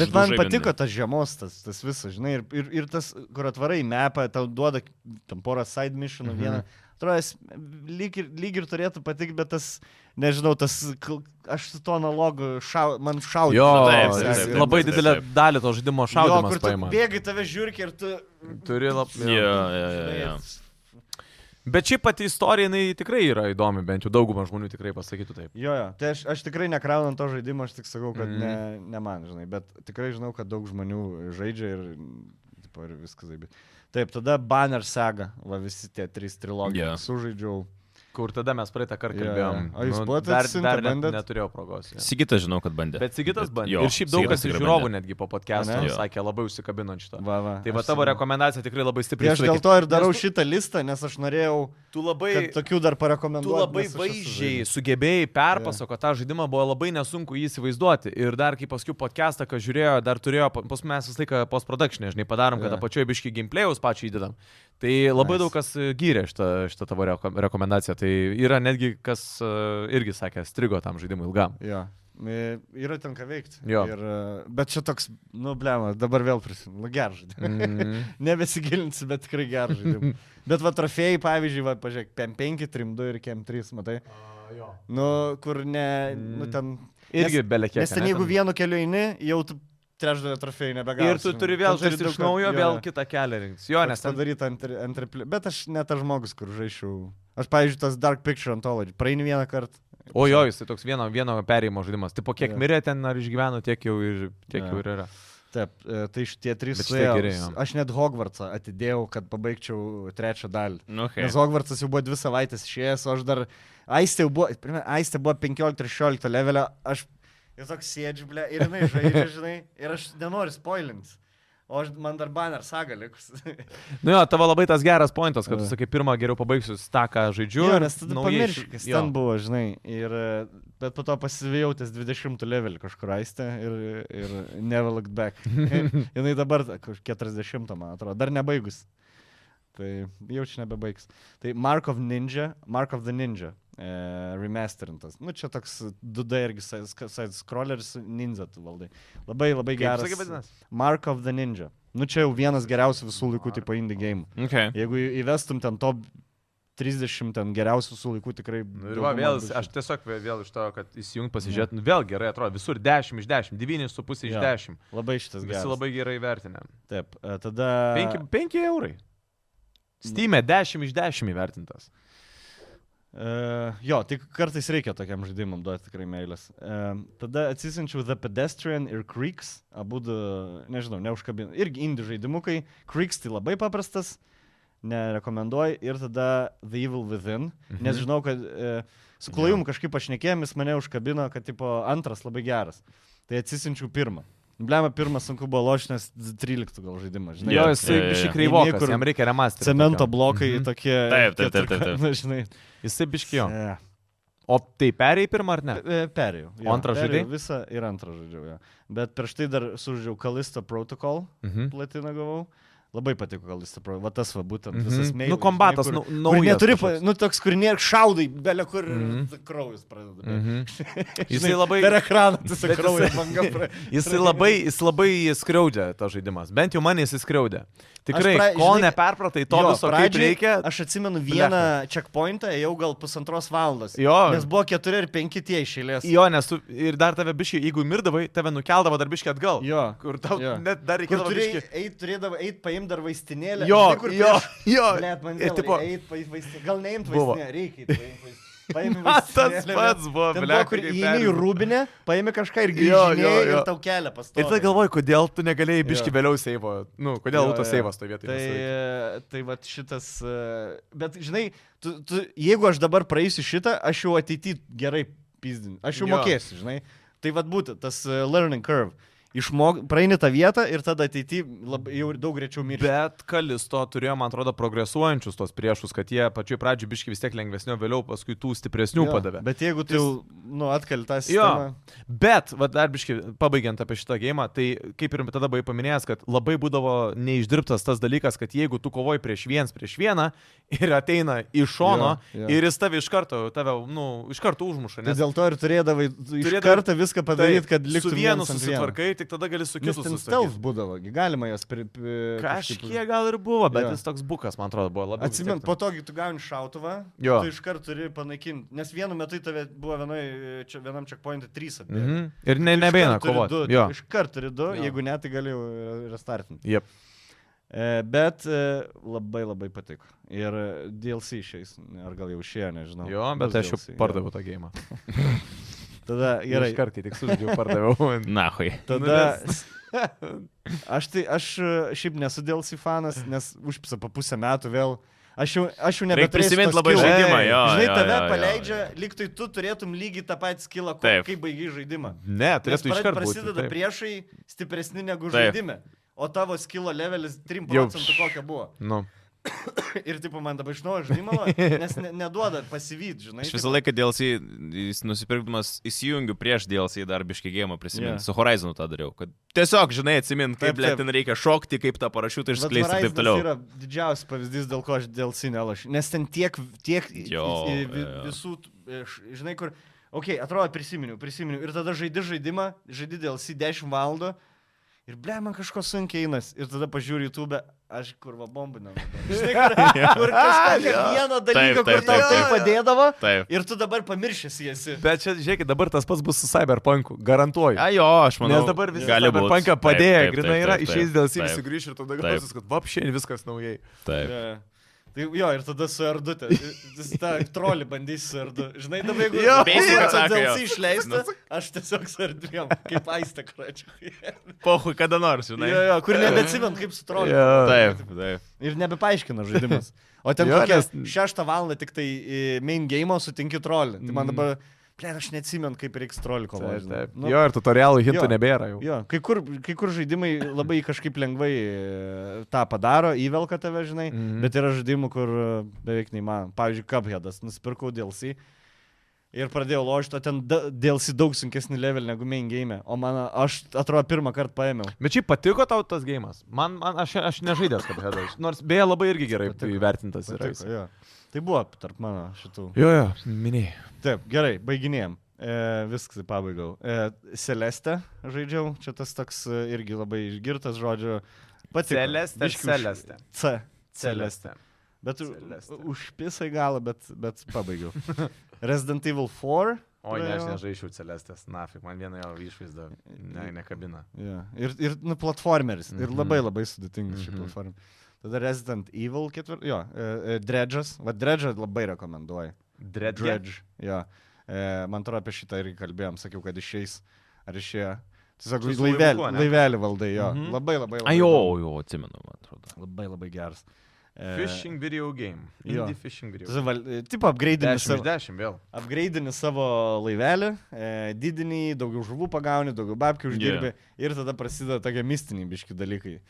Bet man patiko tas žiemos, tas, tas visas, žinai, ir, ir, ir tas, kur atvarai mepą, tau duoda tam porą side missionų vieną. Atrodo, jis lyg ir, lyg ir turėtų patikti, bet tas, nežinau, tas, kl- aš su tuo analogu, šau, man šaudė.
Jo,
Taip,
jis
taip, taip,
labai
taip,
didelę
taip.
dalį to žaidimo
Jo,
šaudymas
kur tu
paima.
bėgi tave žiūrki ir tu...
Turi labai.
Jo, jo, jo, jo.
Bet šiaip pati istorija, jinai tikrai yra įdomi, bent jau dauguma žmonių tikrai pasakytų taip.
Jo, jo, tai aš, aš tikrai nekraunant to žaidimo, aš tik sakau, kad
Mhm.
mm. ne, ne man, žinai, bet tikrai žinau, kad daug žmonių žaidžia ir, tipo, ir viskas taip. Taip, tada Banner Saga, va visi tie trys trilogijai.
Jo.
Yeah. Sužaidžiau.
Kur tada mes praeitą
Jo,
kartą
jo.
kalbėjom. Nu,
O jūs buvote
dar,
atsiuntę,
dar net,
bandėt?
neturėjau progos. jo.
Sigita žinau, kad bandė.
Bet Sigitas
Bet
bandė.
jo,
Ir šiaip daug
Sigitas
kas iš
tikrai
žiūrovų
bandė.
netgi po podcast'o
Ane?
Jo.
sakė, labai užsikabino ant šito.
Va, va,
Tai va
aš
tavo
sakau.
rekomendacija tikrai labai
Tai
stipriai.
aš dėl to ir darau
Nes tu-
šitą listą, nes aš norėjau,
Tu labai,
kad tokių dar
tu
parekomenduočiau.
labai vaizdžiai sugebėjai perpasako tą žaidimą, buvo labai nesunku jį įsivaizduoti. Ir dar kai paskui podcastą, ką žiūrėjo, dar turėjo, pa- pas mes visą laiką post-production, žinai, padarom, kad
Jo.
apačioje biški gameplay'us pačiu įdedam. Tai labai
Nice.
daug kas e, gyrė šitą, šitą tavo reko rekomendaciją. Tai yra netgi kas e, irgi sakė, strigo tam žaidimui ilgam.
Jo. E, Yra ten ką veikti.
Jo.
Ir, e, bet čia toks, nu, blema, dabar vėl prisimenu, nu, geras žaidimas.
Mm.
Nebesigilinsiu, bet tikrai geras žaidimas. bet va trofėjai, pavyzdžiui, va, pažiūrėk, PM5, TRIM2 ir KM3, matai.
jo.
Nu, kur ne, nu ten.
Mm. Irgi belekė.
Nes ten jeigu vienu keliu eini, jau tu trečdalį trofėjų nebegausi.
Ir tu turi vėl žaisti iš naujo, vėl kitą kelią rinktis. Jo, nes ten
padaryta ant, ant replė. Bet aš ne tas žmogus, kur žaisčiau. Aš, pavyzdžiui, tas Dark Picture Anthology. Praeini vieną kartą.
O jo, jis toks vieno, vieno perėjimo žaidimas. Tai po kiek
Jo.
mirė ten ar išgyveno, tiek jau ir, tiek jau ir yra.
Taip, e, tai šitie trys
Bet šitie
suėjo.
geri, jo.
Aš net Hogwartsą atidėjau, kad pabaigčiau trečią dalį.
Nu, okay.
Nes Hogwartsas jau buvo dvi savaitės išėjęs, o aš dar... Aistė jau buvo, pirmia, Aistė buvo 15-16 levelio, aš... Ir toks sėdžiu, ble, ir jinai žaidžia, žinai, ir aš nenoriu spoilins. O aš, man dar banner saga likus.
Nu jo, tavo labai tas geras pointas, kad tu
Jo.
sakai, pirmą geriau pabaigsiu tą, ką žaidžiu.
jo,
ir
nes tada
naujai
pamiršau,
iš-
kas
jo.
ten buvo, žinai. Ir, e, bet po to pasivėjau ties 20 levelį kažkur aistę ir, ir never looked back. Jinai dabar kaž- 40, man atrodo, dar nebaigus. Tai jau čia nebebaigs. Tai Mark of Ninja, Mark of the Ninja e, remasterintas. Nu, čia toks 2D irgi side side scrolleris, ninja tu valdai. Labai labai
Kaip
geras.
sakė vadinasi?
Mark of the Ninja. Nu, čia jau vienas geriausių visų laikų tipo indie game.
Okay.
Jeigu į- įvestum ten top 30 ten geriausių visų laikų, tikrai...
Nu ir va, vėl, aš tiesiog vė- vėl iš to, kad įsijungt pasižiūrėt, nu, vėl gerai atrodo, visur 10 iš 10, 9,5 iš
Jo.
10.
Labai šitas
Visi
geras.
labai gerai vertinę.
Taip, e, tada...
5, 5 eurai. Steam'e 10 iš 10 įvertintas.
Uh, jo, tik kartais reikia tokiam žaidimam duoti tikrai meilės. Uh, tada atsisinčiau The Pedestrian ir Creeks, abu, du, nežinau, neužkabinu. Irgi indie žaidimukai. Creeks tai labai paprastas, nerekomenduoju. Ir tada The Evil Within, mhm. nes žinau, kad uh, su klajum kažkaip pašnekėjom, jis mane užkabino, kad tipo antras labai geras. Tai atsisinčiau pirmą. Blema, pirmas sunku buvo lošinės 13 gal žaidimas, žinai.
Jo,
Jo,
jis
jo, jo.
biški kreivokas,
Niekur-
jam reikia remasterio.
Cemento
tokio.
blokai
Mhm.
tokie.
Taip, taip, taip, taip, taip.
Na, žinai.
Jisai biški jo.
Yeah.
O tai perėjai pirmą ar ne?
Pe- e, Perėjau.
O antrą
perėjau
žaidei?
Visą ir antrą žaidžiau. Jo. Bet prieš tai dar sužaidžiau Kalisto Protocol,
Mhm.
platiną gavau. Labai patiko, gal jis suprato. Va tas va būtent
Mhm.
visas mėgis.
Nu, kombatas, nu,
Kur
naujas.
neturi, pa-
kažkoks.
nu, toks, kur nėra šaudai, belia kur
Mhm.
mm. kraujas pradeda. bėgt.
Mhm. Jisai labai...
Per ekraną tiesiog
Bet
kraujas
jisai-
banga pradeda.
Jis labai, jis labai skriaudžia tas žaidimas. Bent jau man jis skriaudžia. Tikrai,
pra-
kol
žinai,
neperpratai to
Jo,
viso, kaip
pradžiai
reikia.
Aš atsimenu vieną checkpointą, jau gal pusantros valandos.
Jo.
Nes buvo keturi ir penki tie išėlės.
Jo, nes tu ir dar tave biškai, jeigu mirdavai, tave nukeldavo dar biškai atgal.
Jo.
Kur tau
Jo.
net dar
Kur
reikėdavo
turėjai
biškai.
eiti, turėdavo eiti, paimti dar vaistinėlę.
Jo,
Žinai, kur
jo,
prieš-
jo.
Blet, man
Ir tipo,
eiti, paimti vaistinėlę. Gal neimt
Buvo.
vaistinėlę, reikia eit paimt vaistinėlę. Paimi
Man tas
vaistinėlę,
pats
bet-
buvo,
ten
blet,
Kur
kaip
įeini į
peržiūrėjau.
rūbinę, paimi kažką ir
Jo,
grįžti
jo, jo.
ir tau kelia pastoviai.
Ir tada galvoju, kodėl tu negalėjai biškai
Jo.
vėliau seivo. Nu, kodėl
Jo, jo.
auto seivas toje vietoje.
Tai,
nesuveikė?
e, tai va šitas. e, Bet žinai, tu, tu, jeigu aš dabar praeisiu šitą, aš jau ateityje gerai pizdinu. Aš jau
Jo.
jo. mokėsiu, žinai. Tai va būtent tas e, learning curve. Išmok, praeini tą vietą ir tada ateityje jau daug greičiau mirsi.
Bet Kalisto turėjo, man atrodo, progresuojančius tos priešus, kad jie pačiu pradžiu biškai vis tiek lengvesnio, vėliau paskui tų stipresnių
Jo,
padavė.
Bet jeigu tu jau nu, atkaltas.
Jo. Bet, va, dar biškai, pabaigiant apie šitą gėjimą, tai kaip ir tada buvai paminėjęs, kad labai būdavo neišdirbtas tas dalykas, kad jeigu tu kovoji prieš viens prieš vieną ir ateina iš šono
Jo, jo.
ir jis tave iš karto, tave, nu, iš karto užmuša,
Tai
nes
dėl to ir turėdavai
Turėdavai-
turėdavai kartą viską padaryti, kad liktų
su vienu susitvarkai, tik tada gali su
Nes
kitu
Nu, ten
susitvarkyti.
stealth būdavo, gi galima jas pri... pri- kažkaip-
Kažkiek gal ir buvo, bet
Jo.
jis toks bukas, man atrodo, buvo labai.
Atsimint, po to, kai tu gauni šautuvą,
Jo.
tu iškart turi panaikinti, nes vienu metu į tave buvo vienoj, čia, vienam checkpoint'e 3 atbėgo.
Mhm. Ir ne, nebeina
Du,
kovoti. Jo.
iškart turi 2,
Jo.
jeigu ne, tai galėjau restartinti.
Jep.
E, bet e, labai labai patiko. Ir e, DLC išeis, ar gal jau išėjo, nežinau.
Jo, bet
Bus
aš jau
DLC, Nu, jo.
pardaviau tą gėjimą.
Tada, gerai,
Iškart, kai tik sužaidžiau, pardaviau.
Na, hoi.
tada... Aš tai, aš e, šiaip nesu DLC fanas, nes užpisa po pusę metų vėl. Aš jau, aš jau
Reikia
nebeturėsiu
prisimint
to
labai
skillo.
žaidimą, jo.
Žinai,
jo,
tave
jo, jo,
paleidžia, lyg tai tu turėtum lygiai tą patį skilą, ko-
Taip.
kai baigi žaidimą.
Ne,
Nes
turėtų
pra-
iškart būti.
prasideda
taip.
priešai stipresni negu
Taip.
žaidime. O tavo skilo levelis 3
Jau.
procentų kokio buvo.
Nu.
Ir tipo man dabar iš naujo žaidimą, nes ne, neduoda pasivyt, žinai.
Aš visą laiką DLC, jis nusipirkdamas, įsijungiu prieš DLC dar biškį gėjimą prisimint.
Jo.
Su Horizonu tą dariau. Kad tiesiog, žinai, atsimint, kaip
Taip,
ble,
taip.
ten reikia šokti, kaip tą parašiutą
Vat
išskleisti ir
Horizonas
taip toliau.
yra didžiausias pavyzdys, dėl ko aš dėl sinelašiu. Nes ten tiek, tiek i-
Jo,
i- vi,
jo.
visų, t- iš- žinai, kur, okei, okay, atrodo, prisiminiau, prisiminiau. Ir tada žaidi žaidimą, žaidi dėl si 10 valandų. Ir ble, man kažko sunkiai einas. Ir tada pažiūriu YouTube, aš kurva bombinam. Žinai, kur, kur kažkokią vieną dalyką,
Taip,
kur
taip,
tau
taip,
tai
taip.
padėdavo.
Taip.
Ir tu dabar pamiršęs esi.
Bet čia, žiūrėkit, dabar tas pats bus su Cyberpunku, garantuoju.
A, jo, aš manau.
Nes dabar visi
gali būt.
Cyberpunką
Taip,
padėjo,
taip,
grinai
taip,
yra,
taip,
išeis dėl sėdės,
taip,
sugrįš ir tada
Taip.
galvosis, kad vapšiai viskas naujai.
Taip.
Jo, jo. Tai jo, ir tada su erdutė. Jis tą trolį bandys su erdu. Žinai, dabar jeigu
Jo, Nu.
Basic atsako,
dėl
jo.
si išleista, aš tiesiog su erdvėm, kaip aistą kračiu.
Pohui, kada nors, žinai.
Jo, jo, kur nebeatsimint, kaip su troliu.
Jo.
Taip, taip.
Ir nebepaaiškina žaidimas. O ten
Jo,
kokią
nes-
šeštą valandą tik tai į main game sutinki trolį. Tai man dabar, ble, aš neatsimint, kaip reiks trolį
Mm. Taip,
kovoti. Nu,
taip. Jo, ir tutorialų
Jo.
hintų nebėra jau.
Jo, kai kur, kai kur žaidimai labai kažkaip lengvai e, tą padaro, įvelka tave, žinai, mm
Mhm.
-hmm. bet yra žaidimų, kur e, beveik neįmanoma. Pavyzdžiui, Cupheadas, nusipirkau DLC ir pradėjau lošti, o ten da- DLC daug sunkesnį level negu main game, o man, aš atrodo, pirmą kartą paėmiau.
Bet šiaip patiko tau tas gėjimas. Man, man aš, aš nežaidęs, kad hedas. Nors beje, labai irgi gerai
Patiko.
įvertintas yra.
Patiko, jo. Tai buvo tarp mano šitų.
Jo, jo, minėjai.
Taip, gerai, baiginėjom. E, viskas, pabaigau. E, Celeste žaidžiau, čia tas toks e, irgi labai išgirtas žodžio. Pats
Celeste ar Celeste?
C.
Celeste.
Bet
Celeste.
užpisai galą, bet, bet pabaigiau. Resident Evil 4.
O ne, aš
praėjau.
nežaidžiu Celestės, nafik, man viena jo išvaizda ne, nekabina.
Jo. Ir, ir nu, platformeris. Mm -hmm. Ir labai
Mhm.
labai sudėtingas mm -hmm.
Mhm.
šį platformą. Tada Resident Evil 4. Jo, e, e, Dredge'as. Va, Dredge'ą labai rekomenduoju.
Dredge.
Dredge. Jo. E, man atrodo, apie šitą irgi kalbėjom, sakiau, kad išeis. Ar išėjo. Tiesiog
Su- su
laivelį,
laivuku, ne?
laivelį valdai jo. Mm
Mhm.
-hmm. Labai labai.
A,
labai
jo,
įdomu.
jo, atsimenu, man atrodo.
Labai labai geras. E,
Fishing video game.
jo.
Indie fishing video game.
tiesiog val- e, Tipo upgraidinti
10
savo.
iš 10 vėl.
Upgraidini savo laivelį, e, didini, daugiau žuvų pagauni, daugiau babkių uždirbi yeah. ir tada prasideda tokie mistiniai biški dalykai.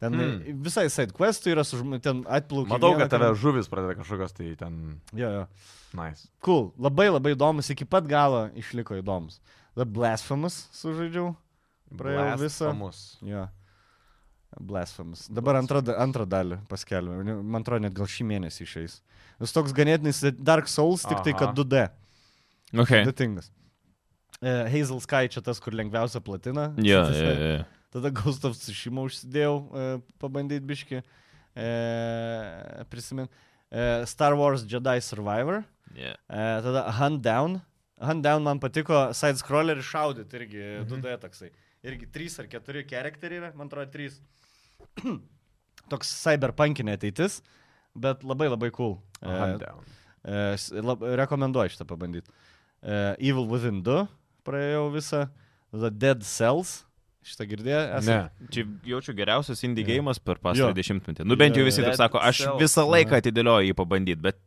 Ten
Hmm.
hmm. visai side questų yra, su, žm- ten atplaukia.
Matau, kad tave žuvis pradeda kažkokios tai ten...
Jo, jo.
Nice.
Cool, labai labai įdomus, iki pat galo išliko įdomus. The Blasphemous sužaidžiau. Praėjau visą.
Mus.
Jo. Blasphemus. Dabar antrą, da- antrą dalį paskelbė. Ne- Man atrodo, net gal šį mėnesį išeis. Jis toks ganėtinai sudė- Dark Souls, tik tai
Aha.
kad 2D.
Okay.
Sudėtingas. Uh, Hazel Sky čia tas, kur lengviausia platina.
Jo,
Satisfy-
jo, jo.
Tada Ghost of Tsushima užsidėjau, e, pabandyti biški. E, prisimint. E, Star Wars Jedi Survivor.
Jo.
E, tada Hunt Down. Hunt Down man patiko, side scroller iššaudyti irgi
Mhm.
2D toksai. Irgi 3 ar 4 charakteriai yra, man atrodo 3. Toks cyberpunkinė ateitis, bet labai labai cool.
Hand down.
E, s- lab, rekomenduoju šitą pabandyti. Uh, Evil Within 2 praėjau visą. The Dead Cells. Šitą girdėjai?
Ne.
Čia jaučiu geriausias indie
Jo.
gėjimas per pastarąjį
Jo.
dešimtmetį. Nu bent jau
Jo,
visi
jo.
taip sako, aš
Self.
visą laiką atidėlioju jį pabandyti, bet,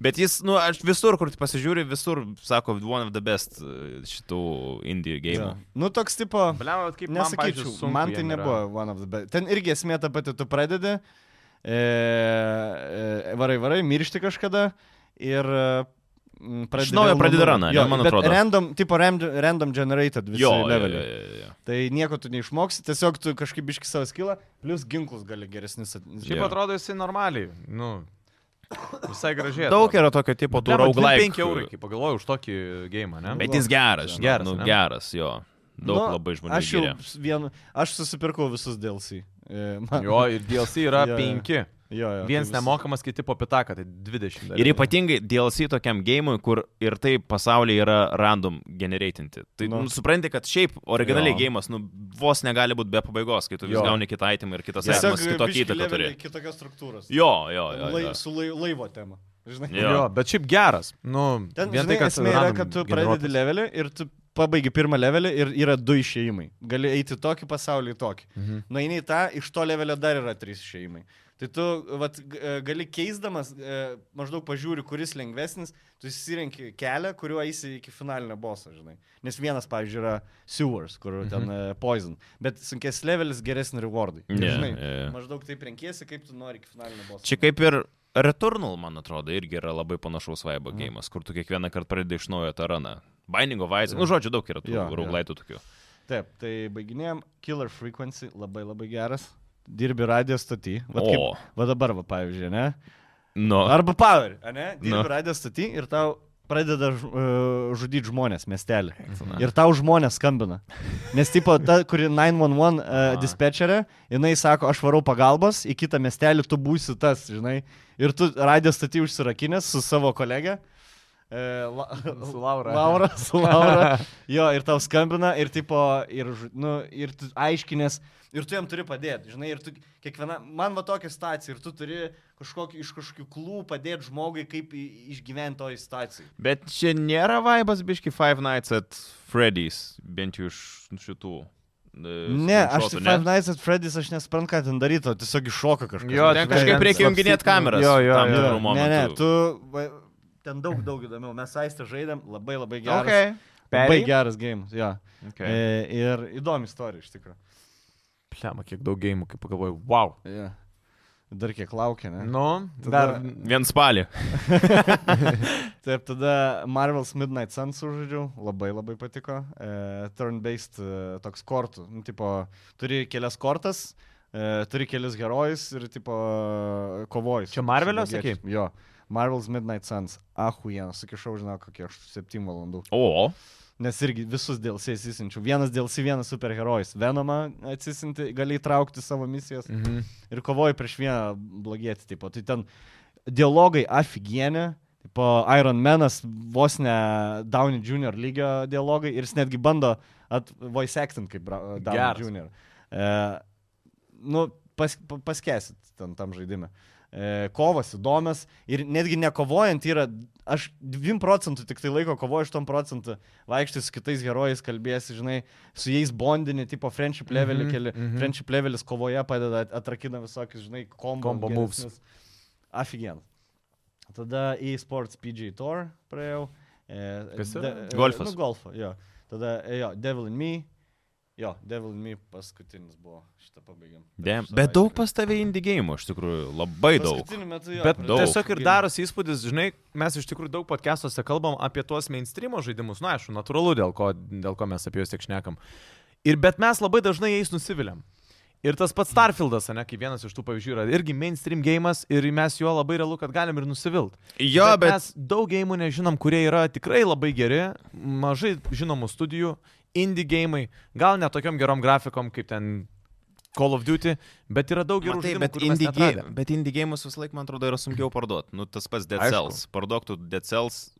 bet jis, nu, aš visur, kur pasižiūri, visur sako, one of the best e, šitų indie gėjimų.
Nu, toks tipo.
Bliam, kaip man,
Nesakyčiau,
pavyzdžiui, sunku
man tai
jam yra.
nebuvo one of the best. Ten irgi esmė ta pati, tu pradedi, e, e, varai, varai, miršti kažkada ir mm, pradedi.
naujo
vėl
pradedi
nuo
runą,
nulio.
ne,
Jo,
man
bet
atrodo.
Random, tipo random, random generated visi
Jo, jo,
leveliai.
jo, jo.
Tai nieko tu neišmoksi, tiesiog tu kažkaip biški savo skilą, plus ginklus gali geresnis. at-
Šiaip
Jo.
atrodo jisai normaliai. Nu, visai gražiai.
Daug yra tokio tipo tų rauglaikių.
5 eurų, kai pagalvojau, už tokį gėjimą, ne?
Bet jis geras,
Geras,
geras, nu,
ne?
geras jo. Daug
Nu,
labai žmonių.
Aš jau
giria.
s- vien, aš susipirkau visus DLC. E, man,
Jo, ir DLC yra
Jo, jo.
5.
jo, jo, tai
Vienas
visi-
nemokamas, kiti po pitaką, tai 20. dar
Ir
yra.
ypatingai DLC tokiam gėjimui, kur ir tai pasaulyje yra random generatinti. Tai
Nu.
nu. supranti, kad šiaip originaliai
Jo.
gėjimas, nu, vos negali būti be pabaigos, kai tu vis
Jo.
gauni kitą itemą ir kitas
Tiesiog
itimas kitokį
biškį
įtaką turi.
leveliai kitokios struktūros.
Jo, jo, jo.
lai,
jo.
su lai, laivo tema. Žinai,
Jo.
Jo, bet šiaip geras. Nu,
ten
vien
žinai,
tai, kad
esmė yra,
random
kad tu
generuotas.
pradedi levelį ir tu pabaigi pirmą levelį ir yra du išėjimai. Gali eiti į tokį pasaulį, į tokį.
Mhm.
Na, eini į tą, iš to levelio dar yra trys išėjimai. Tai tu vat, g- e, gali keisdamas, e, maždaug pažiūri, kuris lengvesnis, tu įsirenki kelią, kuriuo eisi iki finalinio boso, žinai. Nes vienas, pavyzdžiui, yra sewers, kur
Mhm.
ten e, poison, bet sunkesnis levelis geresni rewardai. Ir,
Ne,
žinai,
jo, jo.
maždaug taip renkiesi, kaip tu nori iki finalinio boso.
Čia kaip ir Returnal, man atrodo, irgi yra labai panašaus vaibo
Mhm.
gėjimas, kur tu kiekvieną kartą pradedi iš naujo tą raną. Binding of Isaac, nu, žodžiu, daug yra tų
Jo, jo.
rauglaitų tokių.
Taip, tai baiginėjom. Killer Frequency labai labai geras. Dirbi radio stotį. Va,
O.
va dabar, va, pavyzdžiui, ne?
Nu,
Arba Power, ne? Dirbi
Nu.
no. radio stotį ir tau pradeda ž- e, žudyt žmonės miestelį. Ir tau žmonės skambina. Nes, tipo, ta, kuri 911 uh, dispečerė, jinai sako, aš varau pagalbos, į kitą miestelį tu būsi tas, žinai. Ir tu radio stotį užsirakinęs su savo kolege. E, la,
Su Laura.
Laura, su Laura. Jo, ir tau skambina, ir tipo, ir, žu- nu, ir tu aiškinės, ir tu jam turi padėti, žinai, ir tu kiekviena, man va tokia situacija, ir tu turi kažkokį, iš kažkokių klų padėti žmogui, kaip i- išgyventi toj situacijai.
bet čia nėra vaibas, biški Five Nights at Freddy's, bent jau iš šitų. e,
Ne, aš tik Five Nights at Freddy's, aš nesuprantu, ką ten daryto, tiesiog iššoka kažkas.
Jo,
Ten
ten
kažkaip
ten
reikia junginėti
slapstyt-
kameras.
Jo, jo,
tam
jo.
tikru
ne,
momentu.
ne, tu, va, ten daug, daug įdomiau, mes aistę žaidėm, labai labai geras.
Okay.
Labai
Perėjai?
geras game, jo.
Okay.
E, ir įdomi istorija iš tikrųjų.
Pliama, kiek daug gėjimų, kaip pagalvojau. Wow.
Yeah. Dar kiek laukia, ne?
Nu,
Tada-
dar.
Vien spalį.
Taip, tada Marvel's Midnight Sun sužaidžiau, labai labai patiko. E, Turn-based e, toks kortų. Nu, tipo, turi kelias kortas, e, turi kelias herojus ir tipo kovojus.
Čia Marvelio sakei?
Jo. Marvel's Midnight Suns. Ahujien, sukišau, žinau, kokie 7 valandų.
O,
Nes irgi visus DLC įsisinčiau. Vienas DLC, vienas superherojus. Venomą atsisinti, gali įtraukti į savo misijas
Mhm.
ir kovoji prieš vieną blogietį, tipo. Tai ten dialogai aфиgienė, tipo Iron Manas vos ne Downey Jr. lygio dialogai ir jis netgi bando at voice acting kaip Bra- Downey
Geras.
Jr. E, nu, pas, pa- paskesit ten tam žaidime. E, kovas įdomias ir netgi nekovojant yra, aš 2 procentų tik tai laiko kovoju, 8 procentų vaikštai su kitais herojais, kalbėsi, žinai, su jais bondinį, tipo friendship levelį
Mhm,
mm -hmm, keli, mm
mhm.
-hmm. friendship levelis kovoje padeda at- atrakina visokius, žinai, kombo,
Combo moves.
geresnius. Afigen. Tada į Sports PG Tour praėjau. E,
Kas
de-
yra?
e,
Golfas.
Nu, golfą, jo. Tada, e, jo, Devil in Me. Jo, Devil in Me paskutinis buvo. Šitą pabaigėm.
Damn. Bet daug pas tave indie gėjimų, iš tikrųjų, labai daug.
Paskutiniu metu jo.
Bet
daug.
daug. tiesiog ir darosi įspūdis, žinai, mes iš tikrųjų daug podcastuose kalbam apie tuos mainstreamo žaidimus, na, aišku, natūralu, dėl ko, dėl ko mes apie juos tiek šnekam. Ir bet mes labai dažnai jais nusiviliam. Ir tas pats Starfieldas, ne, kaip vienas iš tų pavyzdžių yra irgi mainstream gėjimas ir mes juo labai realu, kad galim ir nusivilt.
Jo, bet...
Mes daug gėjimų nežinom, kurie yra tikrai labai geri, mažai žinomų studijų, indie gėjimai, gal ne tokiom gerom grafikom kaip ten Call of Duty, bet yra daug gerų
Matai,
žaidimų,
bet
kurių mes
indie,
neatradėm.
ge- bet indie gėjimus vis laik, man atrodo, yra sunkiau parduoti. Nu, tas pats Dead
Aišku.
Cells. Parduok tu Dead Cells.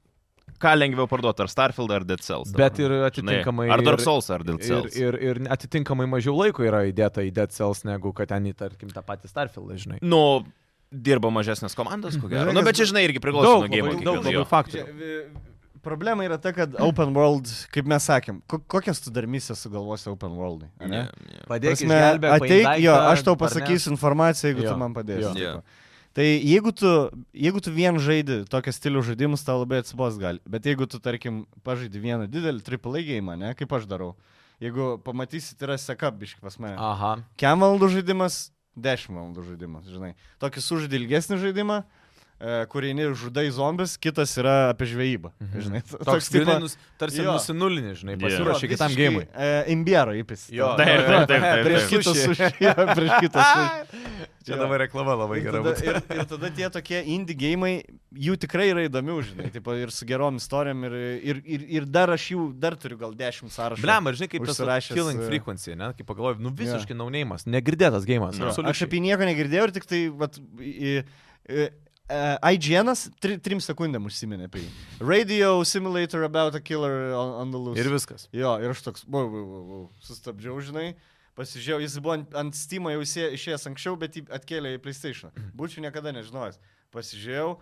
Ką lengviau parduoti, ar Starfield, ar Dead Cells? dabar?
Bet ir
Žinai,
atitinkamai.
Ar Dark
ir-
Souls, ar Dead
Ir,
Cells.
ir, ir atitinkamai mažiau laiko yra įdėta į Dead Cells negu kad ten, į, tarkim, tą patį Starfieldą, žinai.
Nu, dirba mažesnės komandos, ko gero.
Žinai,
Nu,
kas-
bet čia, žinai, irgi priklauso nuo
Daug,
gėjimo.
labai, daug labai
kiekvieno.
faktorių.
Problema yra ta, kad
Open World, kaip mes sakėm, ko, kokias tu dar misijas sugalvosi Open World'ui? ar ne?
Ne, ne.
Padėk
Prasme,
išgelbėk, paimk
ateik, jo,
daiktą,
aš tau
ar ne?
pasakysiu informaciją, jeigu jo,
Jo,
tu man padėsi.
jo.
Jo.
tipo. Tai jeigu tu, jeigu tu vien žaidži tokią stilių žaidimus, tau labai atsibos gali. Bet jeigu tu, tarkim, pažaidži vieną didelį triple gėjimą, ne, kaip aš darau. Jeigu pamatysit, yra sekabiški pas mane.
Aha.
Kiam valandų žaidimas, 10 valandų žaidimas, žinai. Tokį sužaidį ilgesnį žaidimą, e, kur eini žudai zombis, kitas yra apie žvejybą. Žinai, t-
Toks
tipo-
grinai, nus, tarsi
jo.
nusinulinis, žinai,
Jo.
pasiruošė kitam
visiškai,
gėjimui.
E, imbiero įpis.
Jo,
Taip,
jo, jo.
taip, taip,
Prieš
taip.
kitą sušį. Prieš kitą sušį.
Čia dabar reklama labai
Ir
gera.
tada,
būtų.
ir, ir tada tie tokie indie gėjimai, jų tikrai yra įdomių, žinai, taip, ir su gerom istorijom, ir, ir, ir, ir dar aš jų, dar turiu gal dešimt sąrašų.
Blem, ir žinai, kaip tas vat
užsirašęs,
Killing
e,
Frequency, ne, kaip pagalvoju, nu visiškai yeah. naunėjimas, negirdėtas gėjimas.
Jo.
Aš
Absoliučiai.
apie jį nieko negirdėjau ir tik tai, vat, į, į, e, IGN'as tri, trim sekundėm užsiminė apie jį. Radio simulator about a killer on, on the loose.
Ir viskas.
Jo, ir aš toks, wow, wow, wow, wow. sustabdžiau, žinai, pasižiūrėjau, jis buvo ant, ant Steam jau išė- išėjęs anksčiau, bet jį atkėlė į PlayStation.
Mhm.
Būčiau niekada nežinojęs. Pasižiūrėjau,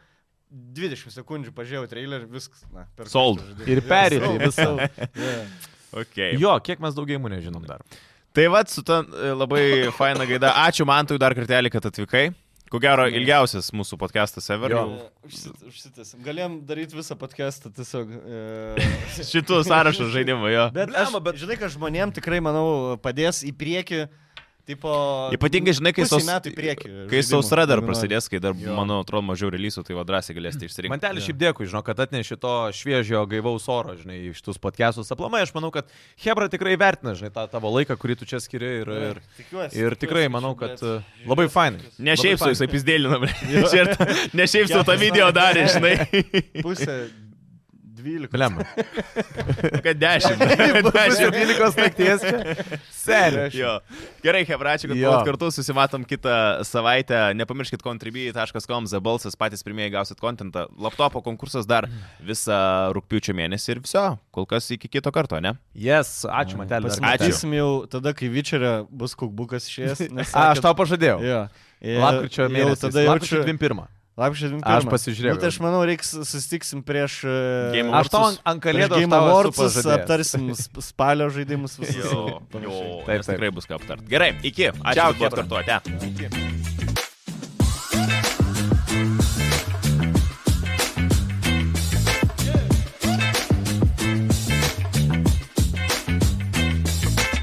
20 sekundžių pažiūrėjau trailerį, viskas. Na, per
Sold.
Ir perėti visą.
Okay.
Jo, kiek mes daug gėjimų nežinom dar.
Tai vad su ta e, labai faina gaida. Ačiū man tu dar kartelį, kad atvykai. Ko gero, ilgiausias mūsų podcastas ever.
Jo.
Užsitęsim. Galėjom daryti visą podcastą tiesiog. E...
Šitų sąrašų žaidimų, jo.
Bet, Blema, bet žinai, kad žmonėm tikrai, manau, padės į priekį. Tipo,
Ypatingai, žinai, kai
pusei
saus-
metų į priekį. Nu,
Kai
žaidimų
sausra dar
dominuoja.
prasidės, kai dar, manau, atrodo, mažiau releasų, tai vadrasiai galėsite išsirinkti.
Mantelį šiaip dėkui, žinau, kad atneši to šviežio gaivaus oro, žinai, iš tus podcastus aplamai. Aš manau, kad Hebra tikrai vertina, žinai, tą tavo laiką, kurį tu čia skiri ir, ir,
E, Tikiuosi,
ir tikrai
tikiuosi,
manau,
kad
kad e, labai fainai.
Ne šiaip su
Labai
jisai pizdėlina, ble. Čia ir ta- ne šiaip su tą video darė, žinai.
Pusė 12.
Blem.
Kad dešimt. Dešimt.
12 nakties čia. Seniai.
Jo. Gerai, Hebračiu, kad
Jo.
buvot kartu, susimatom kitą savaitę. Nepamirškit contribui.com, zabalsas, patys pirmieji gausit kontentą. Laptopo konkursas dar visą rūpiučio mėnesį ir viso. Kol kas iki kito karto, ne?
Yes, ačiū, Mantelį. dar kartą.
Matysim jau tada, kai vyčerė bus kukbukas išėjęs. nes
A, aš
sakėt-
tau pažadėjau.
Jo. Ir
Lapkričio
Jau
mėnesį.
tada
Lapkričio
jaučiu.
21.
Lapkričio 21.
Aš pasižiūrėjau
Nu, tai aš manau, reiks susitiksim prieš... e,
Game
Aš tau ant- ant
prieš
kalėdų
Game Awards, aptarsim sp- spalio žaidimus visus.
Jo, jo.
Taip,
Taip,
taip.
tikrai bus ką aptart. Gerai, iki. Ačiū, kad buvot kartu. Ate.
aptarsiu.